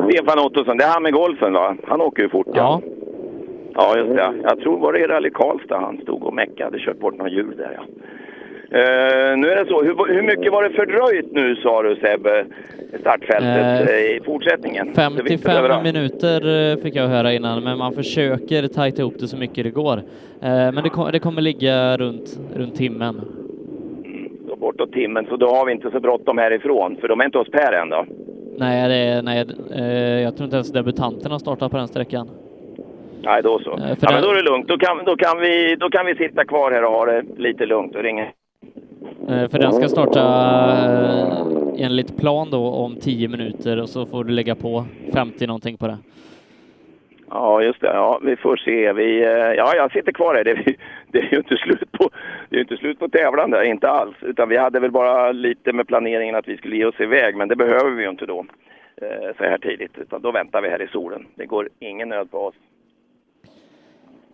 Stefan Ottosson, det är han med golfen va? Han åker ju fort.
Ja.
Ja, just det. Jag tror var det i Rally Karlstad han stod och meckade, kört bort någon hjul där ja. Eh, nu är det så, hur, hur mycket var det fördröjt nu sa du Sebbe? Startfältet
Eh,
eh, i fortsättningen? Det visste du väl, va?
55 minuter eh, fick jag höra innan, men man försöker tajta ihop det så mycket det går. Eh, Men det, kom, det kommer ligga runt, runt timmen.
Då bortåt timmen, så då har vi inte så bråttom härifrån. För de är inte hos Per än då.
Nej, det, är- nej eh, jag tror inte ens debutanterna startar på den sträckan.
Nej, då så.
Eh, för
ja,
det-
men då är det lugnt. Då kan, då, kan vi, då kan vi sitta kvar här och ha det lite lugnt och ringa.
Eh, För den ska starta eh, enligt plan då om 10 minuter och så får du lägga på 50 någonting på det.
Ja, just det. Ja, vi får se. Vi, eh, ja, jag sitter kvar här. Det, det är ju inte slut på, det är ju inte slut på tävlande, inte alls. Utan vi hade väl bara lite med planeringen att vi skulle ge oss iväg, men det behöver vi ju inte då eh, så här tidigt. Utan då väntar vi här i solen. Det går ingen nöd på oss.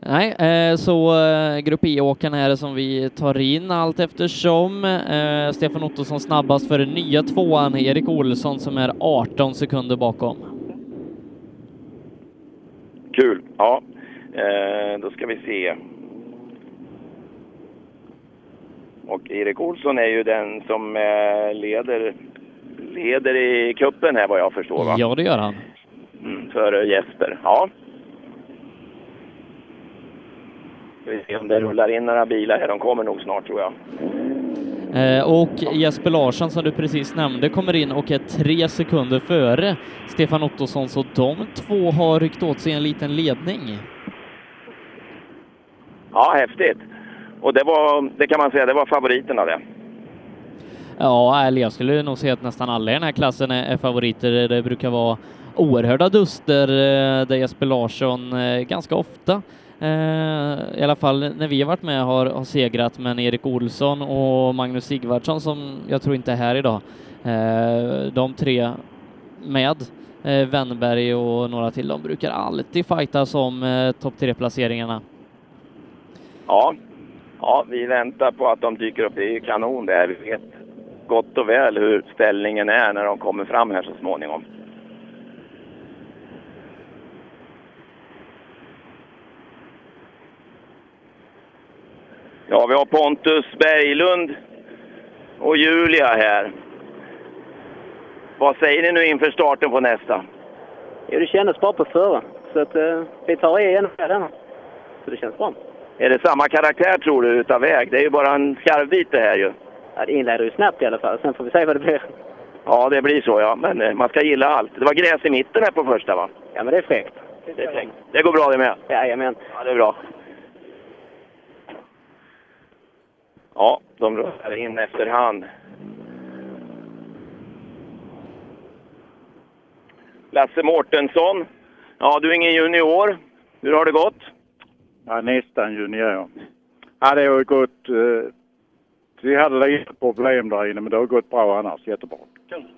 Nej, eh, så eh, Grupp E-åkarna är det som vi tar in allt eftersom. Eh, Stefan Ottosson snabbast för den nya tvåan, Erik Olsson som är 18 sekunder bakom.
Kul! Ja, eh, då ska vi se. Och Erik Olsson är ju den som eh, leder, leder i kuppen här vad jag förstår va?
Ja, det gör han.
Mm, före Jesper. Ja. Ska vi se om det rullar in några bilar här. De kommer nog snart tror jag.
Eh, Och Jesper Larsson som du precis nämnde kommer in och är tre sekunder före Stefan Ottosson, så de två har ryckt åt sig en liten ledning.
Ja, häftigt! Och det var, det kan man säga, det var favoriterna det.
Ja, eller jag skulle nog säga att nästan alla i den här klassen är, är favoriter. Det brukar vara oerhörda duster eh, där Jesper Larsson eh, ganska ofta, eh, i alla fall när vi har varit med, har, har segrat. Men Erik Olsson och Magnus Sigvardsson, som jag tror inte är här idag, eh, de tre med eh, Wennberg och några till, de brukar alltid fightas om eh, topp tre-placeringarna.
Ja. ja, vi väntar på att de dyker upp. Det är ju kanon det här. Vi vet gott och väl hur ställningen är när de kommer fram här så småningom. Ja, vi har Pontus Berglund och Julia här. Vad säger ni nu inför starten på nästa?
Jo, det kändes bra på förra. Så att, eh, vi tar igen denna. Så det känns bra.
Är det samma karaktär tror du utav väg? Det är ju bara en skarvbit det här ju.
Ja, det inleder ju snabbt i alla fall. Sen får vi se vad det blir.
Ja, det blir så ja. Men eh, man ska gilla allt. Det var gräs i mitten här på första va?
Ja, men det är fräckt.
Det är fräckt. Det går bra det med?
Jajamän.
Ja, det är bra. Ja, de rullar in efterhand. Lasse Mårtensson. Ja, du är ingen junior. Hur har det gått?
Ja, nästan junior. ja. Ja, det har gått... Eh, vi hade lite problem där inne, men det har gått bra annars. Jättebra.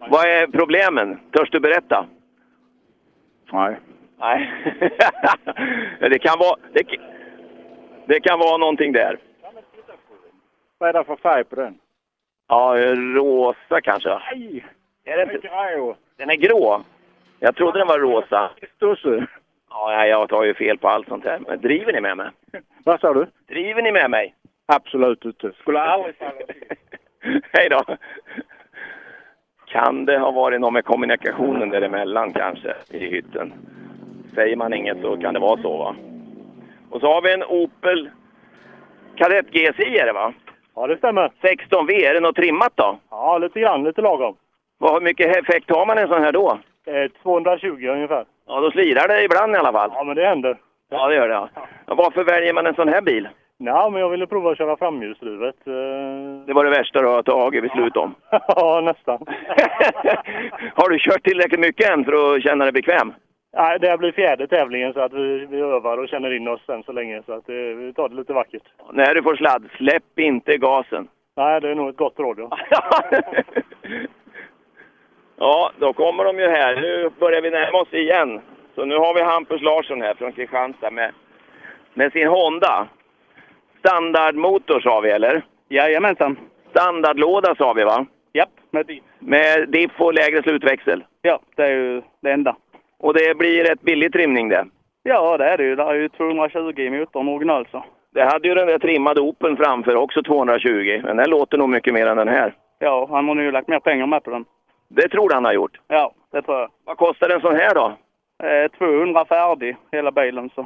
Vad är problemen? Törs du berätta?
Nej.
Nej. det kan vara... Det, det kan vara någonting där.
Vad är det för färg på den?
Ja, rosa kanske.
Nej!
Är det
inte grå?
Den är grå. Jag trodde den var rosa.
Stusse.
Ja, nej, jag tar ju fel på allt sånt här. Men driver ni med mig?
Vad sa du?
Driver ni med mig?
Absolut inte.
Skulle aldrig Hej då! Kan det ha varit något med kommunikationen däremellan kanske, i hytten? Säger man inget så kan det vara så va? Och så har vi en Opel Kadett GSI är det va?
Ja, det stämmer.
16V, är det något trimmat då?
Ja, lite grann, lite lagom.
Vad, hur mycket effekt har man en sån här då?
Eh, 220 ungefär.
Ja, då slirar det ibland i alla fall.
Ja, men det händer.
Ja, det gör det. Ja. Varför väljer man en sån här bil?
Nej, men jag ville prova att köra framhjulsdrivet. eh.
Det var det värsta du har tagit beslut om.
ja, nästan.
Har du kört tillräckligt mycket än för att känna dig bekväm?
Nej, det här blir fjärde tävlingen så att vi, vi övar och känner in oss än så länge. Så att eh, vi tar det lite vackert.
När du får sladd, släpp inte gasen.
Nej, det är nog ett gott råd.
Ja,
Ja.
då kommer de ju här. Nu börjar vi närma oss igen. Så nu har vi Hampus Larsson här från Kristianstad med, med sin Honda. Standardmotor sa vi, eller?
Jajamensan.
Standardlåda sa vi, va?
Japp, med diff.
Med diff och lägre slutväxel.
Ja, det är ju det enda.
Och det blir rätt billig trimning det.
Ja, det är det ju. Det är ju 220 i motorn alltså. original så.
Det hade ju den där trimmade Opeln framför också 220. Men den låter nog mycket mer än den här.
Ja, han har nu lagt mer pengar med på den.
Det tror han har gjort.
Ja, det tror jag.
Vad kostar en sån här då?
Eh, 200 färdig, hela bilen så.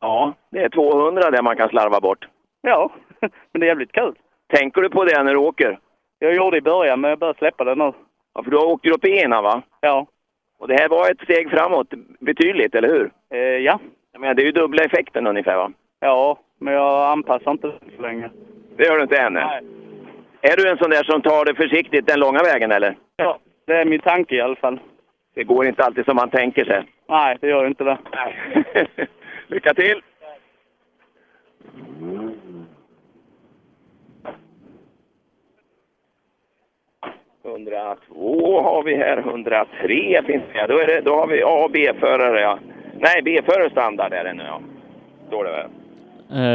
Ja. Det är 200 där man kan slarva bort.
Ja, men det är jävligt kul.
Tänker du på det när du åker?
Jag gjorde i början, men jag börjar släppa det nu.
Ja, för du har åkt upp i ena va?
Ja.
Och det här var ett steg framåt betydligt, eller hur?
Eh, ja.
Jag menar, det är ju dubbla effekten ungefär va?
Ja, men jag anpassar inte den så länge.
Det gör du inte ännu? Nej. Är du en sån där som tar det försiktigt den långa vägen eller?
Ja, det är min tanke i alla fall.
Det går inte alltid som man tänker sig.
Nej, det gör ju inte det.
Nej. Lycka till! Två har vi här, 103 finns det. Då, är det, då har vi A och B-förare ja. Nej, B-förare standard är det nu ja. Står det väl?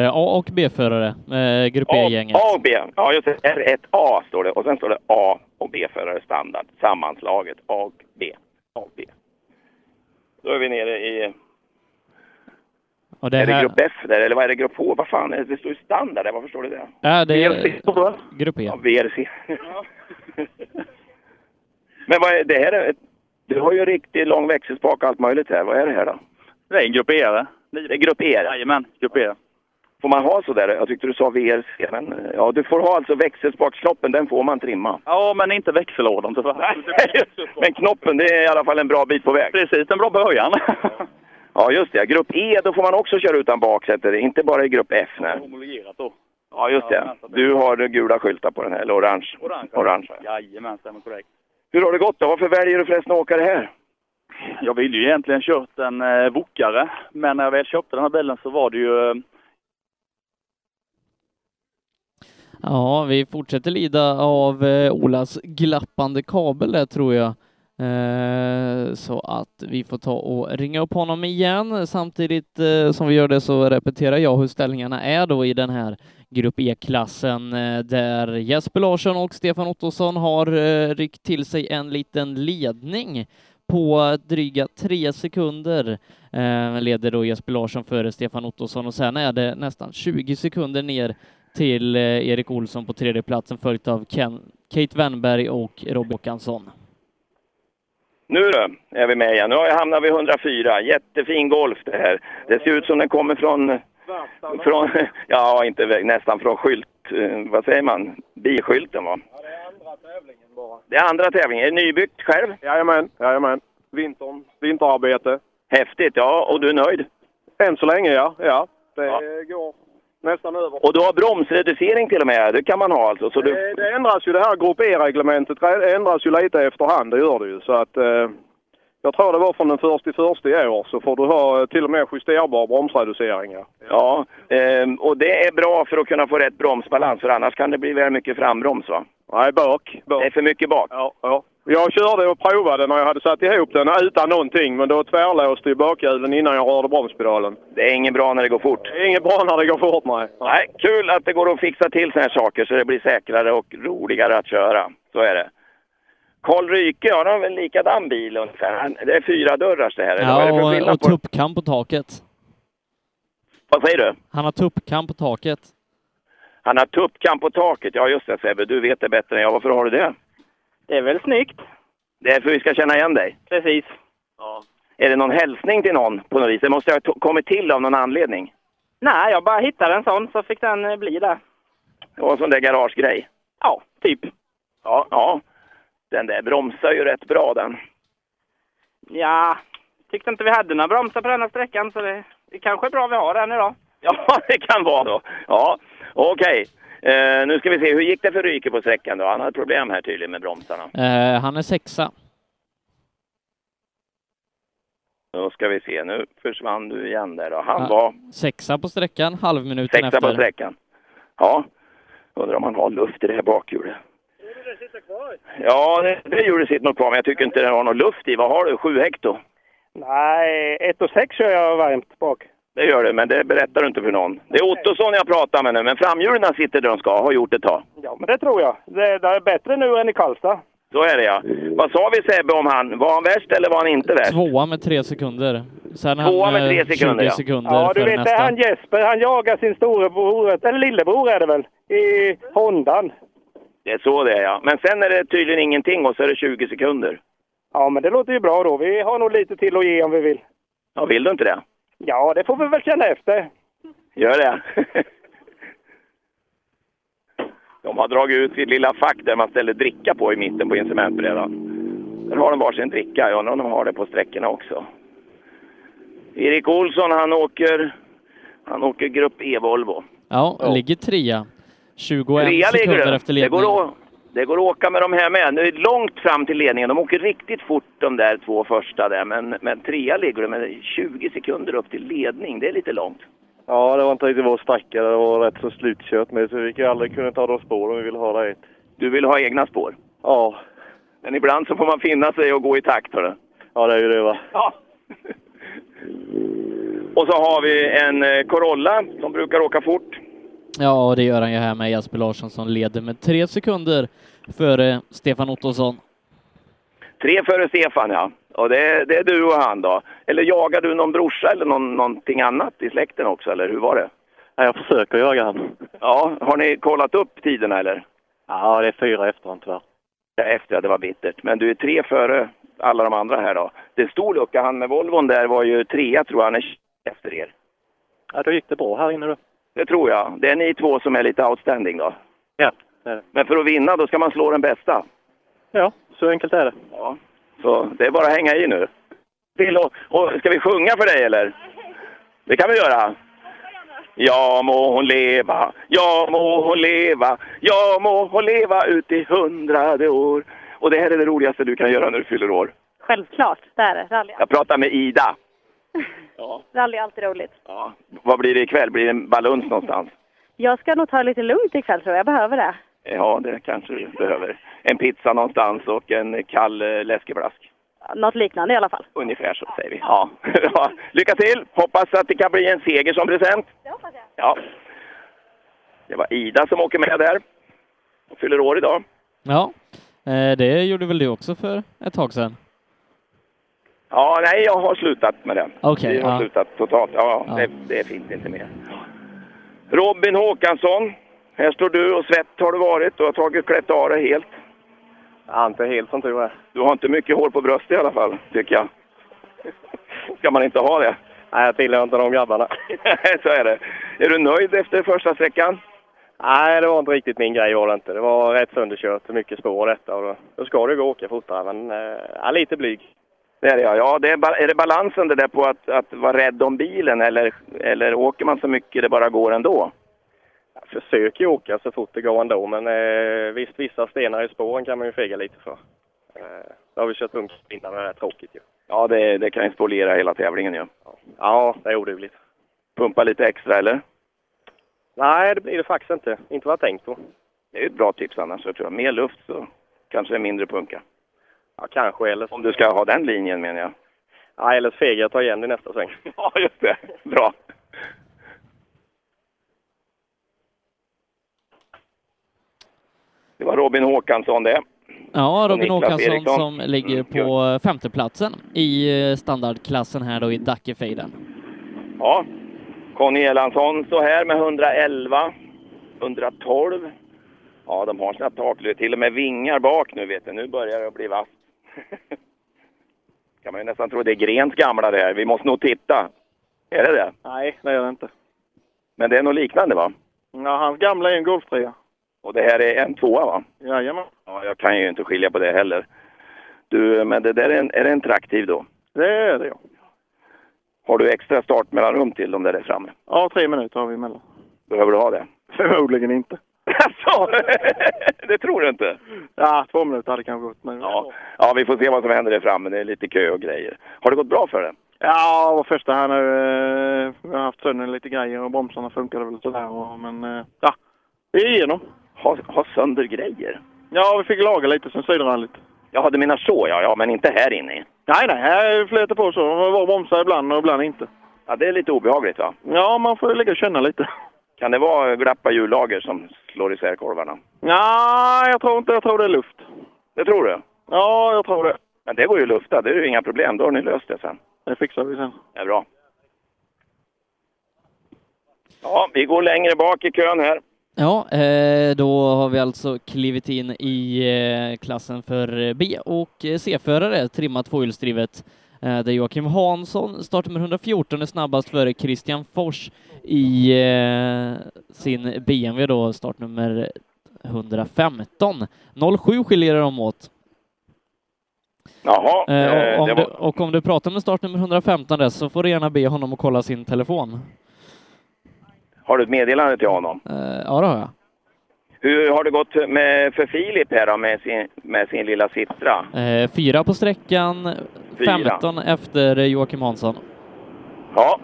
Eh, A och B-förare, eh, grupp E-gänget.
A och B. Ja, just det. R1A står det. Och sen står det A och B-förare standard. Sammanslaget A och B. A och B. Då är vi nere i...
Och det
är det
här,
grupp F där? Eller vad är det? Grupp H? Vad fan är det? Det står ju standard där. Varför står det det?
Ja, det är grupp E.
Ja, VRC. Men vad är det här? Är, du har ju riktigt lång växelspak och allt möjligt här. Vad är det här då?
Det är en grupp E det.
Det är grupp E?
Jajamän, grupp E.
Får man ha sådär? Jag tyckte du sa VRC. Men eh, ja, du får ha alltså växelspaksknoppen. Den får man trimma.
Ja, men inte växellådan tyvärr.
Men knoppen, det är i alla fall en bra bit på väg.
Precis, en bra början.
Ja, just det. Grupp E, då får man också köra utan baksäte. Inte bara i grupp F. Nej.
Homologerat då.
Ja, just det. Du har det gula skyltar på den här, eller orange.
Orange.
Orange.
Jajamän, stämmer korrekt.
Hur har det gått då? Varför väljer du förresten att åka det här?
Jag ville ju egentligen kört en eh, Wokare, men när jag väl köpte den här bilen så var det ju... Eh,
Ja, vi fortsätter lida av eh, Olas glappande kabel där tror jag. Eh, så att vi får ta och ringa upp honom igen. Samtidigt eh, som vi gör det så repeterar jag hur ställningarna är då i den här grupp E-klassen eh, där Jesper Larsson och Stefan Ottosson har eh, ryckt till sig en liten ledning på dryga tre sekunder eh, leder då Jesper Larsson före Stefan Ottosson och sen är det nästan 20 sekunder ner till eh, Erik Olsson på tredje platsen följt av Ken, Kate Wennberg och Rob Håkansson.
Nu då, är vi med igen. Nu har jag hamnat vid 104. Jättefin golf det här. Det ser ut som den kommer från... från ja, inte vä- nästan från skylt... eh, Vad säger man? Biskylten, va? Det är andra tävlingen. Är det nybyggt själv?
Jajamän, jajamän. Vintern, vinterarbete.
Häftigt, ja. Och du är nöjd?
Än så länge, ja. ja. Det
Ja.
går nästan över.
Och du har bromsreducering till och med. Det kan man ha alltså. Så du,
Det, det ändras ju, det här grupp E-reglementet det ändras ju lite efterhand, det gör det ju. Så att, eh, jag tror det var från den 1 första i år så får du ha eh, till och med justerbar bromsreducering. ja.
ja, ehm, och det är bra för att kunna få rätt bromsbalans. För annars kan det bli väl mycket frambroms, va?
Nej, bak. bak.
Det är för mycket bak.
Ja, ja. Jag körde och provade när jag hade satt ihop den utan någonting men då tvärlåste ju bakhjulen innan jag rörde bromspedalen.
Det är inget bra när det går fort.
Det är inget bra när det går fort, nej.
Nej, kul att det går att fixa till såna här saker så det blir säkrare och roligare att köra. Så är det. Karl Ryke, ja, de har väl likadan bil ungefär. Han- Det är fyra dörrar det här. eller vad är det för
Ja, och,
skillnad
och
på-
tuppkam på taket.
Vad säger du?
Han har tuppkam på taket.
Han har tuppkam på taket. Ja, just det Sebbe, du vet det bättre än jag. Varför har du det?
Det är väl snyggt.
Det är för vi ska känna igen dig.
Precis.
Är det någon hälsning till någon på något vis? Det måste ha to- kommit till av någon anledning.
Nej, jag bara hittade en sån så fick den eh, bli där.
Det var en sån där garagegrej.
Ja, typ.
Ja, ja. Den där bromsar ju rätt bra den.
Ja, tyckte inte vi hade några bromsar på den här sträckan så det, det kanske är bra vi har den idag.
Ja, det kan vara då. Ja, okej. Eh, nu ska vi se, hur gick det för Ryke på sträckan då? Han hade problem här tydligen med bromsarna.
Eh, han är sexa.
Då ska vi se, nu försvann du igen där då. Han
Ja,
var
Sexa på sträckan, halvminuten
sexa
efter.
på sträckan. Ja, undrar om han har luft i det här bakhjulet. Ja, det, det gjorde sitt nog kvar, men jag tycker inte det har någon luft i. Vad har du? Sju hekto?
Nej, 1 och 6 kör jag varmt bak.
Det gör det, men det berättar du inte för någon. Det är Ottosson jag pratar med nu, men framhjulen sitter där de ska, har gjort ett tag.
Ja, men det tror jag. Det, det är bättre nu än i Karlstad.
Så är det ja. Vad sa vi Sebbe om han? Var han värst eller var han inte värst?
Tvåa med tre sekunder. Sen är
Tvåa
han
med tre
eh, 20
sekunder, ja.
sekunder
Ja, du
före
vet det
nästa.
är han Jesper, han jagar sin storebror, eller lillebror är det väl, i Hondan.
Det är så det är ja. Men sen är det tydligen ingenting och så är det 20 sekunder.
Ja, men det låter ju bra då. Vi har nog lite till att ge om vi vill.
Ja, vill du inte det?
Ja, det får vi väl känna efter.
Gör det. De har dragit ut sitt lilla fack där man ställer dricka på i mitten på instrumentbrädan. Där har de varsin dricka. Jag undrar om de har det på sträckorna också. Erik Olsson han åker, han åker Grupp E-Volvo.
Ja, ligger trea. 21
Trea ligger
sekunder
du.
efter
det,
ledningen.
går att, det går att åka med de här med. Nu är det långt fram till ledningen. De åker riktigt fort de där två första där. Men, men trea ligger du med 20 sekunder upp till ledning. Det är lite långt.
Ja, det var inte riktigt vår sträcka. Det var rätt så slutkört med, så vi kunde aldrig kunna ta de spåren vi ville ha där hit.
Du vill ha egna spår?
Ja.
Men ibland så får man finna sig och gå i takt. Hörru.
Ja, det är ju det va.
Ja. Och så har vi en eh, Corolla som brukar åka fort.
Ja, och det gör han ju här med Jesper Larsson som leder med tre sekunder före Stefan Ottosson.
Tre före Stefan, ja. Och det, det är du och han då. Eller jagar du någon brorsa eller någon, någonting annat i släkten också, eller hur var det?
Ja, jag försöker jaga han.
Ja, har ni kollat upp tiderna eller?
Ja, det är fyra efter honom tyvärr.
Ja, Efter, ja, det var bittert. Men du är tre före alla de andra här då. Det är stor lucka. Han med Volvon där var ju trea tror jag. Han är efter er.
Ja, då gick det bra här inne då.
Det tror jag. Det är ni två som är lite outstanding då.
Ja, det är det.
Men för att vinna då ska man slå den bästa.
Ja, så enkelt är det.
Ja. Så det är bara att hänga i nu. Vill och, och, ska vi sjunga för dig eller? Det kan vi göra. Ja må hon leva, ja må hon leva, ja må hon leva ut i hundrade år. Och det här är det roligaste du kan göra när du fyller år.
Självklart, det är det. Rally,
Jag pratar med Ida.
rally är alltid roligt.
Vad blir det ikväll? Blir det en baluns någonstans?
Jag ska nog ta det lite lugnt ikväll tror jag, jag behöver det.
Ja, det kanske du behöver. En pizza någonstans och en kall eh, läskeblask.
Något liknande i alla fall.
Ungefär så säger vi. Ja. Ja. Lycka till! Hoppas att det kan bli en seger som present. Det hoppas jag. Ja. Det var Ida som åker med där. Hon fyller år idag.
Ja, eh, det gjorde väl du också för ett tag sedan?
Ja, nej, jag har slutat med den.
Okej,
jag har
ja.
slutat totalt. Ja, Det, det finns inte mer. Robin Håkansson, här står du och svett har du varit. Du har tagit klätt av dig helt.
Ja, inte helt som tur är.
Du har inte mycket hår på bröstet i alla fall, tycker jag. Ska man inte ha det?
Nej, jag tillhör inte de grabbarna.
så är det. Är du nöjd efter första sträckan?
Nej, det var inte riktigt min grej var det inte. Det var rätt sönderkört, mycket spår detta. Och då, då ska det gå att åka fortare, men eh, ja, lite blyg.
Det är det, ja. ja det är, ba- är det balansen det där på att, att vara rädd om bilen eller, eller åker man så mycket det bara går ändå?
Jag försöker ju åka så fort det går ändå, men eh, visst, vissa stenar i spåren kan man ju fega lite för. Eh, då har vi kört lugnt innan, men det är tråkigt ju.
Ja, det, det kan ju spoliera hela tävlingen ju.
Ja, det är odugligt.
Pumpa lite extra eller?
Nej, det blir det faktiskt inte. Inte vad jag tänkt på.
Det är ju ett bra tips annars, jag tror jag. Mer luft så kanske det är mindre punka.
Ja, kanske. Eller så,
Om du ska ha den linjen menar jag.
ja, eller så fegar jag tar igen det i nästa sväng.
Ja, just det. Bra. Det var Robin Håkansson det.
Ja, Robin
Niklas
Åkesson
Eriksson. Mm,
som
Mm,
ligger på eh, femteplatsen i eh, standardklassen här då i Dackefejden.
Ja. Conny Erlandsson så här med 111, 112. Ja, de har sina taklös. Till och med vingar bak nu vet du. Nu börjar det bli vasst. kan man ju nästan tro det är Grens gamla det här. Vi måste nog titta. Är det det?
Nej, det gör det inte.
Men det är något liknande va?
Ja, hans gamla är en golftrea.
Och det här är en tvåa va?
Jajamän.
Ja, jag kan ju inte skilja på det heller. Du, men det där är en, är det en traktiv då?
Det är det, ja.
Har du extra startmellanrum till dem där, där framme?
Ja, tre minuter har vi emellan.
Behöver du ha det?
Förmodligen inte.
Jaså? det tror du inte?
Ja, två minuter hade kanske gått. Men... Ja.
Ja, vi får se vad som händer där framme. Det är lite kö och grejer. Har det gått bra för dig?
Ja, och första här nu. eh, Jag har haft sönder lite grejer och bromsarna funkade väl sådär. och- Men eh, ja, vi är igenom.
Har ha sönder grejer?
Ja, vi fick laga lite sen sidenrallyt.
Jag hade mina så, ja, ja, men inte här inne.
Nej, nej, här flöt det på så. Det var bromsar ibland och ibland inte.
Ja, det är lite obehagligt, va?
Ja, man får ju ligga och känna lite.
Kan det vara glappa hjullager som slår isär korvarna?
Nej, jag tror inte. Jag tror det är luft.
Det tror du?
Ja, jag tror det.
Men det går ju att lufta. Det är ju inga problem. Då har ni löst det sen.
Det fixar vi sen.
Det är bra. Ja, vi går längre bak i kön här.
Ja, eh, då har vi alltså klivit in i eh, klassen för eh, B och eh, C-förare, trimmat tvåhjulsdrivet, eh, där Joakim Hansson startnummer 114 är snabbast före Christian Fors i eh, sin BMW då, startnummer 115. 07 skiljer de åt.
Jaha.
Eh,
eh,
och,
det
om du,
var...
och om du pratar med startnummer 115 där så får du gärna be honom att kolla sin telefon.
Har du ett meddelande till honom?
Eh, ja, det har jag.
Hur har det gått med, för Filip här då, med sin, med sin lilla Citra?
Eh, fyra på sträckan,
Fyra.
15 efter eh, Joakim Hansson.
Ja,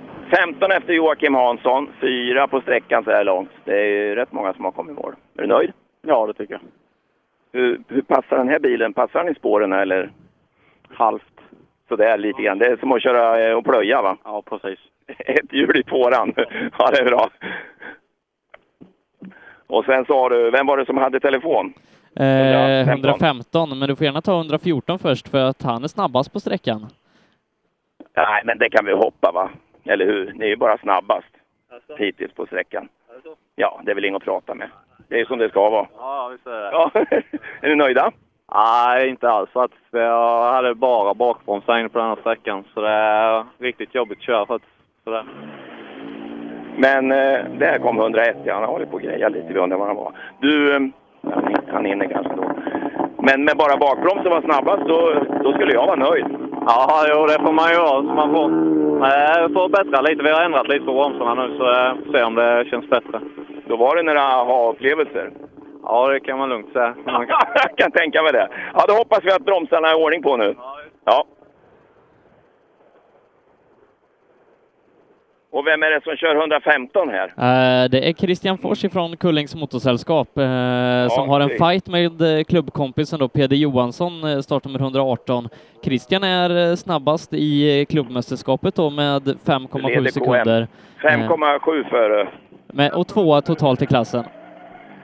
15 efter Joakim Hansson, fyra på sträckan så här långt. Det är ju rätt många som har kommit i mål. Är du nöjd?
Ja, det tycker jag.
Hur, hur passar den här bilen? Passar den i spåren eller? Halvt. Sådär lite grann. Det är som att köra eh, och plöja va?
Ja, precis.
Ett hjul i fåran. Ja, det är bra. Och sen sa du, vem var det som hade telefon?
Eh, 115, men du får gärna ta 114 först för att han är snabbast på sträckan.
Nej, men det kan vi hoppa va? Eller hur? Ni är ju bara snabbast
Alltså.
hittills på sträckan. Ja, det är väl inget att prata med. Det är som det ska vara.
Ja, visst är det.
Ja. Är ni nöjda?
Nej, inte alls faktiskt. Jag hade bara bakbromsar inne på den här sträckan, så det är riktigt jobbigt att köra faktiskt. Så det...
Men eh, där kom 101. ja. Han har hållit på och grejat lite. Vi undrar var han var. Du, eh, han hin- han hinner kanske då. Men med bara bakbromsen var snabbast, då, då skulle jag vara nöjd.
Ja, jo, det får man ju göra. Så man får, eh, får bättra lite. Vi har ändrat lite på bromsarna nu, så eh, får se om det känns bättre.
Då var det några aha-upplevelser.
Ja, det kan man lugnt säga. Man kan...
Jag kan tänka mig det. Ja, då hoppas vi att bromsarna är i ordning på nu. Ja. Och vem är det som kör 115 här?
Eh, det är Christian Fors ifrån Kullings motorsällskap eh, som har en
det-
fight med eh, klubbkompisen då, Peder Johansson, eh, startnummer 118. Christian är eh, snabbast i eh, klubbmästerskapet då med 5,7
Leder KM.
sekunder. Eh,
5,7 före.
med, och tvåa totalt i klassen.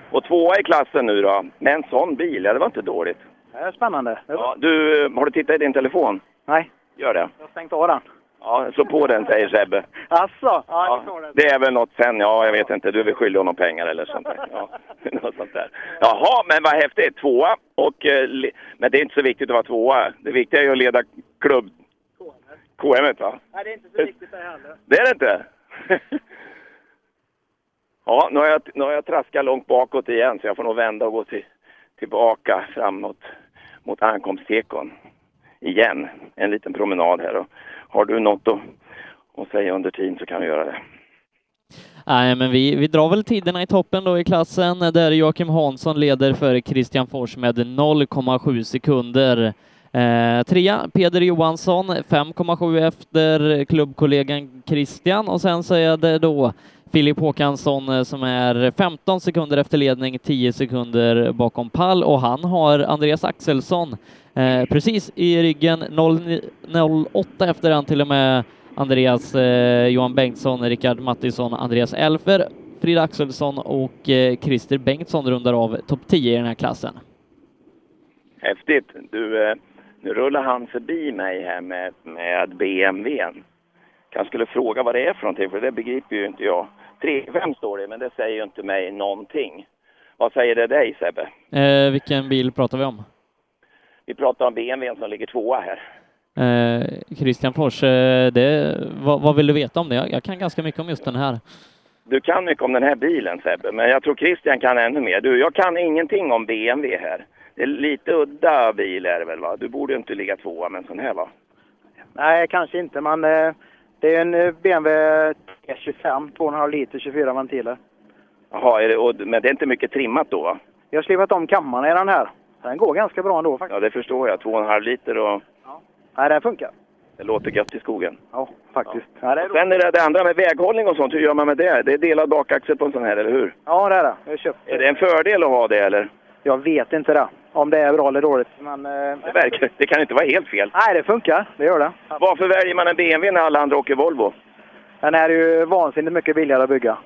Och tvåa i klassen nu då. Med en sån bil, ja, det var inte dåligt.
Det är spännande.
Ja, du, eh, har du tittat i din telefon?
Nej.
Gör det.
Jag har stängt av den.
Ja, slå på den säger Sebbe.
Asså? Ja, det står det.
Det är väl något sen, ja jag vet inte, du vill skyldig honom pengar eller sånt där. Ja, något sånt där. Jaha, men vad häftigt, tvåa och... eh, le- Men det är inte så viktigt att vara tvåa. Det viktiga är ju att leda klubb... KM. KM, va?
Nej, det är inte så viktigt det heller.
Det är det inte? ja, nu har, jag, nu har jag traskat långt bakåt igen så jag får nog vända och gå till, tillbaka framåt mot ankomstekon. Igen, en liten promenad här. Och har du något att, att säga under tiden så kan vi göra det.
Nej, men vi, vi drar väl tiderna i toppen då i klassen där Joakim Hansson leder före Christian Fors med 0,7 sekunder. Eh, trea, Peder Johansson, 5,7 efter klubbkollegan Christian och sen så är det då Filip Håkansson eh, som är 15 sekunder efter ledning, 10 sekunder bakom pall och han har Andreas Axelsson eh, precis i ryggen, 0,9 08 efter han till och med Andreas eh, Johan Bengtsson, Rickard Mattisson, Andreas Elfer, Frida Axelsson och eh, Christer Bengtsson rundar av topp 10 i den här klassen.
Häftigt. Du, eh, nu rullar han förbi mig här med, med BMWn. Kanske skulle fråga vad det är för någonting, för det begriper ju inte jag. 35 står det, men det säger ju inte mig någonting. Vad säger det dig, Sebbe?
Eh, vilken bil pratar vi om?
Vi pratar om BMWn som ligger tvåa här.
Eh, Christian Fors, eh, det, vad, vad vill du veta om det? Jag, jag kan ganska mycket om just den här.
Du kan mycket om den här bilen Sebbe, men jag tror Christian kan ännu mer. Du, jag kan ingenting om BMW här. Det är lite udda bil är det väl va? Du borde ju inte ligga tvåa med en sån här va?
Nej, kanske inte. Men eh, det är en eh, BMW E25, 2,5 liter, 24 ventiler.
Jaha, är det, och, men det är inte mycket trimmat då va?
Jag har slipat om kammarna i den här. Den går ganska bra ändå faktiskt.
Ja, det förstår jag. Två och en halv liter och
Nej, den funkar.
det låter gött i skogen.
Ja, faktiskt. Ja, det är
Och Sen är det det andra med väghållning och sånt. Hur gör man med det? Det är delad bakaxel på en sån här, eller hur?
Ja, det är det. Jag har köpt
Är det en fördel att ha det eller?
Jag vet inte det. Om det är bra eller dåligt. Men, eh,
Det, verkar, det kan inte vara helt fel.
nej, det funkar. Det gör det.
Varför väljer man en BMW när alla andra åker Volvo?
Den är ju vansinnigt mycket billigare att bygga.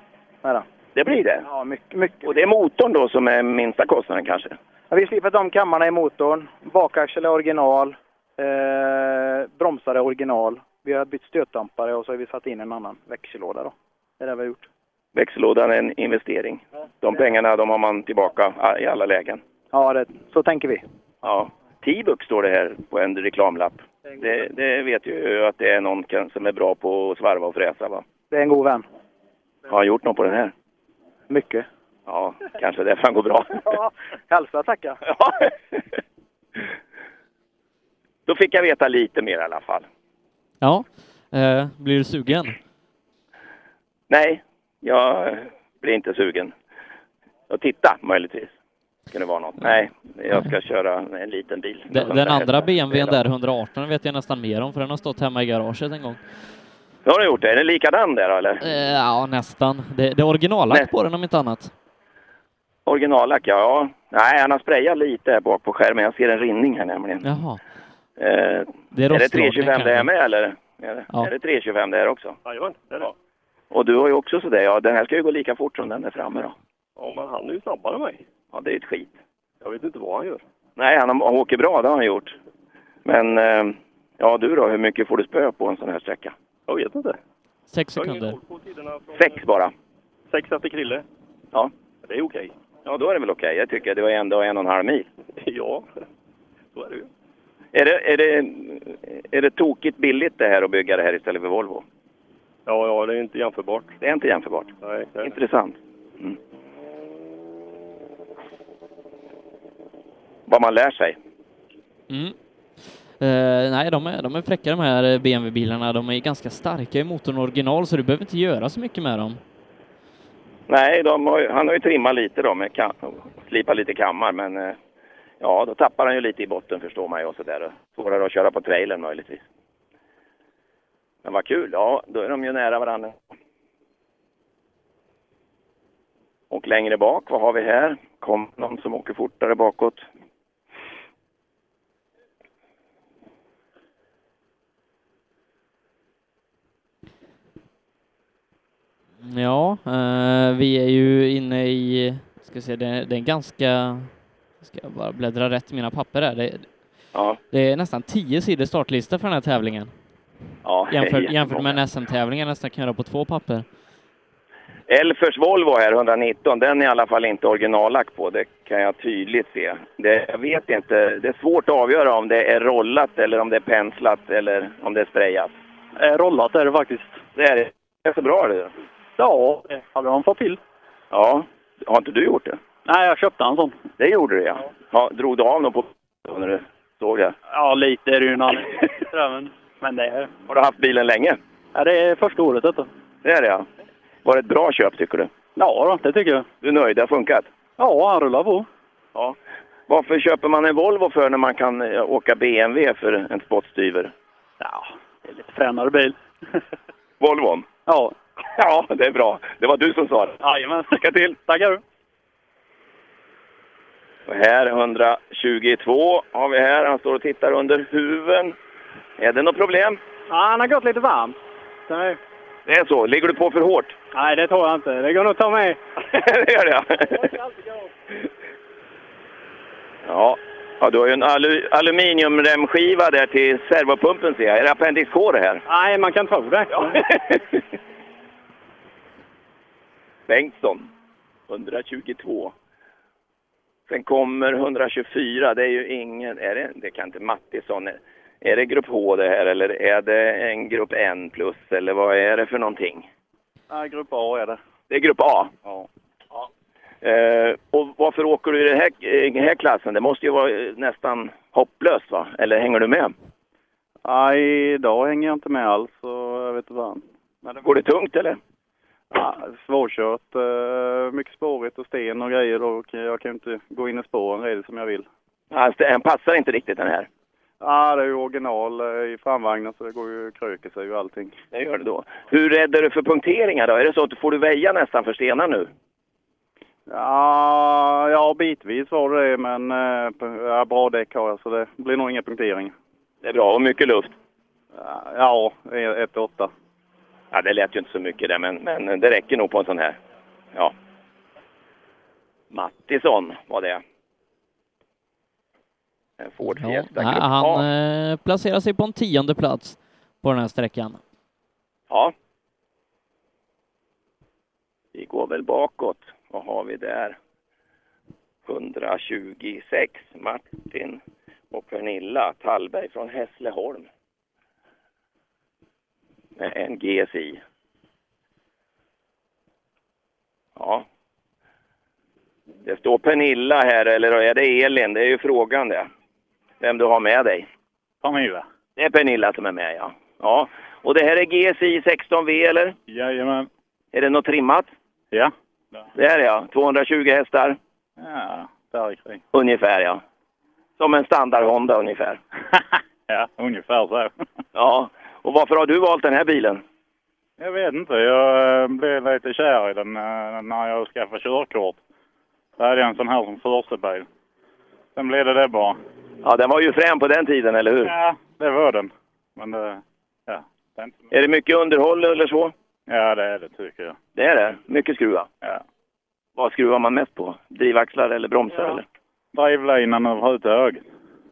Är det.
Det blir det.
Ja, mycket, mycket.
Och det är motorn då som är minsta kostnaden kanske?
Ja, Vi har slipat om kammarna i motorn. Bakaxel är original. Eh, bromsar är original. Vi har bytt stötdämpare och så har vi satt in en annan växellåda. Då. Det är det vi har gjort.
Växellådan är en investering. De pengarna de har man tillbaka ah, i alla lägen.
Ja, det, så tänker vi.
Ja. T-Buck står det här på en reklamlapp. Det, det vet ju att det är någon kan- som är bra på att svarva och fräsa va?
Det är en god vän.
Har han gjort något på den här?
Mycket.
Ja, kanske därför han går bra.
Ja, hälsa tacka.
Då fick jag veta lite mer i alla fall.
Ja, eh, blir du sugen?
Nej, jag blir inte sugen. Och titta möjligtvis. Kan det vara något? Nej, jag ska köra en liten bil.
De- Den andra BMWn där, 118, vet jag nästan mer om för den har stått hemma i garaget en gång.
Då har du gjort det. Är den likadan där eller?
Eh, ja, nästan. Det, det är originallack på den om inte annat.
Originallack, ja, ja. Nej, han har sprayat lite här bak på skärmen. Jag ser en rinning här nämligen.
Jaha.
Eh,
Det
är, det
är rostdragning
325 det
kanske.
här med eller? Är det,
Ja.
är det 325 det här också?
Jajamän, det är det.
Och du har ju också sådär, ja den här ska ju gå lika fort som den där framme då.
Ja, men han är ju snabbare än mig.
Ja, det är ett skit.
Jag vet inte vad han gör.
Nej, han, har- han åker bra, det har han gjort. Men, eh, ja du då, hur mycket får du spö på en sån här sträcka?
Jag vet inte.
Sex
Jag har ingen
sekunder.
koll på tiderna från-
Sex bara?
Sex efter Krille.
Ja.
Det är okej.
Ja, då är det väl okej. Jag tycker det var ändå en och en halv mil.
Ja, så är det ju.
Är det, är, det, är det tokigt billigt det här att bygga det här istället för Volvo?
Ja, ja, det är inte jämförbart.
Det är inte jämförbart.
Nej, det är det.
Intressant. Mm. Vad man lär sig.
Mm. Eh, nej, de är, de är fräcka de här BMW-bilarna. De är ganska starka i motorn original så du behöver inte göra så mycket med dem.
Nej, de har, ju- han har ju trimmat lite då, med kam, slipat lite kammar, men eh, ja, då tappar han ju lite i botten förstår man ju och sådär. Svårare att köra på trailern möjligtvis. Men vad kul, ja, då är de ju nära varandra. Och längre bak, vad har vi här? Kom någon som åker fortare bakåt?
Ja, eh, vi är ju inne i, ska se, det, det är en ganska, ska jag bara bläddra rätt i mina papper här. Det,
ja.
det är nästan tio sidor startlista för den här tävlingen.
Ja,
Jämfört,
jättemånga.
jämfört med en SM-tävling jag nästan kan göra på två papper.
Elfers Volvo här, 119, den är i alla fall inte originallack på. Det kan jag tydligt se. Det, jag vet inte. Det är svårt att avgöra om det är rollat eller om det är penslat eller om det är sprayat.
Rollat är det faktiskt.
Det är, det är så bra det.
Ja, det hade han fått till.
Ja. Har inte du gjort det?
Nej, jag köpte en sån.
Det gjorde du ja. ja drog du av något på när du såg det?
Ja, lite är det ju en annan. men- Men det är...
Har du haft bilen länge?
Ja, det är första året detta.
Det är det ja. Var det ett bra köp tycker du?
Ja, då, det tycker jag.
Du är nöjd? Det har funkat?
Ja, han rullar på.
Ja. Varför köper man en Volvo för när man kan eh, åka BMW för en spottstyver?
Lite fränare bil.
Volvon?
Ja.
Ja, det är bra. Det var du som sa det.
Jajamän.
Lycka till!
Tackar du.
Och här, 122 har vi här. Han står och tittar under huven. Är det något problem?
Ja, han har gått lite varmt.
Nej. Det är så. Ligger du på för hårt?
Nej, det tror jag inte. Det går nog att ta med.
det gör det, ja. Ja, Ja, du har ju en alu aluminiumremskiva där till servopumpen ser jag. Är det Appendix K det här?
Nej, man kan tro det.
Bengtsson, 122. Sen kommer 124, det är ju ingen... Är det, det kan inte Mattisson... Är det grupp H det här eller är det en grupp N plus eller vad är det för någonting?
Nej, grupp A är det.
Det är grupp A.
Ja.
Eh, och varför åker du i den här, i den här klassen? Det måste ju vara eh, nästan hopplöst va? Eller hänger du med?
Nej, idag hänger jag inte med alls så jag vet inte fan. Men
Går det tungt eller?
Ja, svårkört, eh, mycket spårigt och sten och grejer och jag kan ju inte gå in i spåren redigt som jag vill.
Alltså, den passar inte riktigt den här.
Ja, det är ju original eh, i framvagnen så det går ju kröker sig och allting.
Det gör det då. Hur rädd är du för punkteringar då? Är det så att du får du väja nästan för stenar nu?
Ja, ja bitvis var det det, men eh, p- ja, bra däck har jag så det blir nog inga punkteringar.
Det är bra och mycket luft.
Ja, 1-8.
Ja, det lät ju inte så mycket det, men, men det räcker nog på en sån här. Ja. Mattisson var det. En Ford
Ja,
Fiesta
nej,
Grupp
han
A.
eh, placerar sig på en tionde plats på den här sträckan.
Ja. Vi går väl bakåt. Vad har vi där? 126, Martin och Pernilla Tallberg från Hässleholm. Med en GSI. Ja. Det står Pernilla här, eller är det Elin? Det är ju frågan det. Vem du har med dig.
Pernilla.
Det är Pernilla som är med, ja. Ja, och det här är GSI 16V eller?
Jajamän.
Är det något trimmat?
Ja.
Det här är ja, 220 hästar
Ja, där kring.
ungefär ja. Som en standard Honda ungefär.
Ja, ungefär så.
Ja, och varför har du valt den här bilen?
Jag vet inte, jag eh, blev lite kär i den eh, när jag skaffade körkort. Då hade jag en sån här som första bil. Sen blev det det bara.
Ja, den var ju frän på den tiden, eller hur?
Ja, det var den. Men det, ja, det är inte...
Är det mycket underhåll eller så?
Ja, det är det tycker jag.
Det är det. Mycket skruva.
Ja.
Vad skruvar man mest på? Drivaxlar eller bromsar
Ja.
eller?
Drivlinan över huvudtaget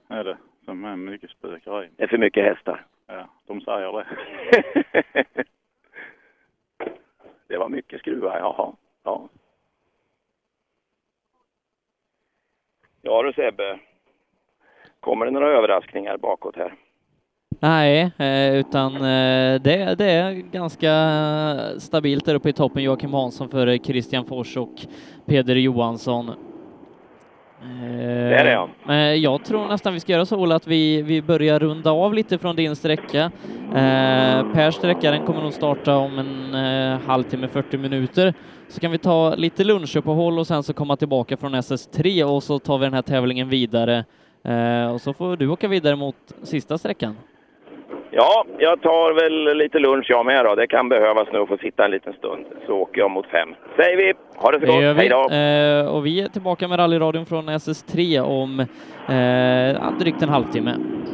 är det som är mycket spökeri.
Det är för mycket hästar.
Ja, de säger det.
det var mycket skruvar, jaha. Ja. Ja du Sebbe. Kommer det några överraskningar bakåt här?
Nej, eh, utan eh, det, det är ganska stabilt där uppe i toppen. Joakim Hansson före Christian Fors och Peder Johansson.
Det är det, ja.
Eh, Jag tror nästan vi ska göra så Ola att vi, vi börjar runda av lite från din sträcka. Eh, per sträcka, den kommer nog starta om en eh, halvtimme, 40 minuter. Så kan vi ta lite lunchuppehåll och sen så komma tillbaka från SS3 och så tar vi den här tävlingen vidare. Eh, och så får du åka vidare mot sista sträckan.
Ja, jag tar väl lite lunch jag med då. Det kan behövas nu att få sitta en liten stund. Så åker jag mot fem. Säger vi! Ha det så
Det gör
gott!
vi.
Hej då!
Eh, och vi är tillbaka med rallyradion från SS3 om eh, drygt en halvtimme.